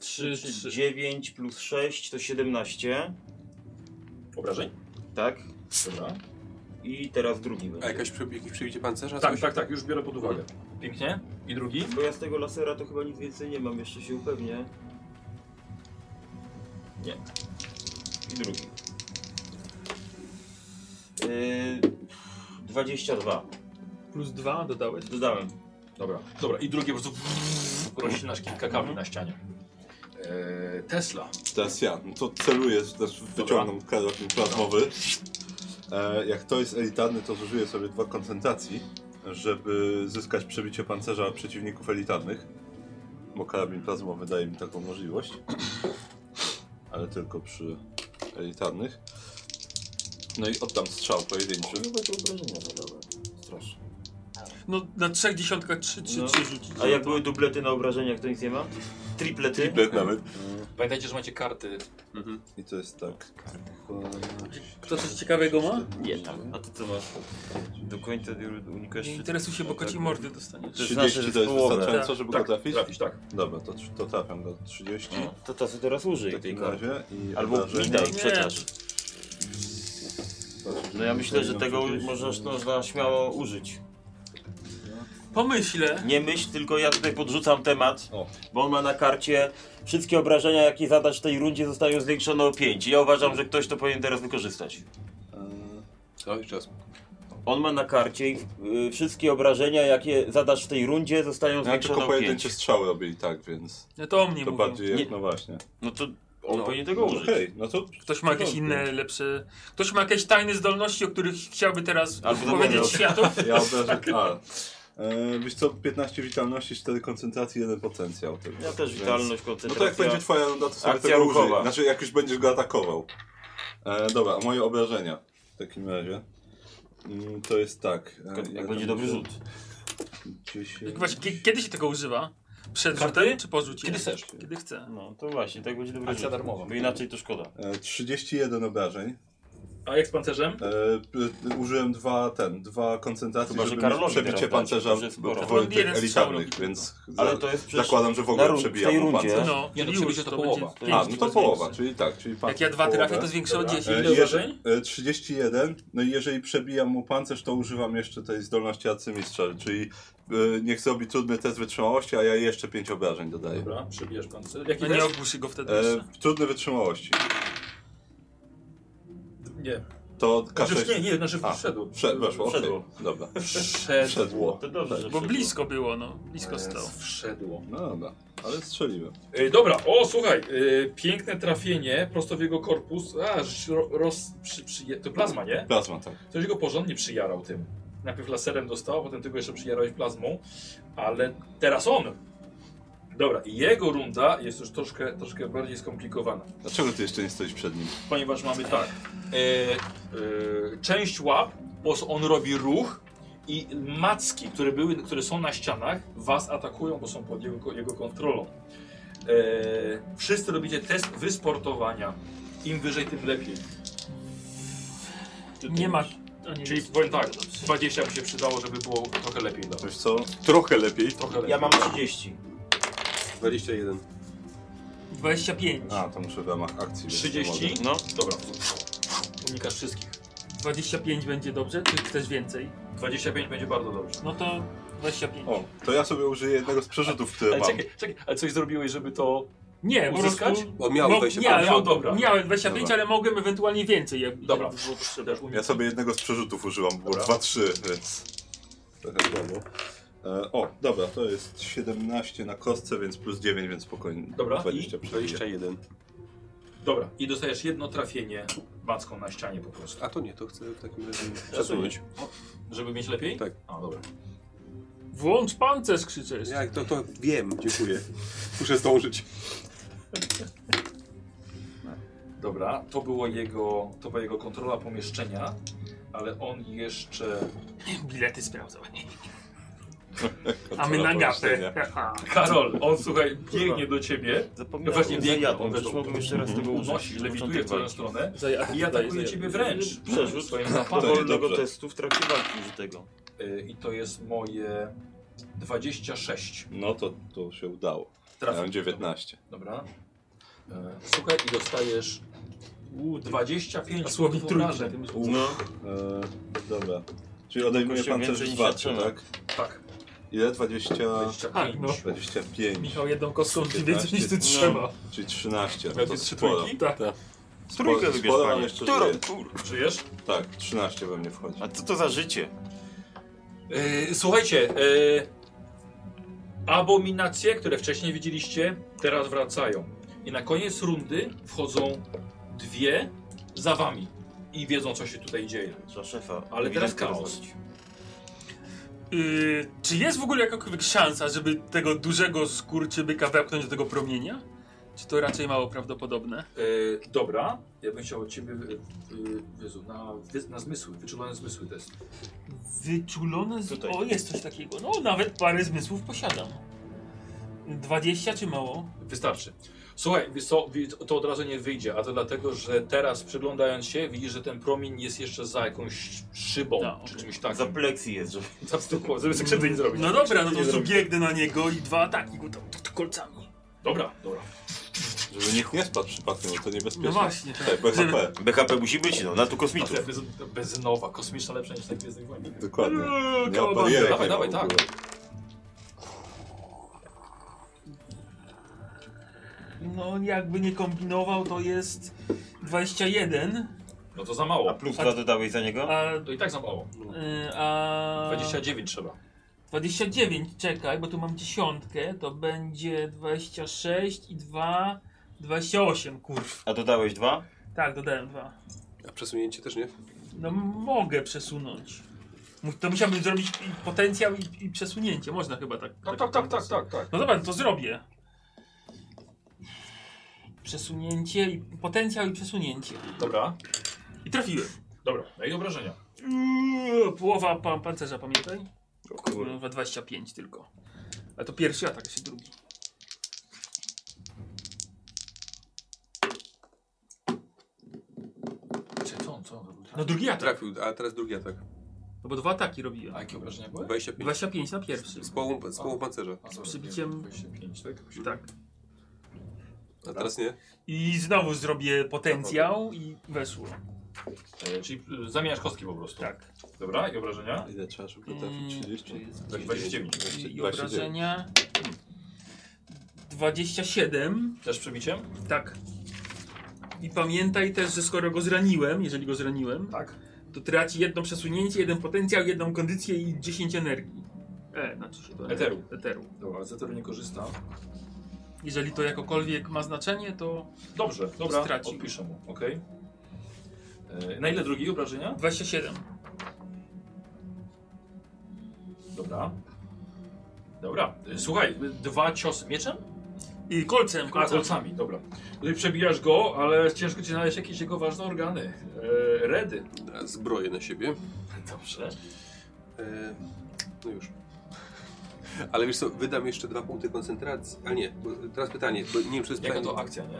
S4: 3,
S1: Trzy, trzy.
S4: 9 plus 6 to 17.
S2: Obrażeń?
S4: Tak.
S2: Dobra.
S4: I teraz drugi
S5: A
S4: będzie.
S5: jakaś przebieg, jakieś przebicie pancerza?
S2: Tak,
S5: Coś?
S2: tak, tak, już biorę pod uwagę. Pięknie. I drugi?
S4: Bo ja z tego lasera to chyba nic więcej nie mam, jeszcze się upewnię. Nie. I drugi. Yy, 22.
S1: Plus 2 dodałeś.
S4: Dodałem.
S2: Dobra, dobra. I drugie po prostu roślina kilka kamieni na ścianie. Eee, Tesla.
S3: Teraz ja. No to celuję, też wyciągam karabin plazmowy. E, jak to jest elitarny, to zużyję sobie dwa koncentracji, żeby zyskać przebicie pancerza przeciwników elitarnych. Bo karabin plazmowy daje mi taką możliwość. Ale tylko przy elitarnych. No i oddam strzał pojedynczy.
S1: No na trzech dziesiątkach 3, 3,
S4: No.
S1: 3 rzucić.
S4: A jak były dublety na obrażeniach, to nic nie ma? Triplety?
S3: Triplet nawet.
S2: Pamiętajcie, że macie karty.
S3: I to jest tak.
S1: Kto coś ciekawego ma?
S4: Nie tam. A ty co masz? Do końca unikasz
S1: Nie
S4: się...
S1: interesuj się, bo koci mordy dostaniesz.
S4: To znaczy,
S3: 30
S4: że
S3: to jest
S4: połowę.
S3: wystarczająco, żeby
S2: Tak,
S3: go trafić?
S2: trafić, tak.
S3: Dobra, to, to trafiam do 30.
S4: No, to ta sobie teraz
S3: W
S4: użyj tej
S3: takim
S4: karty.
S3: razie i
S4: Albo
S3: obrażenia.
S4: mi daj,
S1: Nie.
S4: przekaż.
S1: No
S4: No ja myślę, że tego można, można śmiało użyć.
S1: Pomyślę.
S12: Nie myśl, tylko ja tutaj podrzucam temat,
S6: O.
S12: bo on ma na karcie wszystkie obrażenia, jakie zadasz w tej rundzie zostają zwiększone o 5. Ja uważam, że ktoś to powinien teraz wykorzystać.
S5: Co? Jeszcze raz.
S12: On ma na karcie y, wszystkie obrażenia, jakie zadasz w tej rundzie zostają
S3: Ja No, tylko
S12: zwiększone o 5.
S3: pojedyncze strzały robię i tak, więc
S1: No to o mnie
S3: to
S1: mówią.
S3: bardziej
S12: Nie.
S3: jak, no właśnie.
S12: No to on
S5: No.
S12: powinien
S3: No
S12: tego użyć.
S3: Okej, no to
S1: Ktoś ma jakieś inne, lepsze... Ktoś ma jakieś tajne zdolności, o których chciałby teraz
S12: Albo
S1: powiedzieć
S12: dobra.
S1: światu.
S3: No Ja obrażę, a. E, wiesz co, 15 witalności, 4 koncentracji, 1 potencjał. To
S12: Ja też
S3: więc-
S12: witalność,
S3: No to jak
S12: koncentracja.
S3: będzie twoja runda, to sobie
S12: Akcja
S3: tego
S12: ruchowa.
S3: użyj. Znaczy, jak już będziesz go atakował. E, dobra, a moje obrażenia w takim razie. Mm, to jest tak. E,
S12: jak
S3: ja
S12: będzie
S3: tam
S12: dobry
S3: muszę
S12: rzut.
S3: gdzieś-
S1: Jak Właśnie, kie- kiedy się tego używa? Przed rzutem czy po rzucie?
S6: Kiedy chcesz.
S1: Kiedy chcę.
S12: No to właśnie, tak będzie dobry
S6: Akcja
S12: rzut.
S6: darmowa.
S12: Bo inaczej to szkoda.
S3: E, 31 obrażeń.
S1: A jak z pancerzem?
S3: E, p- użyłem dwa ten, dwa koncentracje,
S12: Chyba, że
S3: żeby
S12: Karolowi
S3: mieć przebicie
S12: teraz dać,
S3: pancerza
S12: to już jest
S3: w
S12: sporo.
S3: powoli
S1: Jeden
S3: tych
S1: strzał
S3: elitarnych,
S1: robi.
S3: więc
S12: Ale
S3: za-
S12: to jest przecież...
S3: zakładam, że w
S12: na
S3: ogóle
S12: run- w tej
S3: przebijam mu
S12: rundzie.
S3: pancerz.
S1: No, czyli
S6: Nie, no, przebicie
S1: już,
S6: to
S1: to
S6: połowa.
S1: będzie pięć
S3: A, no to
S1: razy
S3: połowa,
S1: więcej.
S3: czyli tak, czyli pan.
S1: Jak ja dwa trafię, to zwiększę o 10.
S3: E, jeżeli, e, 31, no i jeżeli przebijam mu pancerz, to używam jeszcze tej zdolności arcymistrza, czyli e, niech zrobi trudny test wytrzymałości, a ja jeszcze 5 obrażeń dodaję.
S6: Dobra, przebijasz pancerz. Jaki
S1: No
S6: nie,
S1: nie ogłuszy go wtedy
S3: E,
S1: jeszcze.
S3: trudny wytrzymałości.
S6: nie.
S3: To
S6: Znaczy, nie,
S3: K6...
S6: nie, znaczy
S3: A.
S6: wszedł.
S3: Przed, weszło, okej.
S12: Wszedło.
S3: Dobra.
S6: Wszedł.
S3: Przedło.
S12: To dobrze, że
S1: Bo
S12: wszedł.
S1: blisko było, no. Blisko stało.
S6: Wszedł.
S3: No dobra, ale strzeliłem.
S6: E, dobra, o słuchaj, e, piękne trafienie prosto w jego korpus. A, żeś ro, roz, przy, przyje- to plazma, nie?
S3: Plazma, tak.
S6: Ktoś go porządnie przyjarał tym. Najpierw laserem dostał, potem ty go jeszcze przyjarałeś plazmą, ale teraz on. Dobra, i jego runda jest już troszkę, troszkę bardziej skomplikowana.
S3: Dlaczego ty jeszcze nie stoisz przed nim?
S6: Ponieważ mamy tak. E, e, część łap, bo on robi ruch i macki, które, były, które są na ścianach, was atakują, bo są pod jego, jego kontrolą. E, wszyscy robicie test wysportowania. Im wyżej, tym lepiej. Ty to
S1: Nie ma... a nie
S6: Czyli
S1: jest.
S6: powiem tak, 20 by się przydało, żeby było trochę lepiej dla was.
S3: Wiesz co?
S9: Trochę lepiej.
S6: Trochę lepiej.
S12: Ja mam 30.
S5: 21.
S1: 25.
S3: A, to muszę w ramach akcji. więc nie
S6: 30.
S12: No.
S6: Dobra. Unikasz wszystkich.
S1: 25 będzie dobrze, czy chcesz więcej?
S6: 25 będzie bardzo dobrze.
S1: No to 25.
S3: mogę. O, to ja sobie użyję jednego z przerzutów, które
S6: Ale
S3: mam.
S6: czekaj, czekaj, ale coś zrobiłeś, żeby to...
S1: Nie,
S6: Uzyskać?
S1: po prostu...
S5: On miał
S2: No,
S1: Mo-
S5: 25.
S1: Nie, ale
S6: miał, dobra.
S1: miałem 25,
S3: Dobra.
S1: ale mogłem ewentualnie więcej. Jak,
S6: Dobra.
S1: jak było potrzebne.
S6: Też umie...
S3: Ja sobie jednego z przerzutów użyłam, było 2-3, więc trochę słabo. E, o, dobra, to jest 17 na kostce, więc plus 9, więc spokojnie.
S6: Dobra,
S3: 20
S6: i?
S3: przebiję.
S5: 21.
S6: Dobra. I dostajesz jedno trafienie macką na ścianie po prostu.
S5: A to nie, to chcę w takim razie
S6: Przesunąć.
S5: przesunąć.
S6: Żeby mieć lepiej?
S5: Tak.
S6: A, dobra.
S1: Włącz pancerz, krzyczesz.
S5: Jak to, to wiem, dziękuję. Muszę zdążyć.
S6: Dobra, to było jego, to była jego kontrola pomieszczenia, ale on jeszcze...
S1: Bilety sprawdzał. A my na gapę.
S3: pomieszczenia.
S1: Haha.
S6: Karol, on słuchaj, biegnie do ciebie.
S12: Zapomniałem,
S6: Właśnie
S12: No Właśnie
S6: biegnie,
S12: zajadłem,
S6: on wiesz,
S12: przecież mogłem jeszcze raz tego użyć.
S6: Unosi, lewituje w twoją stronę
S1: Zaj-
S6: i atakuje
S1: zaj-
S6: ciebie wręcz.
S12: Przerzut.
S6: Swoim
S3: To
S6: zapałem.
S3: nie
S12: Wolnego
S3: dobrze.
S12: testu w trakcie walki użytego.
S6: Y, I to jest moje 26.
S3: No to, to się udało. Ja
S6: Trafił.
S3: mam 19.
S6: Dobra. E, Słuchaj i dostajesz u, 25
S1: A słowi
S6: punktów
S1: trójki.
S6: obrażeń.
S12: No,
S3: E, dobra. Czyli odejmuje
S12: Jakoś
S3: pan
S12: więcej
S3: też
S12: niż
S3: 2,
S12: zaczyna.
S3: tak?
S6: Tak,
S3: Ile? 20...
S6: 25.
S1: Tak, no.
S3: 25,
S1: Michał jedną kostką ci więcej niż ty
S3: No.
S1: trzeba.
S3: czyli 13. No
S6: Miał
S3: to
S6: ty trzy
S3: sporo.
S6: trójki?
S1: Tak.
S12: trójkę
S3: Sporo-
S12: wybierz,
S3: sporo, ale
S12: panie.
S3: jeszcze
S12: Którą?
S3: żyję.
S12: Kur-
S6: Żyjesz?
S3: Tak, 13 we mnie wchodzi.
S12: A co to za życie?
S6: E, słuchajcie, e, abominacje, które wcześniej widzieliście, teraz wracają. I na koniec rundy wchodzą dwie za wami i wiedzą co się tutaj dzieje.
S12: Za szefa.
S6: Ale teraz chaos.
S1: Yy, czy jest w ogóle jakakolwiek szansa, żeby tego dużego skurczybyka wepchnąć do tego promienia? Czy to raczej mało prawdopodobne?
S6: E, dobra, ja bym chciał od ciebie y, y, Jezu, na, wy- na zmysły, wyczulone zmysły test.
S1: Wyczulone z... O, jest coś takiego. No, nawet parę zmysłów posiadam. 20 czy mało?
S6: Wystarczy. Słuchaj, wiesz co, wi- to od razu nie wyjdzie, a to dlatego, że teraz przyglądając się widzisz, że ten promień jest jeszcze za jakąś szybą
S1: A, okej.
S6: czy czymś takim.
S12: Za pleksji jest, żeby...
S6: Za stukło, żeby sobie krzywdy nie zrobić.
S1: No dobra, no to po
S6: Nie
S1: prostu
S6: zrobić.
S1: biegnę na niego i dwa ataki go tam t- t- kolcami.
S12: No
S6: Dobra, dobra.
S3: Żeby nikt nie spadł przypadkiem, bo to niebezpieczne.
S1: No właśnie.
S3: Tutaj
S12: tak.
S3: BHP,
S12: BHP musi być, no, na tu kosmitów.
S6: Bez, beznowa, kosmiczna lepsza niż tak jest
S3: dokładnie.
S1: Eee,
S3: Nie
S1: kałabanga.
S3: operuje.
S6: Dawaj, dawaj, tak.
S1: No jakby nie kombinował, to jest 21,
S6: No to za
S12: A
S6: mało.
S12: plus dwa dodałeś za niego?
S1: a...
S6: To i tak za mało.
S1: y, a
S6: 29 trzeba.
S1: 29, czekaj, bo tu mam dziesiątkę, to będzie 26 i 2, 28, kurw.
S12: A dodałeś dwa?
S1: Tak, dodałem 2.
S5: A przesunięcie też nie?
S1: No m- mogę przesunąć. Mu- To musiałbym zrobić i potencjał i, i przesunięcie, można chyba tak.
S6: Tak, tak, tak, tak, tak, tak.
S1: No dobra, to zrobię. Przesunięcie i potencjał i przesunięcie.
S6: Dobra,
S1: I trafiłem.
S6: dobra. No i obrażenia.
S1: Uuu, Połowa pa pancerza, pamiętaj. No, Kurwa, 25 tylko. A to pierwszy atak, jeszcze drugi.
S6: Czy co, on- co on zrobił?
S1: No drugi atak,
S5: Trafił, a teraz drugi atak.
S1: no bo dwa ataki robiłem.
S6: A jakie obrażenia były?
S5: 25.
S1: 25 na pierwszy.
S5: Z połową, z połową pancerza.
S6: A, dobra,
S1: przybiciem-
S6: 25, tak?
S1: Tak.
S5: A teraz nie?
S1: I znowu zrobię potencjał i weszło.
S6: E, czyli y, zamieniasz kostki po prostu.
S1: Tak.
S6: Dobra, i obrażenia?
S3: Ile trzeba szybko
S1: Mm.
S3: trafić? 30?
S6: 29.
S1: I, i
S3: 29.
S1: obrażenia. 27.
S6: Też przebiciem?
S1: Tak. I pamiętaj też, że skoro go zraniłem, jeżeli go zraniłem,
S6: Tak.
S1: to traci jedno przesunięcie, jeden potencjał, jedną kondycję i 10 energii. E, znaczy się to
S6: Eteru.
S1: Eteru.
S6: Dobra, Zetor nie korzysta.
S1: Jeżeli to jakokolwiek ma znaczenie, to
S6: Dobrze, dobra,
S1: Stracił.
S6: odpiszę mu, okej. E, Na ile drugi obrażenia?
S1: 27.
S6: Dobra. Dobra, e, słuchaj, e, dwa ciosy mieczem?
S1: I kolcem,
S6: A,
S1: kolcem.
S6: kolcami, dobra. Tutaj przebijasz go, ale ciężko ci znaleźć jakieś jego ważne organy. E, redy.
S5: Teraz Zbroję na siebie.
S6: Dobrze.
S5: E, No już. Ale wiesz co, wydam jeszcze dwa punkty koncentracji. A nie, bo teraz pytanie, bo nie wiem, czy to jest
S6: Jaka
S5: pytanie-
S6: to akcja, nie?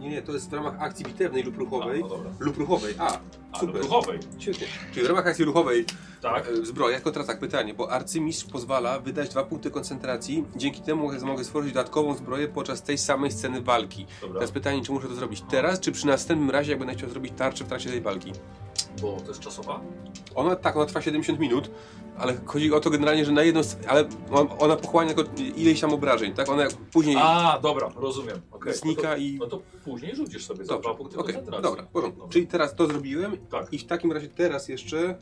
S5: Nie, nie, to jest w ramach akcji bitewnej lub
S6: A,
S5: ruchowej.
S6: no dobra.
S5: Lub ruchowej, a,
S6: A,
S5: super.
S6: do duchowej,
S5: Świetnie. Czyli w ramach akcji ruchowej
S6: tak?
S5: e, zbroja, tylko teraz tak pytanie, bo arcymistrz pozwala wydać dwa punkty koncentracji, dzięki temu mogę stworzyć dodatkową zbroję podczas tej samej sceny walki.
S6: Dobra.
S5: Teraz pytanie, czy muszę to zrobić teraz, czy przy następnym razie, jak będę chciał zrobić tarczę w trakcie tej walki.
S6: Bo to jest czasowa?
S5: Ona tak, ona trwa 70 minut, ale chodzi o to generalnie, że na jedną, s- ale on- ona pochłania tylko ileś tam obrażeń, tak? Ona później
S6: A, dobra, rozumiem. okej.
S5: znika
S6: no to,
S5: i...
S6: No to później rzucisz sobie za
S5: Dobrze,
S6: dwa punkty
S5: okej,
S6: koncentracji.
S5: dobra, w porządku. Czyli teraz to zrobiłem
S6: Tak.
S5: i w takim razie teraz jeszcze, e,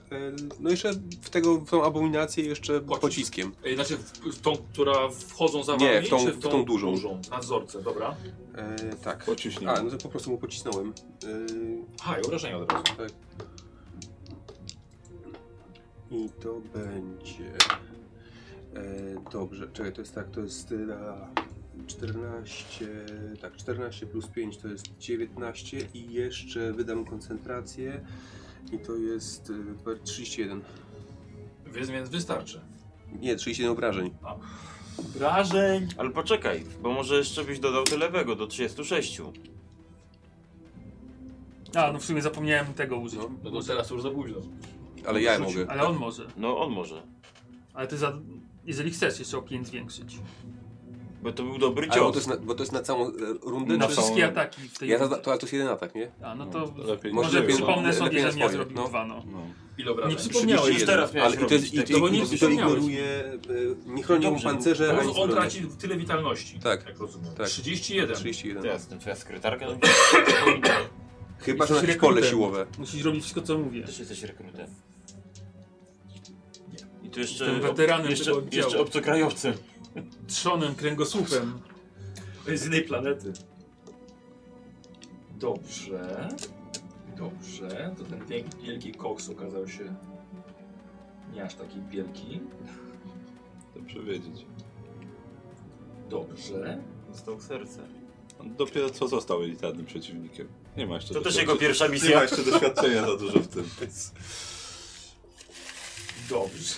S5: no jeszcze w, tego, w tą abominację jeszcze
S6: Pocisk.
S5: pociskiem.
S6: Ej, Znaczy w, w tą, która wchodzą za wami,
S5: Nie, w tą-
S6: czy
S5: w tą dużą.
S6: Nadzorcę, dobra.
S5: E, tak.
S3: Pociśnij.
S5: A, no to po prostu mu pocisnąłem. E,
S6: Aha, i obrażenia od razu.
S5: I to będzie... E, dobrze, czekaj, to jest tak, to jest e, na 14, tak, 14 plus 5 to jest 19 i jeszcze wydam koncentrację i to jest e, 31.
S6: Więc, więc wystarczy.
S5: Nie, 31 obrażeń.
S6: Obrażeń!
S12: Ale poczekaj, bo może jeszcze byś dodał tyle lewego do 36.
S1: A, no w sumie zapomniałem tego użyć.
S5: No,
S6: No to teraz już za późno.
S5: Ale ja mogę.
S1: Ale on może.
S12: No on może.
S1: Ale ty za... Jeżeli chcesz jeszcze o 5 zwiększyć.
S12: Bo to był dobry
S5: Ale bo to
S12: cios.
S5: jest na, bo to jest na całą e, rundę?
S1: Na
S5: czy-
S1: wszystkie ataki w tej
S5: Ja za, to, ale to jest jeden atak, nie?
S1: A, no to
S3: Lepiej
S5: Może
S1: może
S5: lepiej-
S1: przypomnę
S5: lepiej
S1: sobie,
S5: na
S1: że ja
S5: swoje,
S1: zrobił
S5: no.
S1: dwa, no.
S3: No.
S6: Ile
S1: Nie
S6: obrażeń?
S1: przypomniałeś.
S12: Już teraz miałeś
S5: Ale i to, jest,
S12: robić
S5: i to,
S12: tak.
S5: i
S1: No bo nie
S5: i to
S1: wspomniałeś.
S5: ignoruje, e, nie chroni mu
S12: Dobrze,
S5: pancerze,
S6: Teraz
S5: ani
S6: on
S5: zbroi.
S6: traci tyle witalności.
S5: Tak.
S6: Jak rozumiem.
S5: Tak.
S6: 31.
S5: 31.
S12: Jasne, twoja sekretarka?
S5: Chyba, że na jakieś
S1: Jesteś
S5: pole
S1: rekrutem.
S5: siłowe.
S1: Musisz robić wszystko, co mówię.
S12: Też jesteś rekrutem. I tu jeszcze,
S1: Jestem weteranem
S12: jeszcze,
S1: tego oddziału.
S12: jeszcze obcokrajowcem.
S1: Trzonem, kręgosłupem.
S6: Z innej planety. Dobrze. Dobrze. To ten wielki, wielki koks okazał się nie aż taki wielki.
S3: Dobrze wiedzieć.
S6: Dobrze.
S12: Został serce.
S3: On dopiero co został elitarnym przeciwnikiem. Nie ma jeszcze
S12: To też
S3: doświadczenia-
S12: jego pierwsza
S3: Nie ma
S12: misja.
S3: jeszcze doświadczenia za dużo w tym.
S6: Dobrze.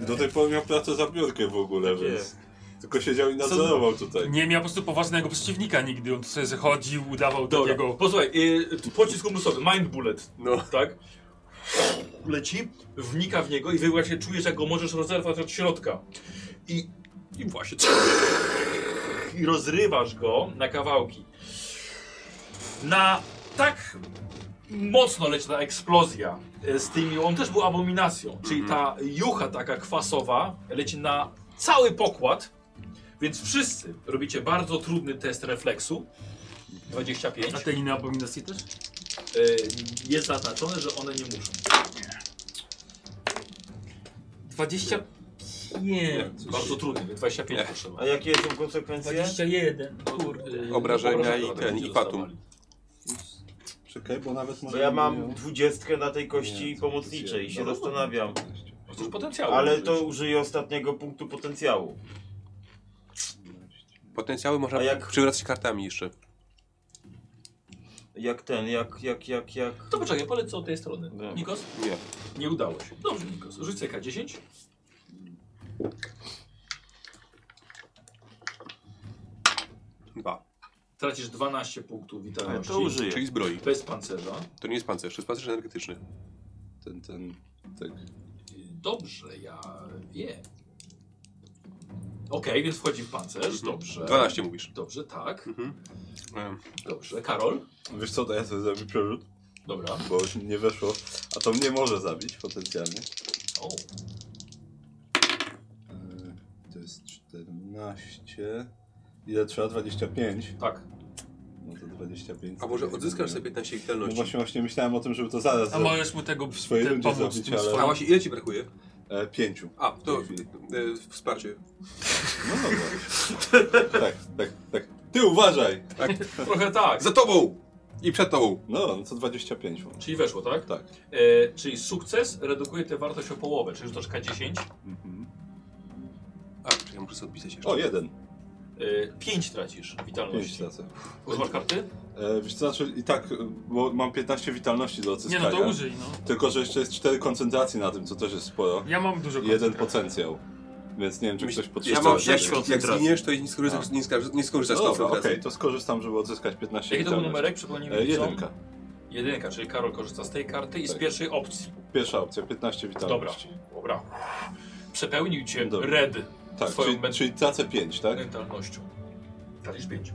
S3: Do tej pory miał pracę za biurkę w ogóle, więc... Tylko siedział
S1: Co-
S3: i nadzorował tutaj.
S1: Nie miał po prostu poważnego przeciwnika nigdy. On sobie chodził, udawał
S6: Dobra.
S1: takiego...
S6: Posłuchaj, y, pocisk umysłowy, mind bullet,
S5: No.
S6: tak? Leci, wnika w niego i wy właśnie czujesz, jak go możesz rozerwać od środka. I, i właśnie... I rozrywasz go na kawałki. Na tak mocno leci ta eksplozja y, z tymi... On też był
S3: Mhm.
S6: abominacją, czyli ta jucha taka kwasowa leci na cały pokład. Więc wszyscy robicie bardzo trudny test refleksu. 25.
S1: A te inne abominacje też?
S6: Y, Jest zaznaczone, że one nie muszą.
S1: 25.
S6: Bardzo trudny, więc 25
S5: Nie.
S6: potrzeba.
S4: A jakie są konsekwencje?
S1: 21. Kurde.
S6: Y,
S5: Obrażenia i
S6: ludzie
S5: ten, i
S6: dostawali.
S5: fatum.
S3: Czekaj, bo nawet
S4: Bo
S3: może...
S4: ja
S3: nie
S4: mam
S3: miał.
S4: dwudziestkę na tej
S3: Nie,
S4: kości
S3: to
S4: pomocniczej i
S3: jest
S4: się
S3: jeden.
S4: zastanawiam.
S6: No cóż, potencjału.
S4: Ale
S6: użyć.
S4: to użyję ostatniego punktu potencjału.
S5: Potencjały można
S4: A jak-
S5: przywracać kartami jeszcze.
S4: Jak ten, jak, jak, jak, jak...
S6: To poczekaj, polecę od tej strony.
S4: Dobra.
S6: Nikos?
S5: Nie.
S6: Nie udało się. No, Dobrze, Nikos. Rzuć sobie K10.
S5: Dwa.
S6: Tracisz 12 punktów
S9: Ale
S6: witalności.
S9: to użyję.
S5: Czyli zbroi.
S6: Bez pancerza.
S5: To nie jest pancerz, to jest pancerz energetyczny.
S3: Ten, ten... Tak.
S6: Dobrze, ja wiem. Okej, więc wchodzi w
S5: Mhm.
S6: pancerz. Dobrze.
S5: 12 mówisz.
S6: Dobrze, tak.
S5: Em,
S6: Dobrze. Karol?
S3: Wiesz co, to ja sobie zrobię przerzut,
S6: Dobra.
S3: bo już mi nie weszło. A to mnie może zabić potencjalnie.
S6: O,
S3: E, To jest 14... Ile trzeba? 25?
S6: tak.
S3: No to 25.
S5: A może odzyskasz sobie 15
S3: No
S5: witalności?
S3: właśnie, właśnie myślałem o tym, żeby to zaraz
S1: A
S3: zrobić.
S1: możesz mu tego
S3: W swojej
S1: te-
S3: rundzie
S1: pomóc
S3: zabić,
S1: tym
S3: ale-
S5: A
S1: swoim.
S5: właśnie, ile ci brakuje?
S3: E, pięciu.
S5: A, to e, wsparcie.
S3: No dobra. tak, tak, tak. Ty uważaj!
S6: Trochę tak.
S5: Za tobą! I przed tobą.
S3: No, no to 25 mam.
S6: Czyli weszło, tak?
S3: Tak.
S6: E, czyli sukces redukuje tę wartość o połowę, czyli rzucasz K10.
S3: Mhm.
S5: A, czekaj, muszę sobie odpisać jeszcze.
S3: O, jeden.
S6: E, 5 tracisz
S3: Pięć tak.
S6: witalności.
S3: tracę.
S6: Używasz karty?
S3: E, wiesz co, znaczy i tak, e, bo mam 15 witalności do
S1: Nie
S3: odzyskania.
S1: no, to użyj, no.
S3: Tylko, że jeszcze jest 4 koncentracji na tym, co też jest sporo.
S1: Ja mam dużo
S3: I jeden
S1: koncentracji.
S3: potencjał. Więc nie wiem, czy ktoś potrzebuje.
S9: Ja
S5: Co,
S9: mam
S5: jak,
S9: 6
S5: jak
S9: koncentracji.
S5: zginiesz, to i nie skorzystasz, nie skorzystasz, nie
S3: No
S5: skorzystasz z
S3: dobra, okej,
S5: koncentracji.
S3: to skorzystam, żeby odzyskać 15
S6: Jaki to był
S3: witalności.
S6: numerek? Przypomnijmy
S3: E,
S6: widzom.
S3: jedynka.
S6: Jedynka, czyli Karol korzysta z tej karty i z
S3: Tak.
S6: pierwszej opcji.
S3: Pierwsza opcja, 15
S6: Dobra,
S3: witalności.
S6: dobra. Przepełnił cię
S3: Dobra.
S6: red
S3: Tak,
S6: swoją
S3: czyli, czyli tracę 5, tak? Okej,
S6: mentalnością. Tracisz 5.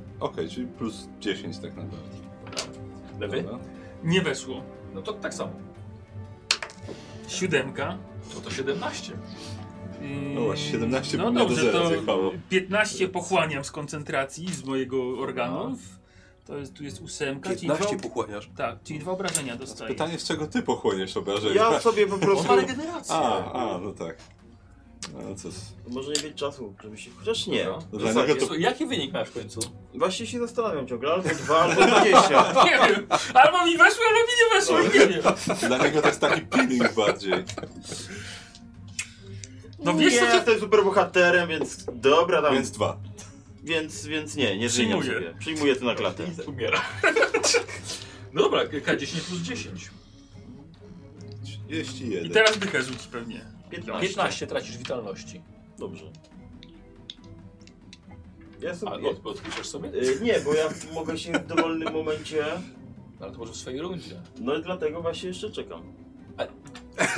S3: czyli plus 10 tak naprawdę.
S6: Lewy?
S3: Dobra.
S1: Nie weszło.
S6: No to tak samo.
S1: Siódemka.
S6: No to 17.
S1: Mm,
S3: No właśnie, 17
S1: No
S3: no dobrze,
S1: dobrze,
S3: do zera
S1: to
S3: zjechało.
S1: 15 pochłaniam z koncentracji z mojego organów.
S3: No.
S1: To jest, tu jest ósemka, czyli dwa,
S5: 15 pochłaniasz.
S1: tak, czyli dwa obrażenia dostaję.
S3: Pytanie, z czego ty pochłoniesz obrażenia?
S9: Ja sobie po
S6: On
S9: prostu...
S6: ma regenerację.
S3: A, a, no tak. No cóż.
S4: Może nie mieć czasu, żeby się... Chociaż nie. znaczy,
S6: Dobra.
S3: Dla niego to
S6: Jezu, Jaki wynik masz w końcu?
S4: Właśnie się zastanawiam ciągle, albo dwa, albo dwadzieścia.
S1: Nie wiem, albo mi weszło, albo mi nie weszło,
S3: No.
S1: i nie wiem.
S3: Dla niego to jest taki peeling bardziej.
S1: No wiesz
S4: nie,
S1: co, co-
S4: jestem superbohaterem, więc dobra tam,
S3: Więc
S4: więc,
S3: dwa.
S4: więc, nie, nie zmieniam
S1: Przyjmuję.
S4: sobie. Przyjmuję to na klatę.
S3: Tak.
S6: Umiera. No dobra, K10 plus 10.
S3: 31.
S1: I teraz dychę rzuci pewnie.
S4: 15.
S6: 15 tracisz witalności.
S4: Dobrze. Ja
S6: A
S4: sobie...
S6: od, odpiszesz sobie? No,
S4: Y, nie, bo ja mogę się w dowolnym momencie...
S6: Ale to może w swojej rundzie.
S4: No i dlatego właśnie jeszcze czekam.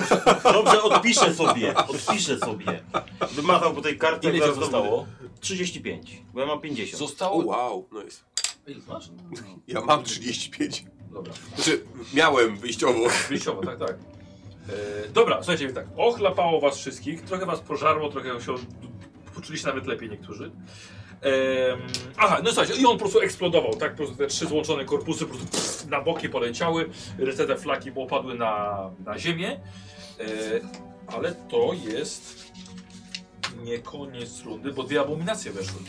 S4: Dobrze, odpiszę sobie, odpiszę sobie. Wymazał po tej kartce,
S6: Ile ci
S4: zaraz to
S6: zostało?
S4: 35, bo ja mam 50.
S5: O,
S6: Zostało...
S5: wow, no jest.
S6: Ile masz?
S5: Ja mam 35.
S6: Dobra.
S5: Znaczy, miałem wyjściowo.
S6: Wyjściowo, tak, tak. E, dobra, słuchajcie, więc tak. Ochlapało was wszystkich, trochę was pożarło, trochę się poczuliście nawet lepiej niektórzy. Em, aha, no słuchajcie, i on po prostu eksplodował, tak? Po prostu te trzy złączone korpusy po prostu pff, na boki poleciały, resztę te flaki opadły na, na ziemię. E, ale to jest nie koniec rundy, bo dwie abominacje weszły.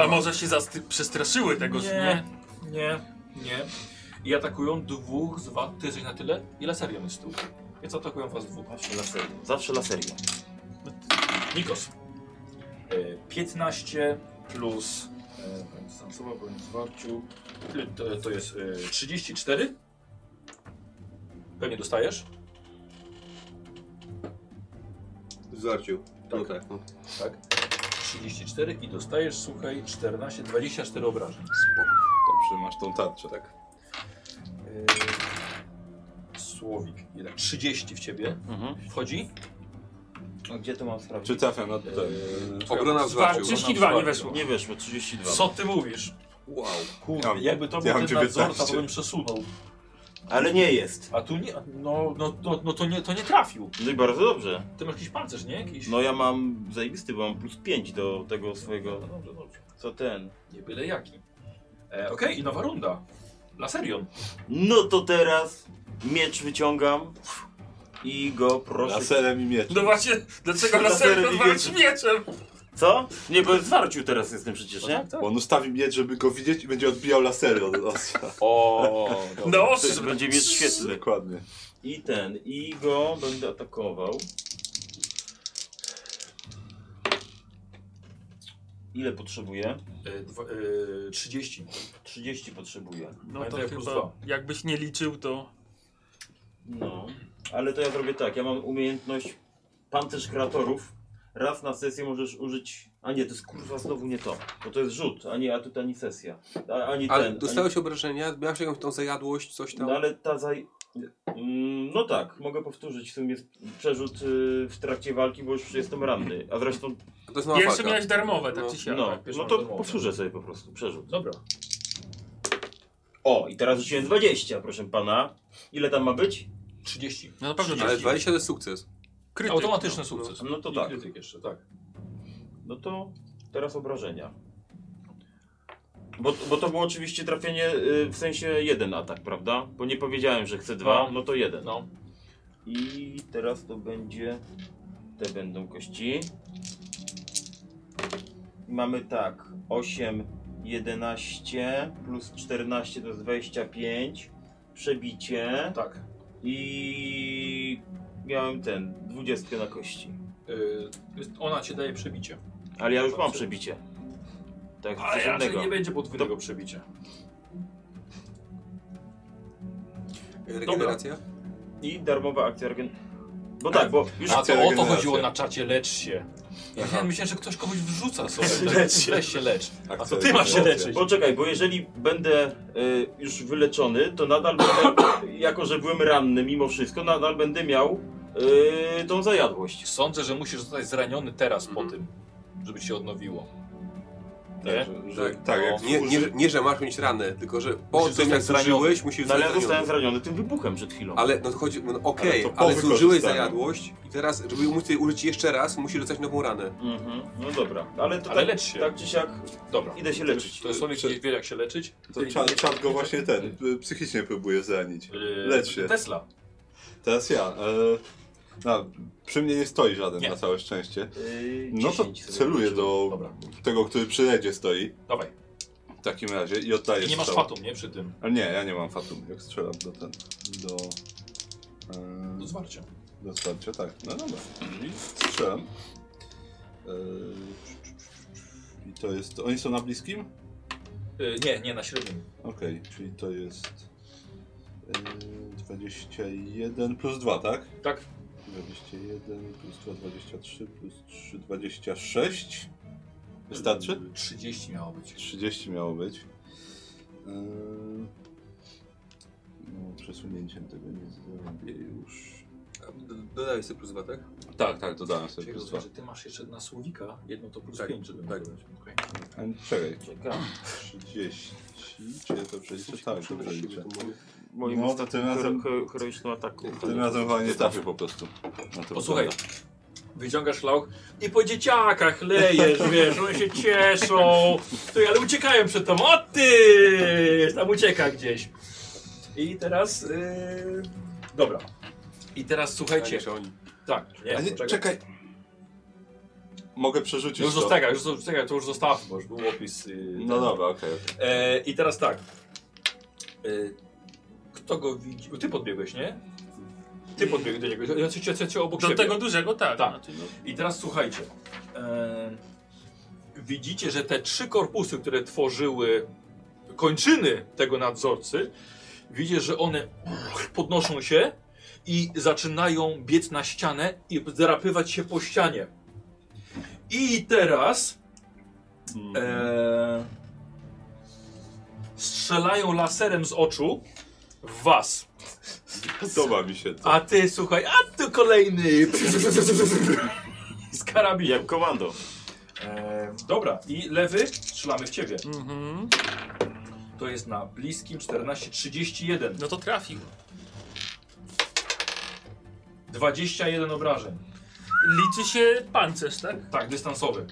S1: A może się zasty- przestraszyły tego, nie. nie?
S6: nie, nie. I atakują dwóch z was. Ty jesteś na tyle? Ile serią jest tu? Więc atakują was dwóch.
S4: Zawsze laserio, zawsze laserio.
S6: Nikos. E, 15 plus. e, broń dystansowa, broń w zwarciu. E, To, to jest e, 34. Pewnie dostajesz.
S5: W zarciu. No tak.
S6: 34 i dostajesz, słuchaj, 14, 24 obrażeń.
S3: Dobrze, masz tą tarczę. Tak.
S6: E, Słowik, ile? 30 w ciebie. Wchodzi.
S4: A gdzie to mam sprawdzić?
S3: Czy trafia na tutaj?
S5: Obrona w
S1: Dwa,
S5: zarciu.
S1: 32 nie weszło.
S4: Nie weszło, 32.
S6: Co ty mówisz?
S5: Wow.
S6: Kurde,
S3: Ja mam-
S6: jakby to
S3: ja
S6: był
S3: mam
S6: ten nadzorca,
S3: 19.
S6: to bym przesunął.
S18: Ale nie jest.
S6: A tu nie, no, no, no, no to, nie, to nie trafił.
S4: No i bardzo dobrze.
S6: Ty masz jakiś pancerz, nie? Jakiś...
S4: No ja mam zajebisty, bo mam plus 5 do tego swojego.
S6: No dobrze, dobrze.
S4: Co ten?
S6: Nie byle jaki. E, Okej, i nowa runda. Laserion.
S4: No to teraz miecz wyciągam i go proszę.
S3: Laserem i mieczem.
S1: No właśnie, dlaczego
S4: Laserem
S1: laserem
S4: i
S1: walczy mieczem?
S4: Co? Nie, bo zwarcił teraz jestem przecież,
S1: No tak,
S4: nie?
S3: Bo on ustawi miecz, żeby go widzieć i będzie odbijał lasery od nosa.
S6: O, dobra.
S1: No
S4: To
S1: ostrze.
S4: będzie miecz świetlny.
S3: Dokładnie.
S4: I ten, i go będę atakował. Ile potrzebuję?
S6: E, dwa, e, 30.
S4: 30 potrzebuję.
S1: No to
S6: Pamiętaj, plus
S1: chyba,
S6: dwa.
S1: jakbyś nie liczył, to...
S4: No, ale to ja zrobię tak. Ja mam umiejętność pancerz kreatorów. Raz na sesję możesz użyć. A nie, to jest kurwa znowu nie to. Bo to jest rzut, ani atut, ani sesja. A, ani
S5: Ale
S4: ten.
S5: dostałeś obrażenia, miałeś jakąś tą zajadłość, coś
S4: Ani...
S5: tam.
S4: No ale ta zaj. Mm, No tak, mogę powtórzyć. W sumie jest przerzut y, w trakcie walki, bo już jestem ranny. A zresztą.
S5: To jest nowa
S1: Pierwsze
S5: No, walka.
S1: miałeś darmowe, tak
S5: No,
S1: czy siak.
S4: No,
S6: pierwszy
S4: no
S6: mam
S4: to
S6: darmowy.
S4: powtórzę sobie po prostu przerzut.
S6: Dobra.
S4: O, i teraz rzuciłem 20, proszę pana. Ile tam ma być?
S6: 30.
S1: No na pewno
S5: Ale
S1: tak.
S5: 20 to jest sukces.
S1: Krytyk.
S6: Automatyczny sukces.
S4: No to
S6: I
S4: tak.
S6: krytyk jeszcze, tak.
S4: No to teraz obrażenia. Bo, bo to było oczywiście trafienie y, w sensie jeden atak, prawda? Bo nie powiedziałem, że chcę dwa,
S6: No.
S4: no to jeden.
S6: No.
S4: I teraz to będzie. Te będą kości. Mamy tak. 8, 11 plus 14 to jest 25. Przebicie.
S6: Tak.
S4: I miałem ten. 20 na kości.
S6: Y, jest- ona ci daje przebicie.
S4: Ale ja już mam przebicie. Tak,
S6: Ale
S4: coś
S6: raczej
S4: innego.
S6: nie będzie podwójnego przebicia.
S5: Regeneracja.
S4: I darmowa akcja regen... Bo tak, bo już...
S6: A to o to
S3: regeneracja.
S6: chodziło na czacie, lecz się. Ja wiem, myślałem, że ktoś komuś wrzuca sobie. Lecz się, lecz. Się, lecz. A
S3: Tak,
S6: to ty masz się leczyć.
S4: Poczekaj, bo jeżeli będę y, już wyleczony, to nadal będę, jako że byłem ranny mimo wszystko, nadal będę miał y, tą zajadłość.
S6: Sądzę, że musisz zostać zraniony teraz po tym, żeby się odnowiło. Nie?
S3: Że- że-
S5: Tak.
S3: Tak, jak
S5: Nie, nie, nie, że masz mieć ranę, tylko że po
S6: Musisz
S5: tym jak
S6: zostać
S5: zużyłeś, musisz
S4: No ale ja
S5: zostać
S4: zostałem
S5: zraniony.
S4: zraniony tym wybuchem przed chwilą.
S5: Ale no to chodzi, no okej,
S3: Ale to po
S5: ale zużyłeś
S3: wykorzystaniu.
S5: zajadłość i teraz, żeby móc jej użyć jeszcze raz, musisz dostać nową ranę.
S4: Mhm, no dobra, ale to
S6: Ale
S4: tak,
S6: lecz się.
S4: tak czy siak
S6: Dobra.
S4: idę się leczyć.
S6: To jest Sonic
S3: Prze-
S6: nie wie jak się leczyć.
S3: To czad, czad go właśnie ten, y, psychicznie próbuje zranić.
S6: Yy,
S3: Lecz się.
S6: Tesla.
S3: Teraz ja. E, no, przy mnie nie stoi żaden
S6: Nie.
S3: na całe szczęście.
S4: Yy,
S3: No to
S4: 10 sobie
S3: celuję
S4: włączyłem.
S3: do
S6: Dobra.
S3: tego, który przy redzie stoi
S6: Dawaj.
S3: w takim razie i oddaję
S6: I nie masz
S3: strzała.
S6: fatum, nie? Przy tym.
S3: Ale nie, ja nie mam fatum, jak strzelam do ten, do... e,
S6: Do zwarcia.
S3: Do wsparcia, tak. No dobra. I Strzelam. Yy, I to jest. Oni są na bliskim?
S6: Yy, nie, nie, na średnim.
S3: Okej, czyli to jest. Yy, 21 plus 2, tak?
S6: Tak.
S3: 21 plus 2, 23 plus 3, 26. Wystarczy?
S6: Yy, 30 miało być.
S3: 30 miało być. Y, Yy, no, przesunięciem tego nie zrobię już.
S5: Do- Dodałeś sobie plus 2, tak?
S3: Tak, tak, dodałem sobie
S6: Czyli
S3: plus
S6: rozumiem,
S3: 2.
S6: że ty masz jeszcze na słowika, jedno to plus
S5: Tak,
S6: 5, żeby
S5: tak.
S6: dodać. Okej.
S3: Czekaj,
S4: Czekam.
S3: 30. Czy ja to przeliczę? Tak, dobrze liczę.
S4: Moim
S3: No, to tym razem-
S4: hero- heroiczną ataku.
S3: Tym razem chyba nie tak. trafię po prostu. Na to
S6: Posłuchaj, wyciągasz lauch i po dzieciakach lejesz, wiesz, one się cieszą. Ty, ale uciekają przed tobą, o ty! Tam ucieka gdzieś. I teraz, yy... dobra. I teraz słuchajcie,
S5: oni.
S6: tak, nie,
S3: A nie,
S6: poczekaj. No
S3: czekaj. Mogę przerzucić
S6: Już
S3: to.
S6: zostawia, już zostawia, to już zostaw, bo już był opis. Yy,
S3: No dobra, okej. okej.
S6: E, I teraz tak. E, kto go widzi? Ty podbiegłeś, nie? Ty podbiegłeś do niego. Ja cię, cię, cię obok
S1: Do
S6: siebie.
S1: tego dużego tak.
S6: Tak.
S1: Znaczy, no,
S6: I teraz słuchajcie. E, widzicie, że te trzy korpusy, które tworzyły kończyny tego nadzorcy, widzicie, że one podnoszą się i zaczynają biec na ścianę i drapywać się po ścianie. I teraz e, strzelają laserem z oczu w was.
S3: Podoba mi się to.
S6: A ty słuchaj, a tu kolejny z karabinu.
S4: Jak komando.
S6: E, dobra, i lewy strzelamy w ciebie.
S1: Mhm.
S6: To jest na bliskim 1431.
S1: No to trafił.
S6: 21 obrażeń.
S1: Liczy się pancerz, tak? Mm,
S6: Tak, dystansowy.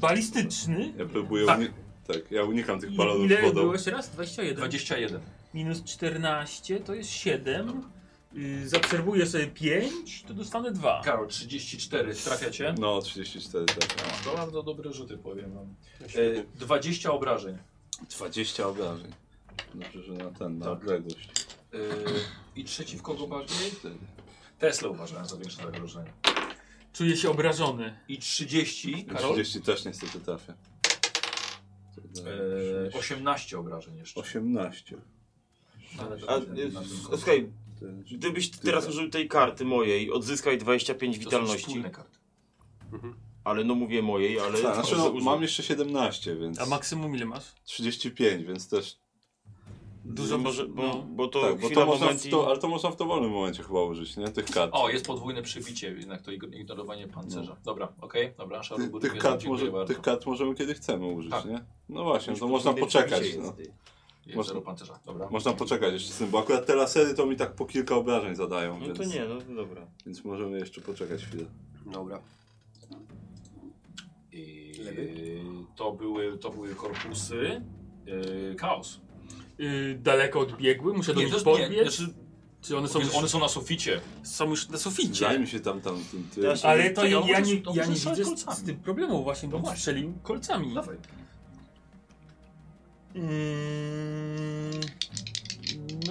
S1: Balistyczny.
S3: Ja próbuję
S1: Tak.
S3: uni- tak, ja unikam tych
S1: I-
S3: balonów
S1: Ile
S3: wodą.
S1: było jeszcze raz? 21.
S6: 21.
S1: Minus 14 to jest 7. Yy, zaobserwuję sobie 5, to dostanę 2.
S6: Karol, 34. Trafiacie?
S3: No, 34, tak.
S6: No, bardzo dobre rzuty, powiem wam. E, 20 obrażeń. E,
S3: 20 obrażeń. Dobrze, że na ten, na
S6: Tak.
S3: odległość.
S6: E, I trzeci w kogo bardziej? Tesla uważałem za większe zagrożenie.
S1: Czuję się obrażony.
S6: I 30, Karol.
S3: 30 też niestety trafia. Trudno,
S6: E,
S3: przynieść.
S6: 18 obrażeń jeszcze.
S3: 18.
S12: A,
S6: Ale to będzie na tym
S12: y,
S6: końcu.
S12: słuchaj,
S3: Ten-
S12: gdybyś teraz użył tej karty mojej, odzyskaj 25
S6: To są
S12: witalności.
S6: wspólne karty.
S12: Ale no mówię mojej, ale...
S3: Mhm. Tak, znaczy, no,
S12: użył.
S3: mam jeszcze 17, więc
S1: A maksimum ile masz?
S3: 35, więc też
S12: Dużo może, bo,
S1: no.
S12: bo to
S3: tak, bo
S12: chwila
S3: to można
S12: moment
S3: w to, ale to można w dowolnym momencie chyba użyć, nie? Tych kart.
S6: O, jest podwójne przebicie, jednak to ign- ignorowanie pancerza. Dobra, okej, dobra, szaru
S3: Ty,
S6: góry
S3: tych,
S6: wiedzą,
S3: kart
S6: dziękuję
S3: może,
S6: bardzo.
S3: tych kart możemy kiedy chcemy użyć,
S6: Tak.
S3: nie? No właśnie, to
S12: i
S3: można
S12: powinien
S3: poczekać.
S12: dzisiaj
S3: No.
S12: jest, ty.
S6: Jest
S3: można-
S6: zero pancerza, dobra.
S3: Można poczekać jeszcze z tym, bo akurat te lasery to mi tak po kilka obrażeń zadają,
S12: No
S3: więc,
S12: to nie, no to dobra.
S3: więc możemy jeszcze poczekać chwilę.
S5: Dobra.
S6: I,
S5: Lewy?
S6: to, były, to były korpusy. Yy, chaos.
S1: Yy, daleko odbiegły? Muszę do
S6: Nie, to
S1: nich
S6: jest- nie,
S1: podbiec?
S6: znaczy-
S1: Czy one są,
S6: One,
S1: już,
S6: one są na suficie.
S1: są już na suficie?
S3: Zajmij się tam, tam tym, tym.
S12: Ja się-
S1: Ale to
S6: Czekaj,
S1: ja,
S6: on
S1: ja
S6: może-
S1: nie,
S6: to
S1: ja
S6: może
S1: nie
S6: strzelać
S1: widzę z,
S6: kolcami.
S1: z tym problemu właśnie, bo
S6: właśnie.
S1: strzelił kolcami.
S6: Dawaj.
S1: Mm,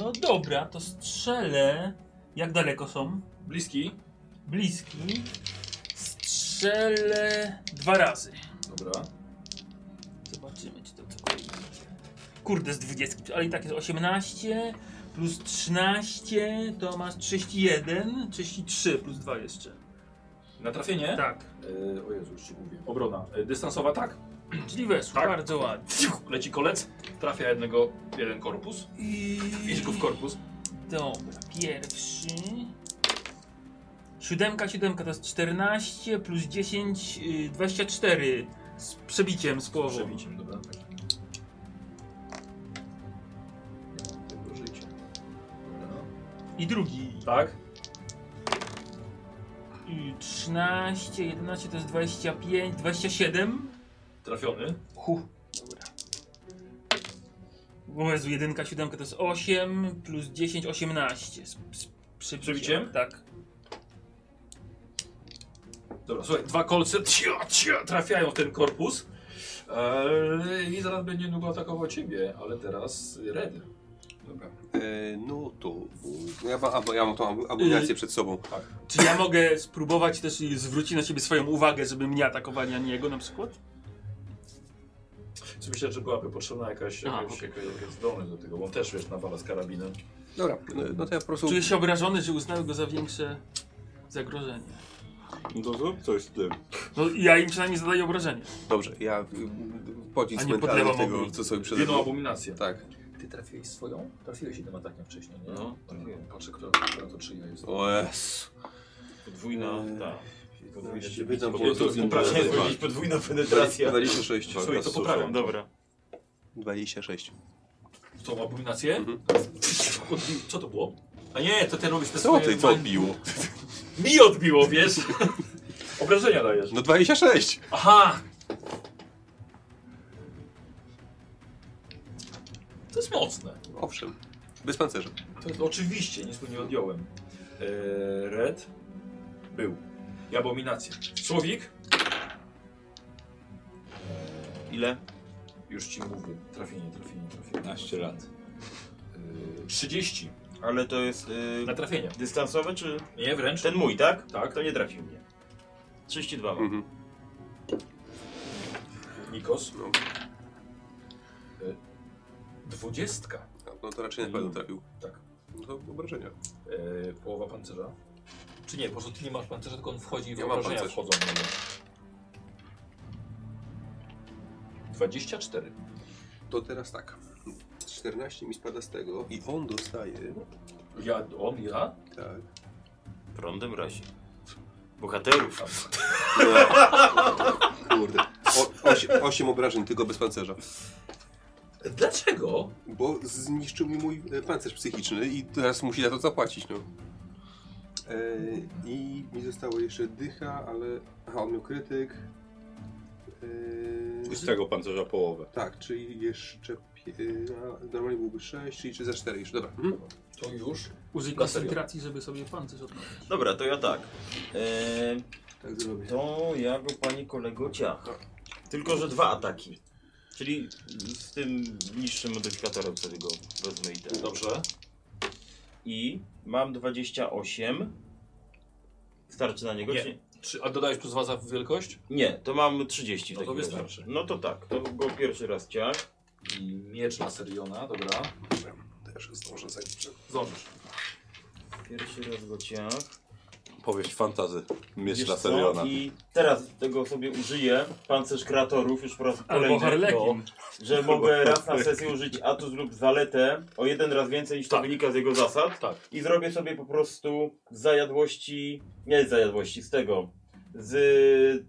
S1: no dobra, to strzelę. Jak daleko są?
S6: Bliski.
S1: Bliski. Strzelę dwa razy.
S6: Dobra.
S1: Zobaczymy, czy to cokolwiek będzie. Kurde, z 20, ale i tak jest 18 plus 13 to masz 31, 33 plus 2 jeszcze.
S6: Na trafienie?
S1: Tak,
S6: Yy, o Jezu, już ci mówię. Obrona. Yy, dystansowa, tak.
S1: czyli weszło,
S6: Tak.
S1: bardzo ładnie.
S6: Ciuch, Leci kolec, trafia jednego, jeden korpus.
S1: I...
S6: Idź go w korpus.
S1: Dobra, pierwszy. Siódemka, siódemka to jest 14 plus 10, y, 24 z przebiciem z połową.
S6: Przebiciem, dobra. tak. Ja mam tego życia. Dobra.
S1: I drugi.
S6: Tak?
S1: Y, 13, 11 to jest 25, 27.
S6: Trafiony.
S1: Hu. Dobra. O Jezu, jedynka, siódemka to jest 8 plus 10, 18. Z, z przebiciem.
S6: Przebiciem?
S1: Tak.
S6: Dobra, słuchaj, dwa kolce cia, cia, trafiają w ten korpus. Eee, I zaraz będzie długo atakował ciebie, ale teraz Red.
S5: Dobra. E, no to... u, Ja, ma- a, ja mam tą abominację przed sobą.
S1: Czy ja mogę spróbować też i zwrócić na siebie swoją uwagę, żeby mnie atakowali, a nie jego na przykład?
S6: Czy myślę, że byłaby potrzebna jakaś,
S1: Aha,
S6: jakaś,
S1: okej.
S6: jakaś zdolność do tego, bo on też wiesz, nawala z karabinem.
S5: Dobra, no, no to ja po prostu...
S1: Czuję się obrażony, że uznały go za większe zagrożenie.
S3: No to zrób coś z tym.
S1: No ja im przynajmniej zadaję obrażenie.
S5: Dobrze, ja y, y, pocisk
S1: A nie
S5: mentalny
S1: podlewam
S5: tego,
S1: ogólnie.
S5: co sobie przed...
S6: Jedną abominację.
S5: Tak.
S6: Ty trafiłeś swoją? Trafiłeś jednym atakiem wcześniej, nie?
S12: No,
S6: trafiłem. Patrzę, która, która to czyja jest.
S5: O Jezu.
S12: Podwójna,
S5: Eee,
S12: tak.
S5: Wydam po
S3: Jest
S5: prostu...
S3: to
S6: poprawia.
S12: Chciałem
S3: indywidualne.
S12: powiedzieć podwójna penetracja.
S5: 26.
S6: Słuchaj, to poprawiam.
S12: Dobra.
S5: 26.
S6: Tą abominację?
S5: Mhm.
S6: Co to było? A nie, to ty robisz te
S5: Co
S6: swoje...
S5: ty, co odbiło?
S6: Mi odbiło, wiesz? Obrażenia dajesz.
S5: No 26!
S6: Aha! To jest mocne.
S5: Owszem. Bez pancerza.
S6: To jest, oczywiście, nic mu nie odjąłem. Eee, red był. I abominacja. Słowik?
S12: Ile?
S6: Już ci mówię. Trafienie, trafienie, trafienie.
S3: 15 lat.
S6: Eee, 30.
S12: Ale to jest y,
S6: Na trafienie.
S12: dystansowe czy...
S6: Nie, wręcz.
S12: Ten mój, tak?
S6: Tak.
S12: To nie trafił mnie. 32 mam.
S5: Mhm.
S6: Nikos.
S5: No.
S6: Eee, 20.
S5: No to raczej na pewno trafił.
S6: Tak.
S5: No to obrażenia.
S6: Eee, połowa pancerza. Czy nie, po prostu ty nie masz pancerza, tylko on wchodzi i
S5: Ja mam
S6: wyobrażenia
S5: pancerz.
S6: wchodzą. w niego. 24.
S5: To teraz tak. 14 mi spada z tego i on dostaje.
S6: Ja, on, ja?
S5: Tak.
S12: Prądem razie. Bohaterów.
S5: No. Kurde. 8 obrażeń tylko bez pancerza.
S6: Dlaczego?
S5: Bo zniszczył mi mój e, pancerz psychiczny i teraz musi za to zapłacić, no. E, I mi zostało jeszcze dycha, ale... Aha, on miał krytyk. E,
S3: I z tego pancerza połowę.
S5: tak, czyli jeszcze... Pie, a, normalnie byłoby 6, czyli czy za 4 jeszcze, dobra. Mhm.
S6: To już?
S1: Użyj
S6: Na serio.
S1: koncentracji, żeby sobie pancerz odnowić.
S4: Dobra, to ja tak. Eee,
S5: Tak zrobię.
S4: To ja go pani kolego ciach. Tylko, że dwa ataki. Czyli z tym niższym modyfikatorem sobie go wezmę i ten.
S6: Dobrze.
S4: I mam 28. Starczy na niego?
S6: Nie.
S4: czy Nie,
S6: Czy, a dodałeś plus 2 za wielkość?
S4: nie to mam 30. w
S6: No to
S4: takim razie.
S6: wystarczy.
S4: No to tak, to go pierwszy raz ciach.
S6: I miecz na Seriona, dobra.
S5: Też zdążę zajść.
S6: Zdążysz.
S4: Pierwszy raz go ciach.
S3: Powieść fantazy. Miecz
S4: Wiesz
S3: dla
S4: co?
S3: Seriona.
S4: I teraz tego sobie użyję, pancerz kreatorów już po raz
S1: Albo
S4: kolejny,
S6: no.
S1: Harlekin.
S4: że
S6: tak.
S4: mogę raz na sesję użyć atus lub zaletę o jeden raz więcej niż to
S6: Tak.
S4: wynika z jego zasad.
S6: Tak.
S4: I zrobię sobie po prostu z zajadłości, nie z zajadłości, z tego, z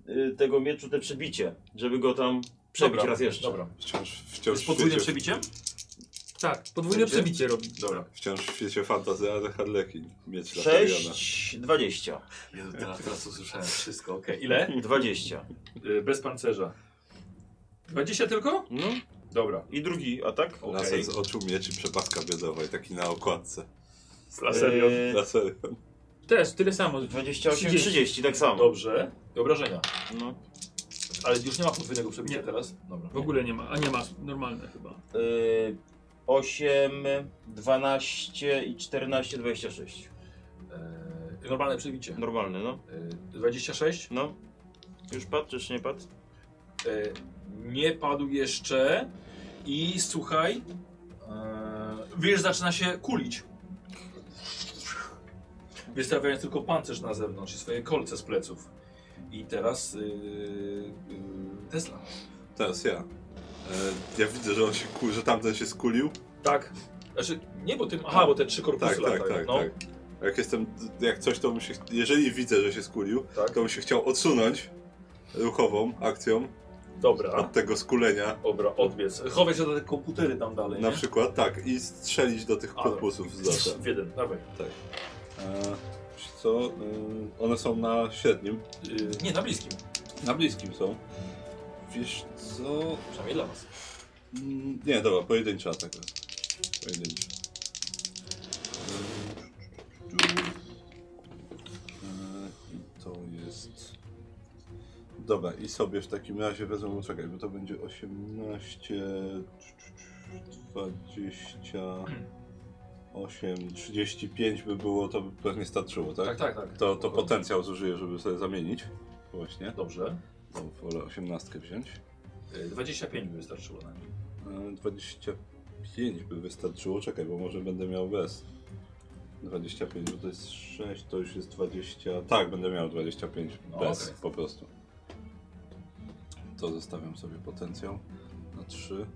S4: y, tego mieczu te przebicie, żeby go tam przebić
S6: Dobra,
S4: raz jeszcze.
S6: Dobra.
S3: Wciąż, wciąż,
S6: Z
S3: w
S6: podwójnym
S3: świecie,
S6: przebiciem?
S1: Tak, podwójne
S6: Będzie?
S1: przebicie robi.
S6: Dobra.
S3: wciąż w świecie fantazy, ale Harlekin. Miecz dla Seriona.
S4: 6, 20.
S6: Jezu, teraz, teraz usłyszałem wszystko, okej. Ile?
S4: 20.
S6: Y, Bez pancerza. 20 tylko?
S4: No
S6: Dobra.
S4: i drugi atak.
S6: Okej.
S3: Laser z oczu mieczy przepaska biodowej, taki na okładce.
S6: Dla Seriona.
S4: Y,
S3: Dla Seriona.
S1: Też, tyle samo.
S4: 28,
S1: 30.
S4: 30, tak samo.
S6: Dobrze. I obrażenia.
S4: No.
S6: Ale już nie ma podwójnego przebicia
S1: Nie.
S6: teraz? Dobra.
S1: W ogóle nie ma, a nie ma, normalne chyba.
S4: Y, 8, 12 i 14, 26.
S6: Y, normalne przebicie.
S4: Normalny, no.
S6: Y, 26.
S4: No. Już padł, czyż nie padł?
S6: Y, nie padł jeszcze. I słuchaj. y, wiesz, zaczyna się kulić. Wystawiając tylko pancerz na zewnątrz i swoje kolce z pleców. I teraz yy, Tesla.
S3: Teraz ja. E, ja widzę, że on się ku, że tamten się skulił.
S6: Tak. Znaczy, nie, bo tym. Aha, bo te trzy korpusy
S3: Tak, tak,
S6: latają.
S3: tak,
S6: no.
S3: tak. Jak jestem, jak coś, to bym się, jeżeli widzę, że się skulił,
S6: Tak.
S3: to bym się chciał odsunąć ruchową akcją
S6: Dobra.
S3: od tego skulenia.
S6: Dobra, odbiec. Chowaj się do te komputery tam dalej.
S3: Na
S6: nie?
S3: przykład, tak, i strzelić do tych
S6: A,
S3: korpusów z lotem.
S6: W jeden, dawaj.
S3: E, wiesz co, e, one są na średnim,
S6: Yy, nie, na bliskim.
S3: na bliskim są. Wiesz co,
S6: Przynajmniej dla was.
S3: Mm, Nie, dobra, pojedynczy atak. Pojedynczy. Eee, I to jest... Dobra, i sobie w takim razie wezmę, czekaj, bo to będzie 18, 28, 35 by było, to by pewnie starczyło, tak?
S6: Tak, tak, tak.
S3: To, to potencjał zużyję, żeby sobie zamienić. Właśnie,
S6: Dobrze.
S3: to wolę 18 wziąć.
S6: Yy, 25 by wystarczyło na nim.
S3: E, 25 by wystarczyło, czekaj, bo może będę miał bez. 25, bo to jest 6, to już jest 20. Tak, będę miał 25
S6: No,
S3: bez
S6: okej.
S3: po prostu. To zostawiam sobie potencjał na 3. E,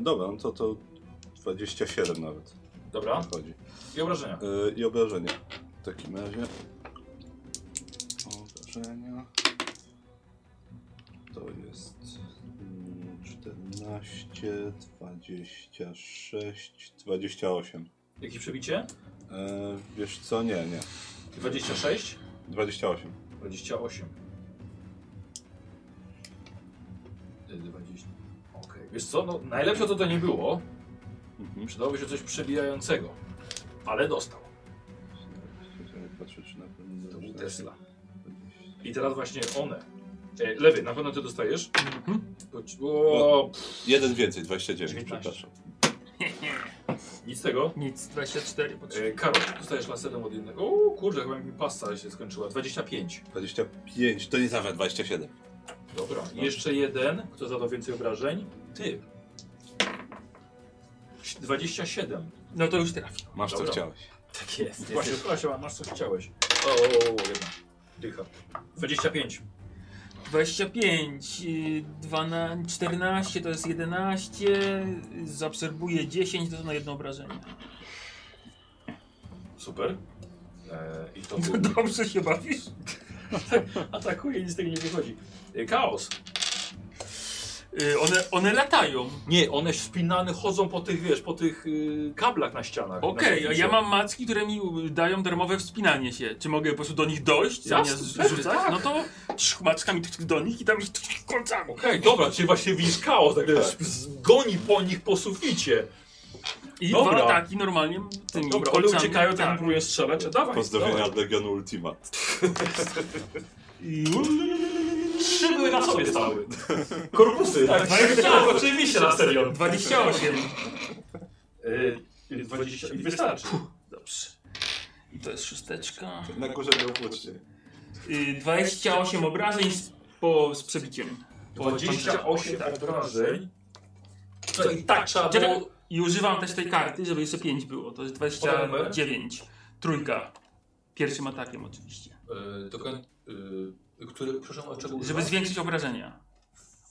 S3: dobra, no to to 27 nawet
S6: Dobra.
S3: wychodzi.
S6: I
S3: E,
S6: obrażenia.
S3: I obrażenia w takim razie. Obrażenia. To jest mm, 14, 26, 28.
S6: Jakie przebicie?
S3: E, wiesz co? Nie, nie.
S6: 26?
S3: 28.
S6: 28. Yy, 20. Okej. Wiesz co, no najlepsze to to nie było.
S3: Mhm.
S6: Przydałoby się coś przebijającego. Ale dostał.
S3: Patrzę, czy na pewno
S6: To był
S3: dobrze.
S6: Tesla. I teraz właśnie one. E, lewy, na pewno ty dostajesz.
S1: Mhm.
S6: Bo ci- O, pff,
S3: Jeden więcej, 29,
S6: 19.
S3: przepraszam.
S6: nic z tego.
S1: Nic, 24 potrzebne.
S6: E, Karol, dostajesz laserem od jednego. O kurde, chyba mi pasta się skończyła. 25.
S3: 25, to nie nawet 27.
S6: Dobra. I Jeszcze jeden, kto zadał więcej obrażeń. Ty. 27.
S1: No to już trafi.
S3: Masz co
S6: Dobra.
S3: chciałeś.
S4: Tak jest.
S6: Właśnie, proszę, masz co chciałeś. O, o, o, o jedna. Dycha. 25.
S1: 25, y, 12, 14 to jest 11, y, zaobserwuję 10, to są na jedno obrażenie.
S6: Super. E, I to był...
S1: Dobrze się bawisz?
S6: No, Atakuje i nic z tego nie wychodzi. E, Chaos.
S1: Y, one, one latają.
S6: Nie, one spinane chodzą po tych, wiesz, po tych y, kablach na ścianach.
S1: Okej,
S6: Na
S1: a ja mam macki, które mi dają darmowe wspinanie się. Czy mogę po prostu do nich dojść,
S6: Jasne,
S1: zamiast
S6: pewnie,
S1: rzucać?
S6: tak.
S1: No to trz- mackami tch, tch, do nich i tam ich tch, końcami.
S6: Okej, dobra, czyli właśnie widzisz chaos, tak, tak. goni po nich po suficie.
S1: I
S6: Dobra.
S1: dwa ataki normalnie tymi
S6: Dobra, one
S1: kolcami.
S6: uciekają, tak,
S1: tak.
S6: próbują strzelać, a dawaj.
S3: Pozdrowienia
S6: dawaj.
S3: od Legionu Ultima.
S6: Trzy były na sobie stały.
S4: Korpusy!
S6: Tak, tak, oczywiście na serio.
S1: 28.
S6: Y, 20 i wystarczy.
S1: Dobrze. I to jest szósteczka.
S3: Na górze miał włócznie.
S1: Y, 28 obrażeń z, po, z przebiciem.
S6: 28 obrażeń.
S1: Co, i tak trzeba
S6: było-
S1: było... I używam też tej karty, żeby jeszcze 5 było. To jest 29. Trójka. Pierwszym atakiem oczywiście.
S6: Y, do koń- y, Który, przepraszam, o czego
S1: Żeby zwiększyć obrażenia.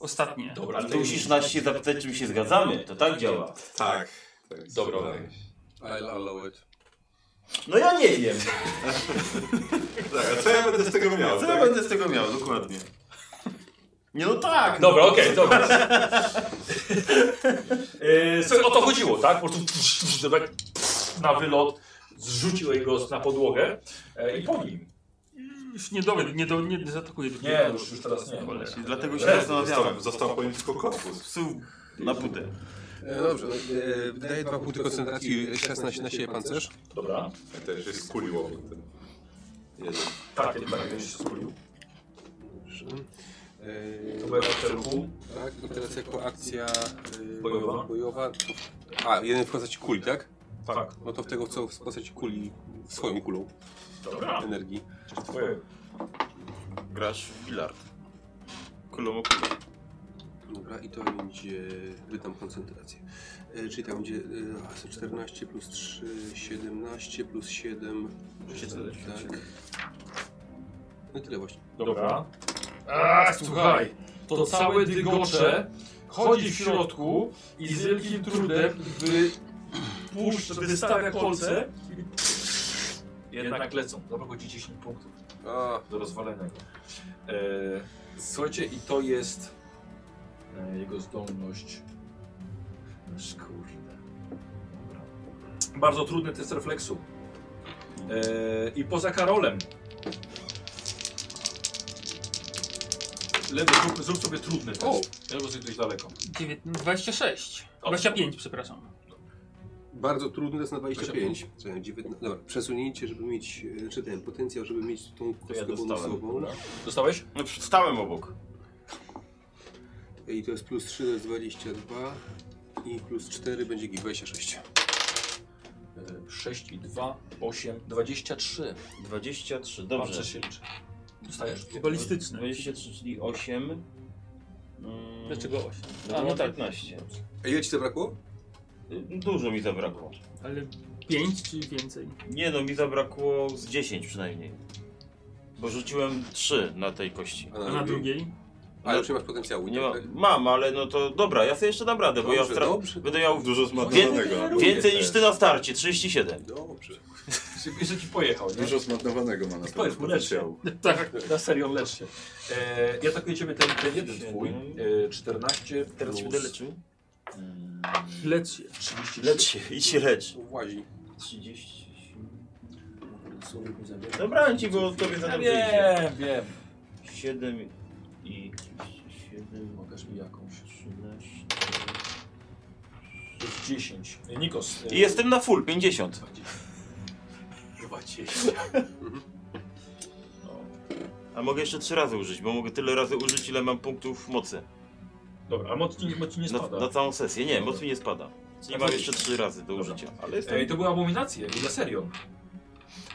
S1: Ostatnie.
S6: Dobra,
S4: Ale
S6: to
S4: to musisz nas się zapytać, czym się zgadzamy. To tak działa.
S3: Tak.
S6: Dobra,
S5: I'll allow it.
S4: No ja nie wiem.
S3: Tak, a co ja będę z tego miał?
S4: Co
S3: tak?
S4: ja będę z tego miał, dokładnie. Nie no tak.
S6: Dobra,
S4: no.
S6: okej, dobra. E, słuchaj, o to chodziło, tak? Po prostu tsz, tsz, tsz, tak pff, na wylot zrzuciłeś go na podłogę e, i po nim.
S1: Już nie do, nie do, nie zaatakuję.
S6: Nie, już, już teraz nie.
S1: Cholera.
S4: I Dlatego się
S6: Dobra.
S4: zastanawiałem.
S3: Został, został po nim tylko korpus.
S4: Psu na pudę.
S5: E, dobrze, e, wydaje dwa punkty koncentracji, 16 na siebie pancerz.
S6: Dobra.
S3: Tak e, też się skuliło. pod tym. Jeden.
S6: Tak, tak, tak, się skulił. Y,
S5: E,
S6: To byłem w celku.
S5: Tak, i teraz jako akcja y,
S6: Bojowa.
S5: bojowa. A, jeden w postaci kuli, tak?
S6: Tak.
S5: No to w tego co w postaci kuli, swoją kulą
S6: Dobra.
S5: energii.
S6: Twoje.
S4: Grasz w bilard. Kulą
S5: Dobra, i to będzie, wydam koncentrację. E, czyli tam będzie e, 14 plus 3, 17 plus 7. Tak. No i tyle właśnie.
S6: Dobra. A, słuchaj, to całe dygocze chodzi w środku i z wielkim trudem wypuszcza, wystawia kolce i jednak lecą. Zabrakło ci 10 punktów.
S5: A,
S6: do rozwalenia go. E, słuchajcie, i to jest e, jego zdolność. Aż Kurde. Dobra. Bardzo trudny test refleksu. E, I poza Karolem. Lewy, zrób, zrób sobie trudny test. Ja sobie dość daleko.
S1: no, 26. 25, przepraszam.
S5: bardzo trudne jest na 25. Czekaj, 19. Dobra, przesunięcie, żeby mieć, e, czy ten potencjał, żeby mieć tą kostkę bonusową.
S6: Dostałeś?
S4: No stałem obok.
S5: I to jest plus 3, to jest 22. I plus 4 będzie git, 26.
S6: E, 6 i 2, 8, 23.
S4: 23,
S6: Dobrze.
S4: dobrze.
S6: się liczy. Dostajesz.
S1: Balistyczne.
S4: 23, czyli 8. Mm,
S1: Dlaczego 8?
S4: No, no 15.
S5: A ile ci zabrakło?
S4: Y, Dużo mi zabrakło.
S1: Ale 5 czy więcej?
S4: Nie no, mi zabrakło z 10 przynajmniej. Bo rzuciłem 3 na tej kości.
S5: A
S1: A na drugiej?
S5: Ale już nie masz potencjału,
S4: Nie ma,
S5: tak?
S4: mam, ale no to dobra, ja sobie jeszcze dam radę, bo ja
S5: Dobrze,
S4: stra...
S5: dobrze,
S4: będę miał
S3: Dużo
S4: zmarnowanego.
S3: zmarnowanego.
S4: więcej niż ty na starcie, 37.
S5: dobrze.
S6: Jeszcze ci pojechał, nie?
S3: Dużo zmarnowanego ma na
S6: pewno
S3: pewno
S6: potencjału.
S1: Tak.
S6: Na serio, lecz się. E, I atakuje ciebie ten, ten jeden twój. E, 14
S4: Teraz
S6: plus,
S4: się będę leczył?
S6: mm,
S1: Lecz się.
S6: 33.
S4: Lecz się, idź się lecz.
S5: Włazi.
S4: 30. Dobra, ci go tobie
S6: Ja
S4: zadam
S6: wiem, wiem.
S4: 7 i 7,
S6: Pokaż mi jakąś.
S4: 13.
S6: Plus 10. E, Nikos. e,
S4: I jestem na full, 50.
S6: 20.
S4: A mogę jeszcze 3 razy użyć, bo mogę tyle razy użyć, ile mam punktów mocy.
S6: Dobra, a moc ci, moc ci nie
S4: Na,
S6: spada.
S4: na całą sesję. Nie,
S6: Dobra.
S4: moc mi nie spada. Czyli
S6: A
S4: mam
S6: to-
S4: jeszcze 3 razy do
S6: Dobra.
S4: użycia. Ale jestem...
S6: Ej, E, to były abominacje, na serio.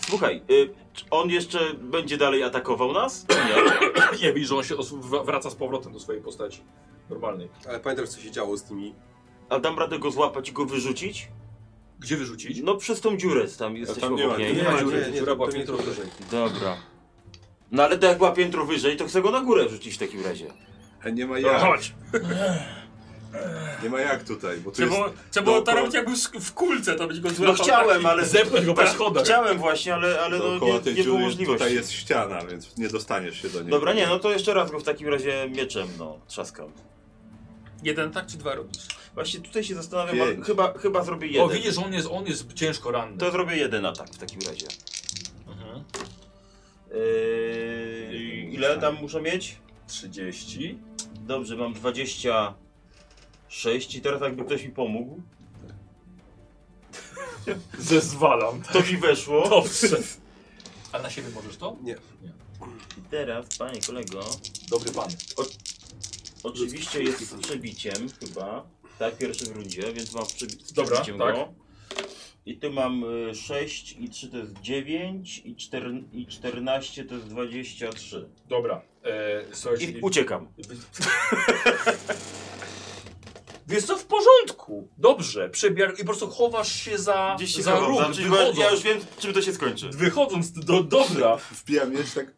S4: Słuchaj, y, czy on jeszcze będzie dalej atakował nas? Czy Nie.
S6: Nie widzisz, że on się osu- wra- wraca z powrotem do swojej postaci. Normalnej.
S5: Ale pamiętasz, co się działo z tymi.
S4: A dam radę go złapać i go wyrzucić?
S6: Gdzie wyrzucić?
S4: No przez tą dziurę tam jesteśmy
S3: tam nie
S4: obok
S3: ma,
S4: niej.
S3: nie
S6: ma
S5: dziury,
S6: dziury, dziura
S5: to-
S6: była
S5: to nie
S6: piętro
S5: to-
S4: Dobra. No ale to jak była piętro wyżej, to chcę go na górę wrzucić w takim razie.
S3: A E, nie ma
S6: Dobra,
S3: jak,
S1: Chodź.
S3: nie ma jak tutaj, bo tu
S1: Trzeba
S3: jest...
S1: było, trzeba było
S3: dookoła-
S1: to robić jakby w- w kulce, to być go
S4: No
S1: złapał.
S4: chciałem, ale...
S6: Zepnąć go po
S4: Tak,
S6: schodach.
S4: Chciałem właśnie, ale, ale no,
S3: Dookoła
S4: nie,
S3: tej
S4: nie było
S3: dziury tutaj
S4: możliwości.
S3: jest ściana, więc nie dostaniesz się do niej.
S4: Dobra, nie, no to jeszcze raz go w takim razie mieczem, no, trzaskam.
S1: Jeden tak czy dwa robisz?
S9: Właśnie tutaj się zastanawiam, ale
S3: Pięć.
S9: chyba, chyba zrobię
S6: O,
S9: jeden.
S6: widzisz, on jest, on jest ciężko ranny.
S9: To zrobię jeden atak w takim razie.
S6: Mhm.
S9: Yy, ile tam muszę mieć?
S6: 30.
S9: Dobrze, mam 26 i teraz jakby ktoś mi pomógł,
S6: Zezwalam.
S9: to mi weszło.
S6: Dobrze. A na siebie możesz to?
S9: I teraz, panie kolego,
S6: Dobry pan.
S9: oczywiście jest z przebiciem chyba, tak, pierwszy w rundzie, więc mam przebi z
S6: Dobra,
S9: przebiciem
S6: tak.
S9: go. I tu mam 6 i 3 to jest 9 i, 4, i 14 to jest 23.
S6: Dobra. E, słuchajcie,
S9: I uciekam.
S6: Wiesz co, w porządku. Dobrze. Przebiar... I po prostu chowasz się za,
S9: Gdzieś się
S6: za
S9: chowam,
S6: róg,
S9: znaczy, bo
S6: wychodząc.
S9: ja już wiem czym to się skończy.
S6: Wychodząc do dobra.
S3: Wbijam miecz tak...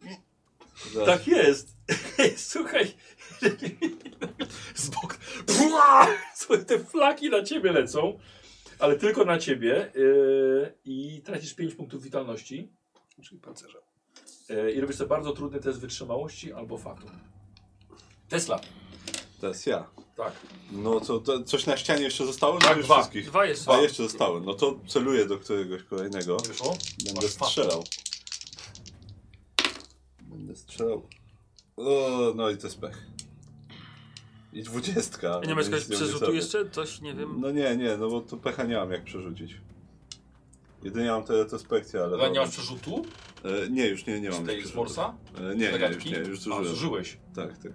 S6: Tak jest. Słuchaj. Z boku. Pua! Słuchaj, te flaki na ciebie lecą. Ale tylko na ciebie. Yy, I tracisz 5 punktów witalności.
S5: Czyli pancerza.
S6: Yy, I robisz sobie bardzo trudny test wytrzymałości albo faktu. Tesla.
S3: Teraz ja.
S6: Tak.
S3: No co, to coś na ścianie jeszcze zostało?
S6: Tak,
S3: Tak, już
S6: dwa.
S3: wszystkich.
S1: Dwa jest.
S3: Dwa jeszcze zostały. No to celuję do któregoś kolejnego.
S6: Nie wyszło?
S3: Będę
S6: Masz fart.
S3: strzelał. Będę strzelał. O, no i to jest pech. I dwudziestka.
S1: Nie masz
S3: więc
S1: jakiegoś
S3: nie umiem
S1: przerzutu
S3: sobie.
S1: jeszcze? Coś, nie wiem.
S3: No nie, nie, no bo tu pecha nie mam jak przerzucić. Jedynie mam tę retrospekcję, ale...
S6: Ale nie masz przerzutu?
S3: E, nie, już nie, nie mam.
S6: Z
S3: jak
S6: tej z
S3: przerzutu.
S6: Morsa?
S3: E, nie, nie, już
S6: Zagadki?
S3: nie, już
S6: A,
S3: zużyłem.
S6: zużyłeś.
S3: Tak, tak.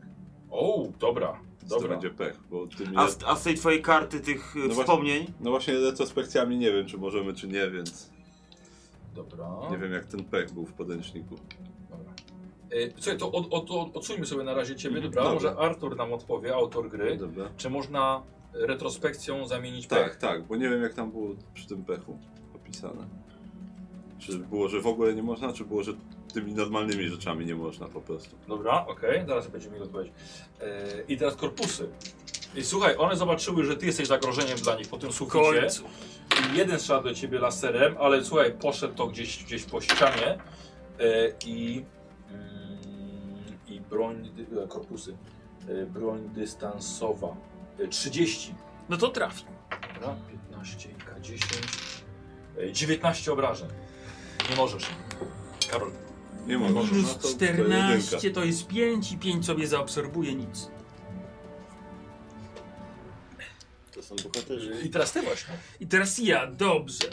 S6: O, dobra.
S3: Dobra. To
S6: Dobra.
S3: będzie pech, bo ty mnie...
S9: A z, a z tej twojej karty tych y,
S12: e,
S3: No właśnie.
S9: wspomnień?
S3: No właśnie retrospekcjami nie wiem, czy możemy, czy nie, więc
S6: Dobra.
S3: nie wiem jak ten pech był w podręczniku.
S6: Dobra. E, Słuchaj, to od, od, od, odsuńmy sobie na razie ciebie, dobra?
S3: Dobra.
S6: Może Artur nam odpowie, autor gry.
S3: Dobra.
S6: Czy można retrospekcją zamienić
S3: Tak,
S6: pech?
S3: tak, bo nie wiem jak tam było przy tym pechu opisane. Czy było, że w ogóle nie można, czy było, że tymi normalnymi rzeczami nie można po prostu.
S6: Dobra, okej, zaraz będziemy mieli odpowiedź. E, I teraz korpusy. I słuchaj, one zobaczyły, że ty jesteś zagrożeniem dla nich po tym
S1: W
S6: suficie.
S1: końcu.
S6: I jeden strzał do ciebie laserem, ale słuchaj, poszedł to gdzieś, gdzieś po ścianie. E, I, mm, I broń, dy- e, korpusy. E, broń dystansowa. E, 30.
S1: No to trafi.
S6: Dobra, 15, K10. e, 19 obrażeń. Nie możesz. Karol.
S3: Nie można. No to-
S1: Minus
S3: to jedynka.
S1: 14 to jest 5 i 5 sobie zaabsorbuje nic.
S4: To są bohaterzy.
S6: E, I teraz ty właśnie.
S1: I teraz ja, dobrze.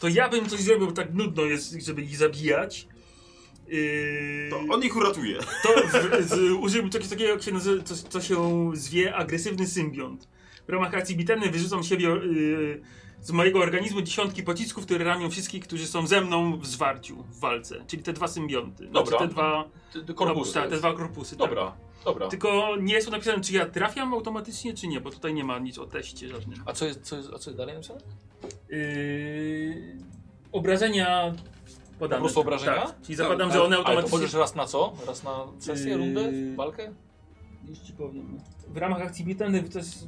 S1: To ja bym coś zrobił, bo tak nudno jest, żeby ich zabijać. Yy,
S9: To on ich uratuje.
S1: to w, z, użyłbym czegoś takiego, jak się nazywa, co, co się zwie agresywny symbiont. W ramach akcji bitewnej wyrzucam z siebie yy, z mojego organizmu dziesiątki pocisków, które ranią wszystkich, którzy są ze mną w zwarciu, w walce. Czyli te dwa symbionty.
S6: Dobra.
S1: Znaczy te dwa
S6: Ty- ty Korpusy.
S1: Tak, te dwa korpusy. tak.
S6: Dobra, dobra.
S1: Tylko nie jest tu napisane, czy ja trafiam automatycznie, czy nie, bo tutaj nie ma nic o teście żadnym.
S6: A co jest, co jest, a co jest dalej napisane?
S1: Yy, obrażenia podane.
S6: Po prostu obrażenia?
S1: Tak. Czyli zakładam,
S5: Tak,
S1: że one
S6: Ale to
S1: automatycznie...
S6: możesz raz na co? Raz na sesję,
S1: Yy.
S6: rundę, walkę?
S1: Już ci powiem. no. W ramach akcji bitewnej to jest...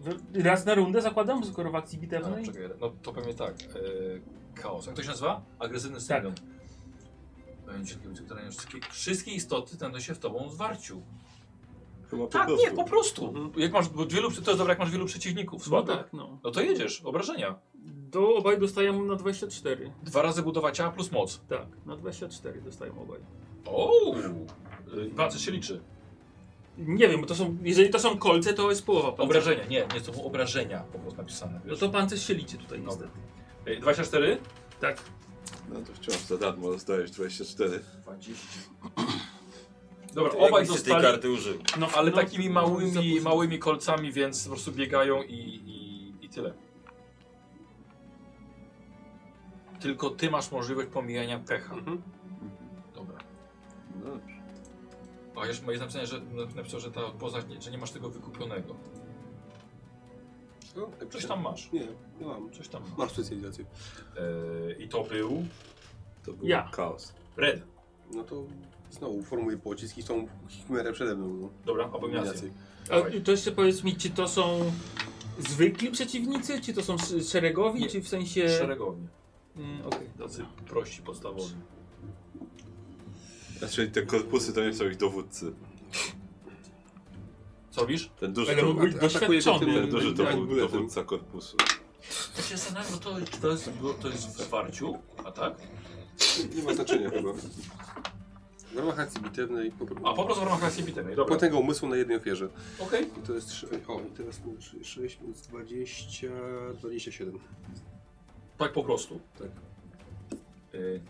S1: w- Raz na rundę zakładam, skoro w akcji
S6: No,
S1: bitewnej.
S6: czekaj, no to pewnie tak. E, chaos. Jak to się nazywa? Agresywny symbiont. Będzie kierunek, który ranią wszystkie- Wszystkie istoty będą się w tobą zwarciu.
S3: Chyba po
S6: Tak,
S3: prostu.
S6: nie, po prostu. Jak masz wielu, to jest dobra, jak masz wielu przeciwników
S1: no
S6: słabych.
S1: tak, no.
S6: No to jedziesz, obrażenia.
S1: Do obaj dostają na 24.
S6: Dwa razy budowa ciała plus moc.
S1: Tak, na 24 dostają obaj.
S6: O! Walce Yy, się liczy.
S1: Nie wiem, bo to są, jeżeli to są kolce, to jest połowa. pancerza.
S6: Obrażenia, nie, nie, to było obrażenia po prostu napisane.
S1: No
S6: Wiesz?
S1: to pancerz się liczy tutaj
S6: Dobra.
S1: niestety.
S6: Ej, 24?
S1: Tak.
S3: No to wciąż za darmo rozdajesz 24.
S6: 20. Dobra, obaj
S9: Obaj z tej
S6: dostali,
S9: karty użył.
S1: No,
S6: ale
S1: no,
S6: takimi
S1: za
S6: małymi,
S1: późno.
S6: małymi kolcami, więc po prostu biegają i, i, i tyle. Tylko ty masz możliwość pomijania pecha.
S5: Mhm.
S6: Dobra.
S3: No dobrze.
S6: A jeszcze jest napisane, że napisał, że ta postać, nie- że nie masz tego wykupionego.
S5: No,
S6: Coś tam masz.
S5: Nie, nie mam.
S6: Coś tam masz.
S5: Masz specjalizację.
S6: E, I to był
S3: To był
S1: Ja.
S3: chaos.
S6: Red.
S5: No to znowu formuję pocisk i tą chikmerę przede mną. No.
S6: Dobra, abominacje.
S5: Dominację.
S6: Dawaj.
S1: A to jeszcze powiedz mi, czy to są zwykli przeciwnicy, czy to są s- szeregowi,
S6: Nie.
S1: czy w sensie...
S6: Szeregowi.
S1: Mm, Okej,
S6: E, Tacy prości, podstawowi.
S3: Znaczy te korpusy to nie są ich dowódcy.
S6: Co robisz?
S3: Ten duży
S1: Ale
S3: to,
S1: mógł być
S5: at- atakuje go
S1: doświadczony.
S5: tym-
S3: ten duży to
S5: tak,
S3: był
S5: buletem.
S3: dowódca korpusu.
S6: Ja się zastanawiam, bo to, czy to, jest, bo to jest w zwarciu, a tak?
S5: Nie ma znaczenia chyba. W ramach akcji bitewnej po,
S6: A po prostu w ramach akcji bitewnej, dobra.
S5: potęga umysłu na jednej ofierze.
S6: Okej.
S5: I to jest 6, o i teraz mamy trzy- sześć plus 20, 27.
S6: Tak po prostu.
S5: Tak.
S6: Y...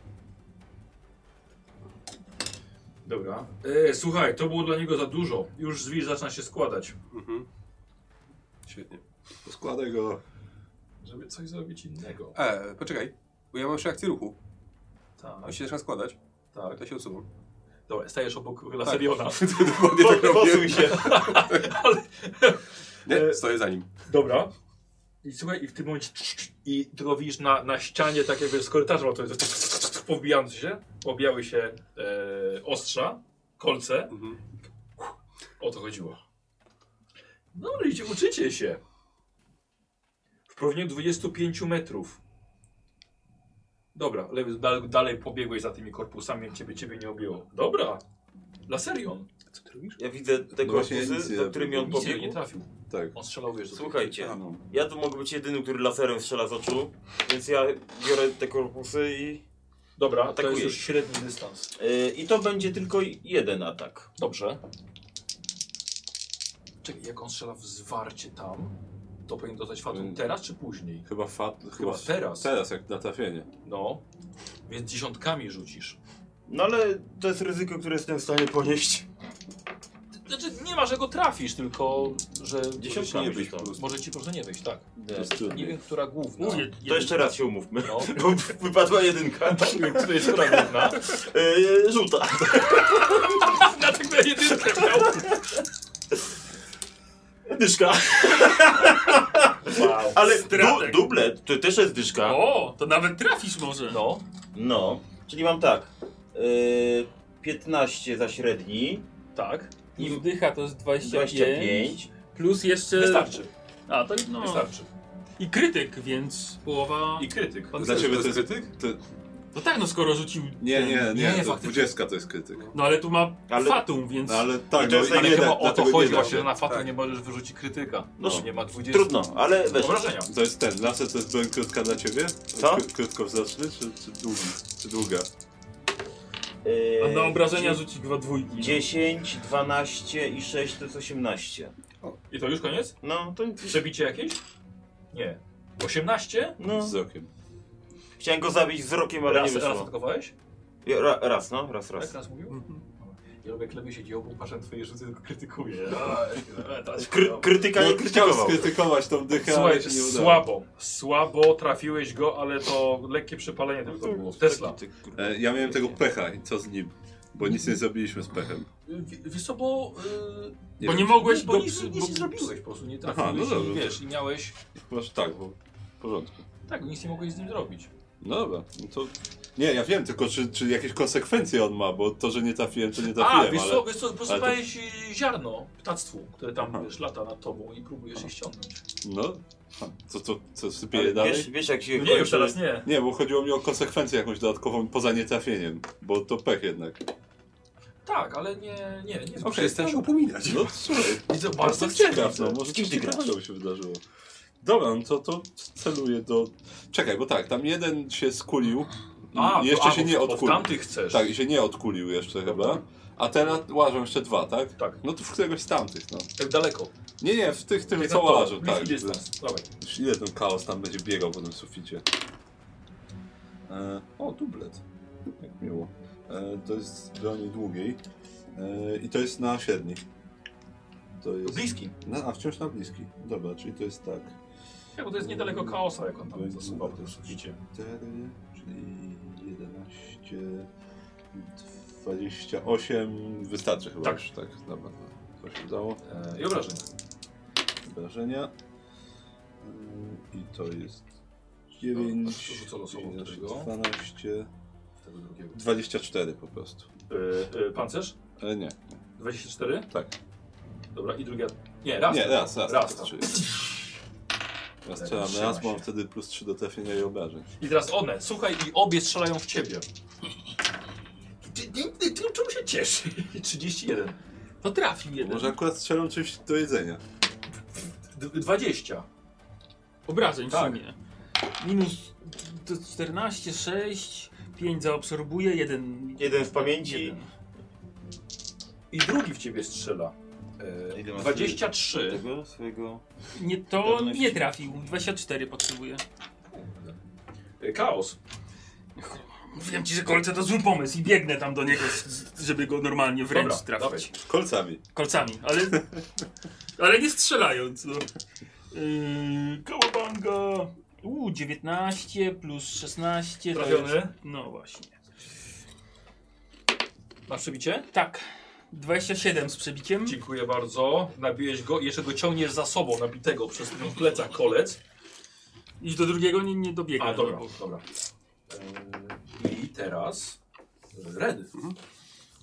S6: Dobra. E, słuchaj, to było dla niego za dużo. Już zwilż zaczyna się składać.
S5: Mhm. Świetnie.
S3: Składaj go.
S6: Żeby coś zrobić innego.
S5: E, poczekaj, bo ja mam jeszcze akcję ruchu.
S6: Tak,
S5: On się zaczyna składać,
S6: tak.
S5: to się odsuwam.
S6: Dobra, stajesz obok Laseriona.
S5: Dokładnie tak robię.
S9: Posuń się.
S5: Nie, stoję za nim.
S6: Dobra. I słuchaj, i w tym momencie i tylko widzisz na, na ścianie, tak jakby z korytarza, bo to jest powbijający się, pobijały się e, ostrza, kolce.
S5: Mhm.
S6: O to chodziło. No ale idzie, uczycie się. W promieniu 25 metrów. Dobra, lewy, dal, dalej pobiegłeś za tymi korpusami, więc ciebie, ciebie nie objęło. Dobra. Laserion.
S5: Co ty robisz?
S12: Ja widzę te
S3: No właśnie, nic
S12: korpusy,
S3: nie
S12: do którymi on
S6: Nic nie
S12: pobiegł.
S6: trafił.
S3: Tak.
S6: On strzelał, wiesz, do tych-
S12: Słuchajcie,
S3: No.
S12: ja tu mogę być jedyny, który laserem strzela z oczu, więc ja biorę te korpusy i...
S6: Dobra, to
S12: Atakuje.
S6: jest już średni dystans.
S12: Yy, I to będzie tylko jeden atak.
S6: Dobrze. Czekaj, jak on strzela w zwarcie tam, to powinien dostać fatum
S3: Mm.
S6: teraz czy później?
S3: Chyba fat...
S6: Chyba teraz.
S3: Teraz, jak na trafienie.
S6: No, więc dziesiątkami rzucisz.
S12: No ale to jest ryzyko, które jestem w stanie ponieść.
S6: Znaczy, nie ma, że go trafisz, tylko że
S12: Dziesiątka
S3: nie
S12: mi
S3: być
S12: to.
S3: po prostu.
S6: może ci po prostu nie wyjść, tak.
S12: Nie.
S3: To jest
S6: Nie
S3: trudniej.
S6: wiem, która główna.
S1: Je-
S12: To
S1: jeden-
S12: jeszcze raz się umówmy,
S6: No,
S12: bo wypadła jedynka.
S6: nie wiem, która jest która główna.
S12: Yy, żółta.
S6: Na tylko jedynkę miał.
S12: Dyszka.
S6: Wow.
S12: Ale du
S1: Strateg.
S12: dublet, to też jest dyszka.
S1: Tak. O, to nawet trafisz może.
S6: No,
S12: No, czyli mam tak. Yy, 15 za średni,
S6: tak,
S1: I wdycha to jest 25.
S12: 25.
S1: Plus jeszcze...
S6: wystarczy,
S1: A, to Yy, no.
S6: wystarczy.
S1: I krytyk, więc połowa...
S6: I krytyk.
S3: Dla ciebie to jest krytyk? To...
S1: No tak, no skoro rzucił...
S3: Nie,
S1: ten-
S3: nie, nie.
S6: nie,
S3: to
S6: faktycznie.
S3: 20 to jest krytyk.
S1: No ale tu ma
S12: Ale-
S1: fatum, więc...
S3: No ale
S12: I
S3: tak,
S12: to jest
S3: no, i
S6: Ale
S3: nie
S6: chyba
S3: da-
S6: o to
S3: dlatego nie
S6: chodzi
S3: da
S6: właśnie,
S3: się.
S6: że na fatum
S5: Tak.
S6: nie możesz wyrzucić krytyka. No,
S12: No.
S6: nie ma 20.
S12: Trudno, ale weź.
S6: Obrażenia.
S3: To jest ten, laser to jest broń krótka dla ciebie?
S12: Co?
S3: Kr- Krótkowzroczny czy, czy długi? Czy długa?
S12: Yy,
S1: A na obrażenia rzuci dwa dwójki. no.
S12: 10, 12 i 6 to jest 18.
S6: I to już koniec?
S12: No, to
S6: Przebicie jakieś? Nie. 18?
S12: no.
S3: Wzrokiem.
S12: Chciałem go zabić wzrokiem, ale
S6: raz,
S12: nie
S6: raz
S12: wyszło.
S6: atakowałeś?
S12: Ja- Ra, raz, no, raz,
S6: Tak,
S12: raz.
S6: raz mówił?
S1: Mhm.
S6: Ja lubię klebie siedzi obok, patrzę na twoje rzuty, tylko krytykuję.
S12: Kry, krytyka
S6: No,
S12: nie
S3: Chciał
S12: krytykował.
S3: skrytykować tą dychę,
S6: Słuchaj,
S3: ale się nie udało.
S6: słabo, słabo trafiłeś go, ale to lekkie przepalenie
S3: No
S6: tylko to było. Tesla.
S3: E, Ja miałem tego pecha i co z nim? Bo nic nie zrobiliśmy z pechem.
S6: Y, Wiesz co, bo...
S3: Nie
S1: Bo
S3: wiem,
S1: nie mogłeś
S6: Yy, bo
S1: go...
S6: nic, nic nie zrobiłeś po prostu, nie
S3: Aha,
S6: trafiłeś
S3: no dobra,
S6: i
S3: to-
S6: wiesz, i miałeś...
S3: Może tak, bo w porządku.
S6: Tak, nic nie mogłeś z nim zrobić.
S3: No dobra, no to... Nie, ja wiem, tylko czy, czy jakieś konsekwencje on ma, bo to, że nie trafiłem, to nie
S6: A,
S3: trafiłem,
S6: wiesz
S3: ale...
S6: co, wiesz co, posypałeś
S3: posypałeś,
S6: ziarno ptactwu, które tam,
S3: Aha.
S6: wiesz, lata nad tobą i próbujesz je ściągnąć.
S3: No, ha, co, co, co sypie
S12: Ale
S3: je dalej?
S12: Wiesz, wiesz jak się
S6: No Nie, już teraz nie.
S3: Nie, bo chodziło mi o konsekwencję jakąś dodatkową poza nietrafieniem, bo to pech jednak.
S6: Tak, ale nie, nie, nie.
S5: Okay, Przestań się upominać.
S3: No słuchaj,
S6: Widzę
S3: bardzo
S6: bardzo
S3: ciekaw, no
S6: ciekawe.
S3: może coś ciekawego się wydarzyło. Dobra, no to, to celuję do... Czekaj, bo tak, tam jeden się skulił,
S6: A,
S3: jeszcze
S6: bo- a,
S3: się
S6: bo-
S3: nie
S6: bo W
S3: odkulił.
S6: tamtych chcesz.
S3: Tak, i się nie odkulił jeszcze chyba. A teraz łażą jeszcze dwa, tak?
S6: Tak.
S3: No to w któregoś z tamtych, no.
S6: Tak daleko.
S3: Nie, nie, w tych, tym
S6: Tak
S3: co
S6: na to,
S3: łażą,
S6: bliski
S3: tak.
S6: dystans. Dawaj.
S3: Już Ile ten chaos tam będzie biegał po tym suficie? E, o, dublet. Jak miło. E, to jest z broni długiej. E, I to jest na średni. To jest...
S6: Bliski.
S3: Na, a wciąż na bliski. Dobra, czyli to jest tak.
S6: Tak, bo to jest niedaleko chaosa, jak on tam zasuwa po tym suficie.
S3: 4, czyli 11, 28. Wystarczy chyba.
S6: Tak.
S3: już, tak. Dobra, to się udało.
S6: E, I obrażenia.
S3: Wrażenia. Yy, I to jest
S6: No,
S3: 9,
S6: rzucę losowo w tego.
S3: 12,
S6: Tego drugiego.
S3: 24 po prostu.
S6: E, e, pancerz?
S3: Ale nie,
S6: 24?
S3: tak.
S6: Dobra, i druga. Nie, raz.
S3: nie, raz, raz.
S6: Raz,
S3: tak,
S6: tak.
S3: czyli- Raz
S6: Tak,
S3: strzelam,
S6: trzyma
S3: raz mam
S6: się.
S3: wtedy plus 3 do trafienia i obrażeń.
S6: I teraz one. Słuchaj, i obie strzelają w ciebie. Ty, ty, ty, ty czemu się cieszy? 31.
S1: No trafił jeden.
S3: Może akurat strzelam czymś do jedzenia.
S6: D- 20.
S1: Obrażeń
S6: Tak.
S1: w sumie. Minus to 14, 6, 5 zaabsorbuje, 1...
S19: Jeden w pamięci.
S6: I drugi w ciebie strzela. E,
S4: Ile masz
S6: 23.
S4: Tego swojego.
S1: Nie, to nie trafił. 24 potrzebuje.
S6: E, Chaos.
S1: Wiem ci, że kolce to zły pomysł i biegnę tam do niego, z- żeby go normalnie wręcz
S6: Dobra,
S1: trafić.
S3: Kolcami.
S1: Kolcami, ale... ale nie strzelając, no. Yy, Kałabanga! Uuu, 19 plus 16 to
S6: Trafiony?
S1: jest... No właśnie.
S6: Masz przebicie?
S1: Tak. 27 z przebiciem.
S6: Dziękuję bardzo. Nabiłeś go, jeszcze go ciągniesz za sobą, nabitego przez ten plecak kolec.
S1: Iż do drugiego nie, nie dobiega.
S6: A, dobra,
S1: no bo-
S6: dobra. E, I teraz... Red.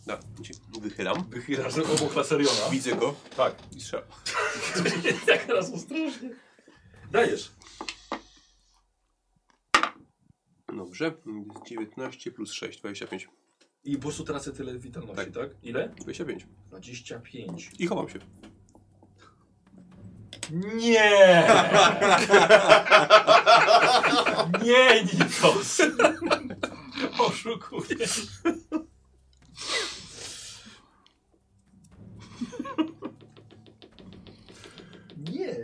S5: Da, ci- wychylam.
S6: Wychylasz obok Laseriona.
S5: Widzę go.
S6: Tak.
S5: I strzelam.
S6: tak, teraz ostrożnie. Dajesz.
S5: Dobrze. 19 plus 6, 25.
S6: I po prostu tracę tyle witalności, tak? Ile?
S5: 25.
S6: 25.
S5: I chowam się.
S6: Nie! Nie, Nikos! Oszukuję. Nie.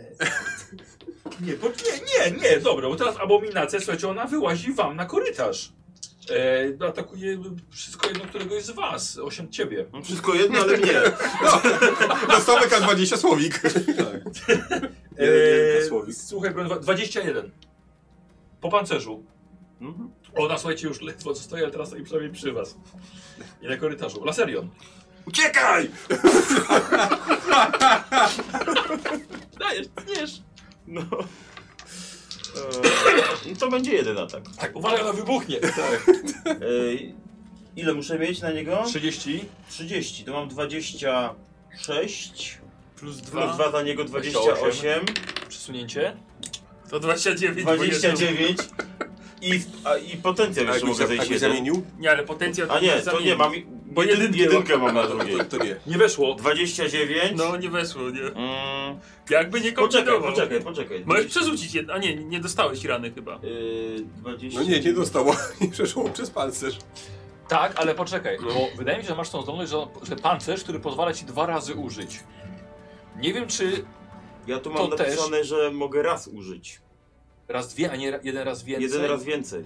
S6: Nie, bo nie, nie, nie, dobra, bo teraz abominacja, słuchajcie, ona wyłazi wam na korytarz. E, atakuje wszystko jedno, którego jest z was, osiem ciebie.
S12: No,
S19: Wszystko jedno, ale mnie.
S3: Dostawek K20 słowik. Tak. Jeden
S6: Eee,
S3: jeden słowik.
S4: Tak
S6: słuchaj, broń, 21. Po pancerzu.
S4: Mhm.
S6: Ona, słuchajcie, już ledwo co stoi, ale teraz stoi przynajmniej przy was. I na korytarzu. Laserion.
S3: Uciekaj!
S6: Dajesz, dajesz.
S19: No. E, no to będzie jeden atak.
S6: Tak, uważaj, ona wybuchnie.
S4: Tak. Ej, E, ile muszę mieć na niego?
S6: 30.
S4: 30. To mam 26.
S1: Plus 2.
S4: Plus 2 na niego 28.
S6: Przesunięcie.
S1: To 29. bo jest-
S4: 29. I, a, i potencjał
S5: A
S4: jeszcze
S5: jakbyś,
S4: mogę
S5: za-
S4: zejść
S5: jakbyś
S4: jeden.
S5: tak zamienił?
S1: Nie, ale potencjał
S4: A nie, to
S1: zamieni.
S4: nie, mam
S1: Bo
S4: jedyn,
S1: jedynkę
S4: jedynkę mam na drugiej.
S5: To nie.
S6: Nie weszło.
S4: 29.
S1: No nie weszło, nie.
S4: Mm,
S1: Jakby nie
S4: poczekaj,
S1: kombinował.
S4: poczekaj, poczekaj.
S1: Możesz przerzucić jedno. A nie, nie dostałeś rany chyba.
S4: Yy, 20.
S3: No nie, nie dostało. Nie przeszło przez pancerz.
S6: Tak, ale poczekaj, bo wydaje mi się, że masz tą zdolność, że, że pancerz, który pozwala ci dwa razy użyć. Nie wiem, czy
S4: Ja tu mam
S6: To też.
S4: napisane, że mogę raz użyć.
S6: raz dwie, a nie ra- jeden raz więcej.
S4: Jeden raz więcej.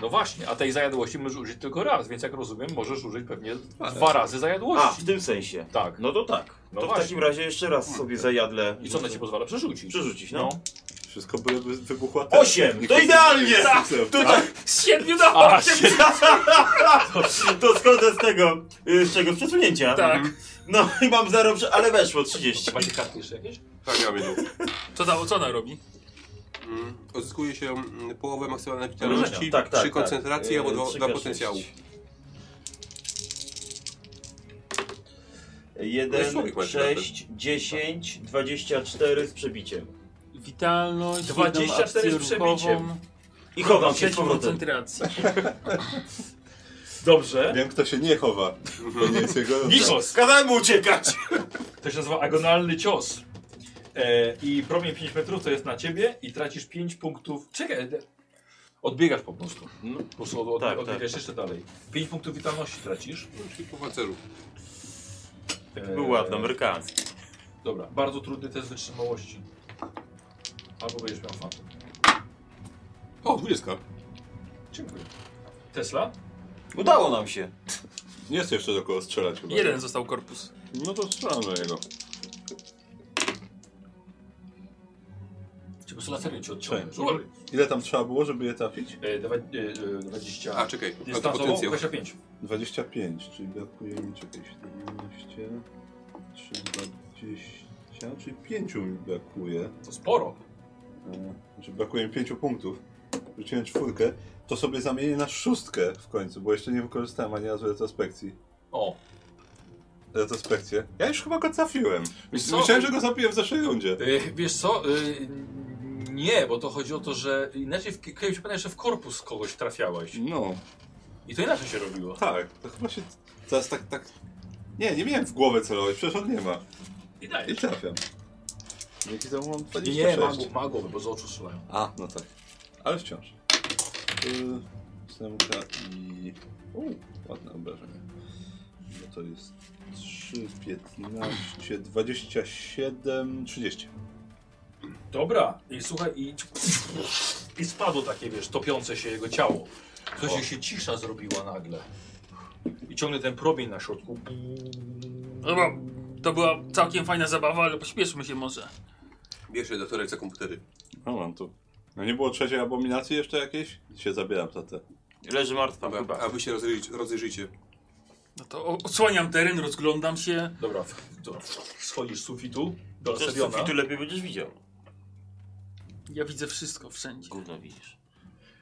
S6: No właśnie, a tej zajadłości możesz użyć tylko raz, więc jak rozumiem, możesz użyć pewnie dwa razy
S4: A,
S6: zajadłości.
S4: w tym sensie.
S6: Tak.
S4: No to tak.
S6: No
S4: to
S6: właśnie.
S4: w takim razie jeszcze raz sobie zajadlę.
S6: I co ona ci pozwala przerzucić?
S4: Przerzucić, no.
S6: No.
S3: Wszystko by by wybuchła teraz.
S4: Osiem! To idealnie! tak. Tutaj
S1: Z 7 do
S6: A,
S1: 8!
S4: to schodzę z tego, y, z czego? Z przesunięcia.
S1: Tak.
S4: No i mam 0, ale weszło 30.
S6: Macie kartki jeszcze jakieś?
S5: Tak, ja będę.
S1: Co, ta, co ona robi?
S5: Mm, Odzyskuje się mm, połowę maksymalnej witalności
S4: Tak, tak,
S5: przy
S4: tak.
S5: koncentracji
S4: Yy,
S5: albo dwa,
S4: trzy
S5: dwa
S4: K6.
S5: potencjału.
S4: Jeden,
S5: Człowiek ma
S4: sześć, dziesięć, dwadzieścia cztery z przebiciem.
S1: Witalność,
S6: 24 z przebiciem.
S4: I chowam się z
S1: Sieć
S4: powrotem.
S1: koncentracji.
S6: Dobrze.
S3: Wiem, kto się nie chowa. To nie jest jego rodzaj.
S6: Nikos!
S4: Kazałem mu uciekać!
S6: To się nazywa agonalny cios. E, I promień 5 metrów to jest na ciebie i tracisz 5 punktów. Czekaj, e, odbiegasz po prostu.
S4: No.
S6: Po prostu od, od,
S4: Tak,
S6: odbiegasz jeszcze dalej. 5 punktów witalności tracisz.
S5: No, Czyli po panceru.
S6: E,
S4: Był ładny, amerykański.
S6: Dobra, bardzo trudny test wytrzymałości. Albo będziesz miał fantom.
S3: O, 20.
S6: Dziękuję. Tesla?
S4: Udało nam się.
S3: Nie jest jeszcze do kogo strzelać chyba.
S1: Jeden został korpus.
S3: No to strzelam do niego.
S6: Czy po prostu laserem cię odciągnął?
S3: Ile tam trzeba było, żeby je trafić?
S6: E, dawa- e, e, 20.
S5: A, czekaj. A to
S6: Dystansowo
S5: potencjał.
S6: 25.
S3: 25, czyli brakuje mi czekaj 17, 3, 20, czyli 5 mi brakuje.
S6: To sporo.
S3: E, Znaczy brakuje mi 5 punktów. Rzuciłem czwórkę, to sobie zamienię na szóstkę w końcu, bo jeszcze nie wykorzystałem ani razu retrospekcji.
S6: O,
S3: Retrospekcję. Ja już chyba go trafiłem.
S6: Wiesz co?
S3: Myślałem, że go zabiję w zeszłej rundzie.
S6: Y, Wiesz co? y, Nie, bo to chodzi o to, że inaczej w, kiedyś pamiętaj, że w korpus kogoś trafiałeś.
S3: No,
S6: I to inaczej się robiło.
S3: tak. To chyba się teraz tak, tak Nie, nie miałem w głowę celować, przecież on nie ma.
S6: I tak.
S3: I
S6: dajesz.
S3: trafiam. Dzięki temu mam
S6: Nie, nie,
S3: 26.
S6: ma, głow- ma głowę, bo z oczu strzelają.
S3: A, no tak. Ale wciąż. Yy, Ósemka i... Uuu, ładne obrażenie. No to jest 3, 15, 27, 30.
S6: Dobra, i słuchaj, i, i spadło takie, wiesz, topiące się jego ciało. Coś się cisza zrobiła nagle. I ciągle ten promień na środku.
S1: Dobra, No to była całkiem fajna zabawa, ale pośpieszmy się może.
S5: Bierze do torek za komputery.
S3: No mam tu. No nie było trzeciej abominacji jeszcze jakiejś? Się zabieram za te.
S9: Leży martwa
S5: Dobra,
S9: chyba.
S5: a wy się rozejrzyj- rozejrzyjcie.
S1: No to o- odsłaniam teren, rozglądam się.
S6: Dobra, w- dobra schodzisz z sufitu do
S9: Przez
S6: Seriona.
S9: sufitu lepiej będziesz widział.
S1: Ja widzę wszystko wszędzie.
S9: Gówno widzisz.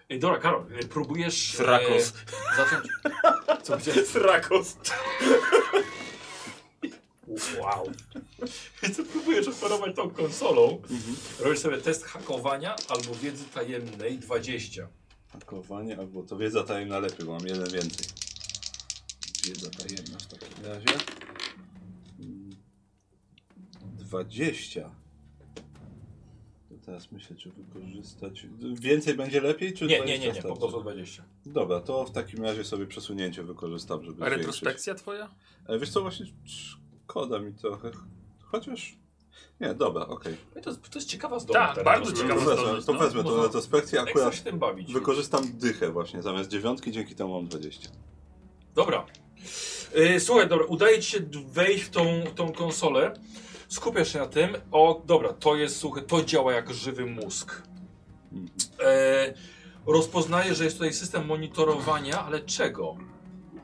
S6: Ej, dobra, Karol, e, próbujesz...
S9: Srakos.
S6: E, zacząć... Co powiedziałeś?
S9: Rakos.
S6: Wow. Ty próbujesz operować tą konsolą. Robisz sobie test hakowania albo wiedzy tajemnej 20.
S3: Hakowanie albo to wiedza tajemna lepiej, bo mam jeden więcej. Wiedza tajemna w takim razie. Mm, 20. To teraz myślę, czy wykorzystać. Więcej będzie lepiej, czy
S6: Nie, nie,
S3: 20
S6: nie, nie, po
S3: starczy?
S6: prostu 20.
S3: Dobra, to w takim razie sobie przesunięcie wykorzystam, żeby
S1: A
S3: zwiększyć.
S1: retrospekcja twoja?
S3: Ale wiesz co, właśnie szkoda mi trochę. Chociaż... Nie, dobra, okej.
S6: No i To, to jest ciekawa zdolność.
S1: Tak,
S6: teraz.
S1: bardzo
S3: To
S1: ciekawa
S3: wezmę,
S1: zdolność.
S3: to
S1: no.
S3: wezmę tą
S1: Można-
S3: retrospekcję,
S6: Jak chcesz
S3: akurat
S6: się tym bawić?
S3: wykorzystam dychę właśnie, zamiast dziewiątki, dzięki temu mam 20.
S6: Dobra. E, Słuchaj, dobra, udaje ci się wejść w tą, tą konsolę. Skupiasz się na tym. O, dobra, to jest, słuchaj, to działa jak żywy mózg. E, rozpoznaje, że jest tutaj system monitorowania, ale czego?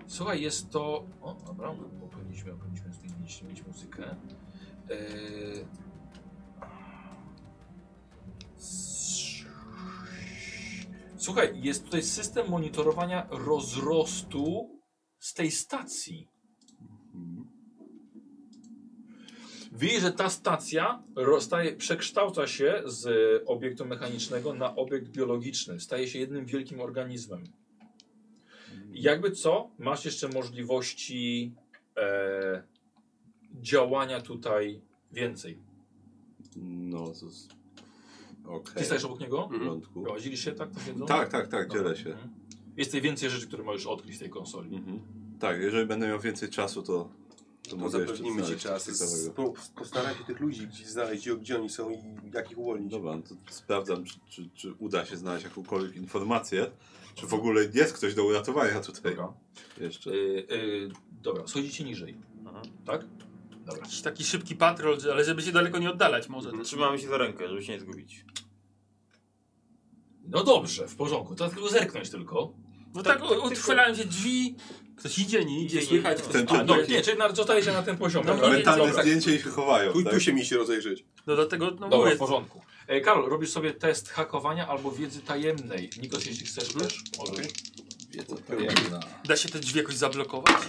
S6: Słuchaj, jest to... O, dobra, bo powinniśmy, powinniśmy zmienić, zmienić muzykę. E, Słuchaj, jest tutaj system monitorowania rozrostu z tej stacji. Widzisz, że ta stacja rozstaje, przekształca się z obiektu mechanicznego na obiekt biologiczny. Staje się jednym wielkim organizmem. I Jakby co, masz jeszcze możliwości e, działania tutaj więcej.
S3: No, to jest...
S6: Ty
S3: Okej.
S6: stajesz obok niego?
S3: W porządku.
S5: Mhm.
S6: Prowadzili się tak? to wiedzą?
S3: Tak, tak, tak,
S6: Dobra.
S3: dzielę się.
S6: Mhm. Jest tutaj więcej rzeczy, które możesz odkryć z tej konsoli.
S3: Mhm. Tak, jeżeli będę miał więcej czasu, to... To
S5: To
S3: mogę jeszcze
S5: No, zapewnimy ci
S3: znaleźć
S5: czas.
S3: coś ciekawego.
S5: Sprób- Postaraj się tych ludzi gdzieś znaleźć, gdzie oni są i jak ich uwolnić.
S3: Dobra, no to sprawdzam, czy, czy, czy uda się znaleźć jakąkolwiek informację, czy w ogóle jest ktoś do uratowania tutaj
S6: Dobra.
S3: jeszcze.
S6: Y, y, dobra, schodzicie niżej. Tak? Dobra.
S1: Jakiś taki szybki patrol, ale żeby się daleko nie oddalać może.
S9: Trzymamy się za rękę, żeby się nie zgubić.
S6: No dobrze, w porządku. To tylko zerknąć tylko.
S1: No tak, o- otwierałem się drzwi. Ktoś idzie, nie idzie, słychać. Ktoś...
S3: Ten,
S6: A,
S3: ten,
S6: no,
S3: taki
S6: nie, czyli na- zostaje się na tym poziomie.
S1: No,
S6: Dobra,
S3: mentalne
S6: dobra,
S3: zdjęcie i się chowają,
S5: Tu,
S3: tak?
S5: tu się mi się rozejrzeć.
S1: No dlatego, no
S6: dobra,
S1: mówię,
S6: w porządku. E, Karol, robisz sobie test hakowania albo wiedzy tajemnej. Nikos, jeśli chcesz, też możesz.
S3: Wiedza tajemna.
S1: da się te drzwi jakoś zablokować?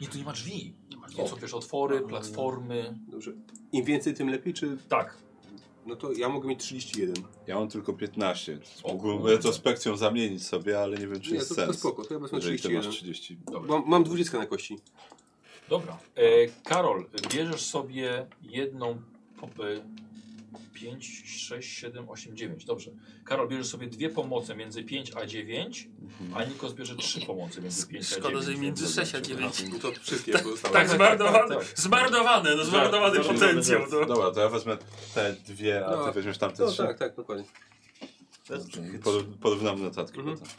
S6: Nie, tu nie ma drzwi. Nie ma drzwi. No, Są też otwory, platformy.
S5: Dobrze. Im więcej, tym lepiej, czy...
S6: Tak.
S5: No to ja mogę mieć 31.
S3: Ja mam tylko 15.
S6: O
S3: Mógłbym
S6: kurde.
S3: retrospekcją zamienić sobie, ale nie wiem, czy
S5: Nie,
S3: jest
S5: to, to
S3: sens.
S5: spoko, to no. ja wezmę
S3: jeżeli ty
S5: 31.
S3: masz 30.
S5: Mam, mam 20 na kości.
S6: Dobra. E, Karol, bierzesz sobie jedną e, popę. 5, 6, 7, 8, 9. Dobrze. Karol bierzesz sobie dwie pomoce między 5 a 9, a Nikos bierze trzy pomoce między 5 a 9.
S1: Szkoda, że między 6 a 9.
S5: No to wszystkie pozostałe.
S1: Tak, zmarnowane,
S6: tak, tak.
S1: zmarnowane, no zmarnowany
S4: tak,
S1: potencjał. No.
S3: Dobra, to ja wezmę te dwie, a
S5: No,
S3: ty weźmiesz tamte
S5: No,
S3: trzy.
S5: tak, tak, dokładnie.
S3: Poró- Porównamy notatki
S5: Mhm.
S3: potem.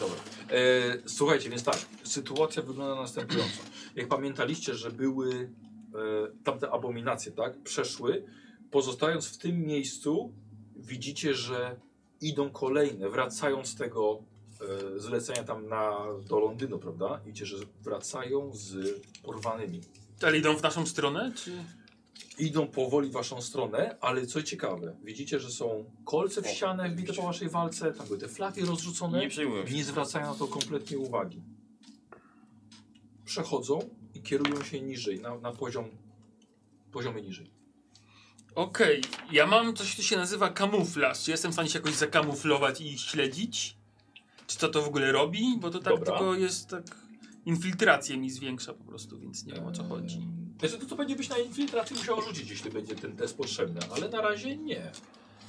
S6: Dobra. E, słuchajcie, więc tak, sytuacja wygląda następująco. Jak pamiętaliście, że były e, tamte abominacje, tak? Przeszły. Pozostając w tym miejscu, widzicie, że idą kolejne, wracając z tego e, zlecenia tam na, do Londynu, prawda? Widzicie, że wracają z porwanymi.
S1: Ale idą w naszą stronę, czy...
S6: Idą powoli w waszą stronę, ale co ciekawe, widzicie, że są kolce w ścianę wbite po waszej walce, tam były te flagi rozrzucone.
S9: Nie przejmują się.
S6: Nie zwracają na to kompletnie uwagi. Przechodzą i kierują się niżej, na, na poziom, poziomy niżej.
S1: Okej, ja mam coś, co się nazywa kamuflaż. Czy jestem w stanie się jakoś zakamuflować i ich śledzić? Czy to to w ogóle robi? Bo to tak
S6: Dobra.
S1: tylko jest tak... Infiltrację mi zwiększa po prostu, więc nie wiem o co chodzi.
S9: Hmm.
S6: Ehm, Znaczy, to, to będzie byś na infiltracji musiał rzucić, jeśli będzie ten test potrzebny, ale na razie nie.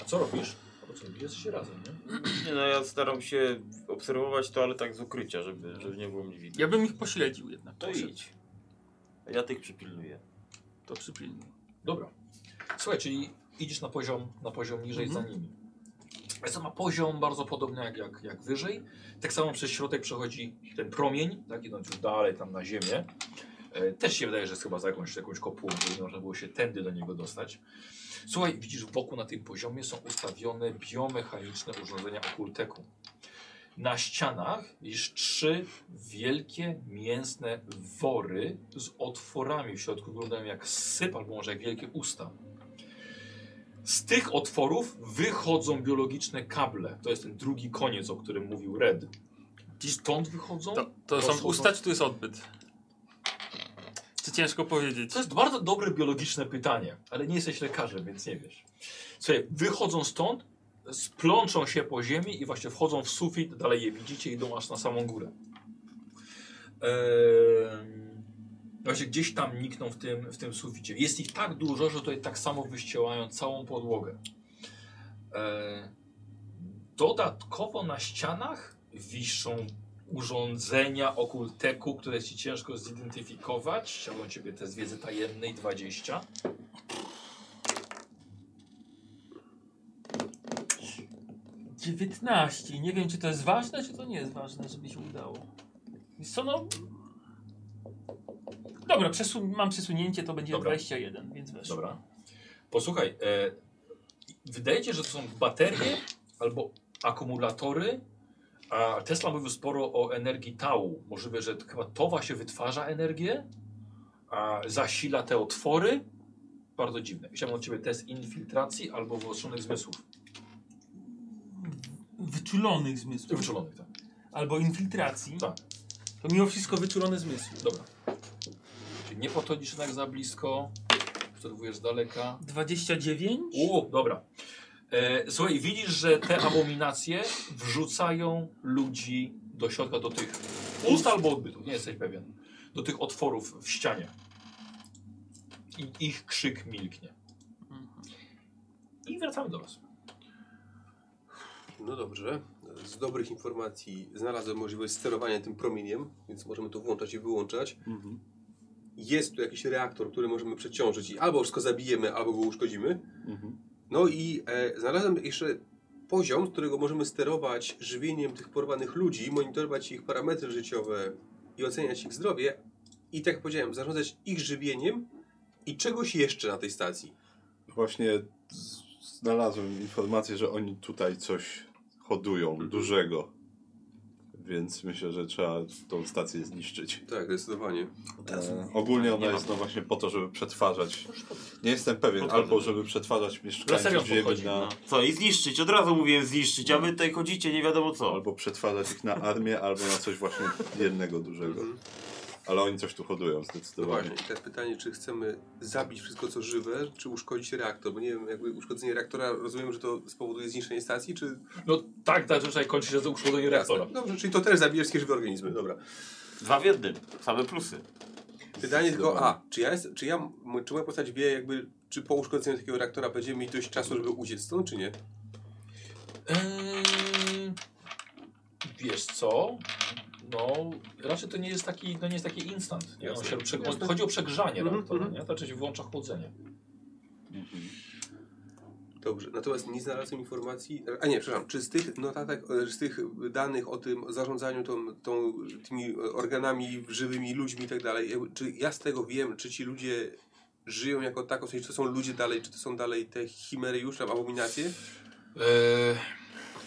S6: A co robisz? A po co robisz? Jesteście razem, nie?
S12: Nie, no ja staram się obserwować to, ale tak z ukrycia, żeby, żeby nie było mnie widać.
S1: Ja bym ich pośledził jednak.
S12: To
S1: Poszedł.
S12: idź. Ja tych przypilnuję.
S1: To przypilnuj.
S6: Dobra. Słuchaj, czyli idziesz na poziom, na poziom niżej
S1: Mhm.
S6: za nimi. Esa ma poziom bardzo podobny jak, jak, jak wyżej. Tak samo przez środek przechodzi ten promień, tak, idąc już dalej tam na ziemię. E, też się wydaje, że jest chyba za jakąś, jakąś kopułą, żeby można było się tędy do niego dostać. Słuchaj, widzisz, wokół na tym poziomie są ustawione biomechaniczne urządzenia okulteku. Na ścianach widzisz trzy wielkie, mięsne wory z otworami w środku, wyglądają jak syp albo może jak wielkie usta. Z tych otworów wychodzą biologiczne kable. To jest ten drugi koniec, o którym mówił Red. I stąd wychodzą?
S1: To, to są
S6: Rozchodzą-
S1: ustać, to jest odbyt. To ciężko powiedzieć.
S6: To jest bardzo dobre biologiczne pytanie, ale nie jesteś lekarzem, więc nie wiesz. Słuchaj, wychodzą stąd, splączą się po ziemi i właśnie wchodzą w sufit, dalej je widzicie, idą aż na samą górę. Ehm, właśnie gdzieś tam nikną w tym, w tym suficie. Jest ich tak dużo, że tutaj tak samo wyścielają całą podłogę. Ehm, dodatkowo na ścianach wiszą urządzenia okulteku, które jest ci ciężko zidentyfikować. Chciałbym ciebie test wiedzy tajemnej 20.
S1: Dziewiętnaście. Nie wiem, czy to jest ważne, czy to nie jest ważne, żeby się udało. Wiesz Co no... Dobra, przesu mam przesunięcie, to będzie
S6: Dobra.
S1: 21, więc weszło.
S6: Dobra. Posłuchaj, e, wydaje ci się, że to są baterie albo akumulatory, a Tesla mówił sporo o energii tału. Możliwe, że to chyba towa się wytwarza energię, a zasila te otwory. Bardzo dziwne. Chciałbym od ciebie test infiltracji albo wyostrzonych zmysłów.
S1: Wyczulonych zmysłów.
S6: Wyczulonych, tak.
S1: Albo infiltracji.
S6: Tak.
S1: To mimo wszystko wyczulone zmysły.
S6: Dobra. Czyli nie podchodzisz jednak za blisko, obserwujesz z daleka.
S1: 29?
S6: U, dobra. E, słuchaj, widzisz, że te abominacje wrzucają ludzi do środka, do tych ust albo odbytów, nie jesteś pewien, do tych otworów w ścianie. I ich krzyk milknie. I wracamy do was.
S5: No dobrze. Z dobrych informacji znalazłem możliwość sterowania tym promieniem, więc możemy to włączać i wyłączać. Jest tu jakiś reaktor, który możemy przeciążyć i albo wszystko zabijemy, albo go uszkodzimy. No i e, znalazłem jeszcze poziom, z którego możemy sterować żywieniem tych porwanych ludzi, monitorować ich parametry życiowe i oceniać ich zdrowie. I tak jak powiedziałem, zarządzać ich żywieniem i czegoś jeszcze na tej stacji.
S3: Właśnie z- znalazłem informację, że oni tutaj coś hodują dużego. Więc myślę, że trzeba tą stację zniszczyć.
S5: Tak, zdecydowanie.
S3: E, ogólnie ona jest no właśnie po to, żeby przetwarzać. Nie jestem pewien, albo żeby przetwarzać
S6: Laserio
S3: mieszkańców ziemi
S6: podchodzi,
S3: na.
S12: Co, i zniszczyć, od razu mówiłem zniszczyć, a wy tutaj chodzicie nie wiadomo co.
S3: Albo przetwarzać ich na armię, albo na coś właśnie jednego dużego. Ale oni coś tu hodują
S5: No
S3: zdecydowanie.
S5: właśnie, i teraz pytanie, czy chcemy zabić wszystko co żywe, czy uszkodzić reaktor? Bo nie wiem, jakby uszkodzenie reaktora, rozumiem, że to spowoduje zniszczenie stacji, czy...
S6: No tak, ta rzecz kończy się za uszkodzenie reaktora.
S5: Jasne. Dobrze, czyli to też zabijesz wszystkie żywe organizmy, dobra.
S12: Dwa w jednym, same plusy.
S5: Pytanie tylko, a, czy ja, jest, czy ja, m- czy moja postać wie jakby, czy po uszkodzeniu takiego reaktora będziemy mieć dość czasu, żeby uciec stąd, czy nie?
S6: Eee, wiesz co? No, raczej to nie jest taki, no nie jest taki instant. Nie? On
S5: Jasne.
S6: się przeg- chodzi o przegrzanie
S5: Mhm,
S6: reaktora,
S5: mhm.
S6: nie? To czyli włącza chłodzenie.
S5: Dobrze, natomiast nie znalazłem informacji, a nie, przepraszam, czy z tych notatek, e, z tych danych o tym zarządzaniu tą, tą, tymi organami żywymi, ludźmi i tak dalej, jakby, czy ja z tego wiem, czy ci ludzie żyją jako tako, w sensie, czy to są ludzie dalej, czy to są dalej te chimery już, tam abominacje? E,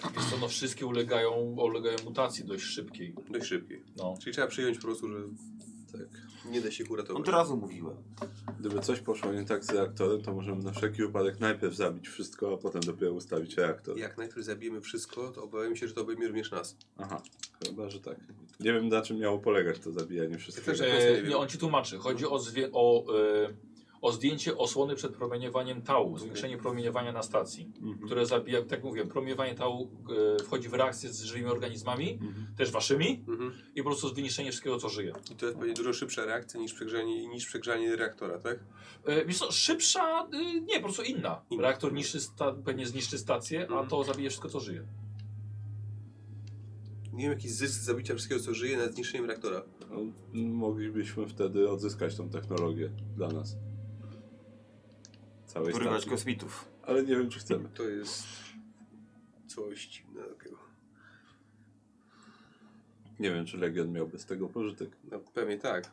S6: Eee, wiesz co, no wszystkie ulegają, ulegają mutacji dość szybkiej.
S5: Dość szybkie.
S6: No.
S5: Czyli trzeba przyjąć po prostu, że tak, nie da się ich uratować.
S4: No
S12: Od razu mówiłem.
S3: Gdyby coś poszło nie tak z reaktorem, to możemy na wszelki wypadek najpierw zabić wszystko, a potem dopiero ustawić reaktor.
S5: Jak najpierw zabijemy wszystko, to obawiam się, że to obejmie również nas.
S3: Aha, chyba, że tak. Nie wiem na czym miało polegać to zabijanie wszystkiego.
S5: Też-
S6: Eee, nie, on ci tłumaczy. Chodzi o, zwie, o, e, O zdjęcie osłony przed promieniowaniem tału,
S5: Mhm.
S6: zwiększenie promieniowania na stacji, które zabija, tak jak mówiłem, promieniowanie tału e, wchodzi w reakcję z żywymi organizmami, też waszymi,
S5: Mhm.
S6: i po prostu zniszczenie wszystkiego, co żyje.
S5: I to jest pewnie dużo szybsza reakcja niż przegrzanie, niż przegrzanie reaktora, tak?
S6: E, Wiesz co, szybsza, y, nie, po prostu inna.
S5: Inna.
S6: Reaktor niszczy sta, pewnie zniszczy stację, a
S5: Mhm.
S6: to zabije wszystko, co żyje.
S5: Nie wiem, jakiś zysk z zabicia wszystkiego, co żyje nad zniszczeniem reaktora.
S3: No, moglibyśmy wtedy odzyskać tą technologię dla nas. Całej
S9: Porywać
S3: stacji.
S9: kosmitów.
S3: Ale nie wiem, czy chcemy.
S5: To jest coś dziwnego.
S3: Nie wiem, czy Legion miałby z tego pożytek.
S5: No, pewnie tak.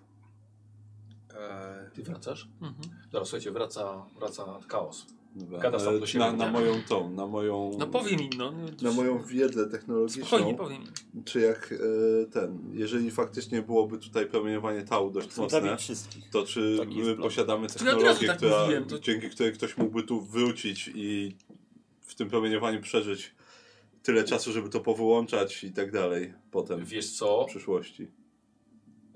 S5: Eee,
S6: Ty wracasz? Zaraz, słuchajcie, wraca, wraca chaos.
S3: Dobra,
S6: Gada sam
S3: ale
S6: do siebie,
S3: na, na
S6: nie?
S3: moją tą, na moją...
S1: No powiem im, no.
S3: Na moją wiedzę technologiczną.
S1: Spokojnie powiem im.
S3: Czy jak e, ten, jeżeli faktycznie byłoby tutaj promieniowanie tału dość
S4: Chcą zabić
S3: mocne,
S4: wszystkich.
S3: to czy
S4: Taki jest
S3: my
S4: plan.
S3: posiadamy
S1: To ja od razu
S3: technologię,
S1: tak
S3: która,
S1: mówiłem, to-
S3: dzięki której ktoś mógłby tu wrócić i w tym promieniowaniu przeżyć tyle czasu, żeby to powyłączać i tak dalej potem w
S6: Wiesz co?
S3: przyszłości?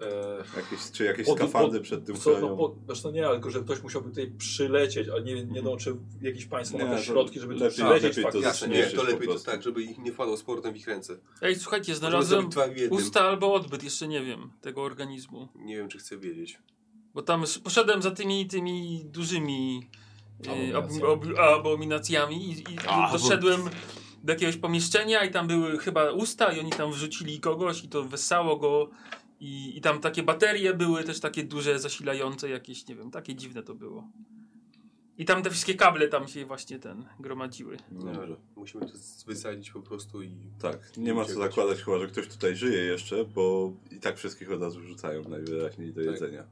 S6: E,
S3: Jakieś, czy jakieś
S6: Pod-
S3: skafandy
S6: pod-
S3: przed tym
S6: Co, no,
S3: chronią?
S6: po, zresztą nie, ale tylko, że ktoś musiałby tutaj przylecieć, ale nie, nie wiem, czy jakieś państwo
S3: Mhm. Nie,
S6: ma te
S3: to
S6: środki, żeby tu
S3: lepiej-
S6: przylecieć
S3: lepiej to
S5: jasne,
S6: faktycznie.
S5: nie,
S3: zmniejszyć
S5: to
S3: po
S5: lepiej to
S3: prostu.
S5: tak, żeby ich nie wpadło z portem w ich ręce.
S1: Ej, słuchajcie,
S5: Możemy
S1: znalazłem
S5: zrobić dwa w jednym.
S1: usta albo odbyt, jeszcze nie wiem, tego organizmu.
S5: Nie wiem, czy chcę wiedzieć.
S1: Bo tam s- poszedłem za tymi, tymi dużymi e, ab,
S6: Abominacjami.
S1: ab, abominacjami i, i
S6: A, bo-
S1: doszedłem do jakiegoś pomieszczenia i tam były chyba usta i oni tam wrzucili kogoś i to wesało go i, i tam takie baterie były też takie duże, zasilające jakieś, nie wiem, takie dziwne to było. I tam te wszystkie kable tam się właśnie ten gromadziły.
S3: Dobrze.
S5: Musimy to z- wysadzić po prostu i...
S3: Tak, nie ma co
S5: Uciekać.
S3: zakładać chyba, że ktoś tutaj żyje jeszcze, bo i tak wszystkich od razu rzucają najwyraźniej do
S5: Tak.
S3: jedzenia.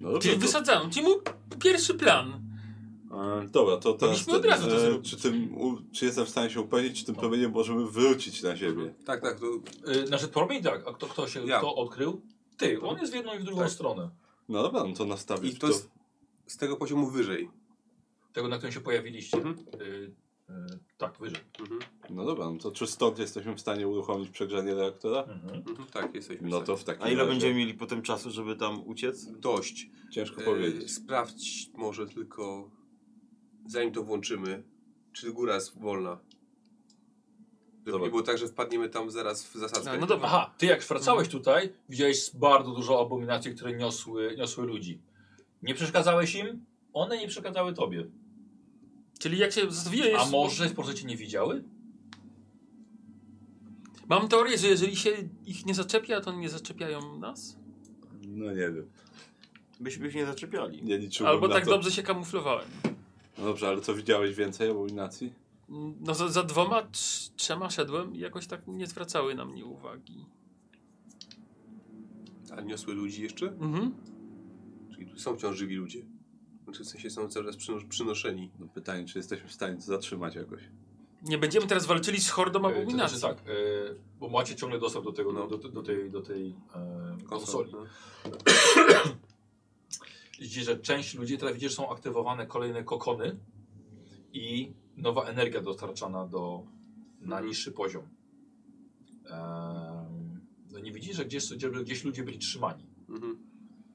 S3: No
S1: Czyli
S3: to-
S1: wysadzałem, czyli mój pierwszy plan.
S3: E, Dobra, to teraz.
S1: Powinniśmy od razu to
S3: e,
S1: zrobić.
S3: czy, tym, u, czy jestem w stanie się upewnić, czy tym promieniem możemy wrócić na siebie?
S5: Tak, tak, to
S6: Y, Znaczy, promień tak, a kto, kto się
S5: Ja.
S6: kto odkrył? Ty, on jest w jedną i w drugą
S5: Tak.
S6: stronę.
S3: No dobra, no to nastawić
S5: I to
S3: to.
S5: jest- z tego poziomu wyżej.
S6: Tego, na którym się pojawiliście. Y, y, tak, wyżej.
S5: Mhm.
S3: No dobra, no to czy stąd jesteśmy w stanie uruchomić przegrzanie reaktora?
S5: Mhm. Tak,
S3: No
S5: jesteśmy. w stanie.
S3: to w takim
S9: A ile
S3: razie
S9: będziemy mieli potem czasu, żeby tam uciec?
S5: Dość.
S3: Ciężko
S5: E,
S3: powiedzieć.
S5: sprawdź może tylko, zanim to włączymy, czy góra jest wolna. Żeby
S3: Dobra.
S5: nie było tak, że wpadniemy tam zaraz w zasadzkę.
S1: No, no dobra.
S6: Aha, ty jak wracałeś
S1: Mhm.
S6: tutaj, widziałeś bardzo dużo abominacji, które niosły, niosły ludzi. Nie przeszkadzałeś im, one nie przeszkadzały tobie.
S1: Czyli jak się zastanowiłeś...
S6: A może po prostu cię nie widziały?
S1: Mam teorię, że jeżeli się ich nie zaczepia, to nie zaczepiają nas?
S3: No nie wiem.
S9: Byśmy ich nie zaczepiali.
S3: Nie liczyłem.
S1: Albo
S3: na
S1: tak
S3: to.
S1: dobrze się kamuflowałem.
S3: No dobrze, ale co widziałeś więcej abominacji?
S1: No za, za dwoma, trz- trzema szedłem i jakoś tak nie zwracały na mnie uwagi.
S5: A niosły ludzi jeszcze?
S1: Mhm.
S5: Czyli tu są wciąż żywi ludzie. Znaczy w sensie są cały czas przyno przynoszeni.
S3: No pytanie, czy jesteśmy w stanie to zatrzymać jakoś.
S1: Nie będziemy teraz walczyli z hordą
S6: E, To znaczy
S1: abominacji.
S6: tak, e, bo macie ciągle dostęp do tego,
S5: No.
S6: do, do tej, do tej e, konsoli.
S5: No.
S6: Widzicie, że część ludzi, teraz widzicie, że są aktywowane kolejne kokony i nowa energia dostarczana do, na
S1: Mhm.
S6: niższy poziom. Ehm, no nie widzisz, że gdzieś, żeby gdzieś ludzie byli trzymani.
S5: Mhm.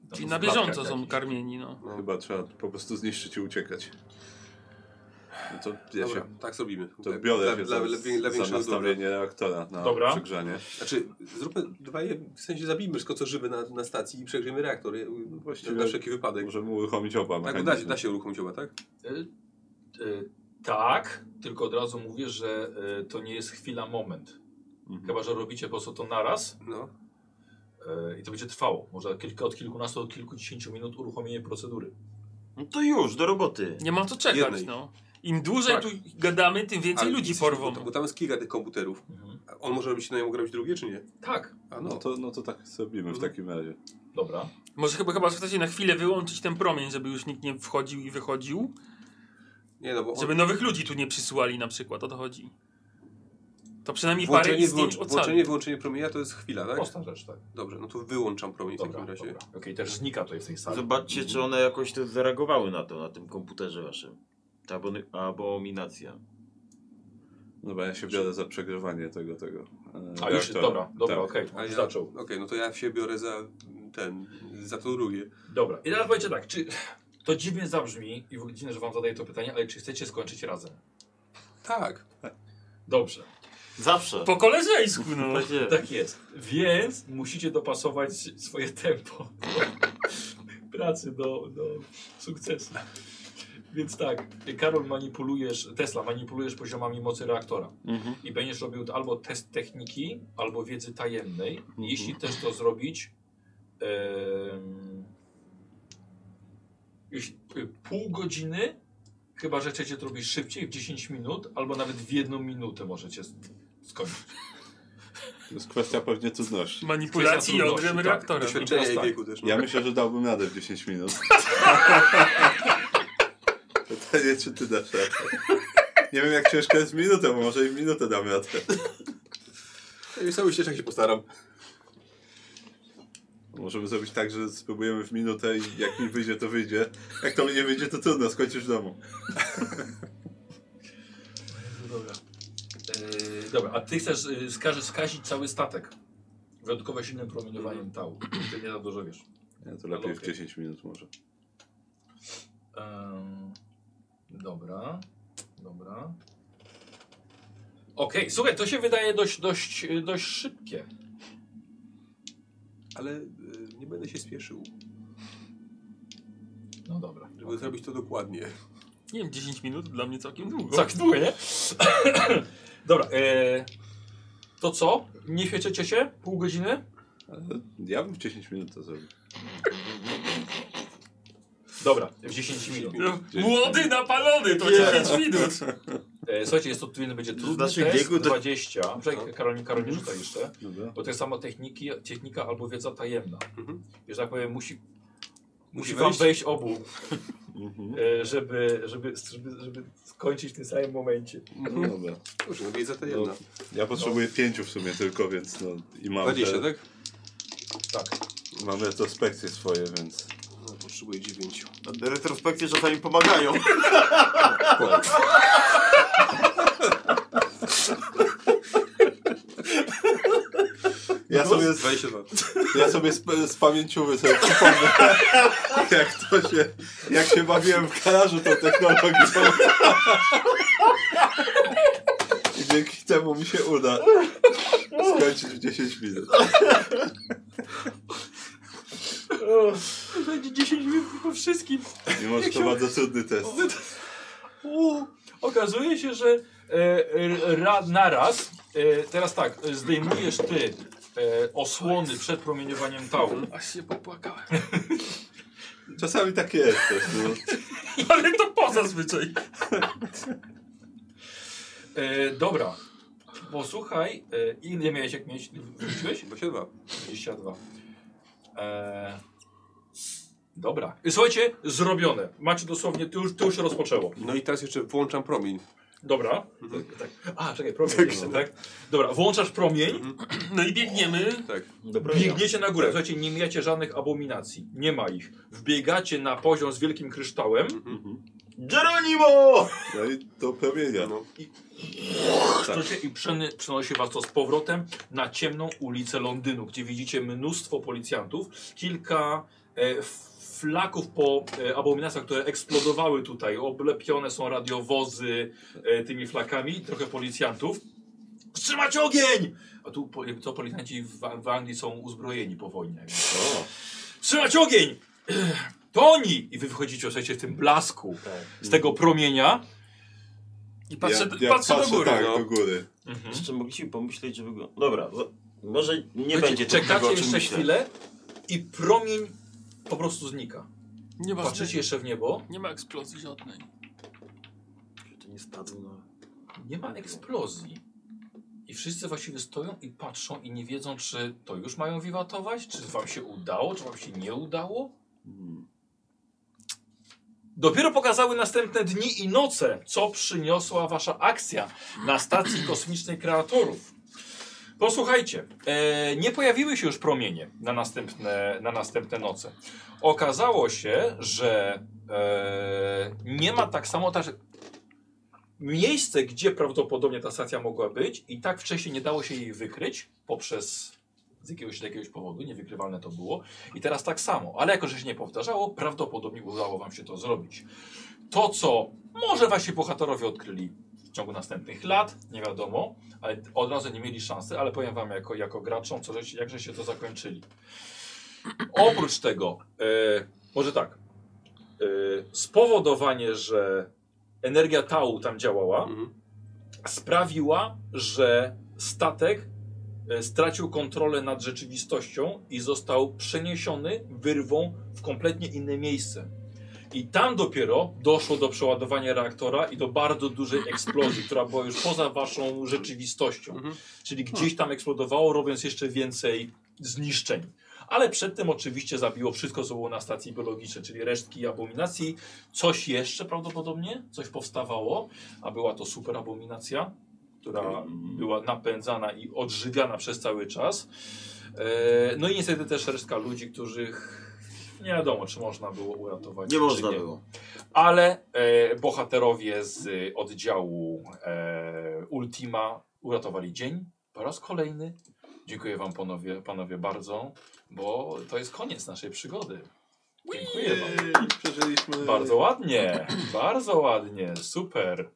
S6: Tam
S1: Czyli
S6: w
S1: na
S6: klatkach
S1: bieżąco są
S6: jakichś.
S1: karmieni, no.
S5: No.
S3: Chyba trzeba po prostu zniszczyć i uciekać. No to ja
S5: Dobra,
S3: się.
S5: tak zrobimy.
S3: To biorę
S5: dla,
S3: się
S5: dla,
S3: za,
S5: dla, dla
S3: za
S5: większego dobra.
S3: nastawienie reaktora na
S6: Dobra.
S3: przegrzanie.
S5: Znaczy, zróbmy, dwaj, w sensie zabijmy wszystko co żywe na, na stacji i przegrzejmy reaktor. Ja-
S3: No, właściwie
S5: na wszelki wypadek.
S3: Możemy uruchomić oba
S5: Tak, bo
S3: mechanizmy.
S5: da, się- da się uruchomić oba, tak?
S6: Y, y, tak, tylko od razu mówię, że y, to nie jest chwila, moment.
S3: Mhm.
S6: Chyba, że robicie po prostu to naraz
S5: No.
S6: y, i to będzie trwało. Może kilka, od kilkunastu do kilkudziesięciu minut uruchomienie procedury.
S9: No to już, do roboty.
S1: Nie ma co czekać,
S5: Jednej.
S1: no. Im dłużej
S5: Tak.
S1: tu gadamy, tym więcej
S5: Ale
S1: ludzi
S5: jesteśmy-
S1: porwą.
S5: Bo, bo tam jest kilka tych komputerów. A On może robić, na jemu robić drugie, czy nie?
S6: Mhm. Tak,
S5: A
S3: No to, no to tak zrobimy w
S5: Mhm.
S3: takim razie.
S6: dobra.
S1: Może chyba, chyba chcecie na chwilę wyłączyć ten promień, żeby już nikt nie wchodził i wychodził.
S5: Nie, no bo on,
S1: Żeby nowych ludzi tu nie przysyłali na przykład, o to chodzi. To przynajmniej parę
S5: włączenie,
S1: istnień
S5: wyłącz,
S1: ocali.
S5: włączenie, wyłączenie promienia to jest chwila, tak?
S6: Prosta rzecz, tak.
S5: Dobrze, no to wyłączam promień w
S6: Dobra,
S5: takim razie.
S6: dobra. Okej, też znika tutaj w tej sali.
S9: Zobaczcie, czy one jakoś to zareagowały na to, na tym komputerze waszym. Ta abony- abominacja.
S3: Dobra, No ja się biorę za przegrywanie tego, tego. e,
S6: A już,
S3: reaktora.
S6: dobra, dobra,
S3: Tak.
S6: okej,
S5: A
S6: już
S5: ja,
S6: zaczął.
S5: Okej, no to ja się biorę za ten, za to drugie.
S6: Dobra, i teraz powiedzcie tak, czy to dziwnie zabrzmi i w ogóle dziwne, że wam zadaję to pytanie, ale czy chcecie skończyć razem?
S5: Tak.
S6: Dobrze,
S9: Zawsze.
S1: Po koleżeńsku, no.
S9: Tak jest.
S6: tak jest. Więc musicie dopasować swoje tempo pracy do, do sukcesu. Więc tak, Karol manipulujesz, Tesla, manipulujesz poziomami mocy reaktora.
S3: Mhm.
S6: i będziesz robił albo test techniki, albo wiedzy tajemnej. Jeśli też to zrobić, em, jeśli, y, pół godziny, chyba że chcecie to robić szybciej, w 10 minut, albo nawet w jedną minutę możecie s- skończyć.
S3: To jest kwestia pewnie trudności.
S1: Manipulacji
S6: Kwestia
S1: jądrem
S6: trudności,
S1: reaktora.
S5: Doświadczenie
S6: teraz
S5: i
S6: tak.
S5: wieku też. no.
S3: Ja myślę, że dałbym radę w 10 minut. Pytanie, czy ty dasz radę? Nie wiem, jak ciężko jest minutę, bo może i w minutę dam radę.
S5: No I cały ścieżek się postaram.
S3: Możemy zrobić tak, że spróbujemy w minutę i jak mi wyjdzie, to wyjdzie. Jak to mi nie wyjdzie, to trudno, skończysz w domu.
S6: Dobra. E, dobra, a ty chcesz y, skaże, skazić cały statek. Wyjątkowo silnym promieniowaniem tału. Ty nie za dużo wiesz.
S3: Nie, to lepiej w
S6: Okej.
S3: 10 minut może.
S6: Em, dobra, dobra. Okej, słuchaj, to się wydaje dość, dość, y, dość szybkie.
S5: Ale y, nie będę się spieszył,
S6: No dobra.
S5: żeby zrobić to dokładnie.
S1: Nie wiem, 10 minut dla mnie całkiem długo.
S6: Tak, długo, nie? dobra, e, to co? Nie świeciecie się? Pół godziny?
S3: Ale ja bym w 10 minut to zrobił.
S6: Dobra, w 10 minut.
S1: No, Młody, napalony, to 10 minut.
S6: E, słuchajcie, jest to trudny, będzie trudny
S9: naszych
S6: test,
S9: wieku to-
S6: 20. Czekaj, Karol, Karol nie rzuca jeszcze.
S3: Dobra.
S6: Bo to jest samo techniki, technika albo wiedza tajemna.
S5: Mhm.
S6: Że tak powiem, musi, musi wam
S5: wejść?
S6: wejść obu.
S3: Mhm.
S6: E, żeby, żeby, żeby, żeby skończyć w tym samym momencie.
S3: No dobra.
S5: Dobrze, no wiedza to jedna.
S3: Ja potrzebuję pięciu w sumie tylko, więc no i mam.
S5: 20,
S3: te,
S5: tak?
S6: Tak.
S3: Mam retrospekcje swoje, więc.
S5: No, potrzebuję 9.
S9: Retrospekcje czasami pomagają.
S5: No
S3: Ja sobie,
S5: 22.
S3: ja sobie z, z pamięciówy sobie przypomnę, jak to się. Jak się bawiłem w garażu tą technologią. I dzięki temu mi się uda skończyć w 10 minut.
S6: Będzie 10 minut po wszystkim.
S3: Mimo, że to bardzo trudny test.
S6: U, okazuje się, że e, r- ra, naraz, e, teraz tak, e, zdejmujesz ty e, osłony przed promieniowaniem tału.
S1: Aż się popłakałem.
S3: Czasami tak jest też, no.
S1: Ale to poza zwyczaj.
S6: E, dobra, posłuchaj, e, ile miałeś jak miałeś, wróciłeś?
S5: 22.
S6: 22. E, dobra, słuchajcie, zrobione. Macie dosłownie, to już, to już się rozpoczęło.
S5: No i teraz jeszcze włączam promień.
S6: Dobra. Tak, tak. A, czekaj, promień jeszcze, tak? Dobra, włączasz promień,
S1: No i biegniemy.
S5: Tak.
S4: Dobra,
S6: biegniecie na górę. Słuchajcie, nie mijacie żadnych abominacji. Nie ma ich. Wbiegacie na poziom z wielkim kryształem
S9: Geronimo!
S3: No i do promienia.
S5: No.
S3: Tak.
S6: Słuchajcie, i przeny- przenosi was to z powrotem na ciemną ulicę Londynu, gdzie widzicie mnóstwo policjantów, kilka e, f- flaków po e, abominacjach, które eksplodowały tutaj. Oblepione są radiowozy e, tymi flakami, trochę policjantów. Wstrzymać ogień! A tu po- jakby to policjanci w, w Anglii są uzbrojeni po wojnie. jakby. Wstrzymać ogień! To oni! I wy wychodzicie, słuchajcie, w tym blasku z tego promienia.
S1: I patrzę,
S3: Tak. ja, ja
S1: patrzę, do góry.
S3: tak,
S1: no.
S3: do góry.
S4: Jeszcze mogliśmy pomyśleć, że wygląda... Dobra, zo- może nie
S20: tak
S6: Słuchajcie,
S4: będzie
S6: Czekacie
S4: tego, o czym
S6: jeszcze
S4: myślę.
S6: chwilę i promień po prostu znika.
S1: Nie ma,
S6: Patrzycie jeszcze w niebo,
S1: nie ma eksplozji żadnej.
S4: To nie spadło
S20: no.
S4: na...
S6: nie ma eksplozji. I wszyscy właściwie stoją i patrzą i nie wiedzą, czy to już mają wiwatować, czy wam się udało, czy wam się nie udało. Dopiero pokazały następne dni i noce, co przyniosła wasza akcja na stacji kosmicznej kreatorów. Posłuchajcie, e, nie pojawiły się już promienie na następne, na następne noce. Okazało się, że e, nie ma tak samo też miejsce, gdzie prawdopodobnie ta stacja mogła być i tak wcześniej nie dało się jej wykryć poprzez z jakiegoś, z jakiegoś powodu, niewykrywalne to było. I teraz tak samo, ale jako, że się nie powtarzało, prawdopodobnie udało wam się to zrobić. To, co może wasi bohaterowie odkryli w ciągu następnych lat, nie wiadomo, ale od razu nie mieli szansy, ale powiem wam jako, jako graczom, co, żeś- jakże się to zakończyli. Oprócz tego, e, może tak, e, spowodowanie, że energia tału tam działała,
S5: Mhm.
S6: sprawiła, że statek e, stracił kontrolę nad rzeczywistością i został przeniesiony wyrwą w kompletnie inne miejsce. I tam dopiero doszło do przeładowania reaktora i do bardzo dużej eksplozji, która była już poza waszą rzeczywistością.
S5: Mhm.
S6: Czyli
S20: Hmm.
S6: gdzieś tam eksplodowało, robiąc jeszcze więcej zniszczeń. Ale przed tym oczywiście zabiło wszystko, co było na stacji biologicznej, czyli resztki abominacji. Coś jeszcze prawdopodobnie, coś powstawało, a była to super abominacja, która
S20: Hmm.
S6: była napędzana i odżywiana przez cały czas. E, No i niestety też resztka ludzi, których nie wiadomo, czy można było uratować.
S20: Nie
S6: czy
S20: można było.
S6: Ale e, bohaterowie z oddziału e, Ultima uratowali dzień po raz kolejny. Dziękuję wam panowie, panowie bardzo, bo to jest koniec naszej przygody. Dziękuję wam.
S1: Yy,
S5: Przeżyliśmy.
S6: Bardzo ładnie, bardzo ładnie, super.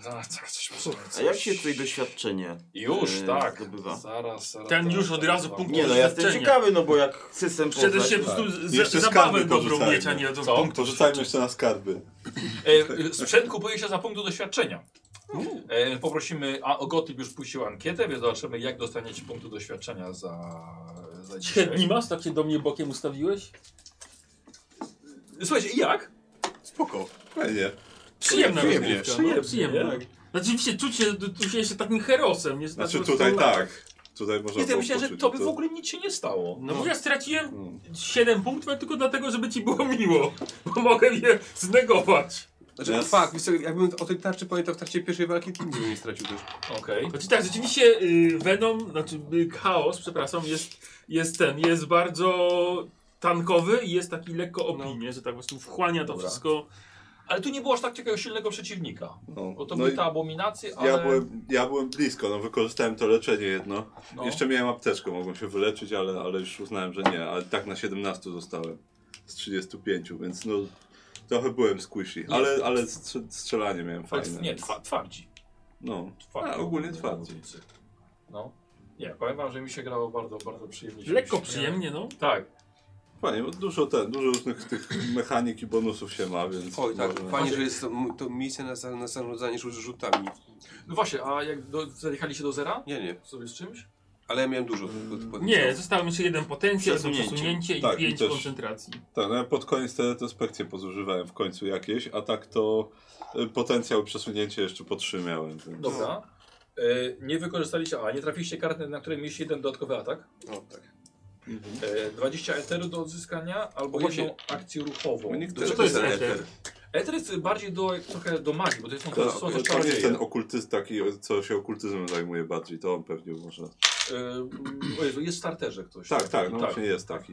S6: A, tak, coś muszę-
S20: A jak się tutaj doświadczenie?
S6: Już,
S20: e,
S6: tak.
S20: zdobywa?
S6: Zaraz, zaraz.
S1: Ten już
S6: zaraz,
S1: od razu
S6: zaraz.
S1: punkt
S20: Nie no, ja jestem
S1: doświadczenia.
S20: ciekawy, no bo jak system
S1: Przecież
S20: poznać-
S1: się po prostu z-
S3: Jeszcze
S1: z- zabawę
S3: skarby
S1: dobrą
S3: porzucajmy.
S1: mieć, a nie od
S6: Co?
S1: punktu.
S3: Porzucajmy jeszcze na skarby.
S6: E, e, sprzęt kupuje się za punkt do doświadczenia. E, poprosimy, a Gotyp już puścił ankietę, więc zobaczymy jak dostaniecie punktu doświadczenia za, za
S1: Średni
S6: dzisiaj.
S1: masz, tak się do mnie bokiem ustawiłeś?
S6: Słuchajcie, i jak?
S3: Spoko, fajnie.
S1: Przyjemna
S20: Przyjemnie,
S1: rozgrywka,
S6: przyjemnie,
S1: No, przyjemna.
S6: tak.
S1: Znaczy się czucie, czuję się takim herosem. Nie
S3: Znaczy
S1: po prostu-
S3: tutaj tak. Tutaj można
S6: Nie, ja
S3: było
S6: myślałem, że
S3: poczuć,
S6: tobie w ogóle nic się nie stało.
S1: No bo ja straciłem
S3: Mm.
S1: 7 punktów, ale tylko dlatego, żeby ci było miło. Bo mogę je znegować.
S5: Znaczy,
S3: Teraz-
S5: fakt, wiesz co, jakbym o tej tarczy pamiętał w trakcie pierwszej walki, to nigdy nie stracił też.
S6: Okej.
S1: Znaczy tak, rzeczywiście y, Venom, znaczy y, Chaos, przepraszam, jest, jest ten, jest bardzo tankowy i jest taki lekko opijny, że tak po prostu wchłania to
S6: Dobra.
S1: wszystko.
S6: Ale tu nie było aż tak takiego silnego przeciwnika.
S3: No,
S6: Bo to
S3: no
S6: były
S3: i
S6: te abominacje, ale...
S3: ja, byłem, ja byłem blisko, no wykorzystałem to leczenie jedno.
S6: no.
S3: Jeszcze miałem apteczkę, mogłem się wyleczyć, ale, ale już uznałem, że nie. Ale tak na 17 zostałem z 35, więc no trochę byłem squishy. Ale, ale strze- strzelanie miałem
S6: Ale
S3: fajne.
S6: Nie, twa, twardzi.
S3: No,
S6: Twardzi.
S3: A, ogólnie twardzi.
S6: Zawodnicy. No. Nie, powiem wam, że mi się grało bardzo, bardzo przyjemnie.
S1: Lekko
S6: Się-
S1: przyjemnie, no.
S6: Tak.
S3: fajnie, bo dużo, ten, dużo różnych tych mechanik i bonusów się ma, więc...
S5: Oj, tak,
S3: można-
S5: fajnie, że jest to, to miejsce na, za- na zarządzanie rzu- rzutami.
S6: No właśnie, a jak do, zajechaliście do zera?
S5: Nie, nie,
S6: Sobie z czymś?
S5: ale ja miałem dużo.
S6: Mm,
S5: tylko
S1: Nie, zostało mi jeszcze jeden potencjał, jedno
S20: Przesunięcie.
S1: przesunięcie i
S3: Tak, i
S1: 5
S3: też-
S1: koncentracji.
S3: Tak, no ja pod koniec te retrospekcje pozużywałem w końcu jakieś, a tak to y, potencjał przesunięcia jeszcze podtrzymiałem. Więc...
S5: No.
S6: Dobra. E, nie wykorzystaliście, a nie trafiliście karty, na której mieliście jeden dodatkowy atak.
S5: O, tak.
S3: Mhm.
S6: E, 20 eteru do odzyskania albo
S5: O, właśnie.
S6: jedną akcję ruchową.
S3: Bo nikt
S6: Do
S3: też-
S6: czego-
S5: to jest
S1: Eter?
S5: eter?
S6: Eter jest bardziej do, trochę do magii, bo to jest są, e,
S3: To, Tak,
S6: są
S3: to,
S6: też
S3: to jest
S6: czarodzieje.
S3: ten okultyst taki, co się okultyzmem zajmuje bardziej, to on pewnie może.
S6: E, o Jezu, jest w starterze ktoś.
S3: Tak, tak, no właśnie jest taki.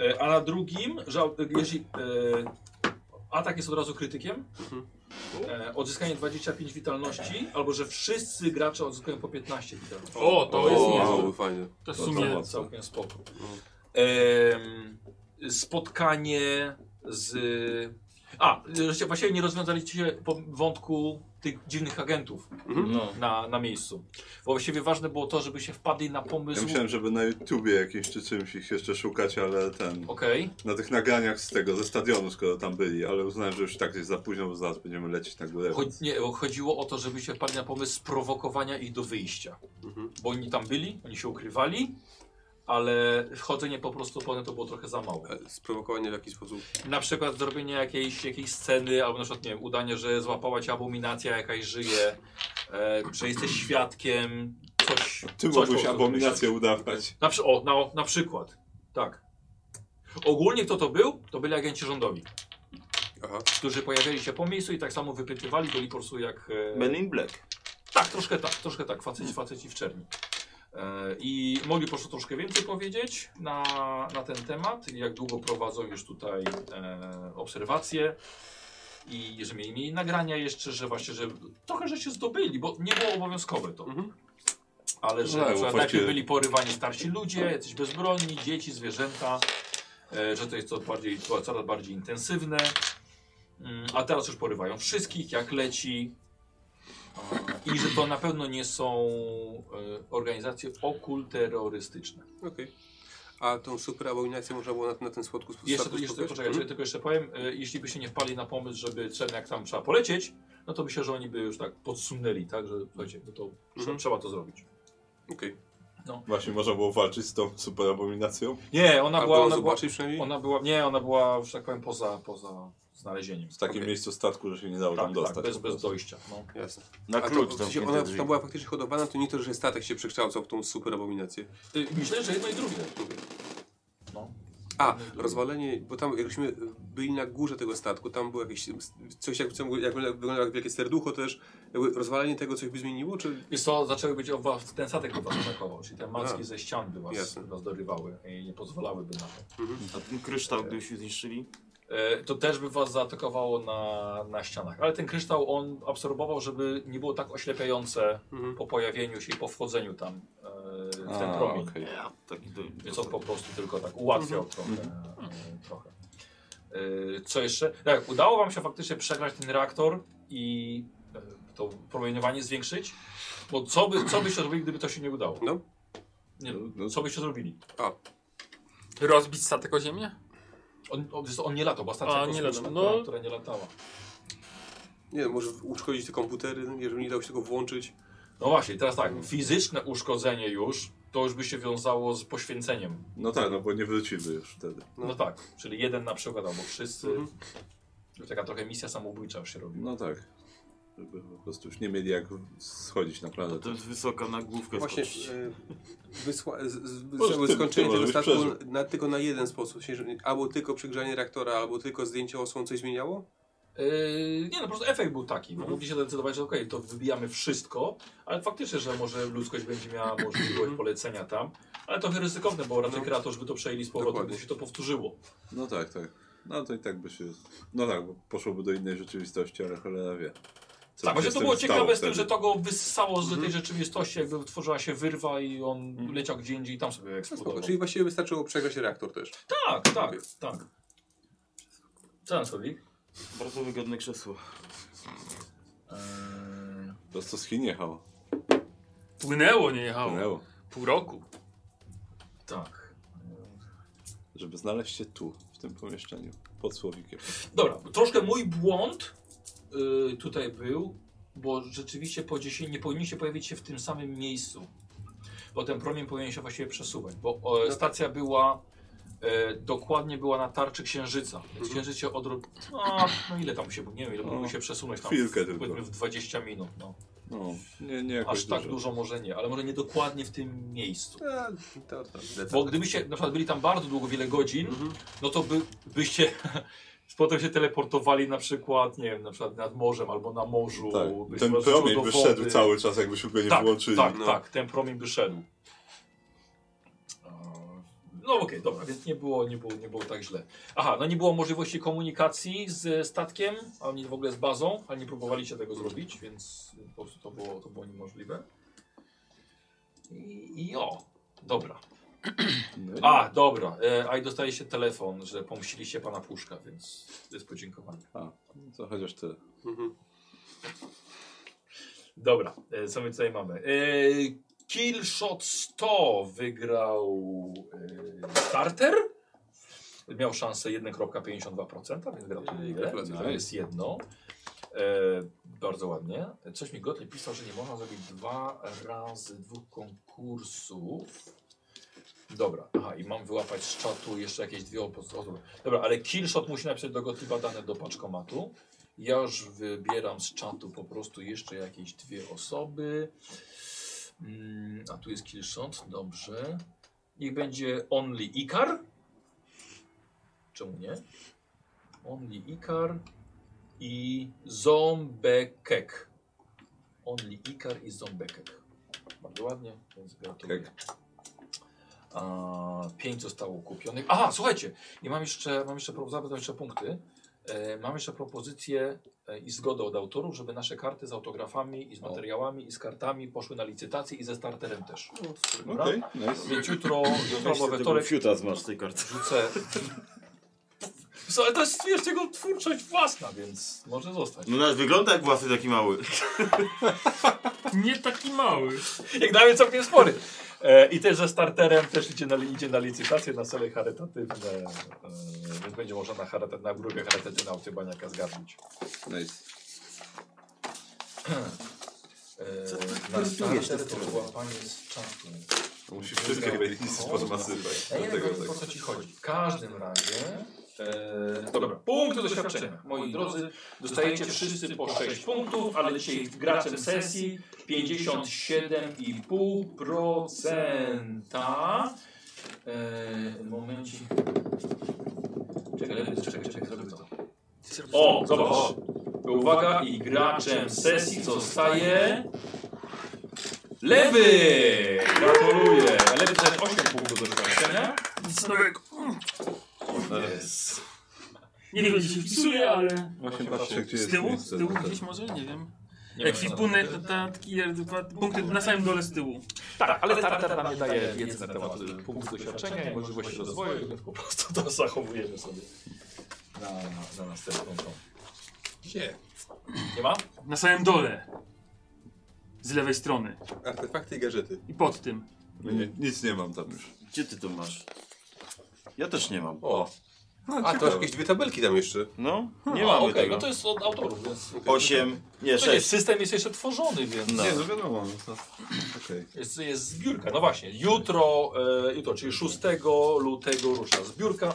S6: E, a na drugim, że e, jeśli e, atak jest od razu krytykiem,
S3: Mhm.
S6: e, odzyskanie 25 witalności, albo że wszyscy gracze odzyskują po 15 witalności.
S1: O, to
S5: O,
S1: jest
S5: o,
S1: niezłe.
S5: o, fajnie.
S1: To w
S3: to
S1: sumie...
S3: mocno.
S6: Całkiem spoko. Em, spotkanie z... A, żeście właściwie nie rozwiązaliście się po wątku tych dziwnych agentów
S12: No.
S6: na, na miejscu. Bo właściwie ważne było to, żeby się wpadli na
S3: Ja
S6: pomysł...
S3: myślałem, żeby na YouTubie jakimś czy czymś ich jeszcze szukać, ale ten.
S6: Okej.
S3: Na tych nagraniach z tego, ze stadionu, skoro tam byli, ale uznałem, że już tak jest za późno, bo zaraz będziemy lecieć na górę.
S6: Cho- nie, Chodziło o to, żeby się wpadli na pomysł sprowokowania ich do wyjścia. Bo oni tam byli, oni się ukrywali, ale chodzenie po prostu po one to było trochę za mało.
S5: E, Sprowokowanie w jakiś sposób.
S6: Na przykład zrobienie jakiejś, jakiejś sceny, albo na przykład, nie wiem, udanie, że złapała cię abominacja jakaś żyje, e, że jesteś świadkiem, coś...
S3: Ty
S6: coś po
S3: mogłeś
S6: prostu
S3: abominację
S6: wymyślić.
S3: udawać.
S6: Na, przy- o, na, na przykład, tak. Ogólnie kto to był? To byli agenci rządowi,
S5: Aha.
S6: którzy pojawiali się po miejscu i tak samo wypytywali, byli po prostu jak... e,
S20: Men in Black.
S6: tak, troszkę tak, troszkę tak, faceci, faceci w czerni. E, I mogli po prostu troszkę więcej powiedzieć na, na ten temat, jak długo prowadzą już tutaj e, obserwacje i że mieli, mieli nagrania jeszcze, że właśnie, że trochę że się zdobyli, bo nie było obowiązkowe to.
S5: Mhm.
S6: ale że
S3: No,
S6: na przykład
S3: właściwie-
S6: najpierw byli porywani starsi ludzie, jacyś bezbronni, dzieci, zwierzęta, e, że to jest to bardziej, to coraz bardziej intensywne, Mm, a teraz już porywają wszystkich, jak leci. E, I że to na pewno nie są e, organizacje okulterrorystyczne.
S5: Okej. A tą super abominację można było na, na ten słodku sp-
S6: Jeszcze,
S5: statku
S6: jeszcze
S5: spotkać?
S6: poczekaj,
S5: Mhm.
S6: hmm? tylko jeszcze powiem, e, jeśli by się nie wpali na pomysł, żeby trzeba, jak tam trzeba polecieć, no to myślę, że oni by już tak podsunęli, tak, że słuchajcie, no to
S5: Mhm.
S6: trzeba to zrobić.
S5: Mm. Okej.
S3: Właśnie można było walczyć z tą super abominacją.
S6: Nie, ona
S5: Albo
S6: była,
S5: ją
S6: ona była,
S5: zobaczyć przynajmniej?
S6: Ona była, nie, ona była, że tak powiem, poza, poza znalezieniem.
S3: W takim
S5: Okej.
S3: miejscu statku, że się nie dało tam dostać.
S6: Tak, bez, bez dojścia. No.
S5: Jasne.
S20: Na
S5: A
S20: klucz
S5: to,
S20: tam.
S5: się, ona tam była faktycznie hodowana, to nie to, że statek się przekształcał w tą super abominację.
S6: Y, Myślę, że jedno i drugie.
S5: A, rozwalenie, bo tam jakśmy byli na górze tego statku, tam było jakieś coś, jak, co- jak wyglądało jak wielkie serducho też. Jakby rozwalenie tego coś by zmieniło, czy...
S6: Wiesz co, zaczęły być oba, ten statek by was atakował, czyli te macki
S5: A.
S6: ze ścian by was,
S5: Jasne.
S6: by was dorywały i nie pozwalałyby na to.
S20: A ten kryształ, gdyby się zniszczyli?
S6: E, To też by was zaatakowało na, na ścianach, ale ten kryształ on absorbował, żeby nie było tak oślepiające
S5: Mhm.
S6: po pojawieniu się i po wchodzeniu tam e, w ten
S3: A,
S6: promień.
S3: okej.
S20: Ja, taki do...
S6: Więc on po prostu tylko tak ułatwiał
S1: Mhm.
S6: trochę.
S3: Mhm.
S6: e, trochę. E, Co jeszcze? Tak, udało wam się faktycznie przegrać ten reaktor i e, to promieniowanie zwiększyć? Bo co, by, co byście zrobili, gdyby to się nie udało?
S5: No.
S6: Nie, no, co byście zrobili?
S1: Rozbić statek o ziemię?
S6: On, on, wiesz co, on nie latał, bo stacja
S1: A, nie
S6: kosmiczna,
S1: latał,
S6: która,
S1: no.
S6: która nie latała.
S5: Nie wiem, może uszkodzić te komputery, jeżeli nie dało się tego włączyć.
S6: No właśnie, teraz tak, fizyczne uszkodzenie już, to już by się wiązało z poświęceniem.
S3: No tak, no bo nie wrócimy już wtedy.
S6: No, tak, czyli jeden na przykład, albo wszyscy.
S5: Mhm.
S6: Taka trochę misja samobójcza już się robi.
S3: No tak. Żeby po prostu już nie mieli jak schodzić na
S20: To,
S3: planetę.
S20: to jest wysoka nagłówka.
S5: Właśnie
S20: skoczyć.
S5: e, wysła, z, z,
S3: Może
S5: z,
S3: ty-
S5: skończenie
S3: ty
S5: tego
S3: możesz
S5: statku
S3: przeżyć.
S5: na, tylko na jeden sposób. Się- że- Albo tylko przegrzanie reaktora, albo tylko zdjęcie osłon coś zmieniało?
S6: Yy, nie no, po prostu efekt był taki.
S3: Mhm.
S6: No, Mogli się zdecydować, że okej, to wybijamy wszystko, ale faktycznie, że może ludzkość będzie miała
S3: Mhm.
S6: możliwość polecenia tam, ale trochę ryzykowne, bo raczej
S5: No.
S6: kreatorzy by to przejęli z powrotem,
S5: Dokładnie.
S6: gdy się to powtórzyło.
S3: No tak, tak. No to i tak by się... No tak, bo poszłoby do innej rzeczywistości, ale cholera wie. Co
S6: tak,
S3: by
S6: właśnie
S3: się
S6: to
S3: z
S6: było
S3: tym
S6: ciekawe
S3: stało
S6: z tym, że
S3: wtedy. Mhm.
S6: to go wyssało z tej rzeczywistości, jakby wytworzyła się wyrwa i on leciał gdzie indziej i tam
S3: No,
S6: sobie
S5: Spoko.
S6: eksplodował.
S5: Czyli właściwie wystarczyło przegrać reaktor też.
S6: Tak, tak, tak. Co tam sobie?
S20: Bardzo wygodne krzesło.
S6: Eee,
S3: Po prostu z Chin jechało.
S1: Płynęło, nie
S6: No.
S1: jechało.
S3: Płynęło.
S1: Pół roku.
S6: tak.
S3: Żeby znaleźć się tu, w tym pomieszczeniu. Pod słowikiem.
S6: Dobra, troszkę mój błąd y, tutaj był, bo rzeczywiście po 10 nie powinniście pojawić się w tym samym miejscu. Bo ten promień powinien się właściwie przesuwać, bo
S3: No
S6: e,
S3: tak.
S6: stacja była e, dokładnie była na tarczy księżyca. Więc księżyc się odrobił. No, no ile tam się, nie wiem, ile
S3: Mhm. No,
S6: mógłby się przesunąć tam.
S3: chwilkę tylko.
S6: powiedzmy w 20 minut. No.
S3: No, nie, nie jakoś
S6: Aż tak
S3: dużo.
S6: dużo może nie, ale może nie dokładnie w tym miejscu.
S5: E, to, to,
S6: Bo gdybyście na przykład byli tam bardzo długo, wiele godzin,
S5: Mhm.
S6: no to by, byście potem się teleportowali na przykład, nie wiem, na przykład nad morzem albo na morzu.
S3: Tak.
S6: byś
S3: Ten
S6: wrzucił
S3: promień
S6: do
S3: by
S6: wody.
S3: szedł cały czas, jakbyśmy go nie
S6: tak,
S3: włączyli.
S6: Tak,
S5: no.
S6: tak, ten promień by szedł. E, No okej, dobra, więc nie było, nie, było, nie było tak źle. Aha, no nie było możliwości komunikacji z statkiem, ani w ogóle z bazą, ale nie próbowaliście tego zrobić, więc po prostu to było, to było niemożliwe. I, i o, dobra.
S3: No.
S6: A, dobra. E, a i dostaliście telefon, że pomściliście pana Puszka, więc to jest podziękowanie.
S3: A, co No chociaż tyle.
S5: Mhm.
S6: Dobra, e, co my tutaj mamy? E, Killshot 100 wygrał e, starter. Miał szansę 1,52%, więc gratuluję.
S5: Gratulacje.
S6: To jest jedno. E, bardzo ładnie. Coś mi Gotlib pisał, że nie można zrobić dwa razy dwóch konkursów. Dobra, aha, i mam wyłapać z czatu jeszcze jakieś dwie opo- osoby. Dobra, ale Killshot musi napisać do Gotliba dane do paczkomatu. Ja już wybieram z czatu po prostu jeszcze jakieś dwie osoby. Mm, a tu jest Killshot, dobrze. Niech będzie Only Ikar. Czemu nie? Only Ikar i Zombekek. Only Ikar i Zombekek. Bardzo ładnie, więc gratuluję. A, pięć zostało kupionych. Aha, słuchajcie, i mam jeszcze, mam jeszcze, pro- zapytam jeszcze punkty. E, mam jeszcze propozycję e, e, i zgodę od autorów, żeby nasze karty z autografami i z materiałami i z kartami poszły na licytację i ze starterem też. Dobra?
S3: Okej, nice.
S6: Więc jutro, jutro albo we
S20: Tego
S6: wtorek
S20: fiuta masz z tej karty.
S6: rzucę... Co, ale to jest wiesz, jego twórczość własna, więc może zostać.
S20: No nawet wygląda jak własny taki mały.
S1: Nie taki mały.
S6: Jak dla mnie całkiem spory. E, I też ze starterem też idzie na, idzie na licytację na cele charytatywne. E, więc będzie można na, charytat, na grupie charytatywna Autybaniaka zgarnąć.
S5: Nice.
S6: E, na starter to była pani z czatu.
S3: Musisz wszystkie chyba w jakiś sposób nasypać.
S6: Ja nie
S3: Dlatego
S6: wiem
S3: tak.
S6: po co ci chodzi. W każdym razie... E, dobra, punkty doświadczenia. Moi drodzy, dostajecie wszyscy po 6 punktów, ale dzisiaj graczem sesji 57,5%. Eee, momencik. Czekaj, lepiej, czekaj, czekaj, czekaj, zrobię to. O, zobacz. Uwaga, i graczem sesji zostaje... Lewy! Gratuluję. Lewy dostał 8 punktów do doświadczenia.
S1: Nic nowego.
S6: Yes.
S1: Nie wiem, gdzie się wpisuje, ale...
S3: Właśnie patrzę, gdzie
S1: Z
S3: jest
S1: tyłu?
S3: miejsce
S1: Z tyłu
S3: na ten.
S1: gdzieś może? Nie wiem.
S6: Nie wiem, co
S1: Ekwipunek, dodatki, e, dwa punkty na samym dole z tyłu.
S6: Tak, ale tartar nam nie daje wiedzy na temat y, punktów doświadczenia i możliwości rozwoju, więc po prostu to zachowujemy sobie na, na następną tą.
S5: Gdzie?
S6: Nie ma?
S1: Na samym dole. Z lewej strony.
S5: Artefakty i gadżety.
S1: I pod tym.
S3: Nie, nic nie mam tam już.
S20: Gdzie ty to masz? Ja też nie mam.
S5: O.
S3: No,
S5: A, to masz jakieś dwie tabelki tam jeszcze.
S20: No, nie
S6: A,
S20: mamy
S6: okej,
S20: tego.
S6: no to jest od autorów, więc...
S20: Osiem, nie,
S6: To jest,
S20: sześć.
S6: system jest jeszcze tworzony, więc...
S20: No.
S3: Nie, no wiadomo. no to- Okej.
S6: Jest, jest zbiórka, no właśnie. Jutro, e, jutro, czyli 6 lutego rusza zbiórka.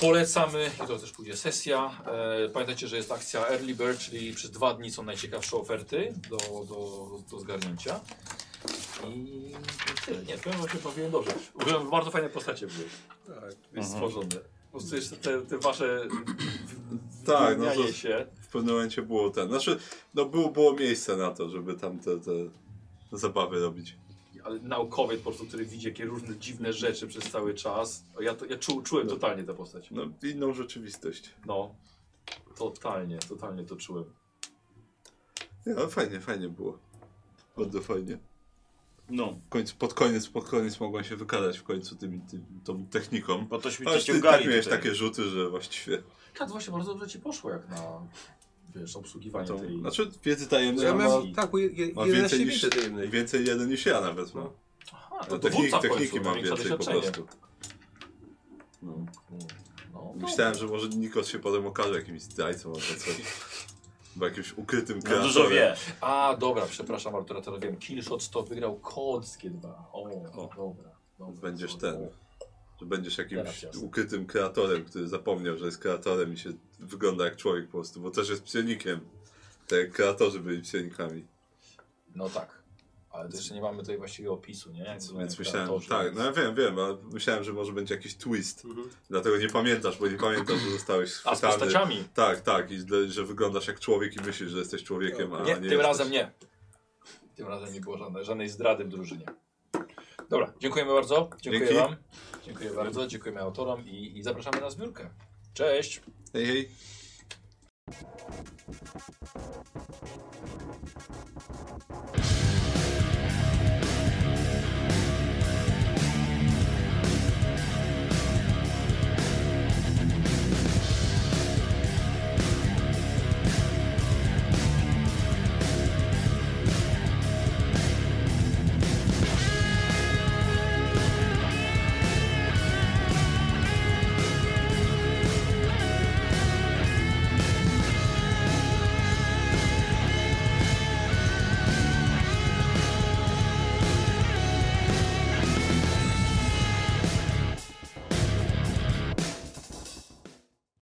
S6: Polecamy, jutro też pójdzie sesja. E, pamiętajcie, że jest akcja Early Bird, czyli przez dwa dni są najciekawsze oferty do, do, do zgarnięcia. I tyle, nie, powiem, że powiem dobrze. W ogóle bardzo fajne postacie były
S5: Tak.
S6: stworzone. Po prostu jeszcze te, te wasze w-
S3: Tak, no
S6: wymianie
S3: to-
S6: się.
S3: W pewnym momencie było ten. Znaczy, no było, było miejsce na to, żeby tam te, te zabawy robić.
S6: Ale naukowiec po prostu, który widzi jakie różne dziwne rzeczy przez cały czas. Ja, to, ja czu, czułem totalnie tę postać.
S3: No, inną rzeczywistość.
S6: No, totalnie, totalnie to czułem.
S3: Nie, ale fajnie, fajnie było. Bardzo fajnie.
S20: No,
S3: W końcu, pod koniec, pod koniec mogłem się wykazać w końcu tymi, tym, tą techniką.
S20: bo tośmy
S3: Ale
S20: cię
S3: ty tak
S20: ciągali
S3: miałeś
S20: tutaj.
S3: takie rzuty, że właściwie...
S6: Tak, właśnie bardzo dobrze ci poszło jak na wiesz, obsługiwanie
S3: To,
S6: tej.
S3: znaczy, wiedzy
S5: Ja
S3: tajemnej ma,
S5: miałem, tak, bo je, je,
S3: no. ma
S5: 11
S3: więcej,
S5: niż...
S3: niż,
S5: tajemnej.
S3: więcej jeden niż ja nawet. No.
S6: Aha,
S3: No,
S6: to
S3: techniki,
S6: dowódca w końcu,
S3: techniki mam
S6: największe
S3: więcej po
S6: doświadczenie.
S3: prostu. No.
S6: No,
S3: Myślałem, że może Nikos się potem okaże jakimś zdrajcą albo coś. Bo jakimś ukrytym
S20: No,
S3: kreatorem.
S20: dużo wie.
S6: A, dobra, przepraszam Artura, teraz wiem. Killshot to wygrał Kodzkie 2. O, dobra. dobra
S3: Będziesz
S6: co-
S3: ten. Że będziesz
S6: Teraz
S3: jakimś
S6: jasne.
S3: ukrytym kreatorem, który zapomniał, że jest kreatorem i się wygląda jak człowiek po prostu, bo też jest psionikiem. Tak jak kreatorzy byli psionikami.
S6: No tak. Ale to jeszcze nie mamy tutaj właściwie opisu, nie? No, Jak wyglądają
S3: Więc myślałem,
S6: kreatorzy,
S3: tak,
S6: więc-
S3: no ja wiem, wiem, ale myślałem, że może będzie jakiś twist.
S5: Mhm.
S3: Dlatego nie pamiętasz, bo nie pamiętasz, że zostałeś
S6: A z
S3: schwytany.
S6: postaciami?
S3: Tak, tak, i że- że wyglądasz jak człowiek i myślisz, że jesteś człowiekiem, a
S6: No, Nie,
S3: nie
S6: tym
S3: jesteś.
S6: razem nie. Tym razem nie było żadnej, żadnej zdrady w drużynie. Dobra, dziękujemy bardzo. Dziękuję
S3: Dzięki.
S6: Wam. Dziękuję bardzo, dziękujemy autorom i, i zapraszamy na zbiórkę. Cześć!
S3: Hej, hej.